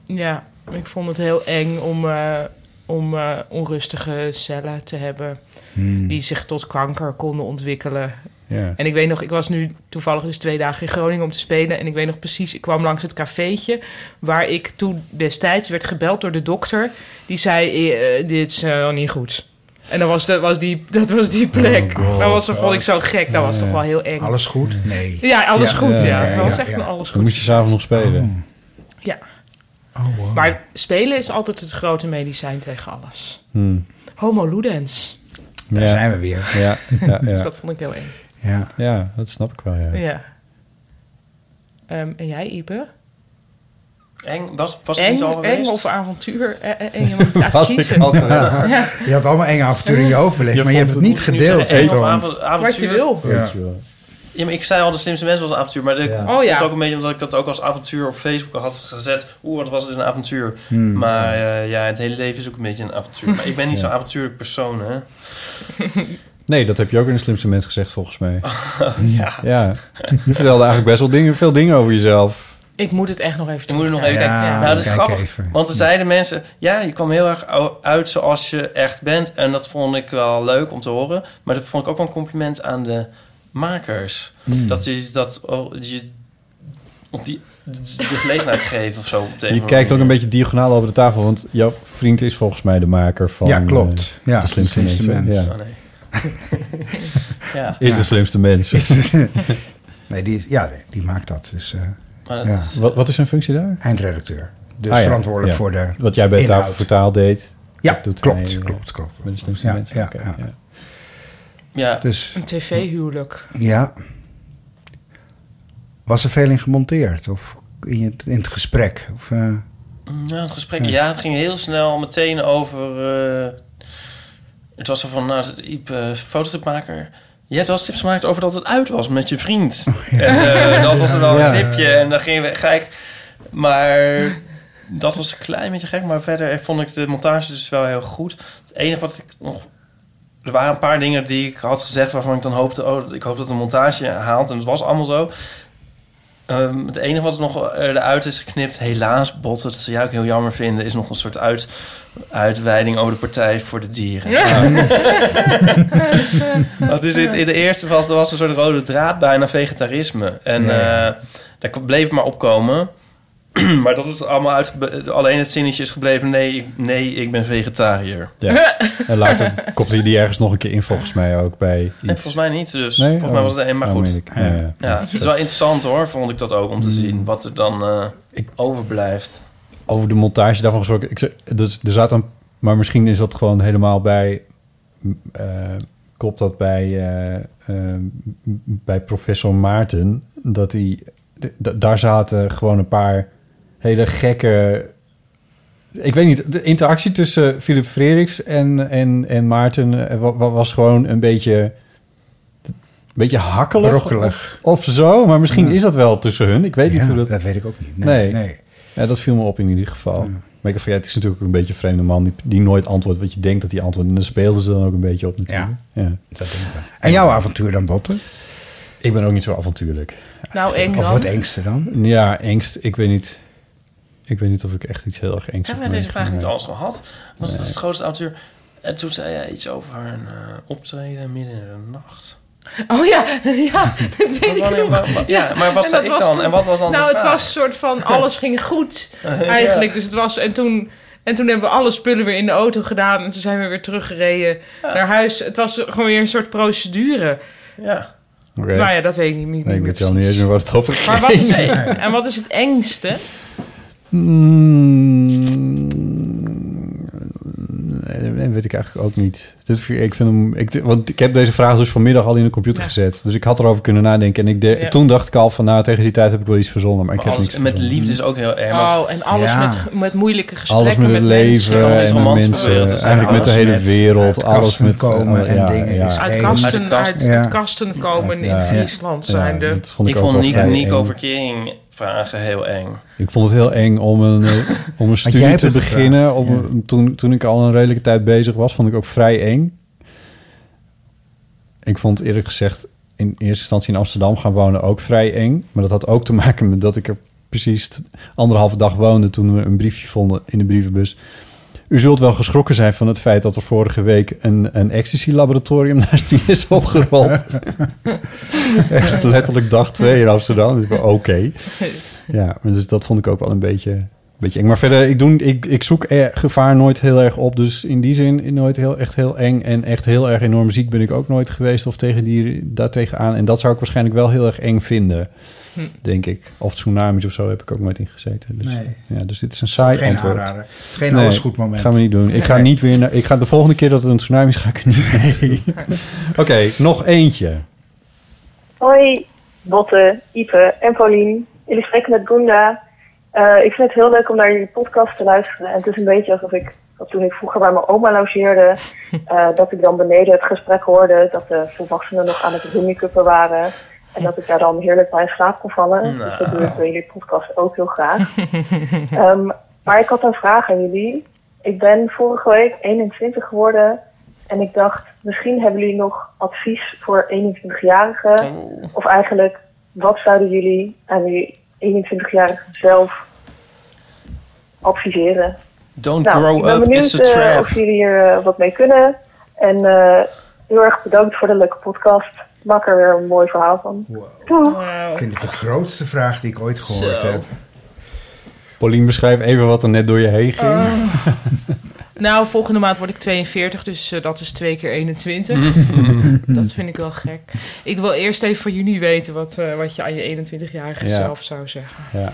Speaker 1: Ja, ik vond het heel eng om, eh, om eh, onrustige cellen te hebben.
Speaker 3: Hmm.
Speaker 1: Die zich tot kanker konden ontwikkelen.
Speaker 3: Ja.
Speaker 1: En ik weet nog, ik was nu toevallig dus twee dagen in Groningen om te spelen. En ik weet nog precies, ik kwam langs het cafeetje. Waar ik toen destijds werd gebeld door de dokter. Die zei, eh, dit is eh, niet goed. En dat was, dat was, die, [laughs] dat was die plek.
Speaker 4: Oh God.
Speaker 1: dat was, dat vond ik zo gek. Dat was toch wel heel eng.
Speaker 4: Alles goed? Nee.
Speaker 1: Ja, alles goed, ja.
Speaker 3: ja,
Speaker 1: Dat was
Speaker 3: ja,
Speaker 1: echt
Speaker 3: ja.
Speaker 1: een alles
Speaker 3: Dan
Speaker 1: goed.
Speaker 3: moet je s'avonds nog spelen.
Speaker 1: Ja.
Speaker 4: Oh,
Speaker 1: Maar spelen is altijd het grote medicijn tegen alles.
Speaker 3: Hmm.
Speaker 1: Homo ludens.
Speaker 4: Daar zijn we weer.
Speaker 3: Ja,
Speaker 1: [laughs]
Speaker 3: ja, ja.
Speaker 1: Dus dat vond ik heel eng.
Speaker 4: Ja.
Speaker 3: ja dat snap ik wel. Ja.
Speaker 1: Ja. Ehm, en jij, Ipe?
Speaker 5: Eng, was, was
Speaker 1: eng,
Speaker 5: ik niet al geweest?
Speaker 1: eng of avontuur? Eh, eh, eng, je
Speaker 5: [laughs]
Speaker 1: moet het eigenlijk
Speaker 4: Was ik
Speaker 1: kiezen.
Speaker 4: al geweest? Je had allemaal enge avonturen in je hoofd belegd, maar je hebt het niet gedeeld met
Speaker 5: Of
Speaker 4: ons.
Speaker 5: avond- avontuur.
Speaker 1: Wat je wil.
Speaker 4: Ja.
Speaker 3: Weet je wel.
Speaker 5: Ja, maar ik zei al, de slimste mensen was een avontuur. Maar dat
Speaker 1: Oh, ja.
Speaker 5: komt ook een beetje omdat ik dat ook als avontuur op Facebook had gezet. Oeh, wat was het een avontuur.
Speaker 4: Hmm.
Speaker 5: Maar eh, ja, het hele leven is ook een beetje een avontuur. Maar ik ben niet
Speaker 3: Ja.
Speaker 5: zo'n avontuurlijk persoon, hè.
Speaker 3: Nee, dat heb je ook in de slimste mens gezegd, volgens mij.
Speaker 5: [laughs] ja.
Speaker 3: Je vertelde eigenlijk best wel dingen, veel dingen over jezelf.
Speaker 1: Ik moet het echt nog even
Speaker 5: Je moet er nog even
Speaker 3: Ja,
Speaker 5: kijken. nou, dat is
Speaker 3: kijk
Speaker 5: grappig.
Speaker 3: even.
Speaker 5: Want er zeiden mensen, ja, je kwam heel erg ou- uit zoals je echt bent. En dat vond ik wel leuk om te horen. Maar dat vond ik ook wel een compliment aan de makers.
Speaker 3: Hmm.
Speaker 5: Dat je dat oh, je op die de gelegenheid geven of zo. op de een of
Speaker 3: Je
Speaker 5: andere
Speaker 3: kijkt ook een
Speaker 5: manier.
Speaker 3: beetje diagonaal over de tafel, want jouw vriend is volgens mij de maker van
Speaker 4: Ja, klopt.
Speaker 3: eh,
Speaker 4: Ja,
Speaker 3: de slimste,
Speaker 4: de slimste
Speaker 3: mens.
Speaker 4: mens.
Speaker 3: Ja.
Speaker 4: Oh,
Speaker 5: [laughs] ja.
Speaker 3: Is de slimste
Speaker 4: [laughs]
Speaker 3: mens.
Speaker 4: nee, die is, ja, nee, die maakt dat. Dus, eh,
Speaker 5: Maar dat
Speaker 4: ja.
Speaker 5: is-
Speaker 3: wat, wat is zijn functie daar?
Speaker 4: Eindredacteur. Dus
Speaker 3: Ah, ja.
Speaker 4: verantwoordelijk
Speaker 3: Ja.
Speaker 4: voor de
Speaker 3: Wat jij bij
Speaker 4: inhoud.
Speaker 3: tafel vertaal deed.
Speaker 4: Ja,
Speaker 3: dat doet
Speaker 4: klopt,
Speaker 3: hij, eh,
Speaker 4: klopt, klopt.
Speaker 3: Bij de slimste
Speaker 4: Ja,
Speaker 3: mens.
Speaker 4: ja,
Speaker 3: Oké,
Speaker 4: ja.
Speaker 5: Ja.
Speaker 4: Dus
Speaker 1: Een tv-huwelijk.
Speaker 4: ja. Was er veel in gemonteerd? Of in het, in het gesprek? Of, eh,
Speaker 5: Nou, het gesprek, ja, het ging heel snel meteen over. eh, het was er van, nou, dat Iep, eh, fototipmaker. Je hebt wel eens tips gemaakt over dat het uit was met je vriend. En eh, dat was er wel
Speaker 3: Ja.
Speaker 5: een tipje. En dan gingen we gek. Maar dat was een klein beetje gek. Maar verder vond ik de montage dus wel heel goed. Het enige wat ik nog... Er waren een paar dingen die ik had gezegd waarvan ik dan hoopte... Oh, ik hoop dat de montage haalt. En het was allemaal zo. Ehm, het enige wat nog eh, eruit is geknipt, helaas botten, dat ze jou ook heel jammer vinden, is nog een soort uit, uitweiding over de Partij voor de Dieren. [laughs] Want u zit in de eerste vast, er was een soort rode draad bijna vegetarisme. En eh, daar k- bleef het maar opkomen. [clears throat] maar dat is allemaal uit. Alleen het zinnetje is gebleven: nee, ik- nee ik ben vegetariër. [laughs]
Speaker 3: Ja. En later [laughs] komt hij die ergens nog een keer in, volgens mij ook bij iets.
Speaker 5: En volgens mij niet, dus
Speaker 3: Nee?
Speaker 5: volgens mij
Speaker 3: Oh.
Speaker 5: was het een, maar
Speaker 3: Oh,
Speaker 5: goed.
Speaker 3: meen ik. Ja, Hmm. ja.
Speaker 5: Ja, het is wel interessant hoor, vond ik dat ook, om te zien wat er dan eh, overblijft.
Speaker 3: over de montage daarvan gesproken. Ik, zeg- dus, er zaten, een- maar misschien is dat gewoon helemaal bij. m, eh, klopt dat bij, eh, eh, m, bij professor Maarten? Dat hij. d- d- daar zaten gewoon een paar hele gekke. Ik weet niet, de interactie tussen Philip Frederiks en, en, en Maarten eh, wa- wa- was gewoon een beetje. Een beetje hakkelig.
Speaker 4: Brokkelig.
Speaker 3: Of, of zo, maar misschien is dat wel tussen hun. Ik weet
Speaker 4: Ja,
Speaker 3: niet hoe dat...
Speaker 4: dat weet ik ook niet. Nee,
Speaker 3: Nee.
Speaker 4: nee.
Speaker 3: Ja, dat viel me op in ieder geval. Maar ik dacht van, ja, het is natuurlijk ook een beetje een vreemde man... die, die nooit antwoordt wat je denkt dat hij antwoordt. En dan speelden ze dan ook een beetje op natuurlijk. Ja,
Speaker 4: dat denk ik wel. En jouw avontuur dan, Botten?
Speaker 3: Ik ben ook niet zo avontuurlijk.
Speaker 1: Nou, eng
Speaker 4: Of
Speaker 1: dan.
Speaker 4: wat engste dan?
Speaker 3: Ja, angst, ik weet niet. Ik weet niet of ik echt iets heel erg engs heb.
Speaker 5: Hebben we deze vraag
Speaker 3: meegemaakt.
Speaker 5: niet al eens gehad? Want
Speaker 3: Nee.
Speaker 5: het is het grootste avontuur. En toen zei jij iets over een eh, optreden midden in de nacht.
Speaker 1: Oh ja, [laughs]
Speaker 5: [laughs]
Speaker 1: ja, dat weet ik
Speaker 5: wanneer-
Speaker 1: nog.
Speaker 5: wa- wa- ja, maar was
Speaker 1: En
Speaker 5: dat
Speaker 1: dat
Speaker 5: ik dan?
Speaker 1: toen-
Speaker 5: En wat was dan de
Speaker 1: Nou, het
Speaker 5: vraag?
Speaker 1: was een soort
Speaker 5: [laughs]
Speaker 1: van alles ging goed
Speaker 5: Ja.
Speaker 1: eigenlijk. Dus het was, en toen, en toen hebben we alle spullen weer in de auto gedaan. En toen zijn we weer teruggereden naar huis. Het was gewoon weer een soort procedure.
Speaker 5: Ja.
Speaker 3: Oké.
Speaker 1: Nou ja, dat weet ik niet, niet
Speaker 3: Nee, ik
Speaker 1: meer
Speaker 3: weet zelf niet eens meer waar het over ging.
Speaker 1: Maar wat
Speaker 3: [laughs]
Speaker 1: is, en wat is het engste?
Speaker 3: Mm, nee, weet ik eigenlijk ook niet. Dit, vind ik ik vind hem, ik, want ik heb deze vraag dus vanmiddag al in de computer gezet. Dus ik had erover kunnen nadenken. En ik de,
Speaker 1: Ja.
Speaker 3: toen dacht ik al van, nou, tegen die tijd heb ik wel iets verzonnen. Maar,
Speaker 5: Maar
Speaker 3: ik heb
Speaker 5: alles-
Speaker 3: niks
Speaker 5: met
Speaker 3: verzonnen.
Speaker 5: liefde is ook heel erg.
Speaker 1: Oh, en alles met, met moeilijke gesprekken.
Speaker 3: Alles met het
Speaker 1: mensen.
Speaker 3: leven en met
Speaker 5: romantische
Speaker 3: mensen.
Speaker 5: wereld te zijn.
Speaker 3: Eigenlijk met de hele
Speaker 5: Alles met
Speaker 3: wereld.
Speaker 5: uit
Speaker 3: alles
Speaker 5: kasten
Speaker 3: met Oh,
Speaker 5: komen
Speaker 3: alle-
Speaker 5: en dingen is
Speaker 1: Uit
Speaker 5: Hey,
Speaker 1: kasten,
Speaker 5: uit
Speaker 1: uit,
Speaker 5: de kast.
Speaker 1: uit
Speaker 5: Ja.
Speaker 1: kasten komen
Speaker 3: Ja.
Speaker 1: in Friesland zijn de...
Speaker 3: dat vond ik
Speaker 5: ik
Speaker 3: ook
Speaker 5: vond
Speaker 3: wel
Speaker 5: Nico,
Speaker 3: vrij
Speaker 5: Nico
Speaker 3: eng.
Speaker 5: Verkering vragen heel eng.
Speaker 3: Ik vond het heel eng om een,
Speaker 5: [laughs]
Speaker 3: eh, om een
Speaker 5: jij
Speaker 3: studie
Speaker 5: hebt
Speaker 3: te
Speaker 5: het gevraagd,
Speaker 3: beginnen. Op, een- toen, toen ik al een redelijke tijd bezig was, vond ik ook vrij eng. Ik vond eerlijk gezegd in eerste instantie in Amsterdam gaan wonen ook vrij eng. Maar dat had ook te maken met dat ik er precies t- anderhalve dag woonde toen we een briefje vonden in de brievenbus. U zult wel geschrokken zijn van het feit dat er vorige week een, een ecstasy-laboratorium [laughs] naast me
Speaker 5: [laughs]
Speaker 3: is opgerold. Echt letterlijk dag twee in Amsterdam. Dus ik dacht,
Speaker 5: [laughs]
Speaker 3: Oké. Ja, maar dus dat vond ik ook wel een beetje, een beetje eng. Maar verder, ik, doe, ik, ik zoek eh, gevaar nooit heel erg op. Dus in die zin nooit heel, echt heel eng. En echt heel erg enorm ziek ben ik ook nooit geweest. Of tegen die daartegen aan. En dat zou ik waarschijnlijk wel heel erg eng vinden.
Speaker 4: Hm.
Speaker 3: Denk ik. Of tsunamis of zo heb ik ook nooit ingezeten. Dus,
Speaker 4: Nee.
Speaker 3: ja, dus dit is een saai
Speaker 4: Geen
Speaker 3: antwoord.
Speaker 4: aanrader. Geen alles goed moment.
Speaker 3: gaan we niet doen. Ik ga
Speaker 4: Nee.
Speaker 3: niet weer naar... Ik ga de volgende keer dat het een tsunami is, ga ik er niet naartoe. [laughs] Oké, nog eentje.
Speaker 10: Hoi, Botte, Ipe en Paulien. Jullie spreken met Gunda. Eh, ik vind het heel leuk om naar jullie podcast te luisteren. En het is een beetje alsof ik, dat toen ik vroeger bij mijn oma logeerde, eh, dat ik dan beneden het gesprek hoorde dat de volwassenen nog aan het roomie-cuppen waren. En dat ik daar dan heerlijk bij in slaap kon vallen. Dus dat doe ik bij jullie podcast ook heel
Speaker 1: [laughs]
Speaker 10: graag.
Speaker 5: [laughs]
Speaker 10: Ehm, maar ik had een vraag aan jullie. Ik ben vorige week 21 geworden. En ik dacht, misschien hebben jullie nog advies voor 21-jarigen.
Speaker 5: Oh.
Speaker 10: Of eigenlijk, wat zouden jullie aan die 21-jarigen zelf adviseren?
Speaker 5: Don't
Speaker 10: Nou, ik
Speaker 5: grow
Speaker 10: ben
Speaker 5: up,
Speaker 10: benieuwd
Speaker 5: it's a
Speaker 10: eh,
Speaker 5: trap.
Speaker 10: of jullie hier eh, wat mee kunnen. En eh, heel erg bedankt voor de leuke podcast. Maak er weer een mooi verhaal van. Doei!
Speaker 4: Ik vind het de grootste vraag die ik ooit gehoord
Speaker 1: Zo.
Speaker 4: heb.
Speaker 3: Paulien, beschrijf even wat er net door je heen ging.
Speaker 1: Oh. nou, volgende maand word ik 42, dus eh, dat is twee keer 21.
Speaker 3: [laughs]
Speaker 1: dat vind ik wel gek. Ik wil eerst even van jullie weten wat, eh, wat je aan je 21-jarige
Speaker 3: Ja.
Speaker 1: zelf zou zeggen.
Speaker 3: Ja.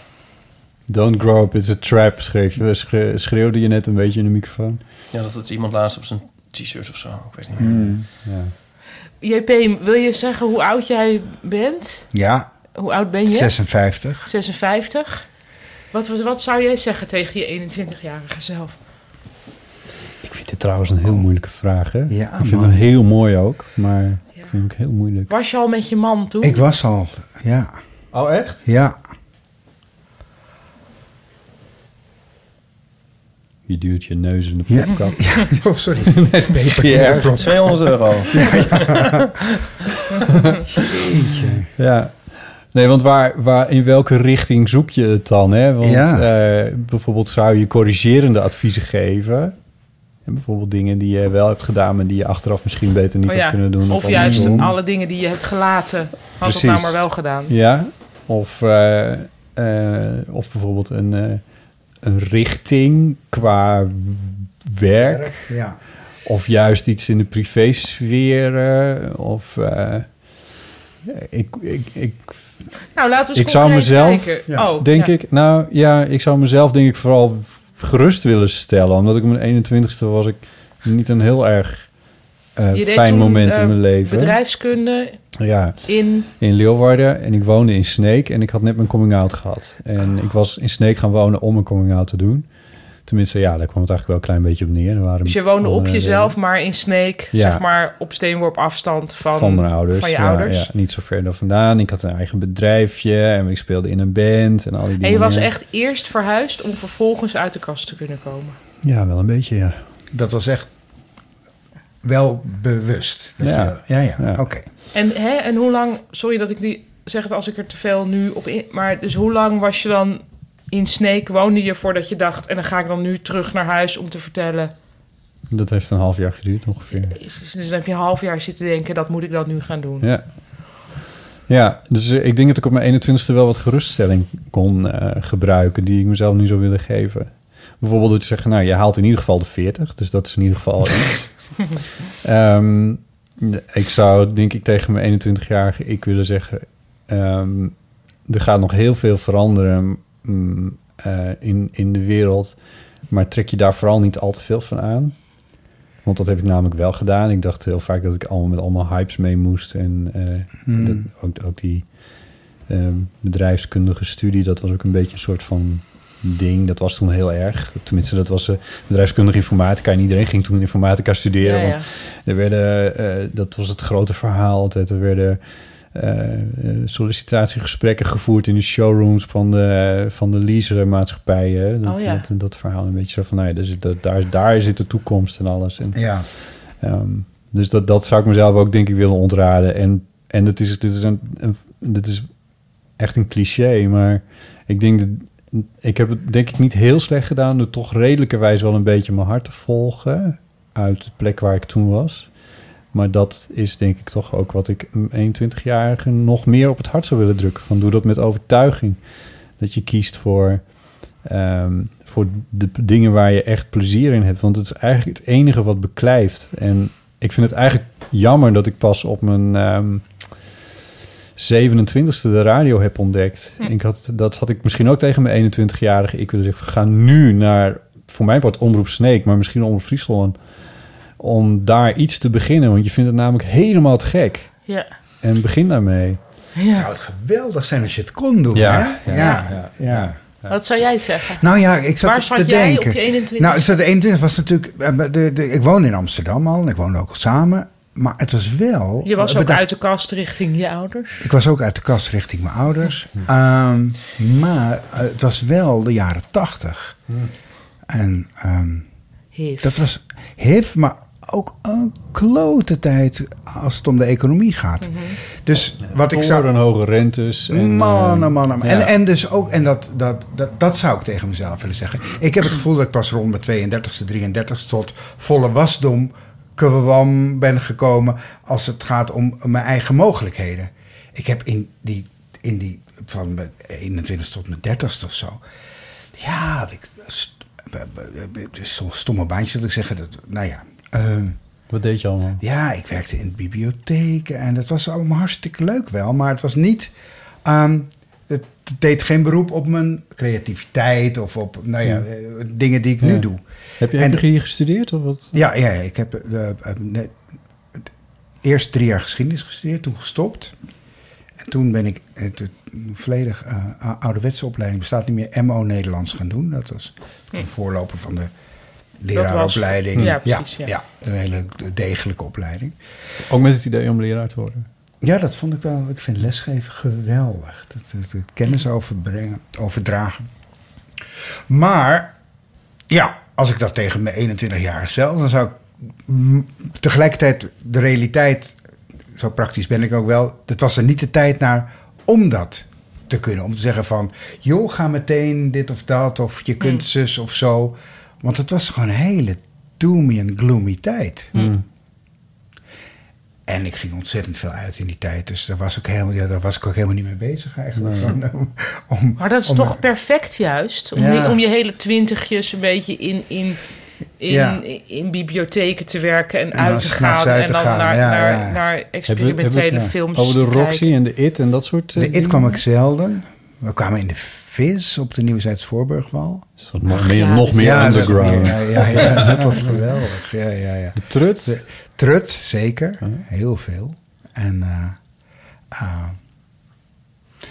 Speaker 3: Don't grow up, it's a trap, schreef je, schre- schreeuwde je net een beetje in de microfoon.
Speaker 5: Ja, dat het iemand laatst op zijn t-shirt of zo. Ik weet niet meer. [laughs]
Speaker 3: Hmm, Ja.
Speaker 1: JP, wil je zeggen hoe oud jij bent?
Speaker 4: Ja,
Speaker 1: Hoe oud ben je?
Speaker 4: 56.
Speaker 1: 56. Wat, wat zou jij zeggen tegen je 21-jarige zelf?
Speaker 3: Ik vind dit trouwens een heel moeilijke vraag, hè?
Speaker 4: Ja,
Speaker 3: ik vind
Speaker 4: man.
Speaker 3: hem heel mooi ook, maar ik vind hem ook heel moeilijk.
Speaker 1: Was je al met je man toen?
Speaker 4: Ik was al, ja.
Speaker 3: Oh, echt?
Speaker 4: Ja.
Speaker 3: Je duwt je neus in de popkap.
Speaker 4: [laughs] Ja. Oh, sorry.
Speaker 3: [laughs] nee, dat is
Speaker 4: Paper
Speaker 5: [laughs]
Speaker 3: Pierre.
Speaker 4: drop.
Speaker 5: 200
Speaker 3: [laughs]
Speaker 5: euro.
Speaker 4: Ja,
Speaker 5: [laughs]
Speaker 4: ja.
Speaker 3: Jeetje. Ja. Nee, want waar, waar, in welke richting zoek je het dan? Hè? Want
Speaker 4: Ja.
Speaker 3: eh, bijvoorbeeld zou je corrigerende adviezen geven. En bijvoorbeeld dingen die je wel hebt gedaan... maar die je achteraf misschien beter niet
Speaker 1: Oh ja,
Speaker 3: had kunnen doen.
Speaker 1: Of juist
Speaker 3: andersom.
Speaker 1: alle dingen die je hebt gelaten. Had het nou maar wel gedaan.
Speaker 3: Ja, of, eh, eh, of bijvoorbeeld een, eh, een richting qua w- werk.
Speaker 4: Werk, ja.
Speaker 3: Of juist iets in de privésfeer. eh, of eh, ik, ik, ik,
Speaker 1: Nou, laten we
Speaker 3: ik
Speaker 1: eens
Speaker 3: zou
Speaker 1: concreet
Speaker 3: mezelf,
Speaker 1: kijken. Ja. Oh,
Speaker 3: denk
Speaker 1: ja.
Speaker 3: ik, nou ja, ik zou mezelf denk ik vooral gerust willen stellen. Omdat ik op mijn 21ste was ik niet een heel erg eh,
Speaker 1: Je deed
Speaker 3: fijn
Speaker 1: toen,
Speaker 3: moment
Speaker 1: eh,
Speaker 3: in mijn leven.
Speaker 1: Bedrijfskunde
Speaker 3: Ja.
Speaker 1: in.
Speaker 3: In Leeuwarden. En ik woonde in Sneek. En ik had net mijn coming-out gehad. En
Speaker 1: Ah.
Speaker 3: ik was in Sneek gaan wonen om een coming-out te doen. Tenminste, ja, daar kwam het eigenlijk wel een klein beetje op neer. Er waren
Speaker 1: Dus je woonde op
Speaker 3: andere
Speaker 1: jezelf, maar in Sneek,
Speaker 3: eh, Ja.
Speaker 1: zeg maar op steenworp afstand van,
Speaker 3: Van mijn ouders.
Speaker 1: Van je
Speaker 3: Ja,
Speaker 1: ouders.
Speaker 3: Ja, niet zo ver daar vandaan. Ik had een eigen bedrijfje. En ik speelde in een band. En al die dingen.
Speaker 1: En je was echt eerst verhuisd om vervolgens uit de kast te kunnen komen.
Speaker 3: Ja, wel een beetje, ja.
Speaker 4: Dat was echt wel bewust. Dat
Speaker 3: Ja.
Speaker 4: je dat- ja, ja.
Speaker 3: Ja.
Speaker 4: Oké.
Speaker 1: En, hè, en hoe lang, sorry dat ik nu zeg het als ik er te veel nu op in, maar dus hoe lang was je dan in Sneek woonde je voordat je dacht... en dan ga ik dan nu terug naar huis om te vertellen.
Speaker 3: Dat heeft een half jaar geduurd ongeveer.
Speaker 1: Dus dan heb je een half jaar zitten denken... dat moet ik dat nu gaan doen.
Speaker 3: Ja. Ja, dus eh, ik denk dat ik op mijn 21ste wel wat geruststelling kon eh, gebruiken... die ik mezelf nu zou willen geven. Bijvoorbeeld dat je zegt, nou, je haalt in ieder geval de 40. Dus dat is in ieder geval al iets. Ehm, ik zou, denk ik, tegen mijn 21-jarige ik willen zeggen... ehm, er gaat nog heel veel veranderen mm, eh, in, in de wereld... maar trek je daar vooral niet al te veel van aan. Want dat heb ik namelijk wel gedaan. Ik dacht heel vaak dat ik allemaal met allemaal hypes mee moest. En eh,
Speaker 4: Hmm.
Speaker 3: dat, ook, ook die eh, bedrijfskundige studie, dat was ook een beetje een soort van ding. Dat was toen heel erg. Tenminste, dat was eh, bedrijfskundige informatica. En iedereen ging toen informatica studeren.
Speaker 11: Ja, ja.
Speaker 3: Want er werden, eh, dat was het grote verhaal altijd. Er werden eh, eh, sollicitatiegesprekken gevoerd in de showrooms van de, van de leasemaatschappijen. Dat,
Speaker 1: Oh, ja.
Speaker 3: dat, dat verhaal een beetje zo van, nou ja, daar, zit, dat- daar, daar zit de toekomst en alles. En,
Speaker 4: Ja.
Speaker 3: ehm, dus dat, dat zou ik mezelf ook denk ik willen ontraden. En, en dit, is, dit, is een, een- dit is echt een cliché, maar ik denk dat... Ik heb het denk ik niet heel slecht gedaan... door toch redelijkerwijs wel een beetje mijn hart te volgen... uit de plek waar ik toen was. Maar dat is denk ik toch ook wat ik een 21-jarige nog meer op het hart zou willen drukken. Van doe dat met overtuiging. Dat je kiest voor, ehm, voor de p- dingen waar je echt plezier in hebt. Want het is eigenlijk het enige wat beklijft. En ik vind het eigenlijk jammer dat ik pas op mijn ehm 27e de radio heb ontdekt. Ik had, dat had ik misschien ook tegen mijn 21-jarige. Ik wilde zeggen, we gaan nu naar, voor mij wordt Omroep Sneek, maar misschien Omroep Friesland. Om daar iets te beginnen, want je vindt het namelijk helemaal te gek.
Speaker 1: Ja.
Speaker 3: En begin daarmee.
Speaker 1: Ja.
Speaker 4: zou het geweldig zijn als je het kon doen.
Speaker 3: Ja,
Speaker 4: hè?
Speaker 3: ja,
Speaker 4: ja. ja.
Speaker 1: Wat zou jij zeggen?
Speaker 4: Nou ja, ik zat
Speaker 1: Waar
Speaker 4: dus
Speaker 1: zat
Speaker 4: te
Speaker 1: jij
Speaker 4: denken.
Speaker 1: op je 21
Speaker 4: Nou, ik zat- de 21 was natuurlijk. eh, De, de, ik woon in Amsterdam al en ik woonde ook al samen. Maar het was wel.
Speaker 1: Je was ook
Speaker 4: bedacht-
Speaker 1: uit de kast richting je ouders.
Speaker 4: Ik was ook uit de kast richting mijn ouders. Ehm, maar eh, het was wel de jaren 80.
Speaker 3: Hmm.
Speaker 4: En ehm,
Speaker 1: Hif.
Speaker 4: dat was hif, maar ook een klote tijd als het om de economie gaat.
Speaker 1: Mhm.
Speaker 4: Dus wat ik zou...
Speaker 3: Toren, hoge rentes. En,
Speaker 4: Man,
Speaker 3: eh,
Speaker 4: oh, man, oh, man.
Speaker 3: ja.
Speaker 4: En, en dus ook, en dat, dat, dat, dat zou ik tegen mezelf willen zeggen. Ik heb het gevoel dat ik pas rond mijn 32e, 33e tot volle wasdom kwam ben gekomen als het gaat om mijn eigen mogelijkheden. Ik heb in die, in die van mijn 21ste tot mijn 30ste of zo, ja, had ik st- b- b- b- soms stomme baantjes dat ik zeggen dat, nou ja.
Speaker 3: Wat deed je allemaal?
Speaker 4: Ja, ik werkte in bibliotheken en dat was allemaal hartstikke leuk wel, maar het was niet. ehm, het deed geen beroep op mijn creativiteit of op nou ja,
Speaker 3: Ja.
Speaker 4: eh, dingen die ik nu
Speaker 3: Ja.
Speaker 4: doe.
Speaker 3: Heb je,
Speaker 4: En-
Speaker 3: heb je hier gestudeerd of wat?
Speaker 4: Ja, ja, ja, ik heb eh, eh, net- het- eerst drie jaar geschiedenis gestudeerd, toen gestopt. En toen ben ik eh, toen een volledig eh, a- ouderwetse opleiding, bestaat niet meer, MO Nederlands gaan doen. Dat was de
Speaker 1: Hm.
Speaker 4: voorloper van de
Speaker 1: was-
Speaker 4: leraaropleiding.
Speaker 1: ja, precies, ja.
Speaker 4: een hele degelijke opleiding.
Speaker 3: Ook met het idee om leraar te worden?
Speaker 4: Ja, dat vond ik wel. Ik vind lesgeven geweldig. Dat, dat, dat kennis overbrengen, overdragen. Maar ja, als ik dat tegen mijn 21 jaar zelf, dan zou ik mm, tegelijkertijd de realiteit, zo praktisch ben ik ook wel, dat was er niet de tijd naar om dat te kunnen. Om te zeggen van, joh, ga meteen dit of dat, of je kunt zus of zo. Want het was gewoon een hele doomy en gloomy tijd.
Speaker 9: Hmm.
Speaker 4: En ik ging ontzettend veel uit in die tijd. Dus daar was ik, helemaal, ja, daar was ik ook helemaal niet mee bezig eigenlijk.
Speaker 1: Nee.
Speaker 4: Om- [laughs] om-
Speaker 1: Maar dat is
Speaker 4: om-
Speaker 1: toch perfect juist. Om,
Speaker 4: Ja.
Speaker 1: je, om je hele twintigjes een beetje in, in, in,
Speaker 4: Ja.
Speaker 1: in, bibliotheken te werken en,
Speaker 3: En dan
Speaker 1: uit te
Speaker 3: s'nachts
Speaker 1: gaan.
Speaker 3: uit
Speaker 1: en
Speaker 3: te
Speaker 1: dan
Speaker 3: gaan,
Speaker 1: naar,
Speaker 3: ja,
Speaker 1: naar,
Speaker 3: ja.
Speaker 1: naar
Speaker 3: Hebben we-
Speaker 1: experimentele
Speaker 3: hebben we het, ja,
Speaker 1: films
Speaker 3: over de
Speaker 1: te
Speaker 3: Roxy
Speaker 1: kijken.
Speaker 3: en de It en dat soort eh,
Speaker 4: De It
Speaker 3: dingen?
Speaker 4: kwam ik zelden. We kwamen in de Vis op de Nieuwezijds Voorburgwal.
Speaker 3: dat nog Ach, meer- ja. nog meer
Speaker 4: dat-
Speaker 3: underground.
Speaker 4: Ja, ja, ja, dat was geweldig. Ja, ja, ja.
Speaker 3: De Trut?
Speaker 4: trut, zeker. Heel veel. En eh, eh,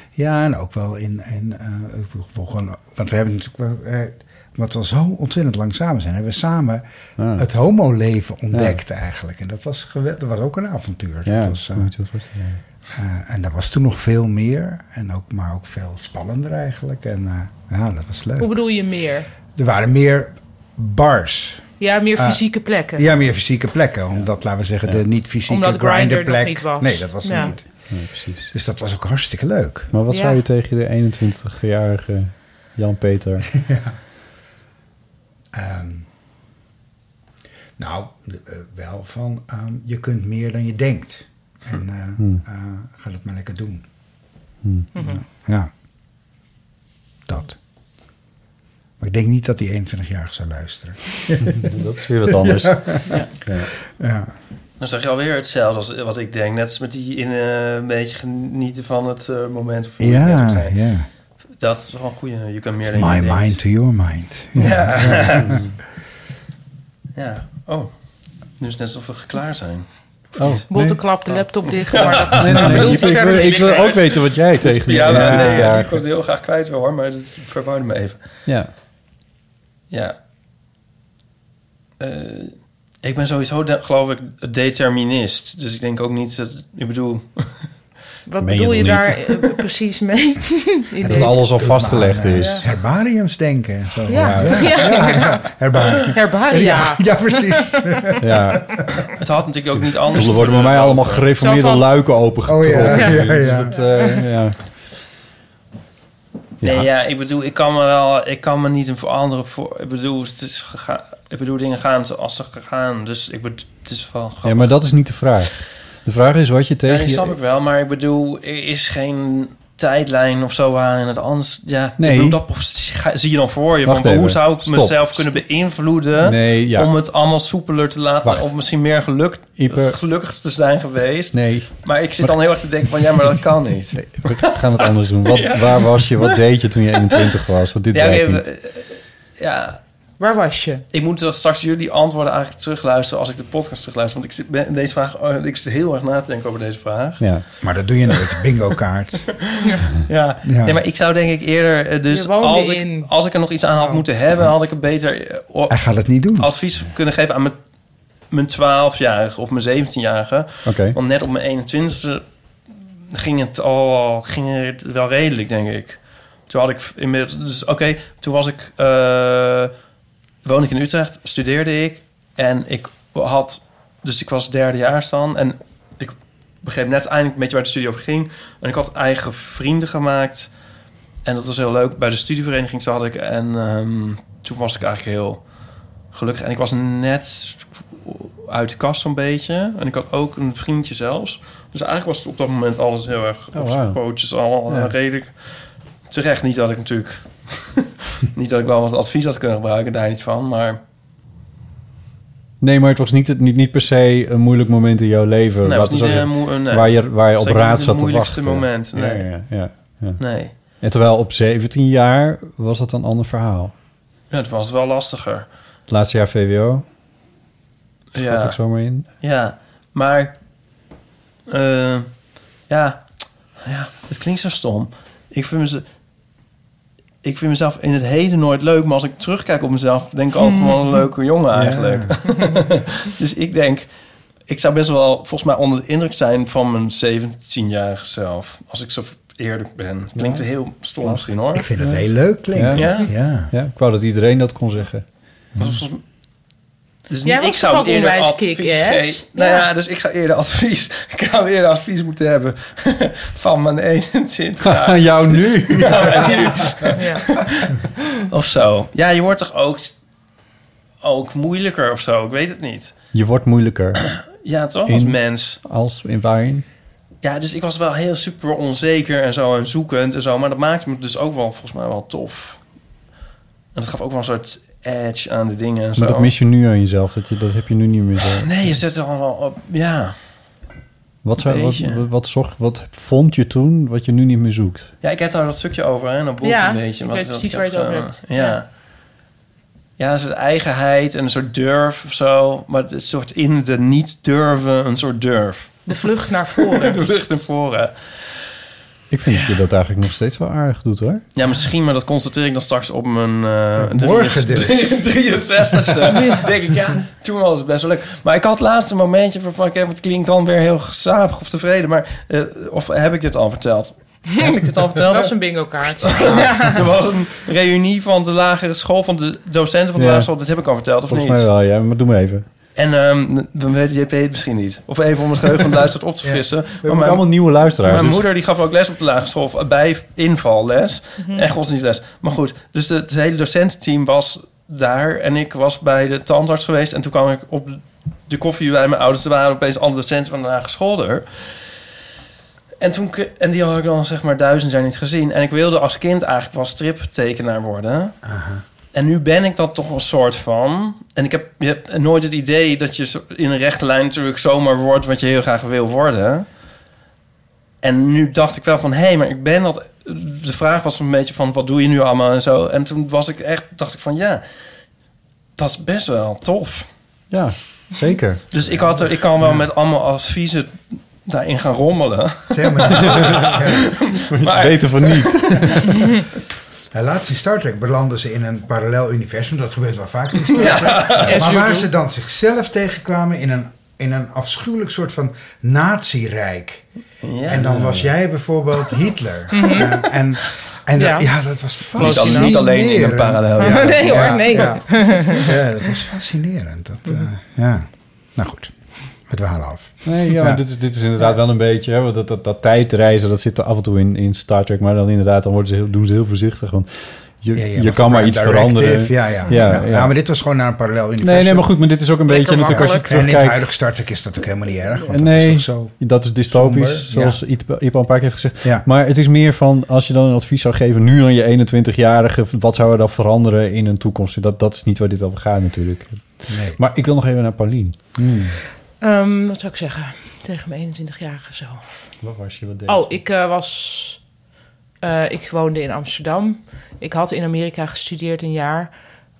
Speaker 4: ja, en ook wel in... in eh, ik bedoel, gewoon, want we hebben natuurlijk wel... eh, omdat we zo ontzettend lang samen zijn, hebben we samen het homoleven ontdekt eigenlijk. En dat was, gewel- dat was ook een avontuur.
Speaker 3: Ja,
Speaker 4: dat
Speaker 3: dat
Speaker 4: was,
Speaker 3: kan ik me zo voorstellen.
Speaker 4: eh, en dat was toen nog veel meer, en ook, maar ook veel spannender eigenlijk. En eh, ja, dat was leuk.
Speaker 1: Hoe bedoel je meer?
Speaker 4: Er waren meer bars.
Speaker 1: Ja, meer
Speaker 4: Eh,
Speaker 1: fysieke plekken.
Speaker 4: Ja, meer fysieke plekken. Omdat, laten we zeggen, de niet-fysieke
Speaker 1: Omdat Grindr nog
Speaker 4: grinderplek.
Speaker 1: niet was.
Speaker 4: Nee, dat was er
Speaker 1: Ja.
Speaker 4: niet.
Speaker 3: Nee, precies.
Speaker 4: Dus dat was ook hartstikke leuk.
Speaker 3: Maar wat
Speaker 1: Ja.
Speaker 3: zou je tegen de 21-jarige
Speaker 4: [laughs]
Speaker 3: Jan-Peter.
Speaker 4: Ehm, nou, eh, wel van ehm, je kunt meer dan je denkt. En eh,
Speaker 3: Hmm.
Speaker 4: eh, ga dat maar lekker doen.
Speaker 1: Mhm.
Speaker 4: Ja. Dat. Maar ik denk niet dat die 21-jarige zou luisteren.
Speaker 3: [laughs] Dat is weer wat anders.
Speaker 4: Ja.
Speaker 3: Ja.
Speaker 4: Ja.
Speaker 5: Dan zeg je alweer hetzelfde als wat ik denk. Net als met die in eh, een beetje genieten van het eh, moment. Of hoe je
Speaker 4: Ja,
Speaker 5: het net ook zei.
Speaker 4: ja.
Speaker 5: Dat is wel een goede. Je kan meer dan
Speaker 4: My
Speaker 5: je denkt.
Speaker 4: mind to your mind.
Speaker 5: Ja.
Speaker 4: Ja.
Speaker 5: [laughs] Ja. Oh. Nu is het net alsof we geklaard zijn.
Speaker 3: Oh.
Speaker 1: Botte
Speaker 3: Nee.
Speaker 1: klap de laptop dicht.
Speaker 5: Ja.
Speaker 1: Maar dat,
Speaker 3: [laughs] Nee, nee, nee,
Speaker 1: bedoel
Speaker 3: ik-
Speaker 1: je
Speaker 3: ik
Speaker 1: verder
Speaker 3: wil- ik
Speaker 1: niet.
Speaker 3: wil ook weten wat jij tegen die
Speaker 5: Ja, nee,
Speaker 3: 20 jaar-
Speaker 5: ik wil het heel graag kwijt wil, hoor, maar dat verwarde me even.
Speaker 3: Ja.
Speaker 5: Ja. Eh, ik ben sowieso, de- geloof ik, determinist. Dus ik denk ook niet dat... Ik bedoel...
Speaker 1: [laughs] Wat bedoel je daar
Speaker 5: [laughs]
Speaker 1: eh, precies
Speaker 3: [laughs]
Speaker 1: mee? In
Speaker 5: Dat
Speaker 1: deze-
Speaker 5: alles al
Speaker 3: vastgelegd
Speaker 4: Maar, eh,
Speaker 3: is.
Speaker 4: Herbariums denken. en Zo.
Speaker 1: Ja. Ja, inderdaad.
Speaker 4: Herbarium.
Speaker 1: Herbaria.
Speaker 4: Ja, ja, precies.
Speaker 3: Ja.
Speaker 5: Het had natuurlijk ook niet anders...
Speaker 3: Er worden bij mij allemaal
Speaker 5: Zo
Speaker 3: gereformeerde
Speaker 5: van-
Speaker 3: luiken opengetrokken.
Speaker 5: Oh, ja, ja,
Speaker 3: Dus
Speaker 5: ja.
Speaker 3: dat, eh, ja.
Speaker 5: Nee, ja, ik bedoel, ik kan me wel... Ik kan me niet een voor andere... Voor, ik bedoel, het is gegaan... Ik bedoel, dingen gaan zoals ze gaan. Dus ik bedoel, het is wel
Speaker 3: ja, maar dat is niet de vraag. De vraag is wat je tegen
Speaker 5: Nee,
Speaker 3: je-
Speaker 5: snap ik wel, maar ik bedoel, er is geen tijdlijn of zo waarin het anders... Ja,
Speaker 3: Nee.
Speaker 5: nee. dat ga- zie je dan voor je.
Speaker 3: Wacht
Speaker 5: van, hoe
Speaker 3: even.
Speaker 5: zou ik
Speaker 3: Stop.
Speaker 5: mezelf kunnen beïnvloeden
Speaker 3: Nee, ja.
Speaker 5: om het allemaal soepeler te laten...
Speaker 3: Wacht.
Speaker 5: of misschien meer geluk,
Speaker 3: Ipe.
Speaker 5: gelukkig te zijn geweest.
Speaker 3: Nee.
Speaker 5: Maar ik zit dan heel erg te denken van, ja, maar dat kan niet.
Speaker 3: We gaan het anders doen. Wat,
Speaker 5: [laughs] Ja.
Speaker 3: Waar was je? Wat deed je toen je 21 was? Want dit
Speaker 5: Ja,
Speaker 3: werkt
Speaker 5: nee,
Speaker 3: niet.
Speaker 5: we- ja.
Speaker 1: Waar was je?
Speaker 5: Ik moet dan straks jullie antwoorden eigenlijk terugluisteren als ik de podcast terugluister. Want ik zit, ben- deze vraag, eh, ik zit heel erg na te denken over deze vraag.
Speaker 3: Ja.
Speaker 4: Maar dat doe je nooit. Bingo kaart.
Speaker 5: Ja.
Speaker 4: Ja.
Speaker 5: Nee, maar ik zou denk ik eerder... eh, Dus
Speaker 1: Je woonde
Speaker 5: als ik,
Speaker 1: in- Oh.
Speaker 5: als ik er nog iets aan had moeten hebben... had ik een beter eh, o-
Speaker 4: Hij gaat het niet
Speaker 3: Oh.
Speaker 4: doen.
Speaker 5: advies kunnen geven aan mijn, mijn 12-jarige of mijn 17-jarige.
Speaker 3: Oké.
Speaker 5: Want net op mijn 21ste ging het, al, ging het wel redelijk, denk ik. Toen had ik inmiddels... Dus oké, toen was ik... eh woon ik in Utrecht, studeerde ik. En ik had... Dus ik was derdejaars dan. En ik begreep net eindelijk een beetje waar de studie over ging. En ik had eigen vrienden gemaakt. En dat was heel leuk. Bij de studievereniging zat ik. En ehm, toen was ik eigenlijk heel gelukkig. En ik was net uit de kast zo'n beetje. En ik had ook een vriendje zelfs. Dus eigenlijk was het op dat moment alles heel erg
Speaker 3: Oh,
Speaker 5: op zijn
Speaker 3: wauw.
Speaker 5: pootjes. Al
Speaker 3: Ja.
Speaker 5: eh, redelijk terecht. Niet dat ik natuurlijk... [laughs] niet dat ik wel wat advies had kunnen gebruiken. Daar niet van. Maar
Speaker 3: Nee, maar het was niet, het- niet, niet per se een moeilijk moment in jouw leven.
Speaker 5: Nee, het was
Speaker 3: Laten we
Speaker 5: niet,
Speaker 3: zeggen,
Speaker 5: eh, moe- eh, nee.
Speaker 3: waar, je, waar je op
Speaker 5: Zeker niet
Speaker 3: raad
Speaker 5: het
Speaker 3: zat te
Speaker 5: moeilijkste
Speaker 3: wachten.
Speaker 5: moment,
Speaker 3: Ja,
Speaker 5: nee.
Speaker 3: ja, ja, ja.
Speaker 5: Nee.
Speaker 3: En terwijl op 17 jaar was dat een ander verhaal.
Speaker 5: ja, het was wel lastiger.
Speaker 3: Het laatste jaar VWO. Schat
Speaker 5: Ja.
Speaker 3: ik zomaar in.
Speaker 5: Ja, maar... eh, ja, ja, het klinkt zo stom. Ik vind, mez- ik vind mezelf in het heden nooit leuk... maar als ik terugkijk op mezelf... denk ik altijd van
Speaker 4: Hmm.
Speaker 5: wat een leuke jongen
Speaker 3: Ja.
Speaker 4: [laughs]
Speaker 5: eigenlijk. dus ik denk... Ik zou best wel volgens mij onder de indruk zijn... van mijn 17-jarige zelf. Als ik zo eerlijk ben. Klinkt
Speaker 3: Ja.
Speaker 5: heel stom misschien hoor.
Speaker 4: Ik vind het heel leuk klinken.
Speaker 5: Ja?
Speaker 4: Ja.
Speaker 3: ja, ik wou dat iedereen dat kon zeggen. [laughs]
Speaker 5: Dus
Speaker 1: Jij was
Speaker 5: ik zou
Speaker 1: toch ook
Speaker 5: hem eerder
Speaker 1: onwijs
Speaker 5: advies
Speaker 1: kick-ass?
Speaker 5: geven. Nou
Speaker 1: Ja.
Speaker 5: ja. dus ik zou eerder advies. [laughs] Ik zou eerder advies moeten hebben [laughs] van mijn [laughs] 21 jaar. [laughs]
Speaker 3: [laughs] Jou nu.
Speaker 5: Ja, mij nu. Of zo. Ja, je wordt toch ook, ook moeilijker of zo? Ik weet het niet.
Speaker 3: Je wordt moeilijker.
Speaker 5: Ja, toch? Als mens.
Speaker 3: Als in waarin?
Speaker 5: Ja, dus ik was wel heel super onzeker en zo en zoekend en zo. Maar dat maakte me dus ook wel volgens mij wel tof. En dat gaf ook wel een soort edge aan de dingen en zo.
Speaker 3: Maar dat mis je nu aan jezelf. Dat, je, dat heb je nu niet meer zo.
Speaker 5: Nee, je zet er allemaal op. Ja.
Speaker 3: Wat, zou, wat,
Speaker 5: Beetje.
Speaker 3: wat, zocht, wat vond je toen wat je nu niet meer zoekt?
Speaker 5: Ja, ik heb daar dat stukje over, hè, in dat boek
Speaker 1: Ja,
Speaker 5: een beetje.
Speaker 1: ik
Speaker 5: wat-
Speaker 1: weet
Speaker 5: wat
Speaker 1: precies
Speaker 5: ik
Speaker 1: waar je het
Speaker 5: heb,
Speaker 1: over
Speaker 5: eh,
Speaker 1: hebt.
Speaker 5: Ja. Ja, een soort eigenheid en een soort durf of zo. Maar het is een soort in de niet durven, een soort durf.
Speaker 1: De vlucht naar voren.
Speaker 5: [laughs] de vlucht naar voren.
Speaker 3: Ik vind dat je dat eigenlijk nog steeds wel aardig doet hoor.
Speaker 5: Ja, misschien, maar dat constateer ik dan straks op mijn... eh
Speaker 3: Morgen dus.
Speaker 1: [laughs]
Speaker 5: 63ste. denk ik, ja, toen was het best wel leuk. Maar ik had het laatste momentje van... van, oké, het klinkt dan weer heel gezapig of tevreden. Maar, eh, of heb ik dit al
Speaker 1: [laughs]
Speaker 5: verteld? Heb ik dit al verteld?
Speaker 1: [laughs] Dat was een bingo kaart.
Speaker 5: [laughs] Er was een reunie van de lagere school, van de docenten van de
Speaker 3: Ja.
Speaker 5: lagere school. Dat heb ik al verteld, of
Speaker 3: Volgens
Speaker 5: niet?
Speaker 3: mij wel, ja. Maar doe maar even.
Speaker 5: En ehm, dan weet JP het misschien niet. Of even om het geheugen
Speaker 3: [laughs]
Speaker 5: van de luisteraars op te frissen.
Speaker 3: We hebben ook allemaal nieuwe luisteraars,
Speaker 5: Mijn
Speaker 3: dus-
Speaker 5: moeder die gaf ook les op de lagere school. of Bij invalles.
Speaker 1: Mhm.
Speaker 5: En godsdienstles. Maar goed, dus de- het hele docententeam was daar. En ik was bij de tandarts geweest. En toen kwam ik op de koffie bij mijn ouders. Er waren opeens alle docenten van de lagere school er. En, toen, k- en die had ik dan zeg maar duizend jaar niet gezien. En ik wilde als kind eigenlijk wel striptekenaar worden. En nu ben ik dat toch een soort van. En ik heb, je hebt nooit het idee dat je zo- in een rechte lijn natuurlijk zomaar wordt wat je heel graag wil worden. En nu dacht ik wel van, hé, maar ik ben dat... De vraag was een beetje van, wat doe je nu allemaal en zo. En toen was ik echt, dacht ik van, ja, dat is best wel tof.
Speaker 3: Ja, zeker.
Speaker 5: Dus ik, had er, ik kan wel met allemaal adviezen daarin gaan rommelen.
Speaker 4: Zeg
Speaker 5: [laughs]
Speaker 4: maar.
Speaker 5: Maar- Beter van niet.
Speaker 4: [laughs] Ja, laatst in Star Trek belanden ze in een parallel universum. Dat gebeurt wel vaak in Star Trek.
Speaker 5: [laughs] as
Speaker 4: Maar
Speaker 5: you
Speaker 4: waar
Speaker 5: do.
Speaker 4: ze dan zichzelf tegenkwamen in een, in een afschuwelijk soort van nazi-rijk. En dan was jij bijvoorbeeld Hitler. en, en, en dat- ja.
Speaker 5: Mhm. Ja.
Speaker 4: dat was
Speaker 5: Niet al- niet
Speaker 4: fascinerend.
Speaker 5: alleen in een parallel,
Speaker 4: [laughs] Ja.
Speaker 5: ja. Nee hoor,
Speaker 4: Ja,
Speaker 5: nee. Mhm.
Speaker 4: Ja, Ja, dat was fascinerend. Dat, eh, ja. Nou goed, we dwalen af.
Speaker 3: Nee, ja, maar Dit, is, dit is inderdaad wel een beetje... Hè, want dat, dat, dat tijdreizen, dat zit er af en toe in, in Star Trek. Maar dan inderdaad, dan worden ze heel, doen ze heel voorzichtig. Want je,
Speaker 4: Ja, ja,
Speaker 3: je kan
Speaker 4: goed,
Speaker 3: maar iets
Speaker 4: directive,
Speaker 3: veranderen.
Speaker 4: Ja ja.
Speaker 3: ja,
Speaker 4: ja.
Speaker 3: ja.
Speaker 4: maar dit was gewoon naar een parallel universum.
Speaker 3: Nee, nee, maar goed, maar dit is ook een beetje natuurlijk als je
Speaker 4: En in het
Speaker 3: terugkijkt-
Speaker 4: huidige Star Trek is dat ook helemaal niet erg. Want
Speaker 3: Eh, nee,
Speaker 4: dat is toch zo...
Speaker 3: dat is dystopisch,
Speaker 4: somber,
Speaker 3: zoals
Speaker 4: ja.
Speaker 3: Iep Iep al een paar keer heeft gezegd. Maar het is meer van, als je dan een advies zou geven... nu aan je 21-jarige, wat zou er dan veranderen in een toekomst? Dat, dat is niet waar dit over gaat natuurlijk.
Speaker 4: Nee.
Speaker 3: Maar ik wil nog even naar Paulien.
Speaker 1: Ehm, wat zou ik zeggen? Tegen mijn 21-jarige zelf.
Speaker 3: Wat was je? Wat deed
Speaker 1: Oh, ik eh, was. eh, ik woonde in Amsterdam. Ik had in Amerika gestudeerd een jaar.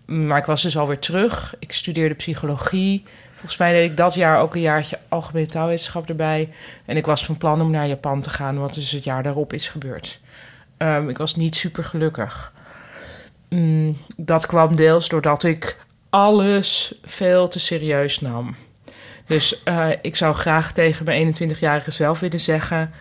Speaker 1: Maar ik was dus alweer terug. Ik studeerde psychologie. Volgens mij deed ik dat jaar ook een jaartje algemene taalwetenschap erbij. En ik was van plan om naar Japan te gaan, wat dus het jaar daarop is gebeurd. Ehm, ik was niet super gelukkig. Mm, dat kwam deels doordat ik alles veel te serieus nam. Dus eh, ik zou graag tegen mijn 21-jarige zelf willen zeggen: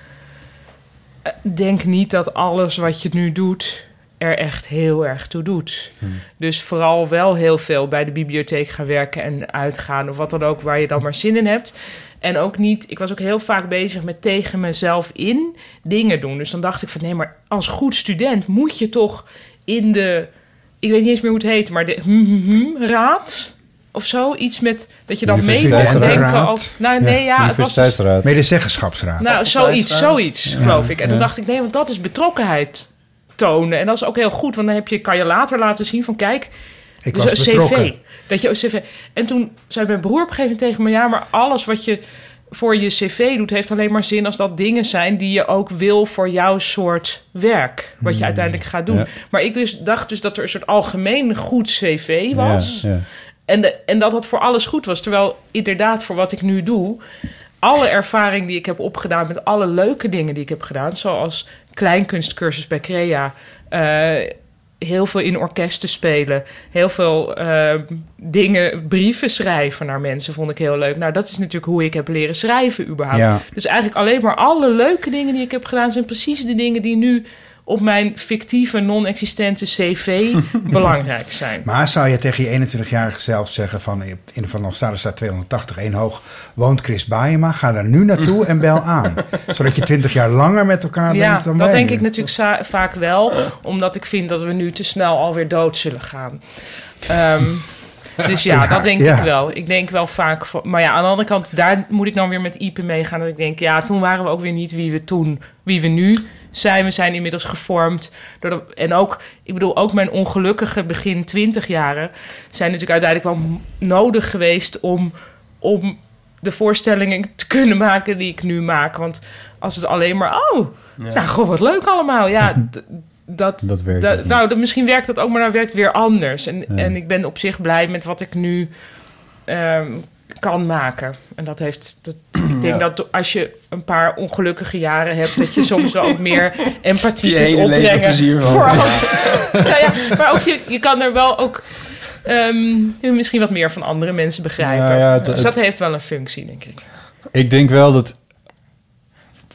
Speaker 1: eh, denk niet dat alles wat je nu doet er echt heel erg toe doet. Dus vooral wel heel veel bij de bibliotheek gaan werken en uitgaan of wat dan ook waar je dan maar zin in hebt. En ook niet, ik was ook heel vaak bezig met tegen mezelf in dingen doen. Dus dan dacht ik van nee, maar als goed student moet je toch in de, ik weet niet eens meer hoe het heet, maar de hmm, hmm, hmm, raad of zo. Iets met dat je dan mee mocht denken. Of, nou nee, ja, het was dus-
Speaker 4: Medezeggenschapsraad.
Speaker 1: nou, zoiets, zoiets, geloof ik. En toen dacht ik, nee, want dat is betrokkenenheid tonen. En dat is ook heel goed, want dan heb je, kan je later laten zien van, kijk...
Speaker 4: Ik
Speaker 1: dus
Speaker 4: was
Speaker 1: een
Speaker 4: betrokken.
Speaker 1: CV. Dat je een cv... En toen zei mijn broer op een gegeven moment tegen me... ja, maar alles wat je voor je cv doet... heeft alleen maar zin als dat dingen zijn... die je ook wil voor jouw soort werk. Wat je
Speaker 3: Hmm,
Speaker 1: uiteindelijk gaat doen.
Speaker 3: ja.
Speaker 1: Maar ik dus, dacht dus dat er een soort algemeen goed cv was...
Speaker 3: Ja, ja.
Speaker 1: En, de- en dat dat voor alles goed was. Terwijl inderdaad, voor wat ik nu doe, alle ervaring die ik heb opgedaan met alle leuke dingen die ik heb gedaan, zoals kleinkunstcursus bij Crea, eh, heel veel in orkesten spelen, heel veel eh, dingen, brieven schrijven naar mensen, vond ik heel leuk. Nou, dat is natuurlijk hoe ik heb leren schrijven überhaupt.
Speaker 11: Ja.
Speaker 1: Dus eigenlijk alleen maar alle leuke dingen die ik heb gedaan zijn precies de dingen die nu op mijn fictieve, non-existente cv belangrijk zijn.
Speaker 4: Maar zou je tegen je 21-jarige zelf zeggen van... in de Van Nostradamus staat 280, één hoog... woont Chris Baaienma, ga daar nu naartoe en bel
Speaker 1: [laughs]
Speaker 4: aan. Zodat je 20 jaar langer met elkaar
Speaker 1: Ja,
Speaker 4: bent dan
Speaker 1: dat
Speaker 4: wij
Speaker 1: denk
Speaker 4: nu.
Speaker 1: ik natuurlijk za- vaak wel. Omdat ik vind dat we nu te snel alweer dood zullen gaan. Ehm, dus ja,
Speaker 4: [laughs]
Speaker 11: Ja,
Speaker 1: dat denk
Speaker 11: ja.
Speaker 1: ik wel. Ik denk wel vaak... van- Maar ja, aan de andere kant, daar moet ik dan weer met Ipe meegaan. Dat ik denk, ja, toen waren we ook weer niet wie we toen... wie we nu zijn. We zijn inmiddels gevormd. Door de- en ook, ik bedoel, ook mijn ongelukkige begin twintig jaren... zijn natuurlijk uiteindelijk wel m- nodig geweest om... om de voorstellingen te kunnen maken die ik nu maak. Want als het alleen maar... Oh,
Speaker 11: Ja.
Speaker 1: nou, goh, wat leuk allemaal. Ja, d- dat...
Speaker 3: Dat werkt
Speaker 1: da-
Speaker 3: ook niet.
Speaker 1: nou, dat, misschien werkt dat ook, maar dat werkt weer anders. En,
Speaker 3: Ja.
Speaker 1: en ik ben op zich blij met wat ik nu ehm, kan maken. En dat heeft... Dat, ik denk
Speaker 5: Ja.
Speaker 1: dat als je een paar ongelukkige jaren hebt... dat je soms wel ook meer empathie
Speaker 5: Je
Speaker 1: kunt
Speaker 5: hele leven
Speaker 1: opbrengen.
Speaker 5: plezier van.
Speaker 1: voor al- [laughs] nou ja, maar ook je, je kan er wel ook... ehm, misschien wat meer van andere mensen begrijpen.
Speaker 3: Nou ja, het-
Speaker 1: dus dat
Speaker 3: het-
Speaker 1: heeft wel een functie, denk ik.
Speaker 3: Ik denk wel dat...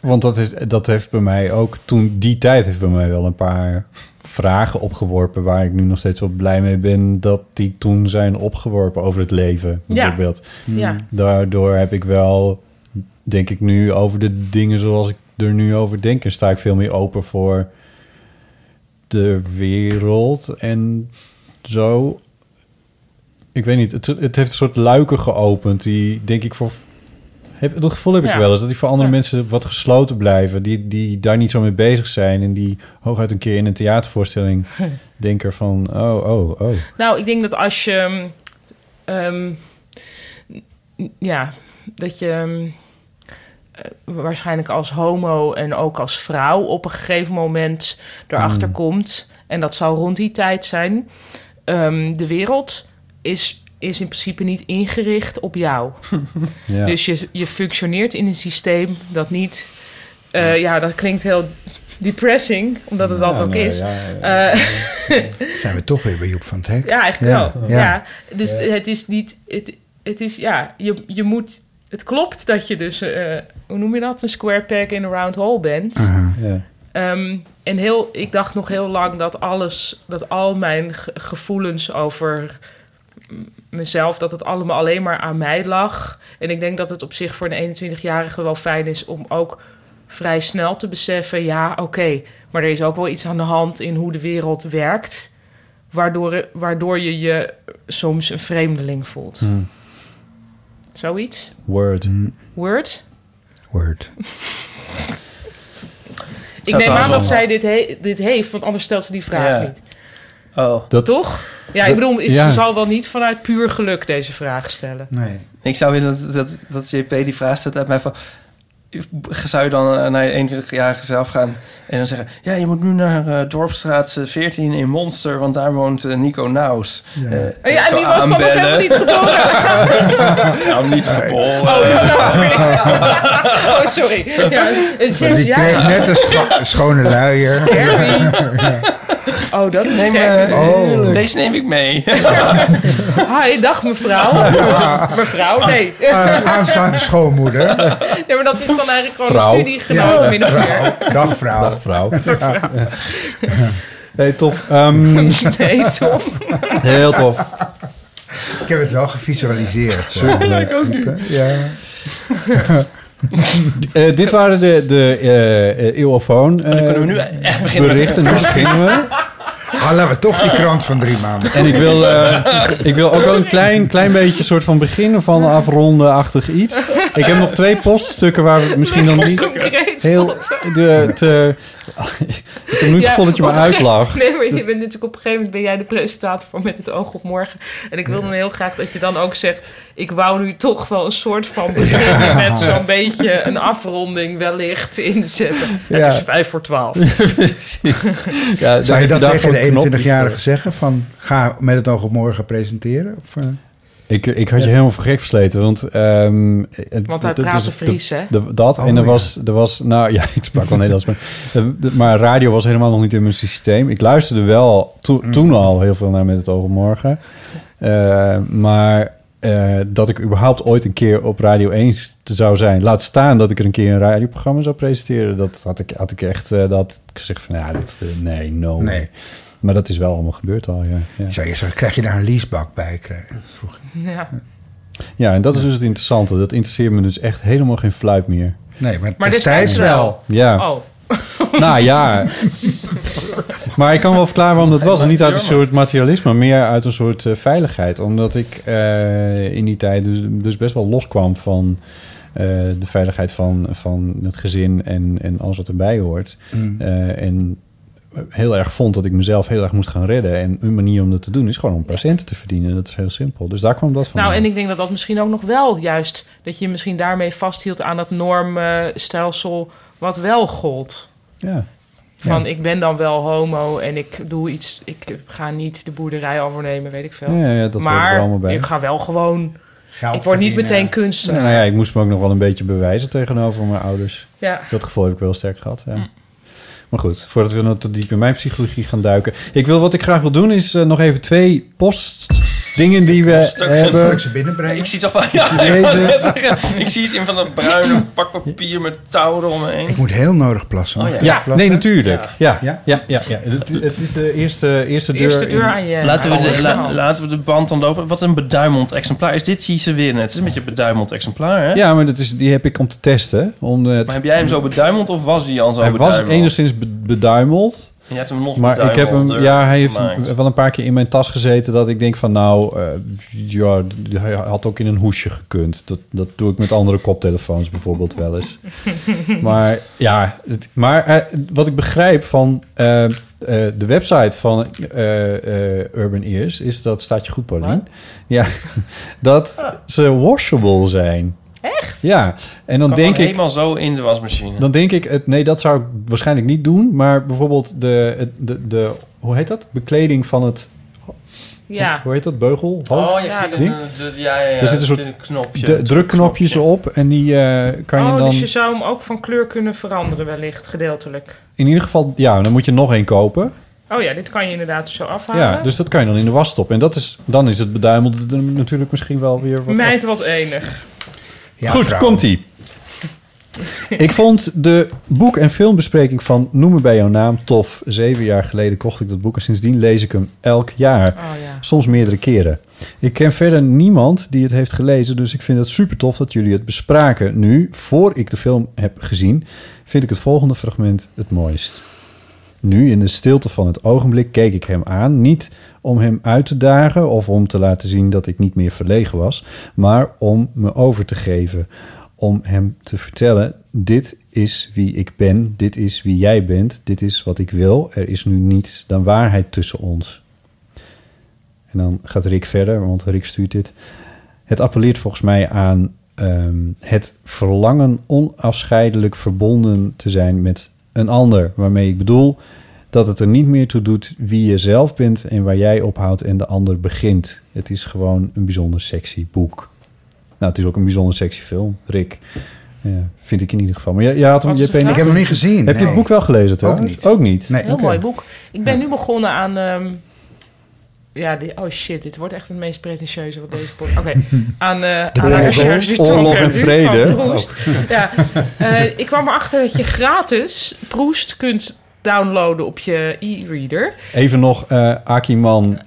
Speaker 3: Want dat, is, dat heeft bij mij ook... Toen die tijd heeft bij mij wel een paar vragen opgeworpen waar ik nu nog steeds wel blij mee ben dat die toen zijn opgeworpen over het leven,
Speaker 1: Ja.
Speaker 3: bijvoorbeeld.
Speaker 1: Ja.
Speaker 3: Daardoor heb ik wel, denk ik nu, over de dingen zoals ik er nu over denk en sta ik veel meer open voor de wereld en zo. Ik weet niet, het, het heeft een soort luiken geopend die denk ik voor... Heb, dat gevoel heb ik
Speaker 11: Ja.
Speaker 3: wel eens, dat die voor andere mensen wat gesloten blijven. Die, die daar niet zo mee bezig zijn en die hooguit een keer in een theatervoorstelling
Speaker 4: Hm.
Speaker 3: denken van... Oh, oh, oh.
Speaker 1: Nou, ik denk dat als je. ehm, ehm, n- ja, dat je. ehm, eh, waarschijnlijk als homo en ook als vrouw op een gegeven moment erachter
Speaker 3: Mm.
Speaker 1: komt. En dat zal rond die tijd zijn. ehm, de wereld is, is in principe niet ingericht op
Speaker 4: [laughs]
Speaker 1: jou.
Speaker 3: Ja.
Speaker 1: Dus je, je functioneert in een systeem dat niet. eh, ja, dat klinkt heel depressing, omdat het dat
Speaker 4: Ja,
Speaker 1: ook
Speaker 4: nee,
Speaker 1: is.
Speaker 4: ja,
Speaker 1: Eh,
Speaker 4: [laughs]
Speaker 1: [laughs]
Speaker 4: Zijn we toch weer bij Joep van het Hek?
Speaker 1: ja, eigenlijk wel. Ja. Dus
Speaker 4: Ja.
Speaker 1: het is niet... Het, het is, ja, je, je moet... Het klopt dat je dus, eh, hoe noem je dat? Een square peg in a round hole bent.
Speaker 3: Ja.
Speaker 1: Ehm, en heel, ik dacht nog heel lang dat alles, dat al mijn ge- gevoelens over m- mezelf, dat het allemaal alleen maar aan mij lag. En ik denk dat het op zich voor een 21-jarige wel fijn is om ook vrij snel te beseffen: ja, oké, maar er is ook wel iets aan de hand in hoe de wereld werkt, waardoor, waardoor je je soms een vreemdeling voelt.
Speaker 4: Hm.
Speaker 3: Hmm.
Speaker 1: Zoiets?
Speaker 3: Word.
Speaker 1: Word?
Speaker 4: Word.
Speaker 1: Ik neem aan dat
Speaker 5: allemaal-
Speaker 1: zij dit, he- dit heeft, want anders stelt ze die vraag
Speaker 5: Ja.
Speaker 1: niet.
Speaker 5: Oh.
Speaker 3: Dat,
Speaker 1: Toch? Ja, ik
Speaker 5: Dat-
Speaker 1: bedoel, is-
Speaker 5: ja.
Speaker 1: ze zal wel niet vanuit puur geluk deze vraag stellen.
Speaker 4: Nee.
Speaker 5: Ik zou willen dat, dat, dat JP die vraag stelt uit mij van... Zou je dan eh, naar je 21-jarige zelf gaan en dan zeggen... Ja, je moet nu naar eh, Dorpstraat eh, 14 in Monster, want daar woont eh, Nico Naus. Eh, Ja,
Speaker 1: Oh ja, en die was dan nog helemaal niet
Speaker 5: [laughs]
Speaker 1: geboren.
Speaker 5: nou, niet geboren.
Speaker 1: nou, oh,
Speaker 4: [laughs]
Speaker 1: sorry. Ja, een
Speaker 4: Maar
Speaker 1: zes
Speaker 4: die kreeg
Speaker 1: jaar.
Speaker 4: net een scho- schone luier.
Speaker 1: Oh, dat is
Speaker 5: Neem,
Speaker 1: gek.
Speaker 5: eh,
Speaker 4: Oh.
Speaker 5: Deze neem ik mee.
Speaker 1: Hi, dag
Speaker 4: [laughs]
Speaker 1: mevrouw. mevrouw, nee.
Speaker 4: Eh, aanstaande schoonmoeder.
Speaker 1: [laughs] Nee, maar dat is dan eigenlijk gewoon
Speaker 4: Vrouw.
Speaker 1: een studiegenoot,
Speaker 4: Ja.
Speaker 1: min of meer.
Speaker 4: Dag vrouw.
Speaker 3: Dag vrouw. [laughs] Hey, tof. Ehm,
Speaker 1: [laughs] Nee, tof.
Speaker 3: Heel tof.
Speaker 4: Ik heb het wel gevisualiseerd.
Speaker 3: Super. Ja, ik ook
Speaker 4: nu. [laughs] Ja.
Speaker 3: Eh, dit waren de, de eh, eh eeuwofoon.
Speaker 4: dan kunnen we nu
Speaker 5: echt
Speaker 4: beginnen met de
Speaker 3: Berichten, nu
Speaker 4: podcast.
Speaker 3: beginnen we.
Speaker 4: Halen Ah, we toch die krant van drie maanden.
Speaker 3: En ik wil,
Speaker 4: [laughs]
Speaker 3: eh, ik wil ook wel een klein, klein beetje soort van beginnen van afronden-achtig iets. Ik heb nog twee poststukken waar we misschien dan niet
Speaker 1: Concreet,
Speaker 3: heel... De, te, ik heb nu het
Speaker 1: [laughs] Ja,
Speaker 3: gevoel dat je me
Speaker 1: op een gegeven-
Speaker 3: uitlacht.
Speaker 1: Nee, maar je bent natuurlijk op een gegeven moment ben jij de presentator voor Met het Oog op Morgen. En ik wil dan heel graag dat je dan ook zegt... ik wou nu toch wel een soort van beginnen...
Speaker 3: [laughs] Ja.
Speaker 1: met zo'n beetje een afronding wellicht inzetten.
Speaker 3: Ja.
Speaker 1: Het is vijf voor twaalf.
Speaker 3: [laughs] Ja,
Speaker 4: Zou je dat
Speaker 3: daar- daar
Speaker 4: tegen
Speaker 3: gewoon
Speaker 4: de
Speaker 3: knop-
Speaker 4: 21-jarige zeggen? Van, ga met het oog op morgen presenteren? Of, eh?
Speaker 3: Ik, ik had je helemaal voor gek versleten, want... ehm, het-
Speaker 1: Want hij
Speaker 3: het- het
Speaker 1: praatte
Speaker 3: is-
Speaker 1: Fries, hè?
Speaker 3: de- dat,
Speaker 1: Oh,
Speaker 3: en er
Speaker 1: ja.
Speaker 3: was, er was... Nou ja, [laughs] ik sprak wel Nederlands, maar, de- de- maar radio was helemaal nog niet in mijn systeem. Ik luisterde wel to- toen al heel veel naar Met het Oog op Morgen. Eh, maar eh, dat ik überhaupt ooit een keer op Radio 1 zou zijn... laat staan dat ik er een keer een radioprogramma zou presenteren... dat had ik, had ik echt eh, dat had ik gezegd van... Ja, dit, eh, nee, no.
Speaker 4: Nee.
Speaker 3: way. Maar dat is wel allemaal gebeurd al, ja. ja.
Speaker 4: Zou je zeggen, krijg je daar een leasebak bij? Krijg- vroeg ik.
Speaker 1: Ja.
Speaker 3: Ja, en dat is dus het interessante. Dat interesseert me dus echt helemaal geen fluit meer.
Speaker 4: Nee, maar,
Speaker 1: Maar
Speaker 4: destijds
Speaker 1: destijds
Speaker 4: wel.
Speaker 3: Ja.
Speaker 1: Oh.
Speaker 3: Nou
Speaker 1: [laughs]
Speaker 3: ja. Maar ik kan wel verklaren waarom dat was. En niet uit een soort materialisme, maar meer uit een soort eh, veiligheid. Omdat ik eh, in die tijd dus, dus best wel loskwam van eh, de veiligheid van, van het gezin en, en alles wat erbij hoort.
Speaker 4: Mm.
Speaker 3: Eh, en heel erg vond dat ik mezelf heel erg moest gaan redden. En een manier om dat te doen is gewoon om patiënten te verdienen. Dat is heel simpel. Dus daar kwam dat van.
Speaker 1: Nou, en ik denk dat dat misschien ook nog wel juist... dat je misschien daarmee vasthield aan dat normstelsel... wat wel gold.
Speaker 3: Ja.
Speaker 1: Van
Speaker 3: Ja.
Speaker 1: ik ben dan wel homo en ik doe iets... ik ga niet de boerderij overnemen, weet ik veel.
Speaker 3: Ja, ja, dat hoort
Speaker 1: maar
Speaker 3: er allemaal bij.
Speaker 1: ik ga wel gewoon...
Speaker 4: Geld
Speaker 1: ik word niet
Speaker 4: verdienen.
Speaker 1: meteen kunstenaar.
Speaker 3: Nou, ja, ik moest me ook nog wel een beetje bewijzen tegenover mijn ouders.
Speaker 1: Ja.
Speaker 3: Dat gevoel heb ik wel sterk gehad.
Speaker 5: Mm.
Speaker 3: Ja. Maar goed, voordat we nog te diep in mijn psychologie gaan duiken. Ik wil, wat ik graag wil doen is eh, nog even twee post Dingen die we
Speaker 5: Stuk-
Speaker 3: hebben.
Speaker 5: Ik zie toch wel... [laughs] Ja,
Speaker 3: Deze.
Speaker 5: ik, wou net zeggen, ik zie iets in van dat bruine pak papier met touw eromheen.
Speaker 4: Ik moet heel nodig plassen.
Speaker 1: Oh,
Speaker 4: Mag ik even
Speaker 3: Ja,
Speaker 4: plassen?
Speaker 3: nee, natuurlijk. Ja, ja, ja. ja, Het, het is de eerste, eerste deur. in-
Speaker 5: Laten we, de, la- laten we de band dan lopen. Wat een beduimeld exemplaar. Is dit hier ze weer net? Het is een beetje een beduimeld exemplaar, hè?
Speaker 3: Ja, maar dat is, die heb ik om te testen. Om eh,
Speaker 5: Maar heb jij hem zo beduimeld of was die al zo
Speaker 3: hij
Speaker 5: beduimeld?
Speaker 3: was enigszins be- beduimeld.
Speaker 5: En je hebt hem nog
Speaker 3: maar ik heb hem,
Speaker 5: beduimelder
Speaker 3: ja, hij heeft
Speaker 5: gemaakt.
Speaker 3: wel een paar keer in mijn tas gezeten dat ik denk van nou, eh, ja, d- hij had ook in een hoesje gekund. Dat, dat doe ik met andere koptelefoons bijvoorbeeld wel
Speaker 5: [laughs]
Speaker 3: eens. Maar ja, het- maar eh, wat ik begrijp van eh, eh, de website van eh, eh, Urban Ears is dat staat je goed, Paulien. Ja, [laughs] dat ze washable zijn. Echt? Ja, en dan
Speaker 5: Kan
Speaker 3: denk
Speaker 5: gewoon
Speaker 3: ik.
Speaker 5: helemaal zo in de wasmachine.
Speaker 3: Dan denk ik, het, nee, dat zou ik waarschijnlijk niet doen. Maar bijvoorbeeld de, het- de, de hoe heet dat? Bekleding van het...
Speaker 1: Ja.
Speaker 3: Hoe heet dat? Beugel? Hoofd?
Speaker 5: Oh, ja, ik zie dat,
Speaker 3: ding?
Speaker 5: eh, dat- ja, ja, ja,
Speaker 3: Er zit
Speaker 5: er
Speaker 3: een
Speaker 5: zit
Speaker 3: soort
Speaker 5: een knopje.
Speaker 3: de- drukknopjes op. En die eh, kan je
Speaker 1: oh,
Speaker 3: dan...
Speaker 1: dus je zou hem ook van kleur kunnen veranderen wellicht, gedeeltelijk.
Speaker 3: In ieder geval, ja, dan moet je nog één kopen.
Speaker 1: Oh ja, dit kan je inderdaad zo afhalen.
Speaker 3: Ja, dus dat kan je dan in de was stoppen. En dat is, dan is het beduimelde er natuurlijk misschien wel weer wat...
Speaker 1: Meid wat enig.
Speaker 3: Ja, dus- Goed, [laughs] komt-ie. ik vond de boek- en filmbespreking van Noem me bij jouw naam tof. Zeven jaar geleden kocht ik dat boek en sindsdien lees ik hem elk jaar. Soms meerdere keren. Ik ken verder niemand die het heeft gelezen, dus ik vind het super tof dat jullie het bespraken. Nu, voor ik de film heb gezien, vind ik het volgende fragment het mooist. Nu, in de stilte van het ogenblik, keek ik hem aan. Niet om hem uit te dagen of om te laten zien dat ik niet meer verlegen was, maar om me over te geven. Om hem te vertellen: Dit is wie ik ben, dit is wie jij bent, dit is wat ik wil. Er is nu niets dan waarheid tussen ons. En dan gaat Rick verder, want Rick stuurt dit. Het appelleert volgens mij aan ehm, het verlangen onafscheidelijk verbonden te zijn met een ander. Waarmee ik bedoel dat het er niet meer toe doet wie je zelf bent en waar jij ophoudt en de ander begint. Het is gewoon een bijzonder sexy boek. Nou, het is ook een bijzonder sexy film, Rick. Ja, vind ik in ieder geval. Maar jij, jij had hem,
Speaker 1: Wat
Speaker 3: je
Speaker 1: is de
Speaker 3: hebt een-
Speaker 1: vraag? Ik heb hem niet gezien,
Speaker 3: Heb je het
Speaker 1: nee.
Speaker 3: boek wel gelezen, toch?
Speaker 1: Ook niet.
Speaker 3: Ook niet.
Speaker 1: Heel
Speaker 3: Oké.
Speaker 1: mooi boek. Ik ben nu begonnen aan... ehm, ja, die, oh shit, dit wordt echt het meest pretentieuze wat deze podcast...
Speaker 3: [laughs]
Speaker 1: Oké, aan... eh
Speaker 3: De
Speaker 1: aan
Speaker 3: Bijbel,
Speaker 1: recherche du
Speaker 3: oorlog
Speaker 1: Tonker,
Speaker 3: en
Speaker 1: Huub
Speaker 3: vrede.
Speaker 1: van Proest.
Speaker 3: Oh.
Speaker 1: Ja, eh, ik kwam erachter dat je gratis Proest kunt downloaden op je e-reader.
Speaker 3: Even nog eh Akiman.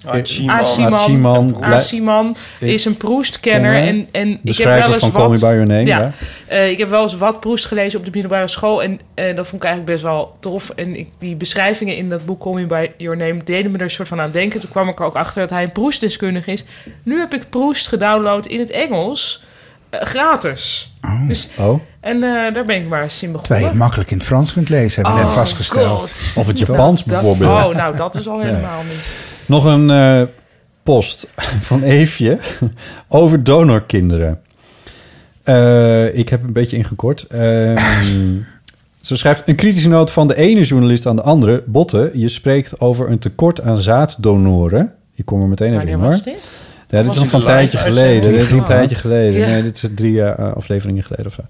Speaker 1: Achiman. Achiman, is een Proest-kenner.
Speaker 3: Kenner.
Speaker 1: En, en
Speaker 3: De
Speaker 1: ik heb
Speaker 3: schrijver
Speaker 1: wel eens
Speaker 3: van
Speaker 1: wat,
Speaker 3: Call Me By Your Name,
Speaker 1: Ja,
Speaker 3: ja.
Speaker 1: Eh, ik heb wel eens wat Proest gelezen op de middelbare school. En eh, dat vond ik eigenlijk best wel tof. En ik, die beschrijvingen in dat boek Call Me By Your Name... deden me er een soort van aan denken. Toen kwam ik er ook achter dat hij een Proest-deskundige is. Nu heb ik Proest gedownload in het Engels. eh, gratis. Dus,
Speaker 3: Oh.
Speaker 1: en eh, daar ben ik maar eens in begonnen.
Speaker 4: Terwijl je het makkelijk in het Frans kunt lezen, hebben we
Speaker 1: Oh,
Speaker 4: net vastgesteld.
Speaker 1: God.
Speaker 3: Of het Japans
Speaker 1: Dat-
Speaker 3: bijvoorbeeld.
Speaker 1: Oh, nou, dat is al helemaal niet.
Speaker 3: Nog een eh, post [laughs] van Eefje [laughs] over donorkinderen. Eh, ik heb een beetje
Speaker 1: [laughs]
Speaker 3: ingekort. Ehm, ze schrijft een kritische noot van de ene journalist aan de andere. Botte, je spreekt over een tekort aan zaaddonoren. Je komt er meteen even in, hoor.
Speaker 1: was dit?
Speaker 3: Ja, dit
Speaker 1: Was
Speaker 3: is
Speaker 1: dit
Speaker 3: nog van een
Speaker 1: de
Speaker 3: tijdje
Speaker 1: live uitzending?
Speaker 3: geleden. Dit is een
Speaker 1: Oh.
Speaker 3: tijdje geleden.
Speaker 1: Ja.
Speaker 3: Nee, dit is drie eh, afleveringen geleden of zo.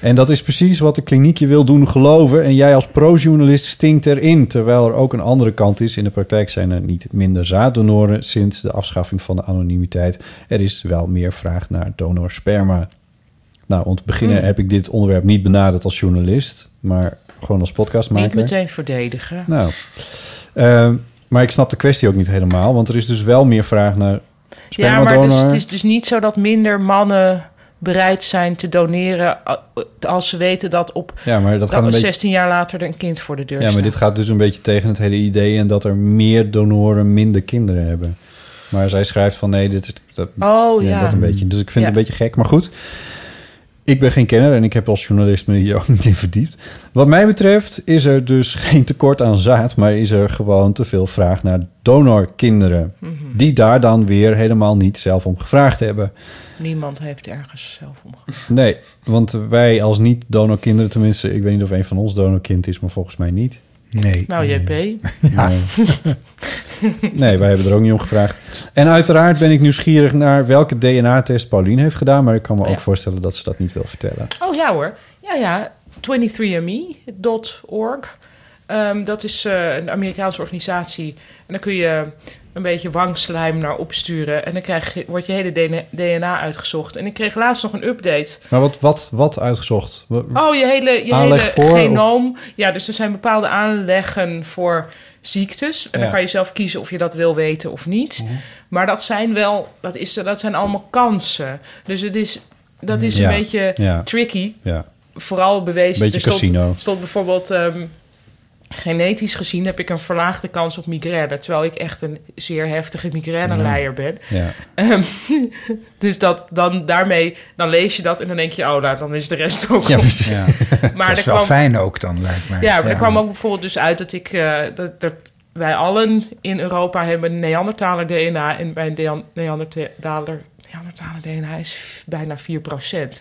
Speaker 3: En dat is precies wat de kliniek je wil doen geloven. En jij als pro-journalist stinkt erin. Terwijl er ook een andere kant is. In de praktijk zijn er niet minder zaaddonoren sinds de afschaffing van de anonimiteit. Er is wel meer vraag naar donorsperma. Nou, om te beginnen
Speaker 1: Hmm.
Speaker 3: heb ik dit onderwerp niet benaderd als journalist. Maar gewoon als podcastmaker.
Speaker 1: Niet meteen verdedigen.
Speaker 3: Nou, ehm, maar ik snap de kwestie ook niet helemaal. Want er is dus wel meer vraag naar
Speaker 1: Ja, maar
Speaker 3: spermadonor.
Speaker 1: dus, het is dus niet zo dat minder mannen bereid zijn te doneren a- als ze weten dat op
Speaker 3: Ja, maar dat gaat een beetje-
Speaker 1: 16 jaar later er een kind voor de deur
Speaker 3: ja, maar
Speaker 1: staat.
Speaker 3: dit gaat dus een beetje tegen het hele idee... en dat er meer donoren minder kinderen hebben. Maar zij schrijft van nee, dit, is- dat,
Speaker 1: Oh, ja.
Speaker 3: dat een beetje. Dus ik vind het
Speaker 1: Ja.
Speaker 3: een beetje gek. Maar goed, ik ben geen kenner... en ik heb als journalist me hier [laughs] ook niet in verdiept. Wat mij betreft is er dus geen tekort aan zaad... maar is er gewoon te veel vraag naar donorkinderen...
Speaker 1: Mhm.
Speaker 3: die daar dan weer helemaal niet zelf om gevraagd hebben.
Speaker 1: Niemand heeft ergens zelf om.
Speaker 3: Nee, want wij als niet-donorkinderen, tenminste, ik weet niet of een van ons donorkind is, maar volgens mij niet. Nee.
Speaker 1: Nou, JP.
Speaker 3: [laughs] Nee, wij hebben er ook niet om gevraagd. En uiteraard ben ik nieuwsgierig naar welke DNA-test Pauline heeft gedaan, maar ik kan me
Speaker 1: Oh
Speaker 3: ook voorstellen dat ze dat niet wil vertellen.
Speaker 1: Oh ja hoor. Ja, ja. 23andme.org. Ehm, dat is eh, een Amerikaanse organisatie. En dan kun je een beetje wangslijm naar opsturen. En dan krijg je, wordt je hele DNA uitgezocht. En ik kreeg laatst nog een update.
Speaker 3: Maar wat, wat, wat uitgezocht? Wa-
Speaker 1: Oh, je hele, je hele
Speaker 3: Aanleg voor,
Speaker 1: genoom. Ja, dus er zijn bepaalde aanleggen voor ziektes. En dan
Speaker 3: Ja. Mhm.
Speaker 1: kan je zelf kiezen of je dat wil weten of niet. Maar dat zijn wel, dat, is, dat zijn allemaal kansen. Dus het is, dat is
Speaker 3: Ja,
Speaker 1: een beetje
Speaker 3: ja.
Speaker 1: tricky.
Speaker 3: Ja.
Speaker 1: Vooral bewezen.
Speaker 3: Beetje
Speaker 1: er stond-
Speaker 3: casino.
Speaker 1: stond bijvoorbeeld... ehm, genetisch gezien heb ik een verlaagde kans op migraine. Terwijl ik echt een zeer heftige migraineleier ben.
Speaker 3: Ja.
Speaker 1: Ehm, dus dat, dan, daarmee, dan lees je dat en dan denk je... oh, nou, dan is de rest ook op.
Speaker 4: [laughs] Ja.
Speaker 1: Maar
Speaker 4: dat
Speaker 1: er
Speaker 4: is wel
Speaker 1: kwam-
Speaker 4: fijn ook dan, lijkt mij.
Speaker 1: Ja, maar er kwam ook bijvoorbeeld dus uit dat ik... eh, dat, dat wij allen in Europa hebben Neandertaler DNA... en bij een Neandertaler... Neandertaler DNA is f- bijna 4%.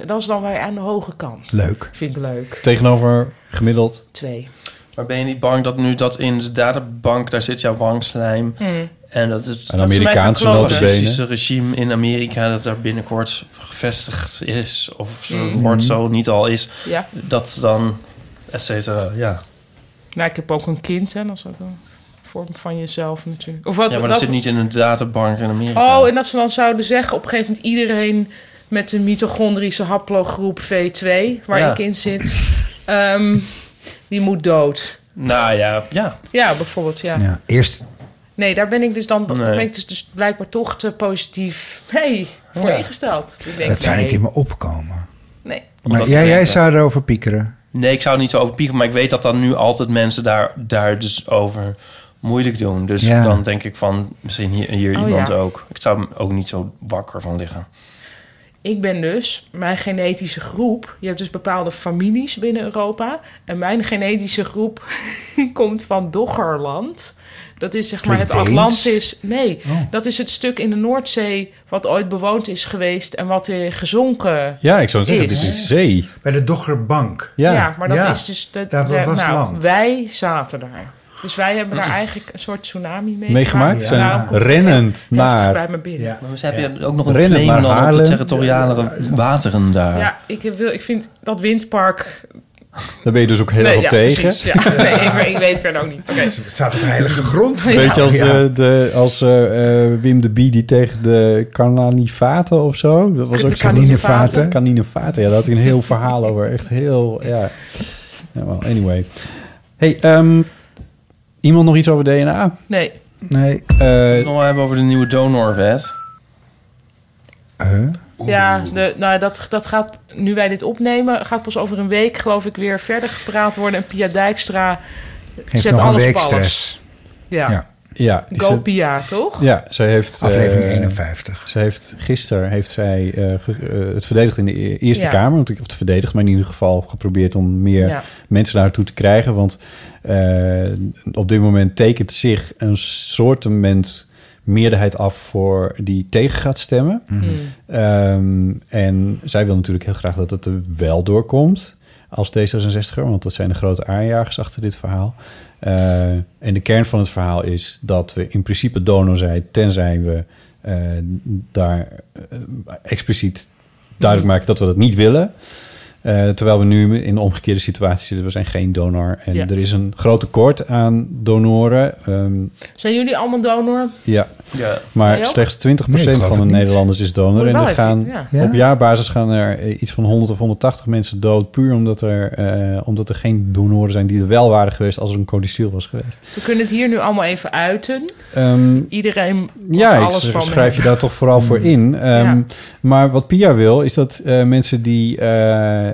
Speaker 1: En dat is dan weer aan de hoge kant.
Speaker 3: Leuk.
Speaker 1: Vind ik leuk.
Speaker 3: Tegenover gemiddeld.
Speaker 1: Twee.
Speaker 5: Maar ben je niet bang dat nu dat in de databank, daar zit jouw wangslijm.
Speaker 1: Hmm.
Speaker 5: En dat het
Speaker 3: Een Amerikaanse
Speaker 5: dat het
Speaker 3: notabene.
Speaker 5: fascistische regime in Amerika dat daar binnenkort gevestigd is. Of zo
Speaker 1: Hmm.
Speaker 5: wordt zo niet al is.
Speaker 1: Ja.
Speaker 5: Dat dan, et cetera, ja.
Speaker 1: Nou, ik heb ook een kind, hè. Dat is ook een vorm van jezelf natuurlijk. Of wat,
Speaker 5: ja, maar dat, zit niet in een databank in Amerika.
Speaker 1: Oh, en dat ze dan zouden zeggen... op een gegeven moment iedereen met de mitochondrische haplogroep V2... waar
Speaker 5: Ja.
Speaker 1: ik in zit, ehm, die moet dood.
Speaker 5: Nou ja, ja.
Speaker 1: Ja, bijvoorbeeld, ja.
Speaker 4: Ja, eerst
Speaker 1: Nee, daar ben ik dus dan
Speaker 4: Nee.
Speaker 1: daar ben ik dus, dus blijkbaar toch te positief hey, voor ingesteld. Ik denk,
Speaker 4: dat zou
Speaker 1: nee.
Speaker 4: niet in me opkomen.
Speaker 1: Nee.
Speaker 4: Maar jij, jij zou erover piekeren.
Speaker 5: Nee, ik zou er niet zo over pieken, maar ik weet dat dan nu altijd mensen daar, daar dus over moeilijk doen. Dus
Speaker 4: Ja.
Speaker 5: dan denk ik van, misschien hier, hier
Speaker 1: Oh,
Speaker 5: iemand
Speaker 1: ja.
Speaker 5: ook. Ik zou er ook niet zo wakker van liggen.
Speaker 1: Ik ben dus mijn genetische groep. Je hebt dus bepaalde families binnen Europa. En mijn genetische groep [laughs] komt van Doggerland. Dat is zeg maar het
Speaker 11: Klinkt Deens?
Speaker 1: Atlantis. Nee,
Speaker 11: Oh.
Speaker 1: dat is het stuk in de Noordzee wat ooit bewoond is geweest en wat er gezonken
Speaker 3: Ja, ik zou zeggen,
Speaker 1: is.
Speaker 3: dit is zee.
Speaker 4: Bij de Doggerbank.
Speaker 1: Ja, maar dat is dus... Dat,
Speaker 4: Daar
Speaker 1: daar-
Speaker 4: was
Speaker 1: nou,
Speaker 4: land.
Speaker 1: Wij zaten daar. Dus wij hebben daar eigenlijk een soort tsunami mee
Speaker 3: Mm. Meegemaakt zijn.
Speaker 1: Daarom komt het
Speaker 3: Rennend
Speaker 1: heel heftig
Speaker 3: naar-
Speaker 1: bij me binnen. Ja,
Speaker 5: Maar ze hebben ook nog een
Speaker 3: Rennen
Speaker 5: claim
Speaker 3: naar
Speaker 5: dan op de
Speaker 3: Haarlem.
Speaker 5: territoriale wateren daar.
Speaker 1: ik, heb- wil, ik vind dat windpark...
Speaker 3: Daar ben je dus ook heel
Speaker 1: Nee,
Speaker 3: erg op
Speaker 1: ja,
Speaker 3: tegen.
Speaker 1: precies,
Speaker 3: [laughs]
Speaker 1: ja. Nee, ik, maar ik weet verder ook niet. Oké.
Speaker 4: Het staat op heilige grond.
Speaker 3: Een beetje als, eh, de, als eh, eh, Wim de Bie die tegen de Carnanivaten of zo. Dat was
Speaker 4: De
Speaker 3: ook zo'n-
Speaker 4: Carninevaten.
Speaker 3: Carninevaten, ja. Daar had hij een heel verhaal over. Echt heel, ja. ja well, anyway. Hey, ehm, iemand nog iets over DNA?
Speaker 1: Nee.
Speaker 4: Nee.
Speaker 3: Eh,
Speaker 5: het nog wel hebben over de nieuwe donorwet.
Speaker 1: Ja, de, nou, dat, dat gaat, nu wij dit opnemen, gaat pas over een week, geloof ik, weer verder gepraat worden. En Pia Dijkstra
Speaker 4: Heeft
Speaker 1: zet
Speaker 4: nog een
Speaker 1: alles
Speaker 4: week
Speaker 1: op alles.
Speaker 4: stress.
Speaker 1: Ja.
Speaker 4: Ja.
Speaker 3: Ja, die
Speaker 1: Go
Speaker 3: zet-
Speaker 1: Pia, toch?
Speaker 3: Ja, zij heeft...
Speaker 4: Aflevering
Speaker 3: eh,
Speaker 4: 51.
Speaker 3: Ze heeft, gisteren heeft zij eh, ge- eh, het verdedigd in de e- Eerste
Speaker 1: Ja.
Speaker 3: Kamer. want ik- Of het verdedigd, maar in ieder geval geprobeerd om meer
Speaker 1: Ja.
Speaker 3: mensen daartoe te krijgen. Want eh, op dit moment tekent zich een soortement meerderheid af voor die tegen gaat stemmen.
Speaker 11: Mhm.
Speaker 1: Mm-hmm.
Speaker 3: Ehm, en zij wil natuurlijk heel graag dat het er wel doorkomt als D66er, want dat zijn de grote aanjagers achter dit verhaal. Eh, en de kern van het verhaal is dat we in principe donor zijn, tenzij we eh, daar eh, expliciet duidelijk maken dat we dat niet willen. Eh, terwijl we nu in de omgekeerde situatie zitten, we zijn geen donor. En
Speaker 1: Ja.
Speaker 3: er is een groot tekort aan donoren. Ehm,
Speaker 1: Zijn jullie allemaal donor?
Speaker 3: ja.
Speaker 1: Ja.
Speaker 3: maar
Speaker 1: Jij ook?
Speaker 3: slechts 20%
Speaker 4: Nee, ik geloof
Speaker 3: van de
Speaker 4: het niet.
Speaker 3: Nederlanders is
Speaker 1: Moet
Speaker 3: donor.
Speaker 1: je
Speaker 3: En
Speaker 1: wel
Speaker 3: er
Speaker 1: even,
Speaker 3: gaan,
Speaker 1: ja.
Speaker 3: op
Speaker 1: Ja?
Speaker 3: jaarbasis gaan er eh, iets van 100 of 180 mensen dood... puur omdat er, eh, omdat er geen donoren zijn die er wel waren geweest... als er een codicil was geweest.
Speaker 1: We kunnen het hier nu allemaal even uiten.
Speaker 3: Ehm,
Speaker 1: Iedereen mag
Speaker 3: ja, ik
Speaker 1: alles
Speaker 3: s-
Speaker 1: van
Speaker 3: schrijf je
Speaker 1: me.
Speaker 3: daar toch vooral
Speaker 4: Hmm.
Speaker 3: voor in. Ehm, Maar wat Pia wil, is dat, eh, mensen die, eh,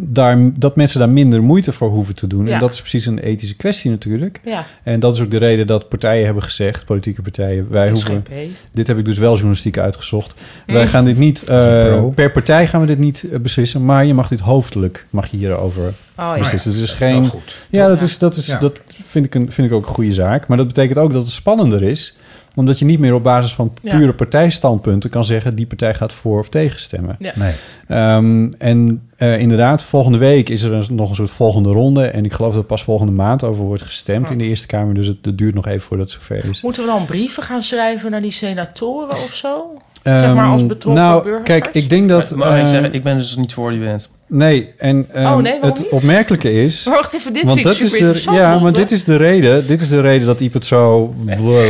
Speaker 3: daar, dat mensen daar minder moeite voor hoeven te doen.
Speaker 1: Ja.
Speaker 3: En dat is precies een ethische kwestie natuurlijk.
Speaker 1: Ja.
Speaker 3: En dat is ook de reden dat partijen hebben gezegd, politieke partijen...
Speaker 1: SGP.
Speaker 3: wij hoeven, dit heb ik dus wel journalistiek uitgezocht...
Speaker 1: Mm.
Speaker 3: wij gaan dit niet,
Speaker 4: Dat is een
Speaker 3: eh,
Speaker 4: pro.
Speaker 3: per partij gaan we dit niet eh, beslissen... maar je mag dit hoofdelijk, mag je
Speaker 1: Oh,
Speaker 3: hierover
Speaker 4: ja.
Speaker 3: beslissen. Dus
Speaker 4: Dat
Speaker 3: het
Speaker 4: is
Speaker 3: is geen...
Speaker 4: wel goed.
Speaker 3: Ja, dat, is, dat, is,
Speaker 4: Ja.
Speaker 3: dat vind, ik een, vind ik ook een goede zaak. Maar dat betekent ook dat het spannender is... omdat je niet meer op basis van
Speaker 4: Ja.
Speaker 3: pure partijstandpunten kan zeggen... die partij gaat voor of tegen stemmen.
Speaker 4: Ja. Nee.
Speaker 3: Ehm, en eh, inderdaad, volgende week is er een- nog een soort volgende ronde. En ik geloof dat pas volgende maand over wordt gestemd in de Eerste Kamer. Dus het, het duurt nog even voordat het zover is.
Speaker 1: Moeten we dan brieven gaan schrijven naar die senatoren of zo?
Speaker 3: Ehm,
Speaker 1: zeg maar als betrokken
Speaker 3: nou,
Speaker 1: burgers?
Speaker 3: Kijk, ik denk dat.
Speaker 5: Maar, maar ik,
Speaker 3: eh,
Speaker 5: zeg, ik ben dus niet voor die wet.
Speaker 3: Nee, en ehm,
Speaker 1: Oh, nee, waarom
Speaker 3: het
Speaker 1: niet?
Speaker 3: opmerkelijke is...
Speaker 1: Maar wacht even, dit vind ik super
Speaker 3: is de,
Speaker 1: interessant,
Speaker 3: Ja,
Speaker 1: Lotte.
Speaker 3: maar dit is, de reden, dit is de reden dat Iep het zo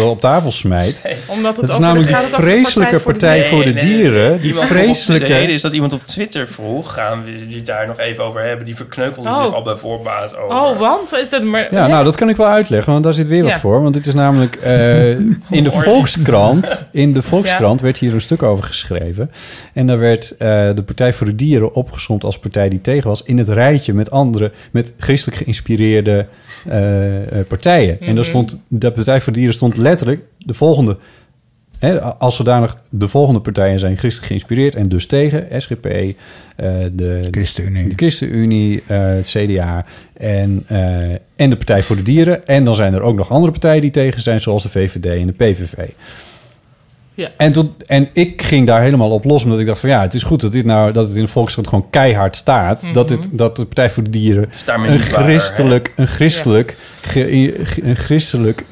Speaker 3: op tafel smijt.
Speaker 1: Omdat het
Speaker 3: dat is
Speaker 1: over de-
Speaker 3: namelijk
Speaker 1: gaat
Speaker 3: die
Speaker 1: het over de
Speaker 3: vreselijke Partij voor de Dieren.
Speaker 5: Iemand
Speaker 3: Die
Speaker 5: op- De reden
Speaker 3: vreselijke...
Speaker 5: is dat iemand op Twitter vroeg, gaan we die daar nog even over hebben, die verkneukelde
Speaker 1: Oh.
Speaker 5: zich al bij voorbaat over.
Speaker 1: Oh, want? Wat Is dat maar,
Speaker 3: Ja, nou, dat kan ik wel uitleggen, want daar zit weer wat
Speaker 1: Ja.
Speaker 3: voor. Want dit is namelijk eh, in de
Speaker 1: [laughs]
Speaker 3: Volkskrant. In de Volkskrant werd hier een stuk over geschreven. En daar werd eh, de Partij voor de Dieren opgesomd als partij die tegen was. In het rijtje met andere, met christelijk geïnspireerde eh, eh, partijen. En
Speaker 11: Mhm.
Speaker 3: daar stond, de Partij voor de Dieren stond letterlijk de volgende. Hè, als zodanig de volgende partijen zijn christelijk geïnspireerd en dus tegen SGP, eh, de
Speaker 4: ChristenUnie,
Speaker 3: de ChristenUnie eh, het CDA en, eh, en de Partij voor de Dieren. En dan zijn er ook nog andere partijen die tegen zijn, zoals de VVD en de PVV.
Speaker 1: Ja.
Speaker 3: En, tot, en ik ging daar helemaal op los, omdat ik dacht van ja, het is goed dat, dit nou, dat het in de Volkskrant gewoon keihard staat.
Speaker 11: Mhm.
Speaker 3: dat, het, dat de Partij voor de Dieren
Speaker 5: daarmee
Speaker 3: een
Speaker 5: niet waar, hè?
Speaker 3: christelijk, een christelijk, ge- ge- een christelijk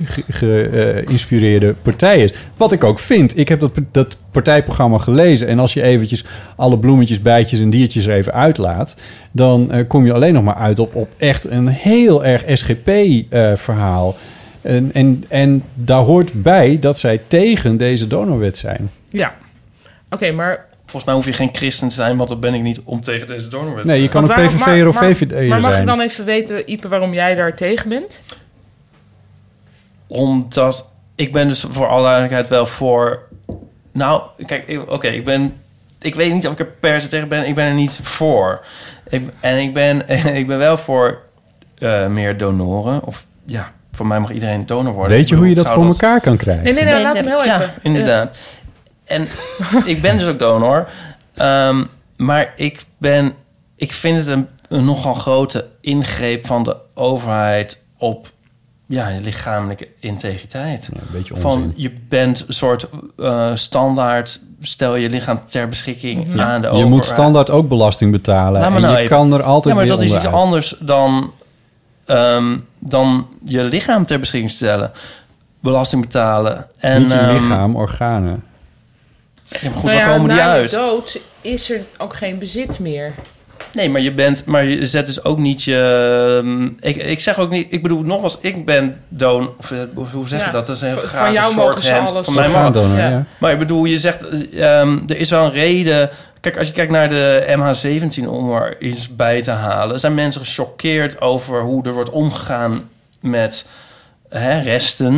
Speaker 3: geïnspireerde partij is. Wat ik ook vind. Ik heb dat, dat partijprogramma gelezen. En als je eventjes alle bloemetjes, bijtjes en diertjes er even uitlaat... dan eh, kom je alleen nog maar uit op, op echt een heel erg SGP-verhaal. eh, en, en, en daar hoort bij dat zij tegen deze donorwet zijn.
Speaker 1: Ja. Oké, maar...
Speaker 5: Volgens mij hoef je geen christen te zijn, want dat ben ik niet om tegen deze donorwet te
Speaker 3: Nee, je kan
Speaker 5: zijn.
Speaker 3: een
Speaker 1: waarom-
Speaker 3: PVV'er of
Speaker 1: maar- maar-
Speaker 3: VVD'er
Speaker 1: Maar mag
Speaker 3: zijn.
Speaker 1: ik dan even weten, Ipe, waarom jij daar tegen bent?
Speaker 5: Omdat ik ben dus voor alle duidelijkheid wel voor. Nou, kijk, ik- oké, ik ben. Ik weet niet of ik er per se tegen ben. Ik ben er niet voor. Ik, en ik ben, [laughs] ik ben wel voor eh, meer donoren. Of ja, voor mij mag iedereen donor worden.
Speaker 3: Weet je
Speaker 5: Ik
Speaker 3: hoe je
Speaker 5: bedoel,
Speaker 3: dat
Speaker 5: ik
Speaker 3: voor
Speaker 5: zou
Speaker 3: elkaar kan krijgen?
Speaker 1: Nee, nee, nou, laat hem heel
Speaker 5: ja,
Speaker 1: even.
Speaker 5: inderdaad. En ik ben dus ook donor. Ehm, maar ik ben... Ik vind het een, een nogal grote ingreep van de overheid op ja, je lichamelijke integriteit.
Speaker 3: een beetje
Speaker 5: van
Speaker 3: onzin.
Speaker 5: je bent een soort eh, standaard, stel je lichaam ter beschikking
Speaker 1: Mhm.
Speaker 3: Ja.
Speaker 5: aan de
Speaker 3: je
Speaker 5: overheid.
Speaker 3: moet standaard ook belasting betalen.
Speaker 5: Laat me
Speaker 3: en
Speaker 5: nou
Speaker 3: je
Speaker 5: even.
Speaker 3: kan er altijd
Speaker 5: Ja, maar
Speaker 3: weer
Speaker 5: dat is iets
Speaker 3: onderuit.
Speaker 5: anders dan, ehm, dan je lichaam ter beschikking stellen. Belasting betalen. En,
Speaker 3: Niet je
Speaker 5: ehm,
Speaker 3: lichaam, organen.
Speaker 5: Ja, maar goed,
Speaker 1: Nou
Speaker 5: waar
Speaker 1: ja,
Speaker 5: komen die
Speaker 1: na je
Speaker 5: uit?
Speaker 1: dood is er ook geen bezit meer.
Speaker 5: Nee, maar je bent, maar je zet dus ook niet je. ehm, Ik, ik zeg ook niet, ik bedoel nogmaals, ik ben don. Of, eh, hoe zeg je
Speaker 1: Ja,
Speaker 5: dat? Dat is een heel
Speaker 1: van- van
Speaker 5: grave
Speaker 1: jou mogen ze
Speaker 5: shorthand.
Speaker 1: alles.
Speaker 5: Van mij mag.
Speaker 3: Orgaandonor, ja. ja.
Speaker 5: Maar ik bedoel, je zegt, ehm, er is wel een reden. Kijk, als je kijkt naar de MH17 om er iets bij te halen, zijn mensen gechoqueerd over hoe er wordt omgegaan met hè, resten.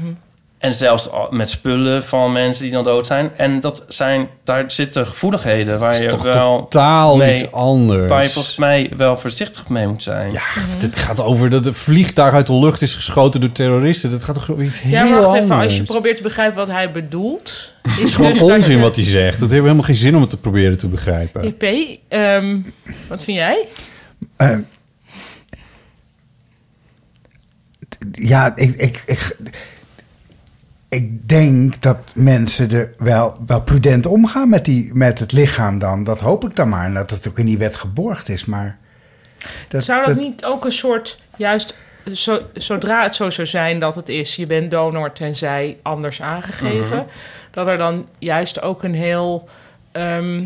Speaker 1: Mhm.
Speaker 5: En zelfs al- met spullen van mensen die dan dood zijn. En dat zijn, daar zitten gevoeligheden waar
Speaker 3: is
Speaker 5: je
Speaker 3: toch
Speaker 5: wel
Speaker 3: totaal
Speaker 5: mee-
Speaker 3: iets anders?
Speaker 5: Waar je volgens mij wel voorzichtig mee moet zijn.
Speaker 3: Ja,
Speaker 1: Mhm.
Speaker 3: Het gaat over dat een vliegtuig uit de lucht is geschoten door terroristen. Dat gaat toch over iets
Speaker 1: Ja,
Speaker 3: heel
Speaker 1: maar wacht
Speaker 3: anders?
Speaker 1: even. Als je probeert te begrijpen wat hij bedoelt... Is
Speaker 3: het is gewoon
Speaker 1: dus dat
Speaker 3: onzin
Speaker 1: je-
Speaker 3: wat hij zegt. Dat heeft helemaal geen zin om het te proberen te begrijpen.
Speaker 1: JP, ehm, wat vind jij?
Speaker 4: Eh, t- ja, ik, ik, ik, ik denk dat mensen er wel, wel prudent omgaan met, die, met het lichaam dan. Dat hoop ik dan maar. En dat het ook in die wet geborgd is. Maar dat,
Speaker 1: zou dat,
Speaker 4: dat-
Speaker 1: niet ook een soort, juist zo, zodra het zo zou zijn dat het is, je bent donor tenzij anders aangegeven,
Speaker 12: Mhm.
Speaker 1: dat er dan juist ook een heel ehm,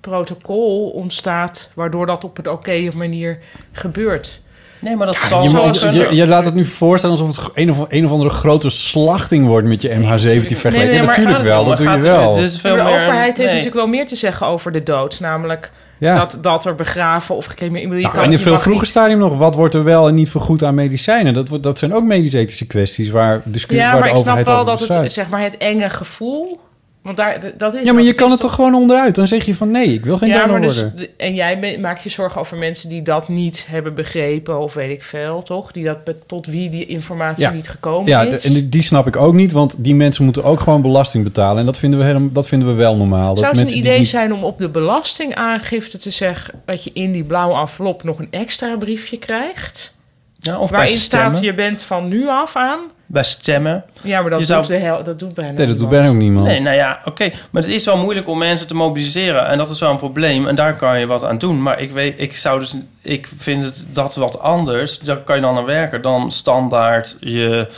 Speaker 1: protocol ontstaat, waardoor dat op een oké manier gebeurt.
Speaker 5: Nee, maar dat
Speaker 3: Ja, je, moet- je- je laat het nu voorstellen alsof het een of, een of andere grote slachting wordt met je MH17 vergelijking.
Speaker 1: Nee, nee,
Speaker 3: Ja,
Speaker 1: maar- oh,
Speaker 3: natuurlijk wel, dat doe je wel.
Speaker 1: Maar de
Speaker 5: meer-
Speaker 1: overheid heeft
Speaker 5: nee.
Speaker 1: natuurlijk wel meer te zeggen over de dood, namelijk
Speaker 3: Ja.
Speaker 1: dat, dat er begraven of gecremeerd... ik bedoel, je
Speaker 3: Nou,
Speaker 1: kan-
Speaker 3: en in
Speaker 1: je
Speaker 3: veel
Speaker 1: mag niet-
Speaker 3: vroeger stadium nog, wat wordt er wel en niet vergoed aan medicijnen? Dat, wordt- dat zijn ook medisch-ethische kwesties waar, discussie
Speaker 1: Ja,
Speaker 3: waar
Speaker 1: maar ik
Speaker 3: de
Speaker 1: snap
Speaker 3: overheid
Speaker 1: wel
Speaker 3: over
Speaker 1: dat het,
Speaker 3: besluit.
Speaker 1: zeg maar, het enge gevoel... Want daar, dat is
Speaker 3: Ja, maar
Speaker 1: ook-
Speaker 3: je kan het toch gewoon onderuit? Dan zeg je van nee, ik wil geen
Speaker 1: ja,
Speaker 3: donor
Speaker 1: maar dus,
Speaker 3: worden.
Speaker 1: en jij me- maakt je zorgen over mensen die dat niet hebben begrepen, of weet ik veel, toch? Die dat, be- tot wie die informatie niet gekomen
Speaker 3: ja,
Speaker 1: is.
Speaker 3: de- en die- die snap ik ook niet, want die mensen moeten ook gewoon belasting betalen. En dat vinden we, helemaal, dat vinden we wel normaal. dat
Speaker 1: Zou het een
Speaker 3: mensen die
Speaker 1: idee
Speaker 3: niet-
Speaker 1: zijn om op de belastingaangifte te zeggen dat je in die blauwe envelop nog een extra briefje krijgt?
Speaker 5: Ja, of bij
Speaker 1: waarin staat
Speaker 5: stemmen.
Speaker 1: je bent van nu af aan?
Speaker 5: Bij stemmen.
Speaker 1: Ja, maar dat,
Speaker 5: Je
Speaker 1: doet,
Speaker 5: zou-
Speaker 1: de hel, dat doet bijna
Speaker 3: Nee, dat doet
Speaker 1: niemand.
Speaker 3: bijna ook niemand.
Speaker 5: Nee, nou ja, oké. Maar het is wel moeilijk om mensen te mobiliseren. En dat is wel een probleem. En daar kan je wat aan doen. Maar ik, weet, ik, zou dus, ik vind het dat wat anders. Daar kan je dan aan werken. Dan standaard je...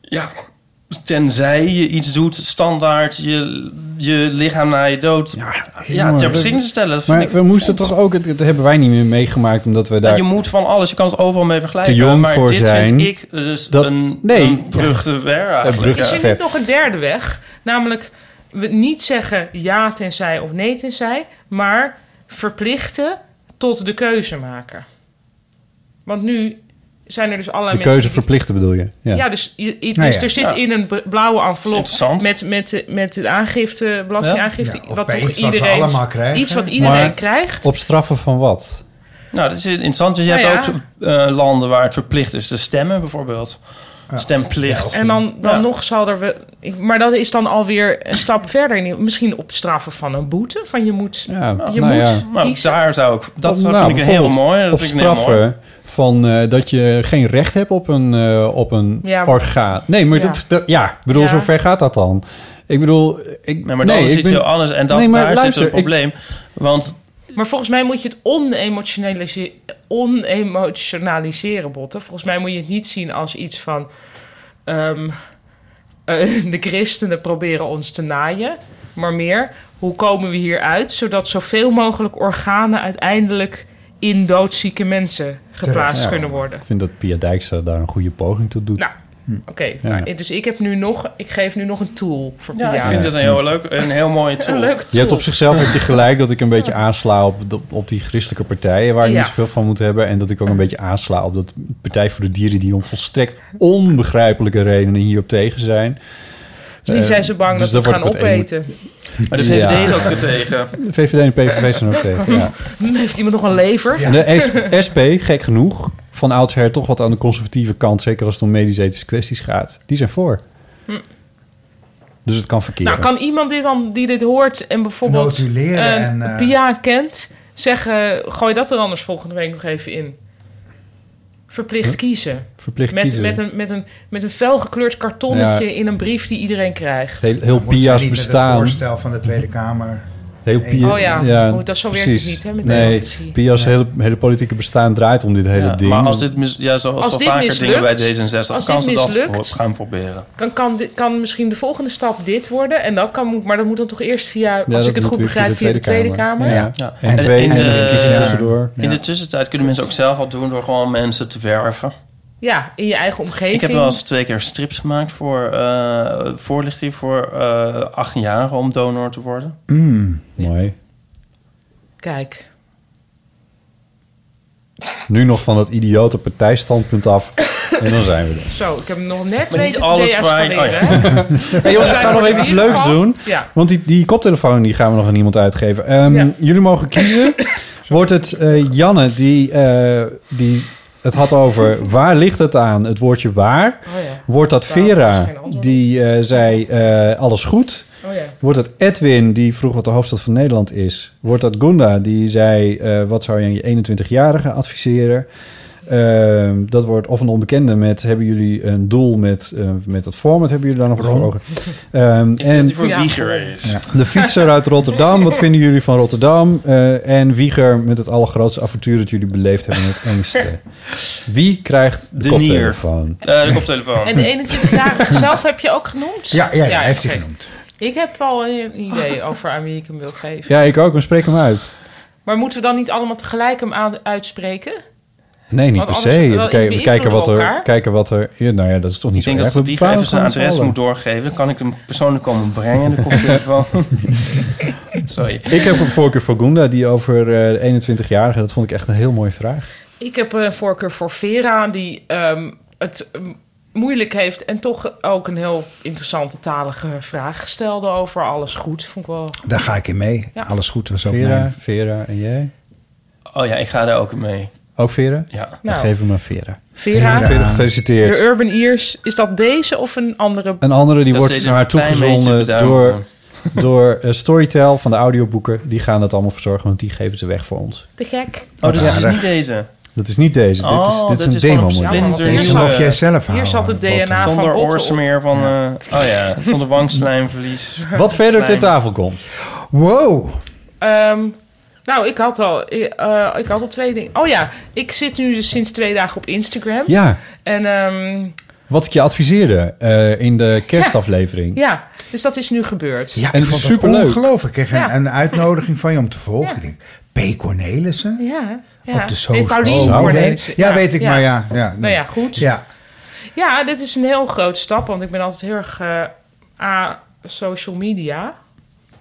Speaker 5: Ja, Tenzij je iets doet, standaard, je, je lichaam na je dood. Ja, ja ter
Speaker 3: Jongen,
Speaker 5: beschikking
Speaker 3: we-
Speaker 5: te stellen. Dat
Speaker 3: Maar
Speaker 5: vind ik-
Speaker 3: we moesten toch ook, het, het hebben wij niet meer meegemaakt, omdat we daar
Speaker 5: je moet van alles, je kan het overal mee vergelijken.
Speaker 3: te jong
Speaker 5: maar
Speaker 3: voor
Speaker 5: dit
Speaker 3: zijn.
Speaker 5: vind ik dus
Speaker 3: Dat-
Speaker 5: een,
Speaker 3: nee,
Speaker 5: een brug te
Speaker 3: [laughs]
Speaker 5: ver eigenlijk.
Speaker 3: brug te
Speaker 5: Ja.
Speaker 3: ver.
Speaker 1: Er zit nog een derde weg. Namelijk we niet zeggen ja tenzij of nee tenzij. Maar verplichten tot de keuze maken. Want nu zijn er dus allerlei
Speaker 3: de
Speaker 1: mensen...
Speaker 3: keuze
Speaker 1: die-
Speaker 3: verplichten bedoel je. Ja,
Speaker 1: Ja, dus, je- je- dus
Speaker 3: Nou ja.
Speaker 1: er zit
Speaker 3: Ja.
Speaker 1: in een b- blauwe envelop
Speaker 3: interessant.
Speaker 1: met, met, de- met de aangifte, belastingaangifte,
Speaker 5: Ja. Ja, of
Speaker 1: wat
Speaker 5: bij
Speaker 1: toch
Speaker 5: iets wat we
Speaker 1: iedereen,
Speaker 5: allemaal krijgen.
Speaker 1: iets wat iedereen
Speaker 5: Maar-
Speaker 1: krijgt.
Speaker 3: Op straffen van wat?
Speaker 5: Nou, dat is interessant. Dus je
Speaker 1: Nou
Speaker 5: hebt
Speaker 1: ja.
Speaker 5: ook eh, landen waar het verplicht is te stemmen, bijvoorbeeld. Stemplicht.
Speaker 1: En dan, dan
Speaker 5: Ja.
Speaker 1: nog zal er... we- ik- maar dat is dan alweer een stap verder. in- Misschien op straffen van een boete. Van je moet... je
Speaker 3: nou
Speaker 1: moet
Speaker 3: ja.
Speaker 5: Nou, daar zou ik... Dat
Speaker 3: Nou,
Speaker 5: vind ik heel
Speaker 3: bijvoorbeeld
Speaker 5: mooi. Dat
Speaker 3: op
Speaker 5: vind ik heel
Speaker 3: straffen
Speaker 5: mooi.
Speaker 3: van eh, dat je geen recht hebt op een, eh, op een
Speaker 5: Ja.
Speaker 3: orgaan. Nee, maar
Speaker 5: Ja.
Speaker 3: dat, dat- ja, ik bedoel,
Speaker 5: Ja.
Speaker 3: zo ver gaat dat dan. Ik bedoel, ik,
Speaker 5: Nee, maar dat
Speaker 3: nee,
Speaker 5: is
Speaker 3: ik
Speaker 5: iets
Speaker 3: ben-
Speaker 5: heel anders. En dat,
Speaker 3: Nee, maar
Speaker 5: daar
Speaker 3: luister,
Speaker 5: zit
Speaker 3: ik-
Speaker 5: een probleem. Want
Speaker 1: Maar volgens mij moet je het onemotionalise- onemotionaliseren, Botten. Volgens mij moet je het niet zien als iets van... ehm, eh, [laughs] de christenen proberen ons te naaien. Maar meer, hoe komen we hier uit... zodat zoveel mogelijk organen uiteindelijk in doodzieke mensen geplaatst
Speaker 3: Ja,
Speaker 1: kunnen worden.
Speaker 3: Ik vind dat Pia Dijkstra daar een goede poging toe doet. Hm.
Speaker 1: Nou, Oké, nou, dus ik, heb nu nog, ik geef nu nog een tool voor
Speaker 5: ja,
Speaker 1: Pia.
Speaker 5: ik vind het een heel, leuk, een heel mooie
Speaker 1: [laughs]
Speaker 5: tool.
Speaker 1: Een leuk
Speaker 3: Je hebt op zichzelf
Speaker 1: [laughs]
Speaker 3: heb je gelijk dat ik een beetje aansla op, de- op die christelijke partijen waar ik
Speaker 1: Ja.
Speaker 3: niet zoveel van moet hebben. En dat ik ook een beetje aansla op dat Partij voor de Dieren die om volstrekt onbegrijpelijke redenen hierop tegen zijn.
Speaker 1: Misschien
Speaker 3: Eh,
Speaker 1: zijn ze bang
Speaker 3: dus
Speaker 1: dat we
Speaker 3: daar
Speaker 1: het gaan
Speaker 3: word ik wat emo-
Speaker 1: opeten.
Speaker 5: Maar de VVD
Speaker 3: Ja.
Speaker 5: is ook weer tegen.
Speaker 3: De VVD en de PVV
Speaker 1: [laughs]
Speaker 3: zijn ook tegen, ja.
Speaker 1: Dan heeft iemand nog een lever.
Speaker 3: En De S- SP, gek genoeg, van oudsher toch wat aan de conservatieve kant, zeker als het om medisch-ethische kwesties gaat, die zijn voor.
Speaker 1: Hm.
Speaker 3: Dus het kan verkeerd.
Speaker 1: Nou, kan iemand dit dan, die dit hoort en bijvoorbeeld
Speaker 4: Notuleren
Speaker 1: eh,
Speaker 4: en, eh,
Speaker 1: Pia kent, zeggen: gooi dat er anders volgende week nog even in. Verplicht
Speaker 3: Huh?
Speaker 1: kiezen.
Speaker 3: Verplicht
Speaker 1: met,
Speaker 3: kiezen.
Speaker 1: Met een, met, een, met een felgekleurd kartonnetje
Speaker 3: Ja.
Speaker 1: in een brief die iedereen krijgt.
Speaker 3: Heel- heel
Speaker 4: Moeten we
Speaker 3: Pia's
Speaker 4: niet met
Speaker 3: bestaan.
Speaker 4: het voorstel van de Tweede Kamer.
Speaker 3: Heel
Speaker 4: Nee.
Speaker 3: Pia-
Speaker 1: Oh ja, oh, dat zo werkt het
Speaker 3: precies.
Speaker 1: niet, hè, met
Speaker 3: nee,
Speaker 1: democratie.
Speaker 3: Pia's hele, hele politieke bestaan draait om dit hele
Speaker 5: Ja,
Speaker 3: ding.
Speaker 5: Maar als dit, mis- ja, zoals
Speaker 1: Als
Speaker 5: al
Speaker 1: dit
Speaker 5: vaker
Speaker 1: mislukt-
Speaker 5: dingen bij D66,
Speaker 1: als
Speaker 5: kan
Speaker 1: dit
Speaker 5: ze dat
Speaker 1: mislukt-
Speaker 5: voor- gaan proberen.
Speaker 1: Kan, kan, di- kan misschien de volgende stap dit worden. En dan kan, maar dat moet dan toch eerst via, als
Speaker 5: dat
Speaker 1: ik het
Speaker 5: moet
Speaker 1: goed
Speaker 5: weer via
Speaker 1: begrijp,
Speaker 5: de
Speaker 1: via de
Speaker 5: Tweede
Speaker 1: Tweede Kamer.
Speaker 5: Ja.
Speaker 3: En twee- en drie verkiezingen tussendoor.
Speaker 5: In de tussentijd kunnen mensen ook zelf al doen door gewoon mensen te werven.
Speaker 1: Ja, in je eigen omgeving.
Speaker 5: Ik heb wel eens twee keer strips gemaakt voor eh, voorlichting voor eh 18-jarigen om donor te worden.
Speaker 3: Mm, mooi.
Speaker 1: Kijk.
Speaker 3: Nu nog van dat idiote partijstandpunt af. en dan zijn we er.
Speaker 1: [laughs] Zo, ik heb hem nog net
Speaker 5: Maar niet
Speaker 1: weten te
Speaker 5: alles waar-
Speaker 1: deescaleren. [laughs]
Speaker 5: oh ja.
Speaker 1: hè?
Speaker 3: Hey jongens, we gaan nog even iets leuks doen.
Speaker 1: Ja.
Speaker 3: Want die, die koptelefoon die gaan we nog aan iemand uitgeven. Ehm, Jullie mogen
Speaker 1: [coughs]
Speaker 3: kiezen. Wordt het eh, Janne die, eh, die het had over waar ligt het aan, het woordje waar.
Speaker 1: Oh
Speaker 3: Wordt dat
Speaker 1: Nou,
Speaker 3: Vera die eh, zei eh, alles goed.
Speaker 1: Oh ja.
Speaker 3: Wordt dat Edwin die vroeg wat de hoofdstad van Nederland is. Wordt dat Gunda die zei eh, wat zou je aan je 21-jarige adviseren. Ehm, dat wordt of een onbekende met hebben jullie een doel met, eh, met dat format hebben jullie daar nog wat voor
Speaker 5: Ron.
Speaker 3: ogen. Ehm, en
Speaker 5: die voor Wieger is.
Speaker 3: Ja. De fietser uit Rotterdam, wat vinden jullie van Rotterdam? Eh, en Wieger met het allergrootste avontuur dat jullie beleefd hebben met angsten. Wie krijgt de,
Speaker 5: De
Speaker 3: koptelefoon?
Speaker 5: Eh, de koptelefoon.
Speaker 1: [laughs] En de 21-jarige zelf heb je ook genoemd?
Speaker 3: [laughs] Ja, ja, ja, heeft hij
Speaker 1: oké.
Speaker 3: genoemd.
Speaker 1: Ik heb al een idee over aan wie ik hem wil geven.
Speaker 3: Ja, ik ook, maar spreek hem uit.
Speaker 1: Maar moeten we dan niet allemaal tegelijk hem aan- uitspreken?
Speaker 3: Nee, niet
Speaker 1: Want
Speaker 3: per
Speaker 1: anders
Speaker 3: se. We,
Speaker 1: wel-
Speaker 3: kijken-
Speaker 1: beïnvloeden
Speaker 3: we kijken, wat
Speaker 1: we
Speaker 3: er,
Speaker 1: elkaar.
Speaker 3: kijken wat er... ja, nou ja, dat is toch niet
Speaker 5: Ik denk
Speaker 3: zo
Speaker 5: dat
Speaker 3: erg.
Speaker 5: de
Speaker 3: We
Speaker 5: Wieger even
Speaker 3: bepalen
Speaker 5: zijn
Speaker 3: het gewoon
Speaker 5: adres
Speaker 3: met
Speaker 5: moet
Speaker 3: z'n
Speaker 5: doorgeven. Dan kan ik hem persoonlijk komen brengen, de
Speaker 3: [laughs]
Speaker 5: koptelefoon. Sorry.
Speaker 3: allen. Ik
Speaker 5: [laughs]
Speaker 3: heb een voorkeur voor Gunda, die over eh, de 21-jarige... dat vond ik echt een heel mooie vraag.
Speaker 1: Ik heb een voorkeur voor Vera, die ehm, het ehm, moeilijk heeft... en toch ook een heel interessante talige vraag stelde over alles goed. Vond ik wel...
Speaker 4: Daar ga ik in mee.
Speaker 1: Ja.
Speaker 4: Alles goed was ook
Speaker 3: Vera,
Speaker 4: mijn-
Speaker 3: Vera en jij?
Speaker 5: Oh ja, ik ga daar ook mee.
Speaker 3: Ook Vera?
Speaker 5: Ja.
Speaker 3: Dan
Speaker 1: Nou.
Speaker 3: geef hem aan Vera.
Speaker 1: Vera,
Speaker 3: Vera, gefeliciteerd.
Speaker 1: de Urban Ears, is dat deze of een andere?
Speaker 3: Een andere die
Speaker 5: Dat
Speaker 3: wordt
Speaker 5: is
Speaker 3: naar haar
Speaker 5: een klein
Speaker 3: toegezonden
Speaker 5: beetje
Speaker 3: door, [laughs] door eh, Storytel van de audioboeken. Die gaan dat allemaal verzorgen, want die geven ze weg voor ons.
Speaker 1: Te gek.
Speaker 5: Oh, dus dat is
Speaker 3: Aardig.
Speaker 5: niet deze.
Speaker 3: Dat is niet deze.
Speaker 5: Oh,
Speaker 3: dit is, dit
Speaker 5: dat
Speaker 3: is een
Speaker 5: is gewoon
Speaker 3: demo.
Speaker 5: een splinter. Hier
Speaker 3: nog
Speaker 5: zat- Mag jij zelf
Speaker 1: Hier zat het DNA van
Speaker 5: Zonder
Speaker 1: Botten op.
Speaker 5: oorsmeer van... eh, oh ja, zonder
Speaker 1: [laughs]
Speaker 5: wangslijmverlies.
Speaker 3: [laughs] Wat verder ter
Speaker 5: Slijm.
Speaker 3: tafel komt.
Speaker 4: Wow.
Speaker 1: Ehm, nou, ik had, al, ik, eh, ik had al twee dingen. Oh ja, ik zit nu dus sinds twee dagen op Instagram.
Speaker 3: Ja.
Speaker 1: En ehm,
Speaker 3: Wat ik je adviseerde eh, in de kerstaflevering.
Speaker 1: Ja, dus dat is nu gebeurd.
Speaker 3: Ja, En het
Speaker 4: ik
Speaker 3: is
Speaker 4: vond dat
Speaker 3: superleuk.
Speaker 4: Ongelooflijk. Ik kreeg een,
Speaker 1: Ja.
Speaker 4: een uitnodiging van je om te volgen. Ik denk, P. Cornelissen?
Speaker 1: Ja, ja.
Speaker 4: Op de social.
Speaker 1: Nee, Paulien
Speaker 4: Oh,
Speaker 1: Cornelissen.
Speaker 4: nee. Ja, weet ik, maar ja, ja, nee.
Speaker 1: Nou ja, goed.
Speaker 4: Ja.
Speaker 1: Ja, dit is een heel grote stap, want ik ben altijd heel erg eh a social media.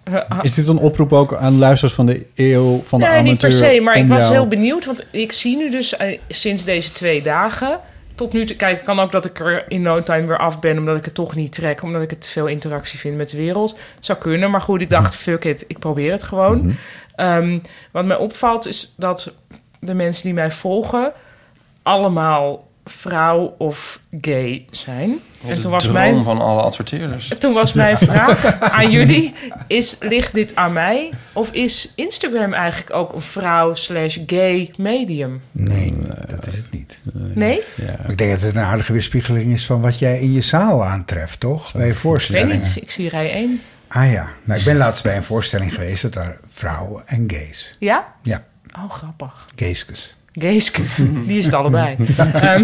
Speaker 1: Eh, ah,
Speaker 3: Is dit een oproep ook aan luisteraars van de eeuw van de
Speaker 1: nee,
Speaker 3: amateur?
Speaker 1: niet per se, maar
Speaker 3: om
Speaker 1: ik was
Speaker 3: jou-
Speaker 1: heel benieuwd. Want ik zie nu dus eh, sinds deze twee dagen... Tot nu toe, kijk, het kan ook dat ik er in no time weer af ben... omdat ik het toch niet trek, omdat ik het te veel interactie vind met de wereld. Zou kunnen, maar goed, ik
Speaker 3: Mhm.
Speaker 1: dacht, fuck it, ik probeer het gewoon. Ehm, wat mij opvalt is dat de mensen die mij volgen... allemaal vrouw of gay zijn.
Speaker 5: En toen was droom mijn... van alle adverteerders.
Speaker 1: Toen was mijn vraag aan
Speaker 3: [laughs]
Speaker 1: jullie: is, ligt dit aan mij? Of is Instagram eigenlijk ook een vrouw slash gay medium?
Speaker 4: Nee, dat is het niet.
Speaker 1: Nee?
Speaker 4: Maar Ik denk dat het een aardige weerspiegeling is van wat jij in je zaal aantreft, toch? Bij je
Speaker 1: Ik weet
Speaker 4: voorstellingen.
Speaker 1: niet, ik zie rij 1.
Speaker 4: Ah ja, nou, ik ben laatst bij een voorstelling geweest dat daar vrouwen en gays.
Speaker 1: Ja?
Speaker 4: Ja,
Speaker 1: Oh, grappig.
Speaker 4: gayskes.
Speaker 3: [laughs]
Speaker 1: Geeske, die is het allebei. Ehm,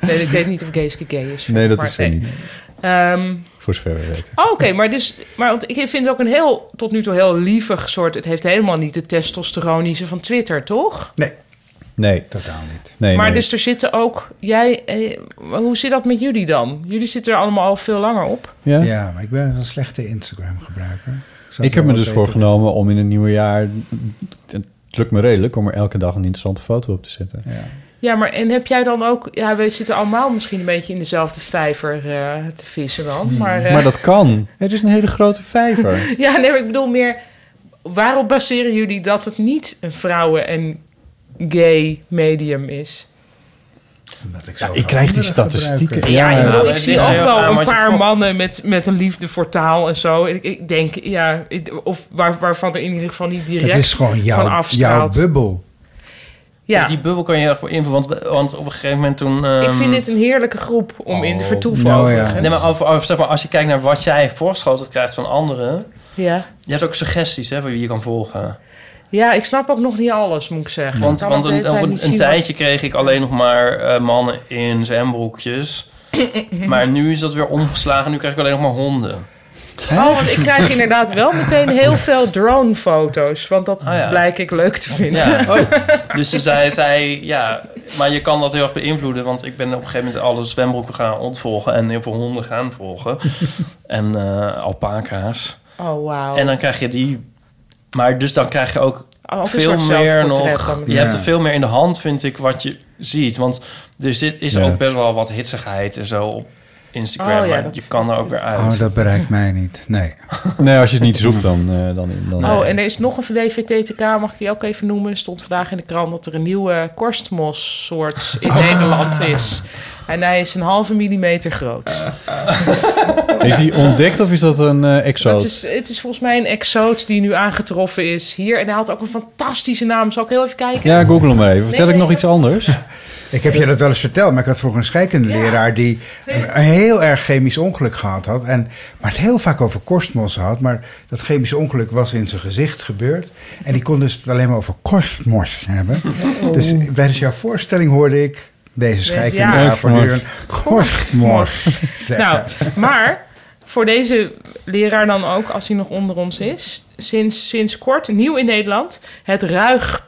Speaker 1: nee, ik weet niet of Geeske gay is.
Speaker 3: Nee, dat
Speaker 1: maar
Speaker 3: is ze niet.
Speaker 1: Ehm,
Speaker 3: Voor zover we weten.
Speaker 1: Oh, Oké, maar, dus, maar want ik vind het ook een heel, tot nu toe heel lievig soort. Het heeft helemaal niet de testosteronische van Twitter, toch?
Speaker 4: Nee.
Speaker 3: Nee.
Speaker 4: Totaal Nou, niet.
Speaker 3: Nee,
Speaker 1: maar
Speaker 3: nee.
Speaker 1: dus er zitten ook. Jij, eh, hoe zit dat met jullie dan? Jullie zitten er allemaal al veel langer op.
Speaker 3: Ja?
Speaker 4: maar ik ben een slechte Instagram gebruiker. zou
Speaker 3: Ik
Speaker 4: het
Speaker 3: heb me
Speaker 4: wel
Speaker 3: dus
Speaker 4: weten.
Speaker 3: voorgenomen om in het nieuwe jaar... Het lukt me redelijk om er elke dag een interessante foto op te zetten.
Speaker 1: Ja, maar en heb jij dan ook. Ja, we zitten allemaal misschien een beetje in dezelfde vijver eh, te vissen dan. Maar, eh,
Speaker 3: Hmm. Mm. Maar dat
Speaker 4: [laughs]
Speaker 3: kan. Het is een hele grote [laughs] vijver.
Speaker 1: [laughs] Ja, nee, maar ik bedoel meer. Waarop baseren jullie dat het niet een vrouwen- en gay medium is?
Speaker 3: Ja, ik krijg die statistieken.
Speaker 1: Ja, ik, bedoel, ik
Speaker 5: dit
Speaker 1: zie
Speaker 5: is
Speaker 1: ook
Speaker 5: heel
Speaker 1: wel
Speaker 5: raar,
Speaker 1: een
Speaker 5: want je
Speaker 1: paar
Speaker 5: vo-
Speaker 1: mannen met, met een liefde voor taal en zo. Ik, ik denk, ja, ik- of waar, waarvan er in ieder geval niet direct
Speaker 4: Het is gewoon
Speaker 1: van
Speaker 4: jouw, jouw
Speaker 1: afstraalt.
Speaker 4: bubbel.
Speaker 1: ja,
Speaker 5: Die bubbel kan je echt voor invullen, want, want op een gegeven moment toen...
Speaker 1: ik
Speaker 5: ehm,
Speaker 1: vind dit een heerlijke groep om in
Speaker 4: Oh.
Speaker 1: te vertoeven
Speaker 5: nou ja.
Speaker 1: overigens.
Speaker 5: Nee, maar, over, over- zeg maar als je kijkt naar wat jij voorschoteld krijgt van anderen...
Speaker 1: Ja.
Speaker 5: Je hebt ook suggesties hè, voor wie je kan volgen.
Speaker 1: ja, ik snap ook nog niet alles, moet ik zeggen.
Speaker 5: Want,
Speaker 1: Ik kan
Speaker 5: want
Speaker 1: ook de
Speaker 5: een,
Speaker 1: hele tijd
Speaker 5: een,
Speaker 1: niet zien wat-
Speaker 5: tijdje kreeg ik alleen nog maar eh, mannen in
Speaker 1: [laughs]
Speaker 5: zwembroekjes. maar nu is dat weer omgeslagen. Nu krijg ik alleen nog maar honden.
Speaker 1: Oh, want ik krijg inderdaad wel meteen
Speaker 5: [laughs]
Speaker 1: heel veel drone-foto's. Want dat
Speaker 5: Oh ja.
Speaker 1: blijk ik leuk te vinden.
Speaker 5: Ja. Dus ze zei, zei, ja, maar je kan dat heel erg beïnvloeden. Want ik ben op een gegeven moment alle zwembroeken gaan ontvolgen. En heel veel honden gaan
Speaker 1: [laughs]
Speaker 5: volgen. en eh alpaca's.
Speaker 1: [laughs] Oh, wauw.
Speaker 5: En dan krijg je die... Maar dus dan krijg je ook
Speaker 1: Oh, ook een
Speaker 5: veel
Speaker 1: soort
Speaker 5: meer
Speaker 1: zelfportret
Speaker 5: nog...
Speaker 1: dan.
Speaker 5: Je
Speaker 1: Ja.
Speaker 5: hebt er veel meer in de hand, vind ik, wat je ziet. Want dus dit is
Speaker 4: Ja.
Speaker 5: ook best wel wat hitsigheid en zo op Instagram.
Speaker 1: Oh ja,
Speaker 5: maar
Speaker 1: dat-
Speaker 5: je kan er ook weer uit.
Speaker 4: Oh, dat bereikt mij niet. Nee.
Speaker 3: [laughs] Nee, als je het niet zoekt, dan... eh, dan, dan
Speaker 1: Oh, en er is nog een WVTTK, mag ik die ook even noemen? Stond vandaag in de krant dat er een nieuwe korstmos-soort
Speaker 5: Oh.
Speaker 1: in Nederland is. En hij is een halve millimeter
Speaker 5: Eh,
Speaker 1: groot.
Speaker 3: eh, Is die ontdekt of is dat een eh exoot?
Speaker 1: Dat is, het is volgens mij een exoot die nu aangetroffen is hier. En hij had ook een fantastische naam. Zal ik heel even kijken?
Speaker 3: Ja, google hem maar even.
Speaker 1: Nee,
Speaker 3: Vertel ik
Speaker 1: nee,
Speaker 3: nog iets anders?
Speaker 4: [laughs] Ik heb je dat wel eens verteld, maar ik had vroeger een scheikunde leraar die een, een heel erg chemisch ongeluk gehad had. En, maar het heel vaak over korstmos had, maar dat chemische ongeluk was in zijn gezicht gebeurd. En die kon dus het alleen maar over
Speaker 1: [laughs]
Speaker 4: korstmos hebben. Dus tijdens jouw voorstelling hoorde ik deze scheikunde
Speaker 1: Oh. Ja.
Speaker 4: leraar voortdurend korstmos. zeggen.
Speaker 1: Nou, maar voor deze leraar dan ook, als hij nog onder ons is... sinds, sinds kort, nieuw in Nederland, het ruig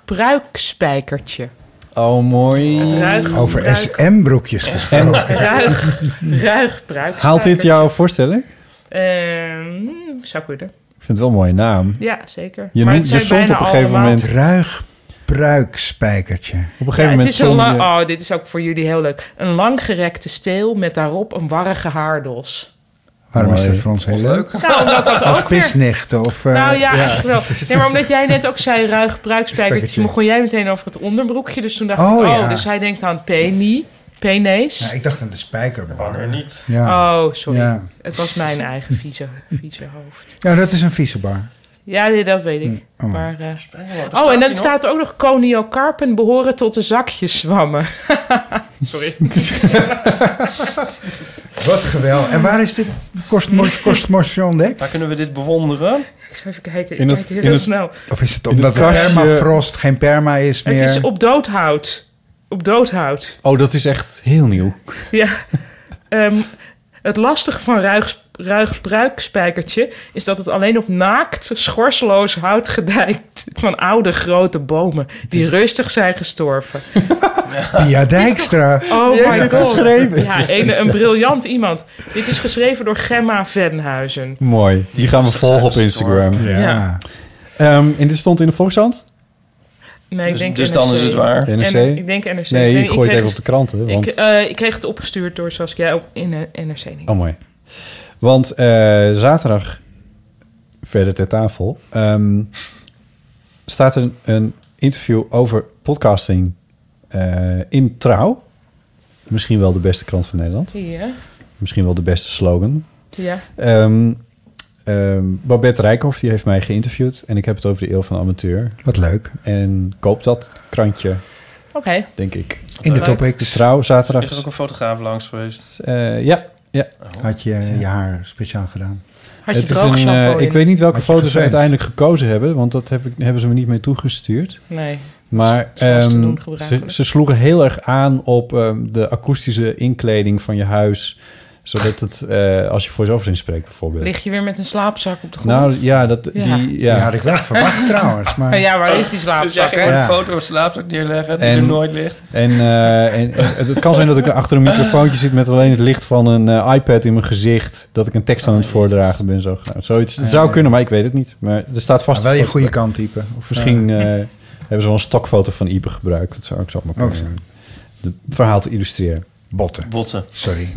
Speaker 1: pruikspijkertje.
Speaker 3: Oh, mooi.
Speaker 1: Het ruig-
Speaker 4: Over
Speaker 1: ruik-
Speaker 4: SM-broekjes
Speaker 1: [laughs]
Speaker 4: gesproken.
Speaker 1: Ruig, ruig pruikspijkertje.
Speaker 3: Haalt dit jouw voorstelling? Ik
Speaker 1: Ehm, zou kunnen.
Speaker 3: vind het wel een mooie naam.
Speaker 1: Ja, zeker.
Speaker 3: Je, noemt, je stond op een gegeven moment...
Speaker 4: Ruig pruikspijkertje.
Speaker 3: Op een
Speaker 1: Ja,
Speaker 3: gegeven
Speaker 1: het
Speaker 3: moment
Speaker 1: is een
Speaker 3: zong
Speaker 1: lang,
Speaker 3: je-
Speaker 1: oh, dit is ook voor jullie heel leuk. Een langgerekte steel met daarop een warrige haardos.
Speaker 4: Waarom is
Speaker 3: Mooi.
Speaker 4: dat voor ons heel leuk?
Speaker 1: Nou, omdat dat
Speaker 4: Als
Speaker 1: ook weer-
Speaker 4: pisnichten of... eh,
Speaker 1: nou ja,
Speaker 4: ja.
Speaker 1: [laughs]
Speaker 4: [laughs]
Speaker 1: wel. Nee, maar omdat jij net ook zei ruig
Speaker 4: Spekkertje.
Speaker 1: bruikspijkertje, begon jij meteen over het onderbroekje. Dus toen dacht
Speaker 4: Oh,
Speaker 1: ik, oh,
Speaker 4: ja.
Speaker 1: dus hij denkt aan peni, penees.
Speaker 4: Ja, ik dacht aan de spijkerbar.
Speaker 5: niet.
Speaker 1: Oh, sorry.
Speaker 4: Ja.
Speaker 1: Het was mijn eigen vieze, vieze hoofd.
Speaker 4: Ja, dat is een vieze bar.
Speaker 1: Ja, nee, dat weet ik.
Speaker 4: Oh.
Speaker 1: Maar, eh,
Speaker 5: staat
Speaker 1: oh, en
Speaker 5: hij
Speaker 1: dan
Speaker 5: nog?
Speaker 1: staat er ook nog coniocarpen behoren tot de zakjeszwammen. [laughs] Sorry.
Speaker 4: Wat geweldig. En waar is dit Kostmos, Kostmos ontdekt?
Speaker 5: Waar kunnen we dit bewonderen?
Speaker 1: Ik zou even kijken. Ik
Speaker 4: In
Speaker 1: kijk
Speaker 4: het-
Speaker 1: hier
Speaker 4: in
Speaker 1: heel
Speaker 4: het-
Speaker 1: snel.
Speaker 4: Of is het
Speaker 3: In
Speaker 4: omdat de
Speaker 3: het kastje-
Speaker 4: permafrost geen perma is meer?
Speaker 1: Het is op doodhout. [laughs] Op doodhout.
Speaker 3: Oh, dat is echt heel nieuw.
Speaker 1: Ja. ehm, het lastige van ruig, ruig bruikspijkertje is dat het alleen op naakt, schorseloos hout gedijkt van oude grote bomen die rustig zijn gestorven.
Speaker 4: Pia Dijkstra.
Speaker 1: Oh
Speaker 4: Die
Speaker 1: my
Speaker 4: heeft dit
Speaker 1: god.
Speaker 4: geschreven.
Speaker 1: Ja, een, een briljant iemand. Dit is geschreven door Gemma Venhuizen.
Speaker 3: Mooi. Die gaan we volgen op Instagram.
Speaker 1: Ja. Ja.
Speaker 3: Ehm, en dit stond in de Volkskrant?
Speaker 1: Nee, ik
Speaker 5: Dus-
Speaker 1: denk
Speaker 5: dus
Speaker 1: NRC.
Speaker 5: dan is het waar.
Speaker 3: NRC?
Speaker 1: En- ik denk NRC.
Speaker 3: Nee,
Speaker 1: weet-
Speaker 3: ik gooi het
Speaker 1: kreeg
Speaker 3: even op de krant, hè, want-
Speaker 1: Ik, eh, ik kreeg het opgestuurd door Saskia op, in eh, NRC. Niet.
Speaker 3: Oh, mooi. Want eh, zaterdag, verder ter tafel, ehm, staat een, een interview over podcasting eh, in Trouw. Misschien wel de beste krant van Nederland.
Speaker 1: Ja.
Speaker 3: Misschien wel de beste slogan.
Speaker 1: Ja.
Speaker 3: Ehm, ehm, Babette Rijkhoff die heeft mij geïnterviewd. En ik heb het over de eeuw van de amateur.
Speaker 4: Wat leuk.
Speaker 3: En koop dat krantje,
Speaker 1: Oké.
Speaker 3: denk ik.
Speaker 4: In de topics.
Speaker 3: De Trouw, zaterdag.
Speaker 5: Is er ook een fotograaf langs geweest?
Speaker 3: Eh, ja, ja.
Speaker 4: Had je je haar speciaal gedaan?
Speaker 1: Had je
Speaker 3: is
Speaker 1: droog
Speaker 3: een,
Speaker 1: shampoo
Speaker 3: eh, Ik
Speaker 1: in?
Speaker 3: weet niet welke
Speaker 4: Had je
Speaker 3: foto's ze
Speaker 4: gefilmd?
Speaker 3: uiteindelijk gekozen hebben, want dat heb ik, hebben ze me niet mee toegestuurd.
Speaker 1: Nee.
Speaker 3: Maar
Speaker 1: Zoals te
Speaker 3: ehm,
Speaker 1: doen
Speaker 3: ze,
Speaker 1: gebruikelijk.
Speaker 3: ze sloegen heel erg aan op ehm, de akoestische inkleding van je huis. Zodat het, eh, als je voor jezelf in spreekt bijvoorbeeld.
Speaker 1: Lig je weer met een slaapzak op de grond?
Speaker 3: Nou ja, dat, Die, ja.
Speaker 4: had ik wel verwacht trouwens. Maar...
Speaker 1: Ja, waar is die slaapzak?
Speaker 5: Dus jij ging
Speaker 1: hè?
Speaker 5: een foto op slaapzak neerleggen die
Speaker 3: En-
Speaker 5: er nooit ligt.
Speaker 3: En, eh, en het, het kan zijn dat ik achter een microfoontje zit met alleen het licht van een eh, iPad in mijn gezicht. Dat ik een tekst aan het voordragen ben. Zo. Nou, zoiets. Het zou
Speaker 4: Oh, Ja.
Speaker 3: kunnen, maar ik weet het niet. Maar er staat vast.
Speaker 4: Maar wel je
Speaker 3: een foto
Speaker 4: goede
Speaker 3: bij.
Speaker 4: kant typen.
Speaker 3: Of misschien
Speaker 4: Ja.
Speaker 3: eh, hebben ze wel een stokfoto van Ipe gebruikt. Dat zou ik zo maar kunnen.
Speaker 4: Oh, zo.
Speaker 3: Het verhaal te illustreren.
Speaker 4: Botten.
Speaker 5: Botten.
Speaker 4: Sorry.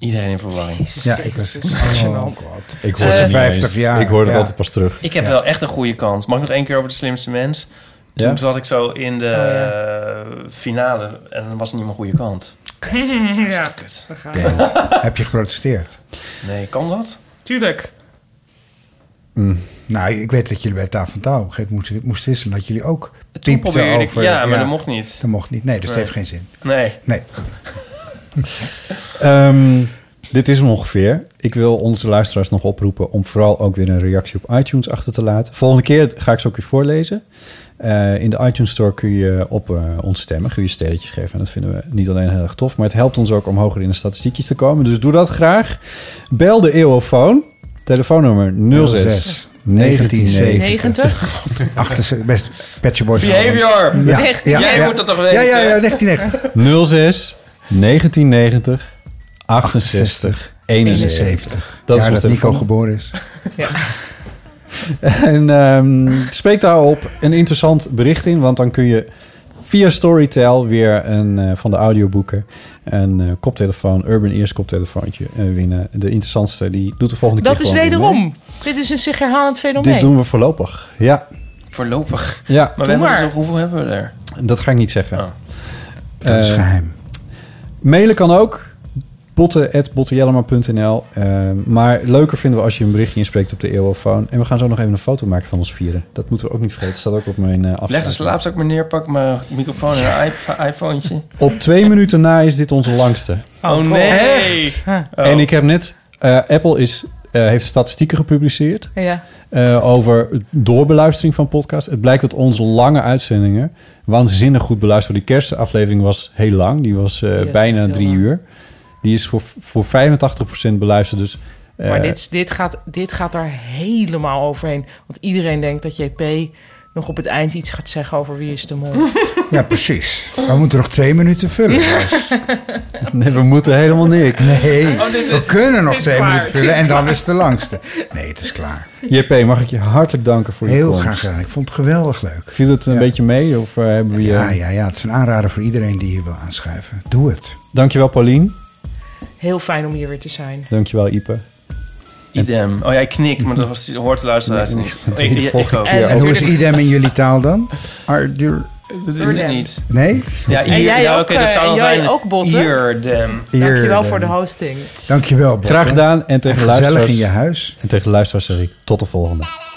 Speaker 5: Iedereen in verwarring.
Speaker 4: Ja, ik was... Oh, God.
Speaker 3: Ik hoor het niet eens. Ik hoor het altijd pas terug.
Speaker 5: Eh, Ik heb
Speaker 3: Ja.
Speaker 5: wel echt een goede kans. Mag ik nog één keer over de slimste mens? Toen
Speaker 3: Ja.
Speaker 5: zat ik zo in de eh, finale en dan was het niet mijn goede kant.
Speaker 1: [laughs] ja, daar gaat het.
Speaker 4: Heb je geprotesteerd?
Speaker 5: Nee, kan dat?
Speaker 1: Tuurlijk.
Speaker 4: Nou, ik weet dat jullie bij Tafel van Touw op een gegeven moment moesten- moesten wisselen. Dat jullie ook piepten
Speaker 5: probeerde ik-
Speaker 4: over...
Speaker 5: ja, maar dat mocht niet.
Speaker 4: Dat mocht niet. Nee, dus het
Speaker 5: Nee.
Speaker 4: heeft geen zin.
Speaker 5: Nee.
Speaker 4: Nee.
Speaker 3: [laughs] Ehm, dit is hem ongeveer. Ik wil onze luisteraars nog oproepen om vooral ook weer een reactie op iTunes achter te laten. Volgende keer ga ik ze ook weer voorlezen. Eh, in de iTunes Store kun je op eh, ons stemmen, kun je sterretjes geven. En dat vinden we niet alleen heel erg tof, maar het helpt ons ook om hoger in de statistiekjes te komen. Dus doe dat graag. Bel de Eeuwofoon. Telefoonnummer 06
Speaker 1: 1990.
Speaker 4: 98, best Pet Shop Boys.
Speaker 5: Behavior.
Speaker 4: Ja,
Speaker 5: Echt?
Speaker 4: ja,
Speaker 5: Jij
Speaker 4: ja.
Speaker 5: moet dat toch
Speaker 4: Ja, ja, ja,
Speaker 5: weten?
Speaker 4: 1990.
Speaker 3: 06 1990 68 71.
Speaker 4: Dat
Speaker 3: is
Speaker 4: ja,
Speaker 3: ons
Speaker 4: dat Nico
Speaker 3: telefoon.
Speaker 4: geboren
Speaker 1: [laughs]
Speaker 4: is.
Speaker 3: [laughs] En ehm, spreek daarop een interessant bericht in, want dan kun je via Storytel weer een, eh, van de audioboeken een eh, koptelefoon, Urban Ears koptelefoontje eh, winnen. De interessantste, die doet de volgende
Speaker 1: Dat
Speaker 3: keer
Speaker 1: is
Speaker 3: gewoon weer
Speaker 1: wederom. Oh,
Speaker 3: mee.
Speaker 1: Dit is een zich herhalend fenomeen.
Speaker 3: Dit doen we voorlopig. Ja.
Speaker 5: Voorlopig?
Speaker 3: Ja.
Speaker 5: Maar, we
Speaker 3: Doe
Speaker 5: hebben
Speaker 3: maar.
Speaker 5: dus ook- hoeveel hebben we er?
Speaker 3: Dat ga ik niet
Speaker 5: Oh.
Speaker 3: zeggen.
Speaker 4: Dat is
Speaker 3: Eh,
Speaker 4: geheim.
Speaker 3: Mailen kan ook. botten.bottejellema.nl Eh, Maar leuker vinden we als je een berichtje inspreekt op de eeuwofoon. En we gaan zo nog even een foto maken van ons vieren. Dat moeten we ook niet vergeten. Dat staat ook op mijn eh
Speaker 5: Leg de
Speaker 3: afspraak.
Speaker 5: slaapzak maar neer, pak mijn microfoon en een iP- [laughs] iPhone.
Speaker 3: Op twee minuten na is dit onze langste.
Speaker 5: Oh, Oh, nee. Oh, echt? Huh.
Speaker 1: Oh.
Speaker 3: En ik heb net... eh, Apple is, eh, heeft statistieken gepubliceerd...
Speaker 1: Ja.
Speaker 3: eh, over doorbeluistering van podcasts. Het blijkt dat onze lange uitzendingen... waanzinnig goed beluisterd worden. Die kerstaflevering was heel lang. Die was eh,
Speaker 1: Die is echt
Speaker 3: bijna
Speaker 1: heel
Speaker 3: drie
Speaker 1: lang.
Speaker 3: uur. Die is voor, voor 85% beluisterd. Dus, eh,
Speaker 1: Maar dit, dit, gaat, dit gaat daar helemaal overheen. Want iedereen denkt dat JP nog op het eind iets gaat zeggen over wie is de
Speaker 5: [laughs]
Speaker 1: mol.
Speaker 4: Ja, precies. We moeten nog twee minuten
Speaker 1: [laughs]
Speaker 4: vullen. dus.
Speaker 3: Nee, we moeten helemaal [laughs] niks.
Speaker 4: Nee,
Speaker 1: Oh, dit-
Speaker 4: we kunnen nog
Speaker 1: het is
Speaker 4: twee
Speaker 1: klaar,
Speaker 4: minuten
Speaker 1: het is
Speaker 4: vullen en dan
Speaker 1: klaar.
Speaker 4: is het de langste. Nee, het is klaar.
Speaker 3: JP, mag ik je hartelijk danken voor je
Speaker 4: Heel
Speaker 3: komst.
Speaker 4: graag eh, gedaan. Ik vond het geweldig leuk.
Speaker 3: Viel het een beetje mee? Of eh, hebben we je...
Speaker 4: Ja, ja, ja, het is een aanrader voor iedereen die hier wil aanschuiven. Doe het.
Speaker 3: Dankjewel Paulien.
Speaker 1: Heel fijn om hier weer te zijn.
Speaker 3: Dankjewel Ipe.
Speaker 5: Idem. Oh ja, ik knik, maar dat was- hoort de luisteraars niet.
Speaker 3: [laughs] dat
Speaker 5: Ik,
Speaker 3: deed de
Speaker 5: ik,
Speaker 3: volgende
Speaker 5: ook.
Speaker 3: keer.
Speaker 4: En hoe is idem in jullie taal dan? Ardur.
Speaker 5: Dat is het niet.
Speaker 4: Nee?
Speaker 5: Ja, hier,
Speaker 1: En jij
Speaker 5: ja,
Speaker 1: ook,
Speaker 5: oké, dat
Speaker 1: eh,
Speaker 5: zou dan
Speaker 1: jij
Speaker 5: zijn.
Speaker 1: ook, Botte?
Speaker 5: Hier, dem.
Speaker 1: Dankjewel
Speaker 4: Hier,
Speaker 1: voor de
Speaker 4: eh,
Speaker 1: hosting.
Speaker 4: Dankjewel, Bob.
Speaker 3: Graag gedaan en tegen de
Speaker 4: Gezellig
Speaker 3: luisteraars.
Speaker 4: in je huis.
Speaker 3: En tegen de luisteraars zeg ik tot de volgende.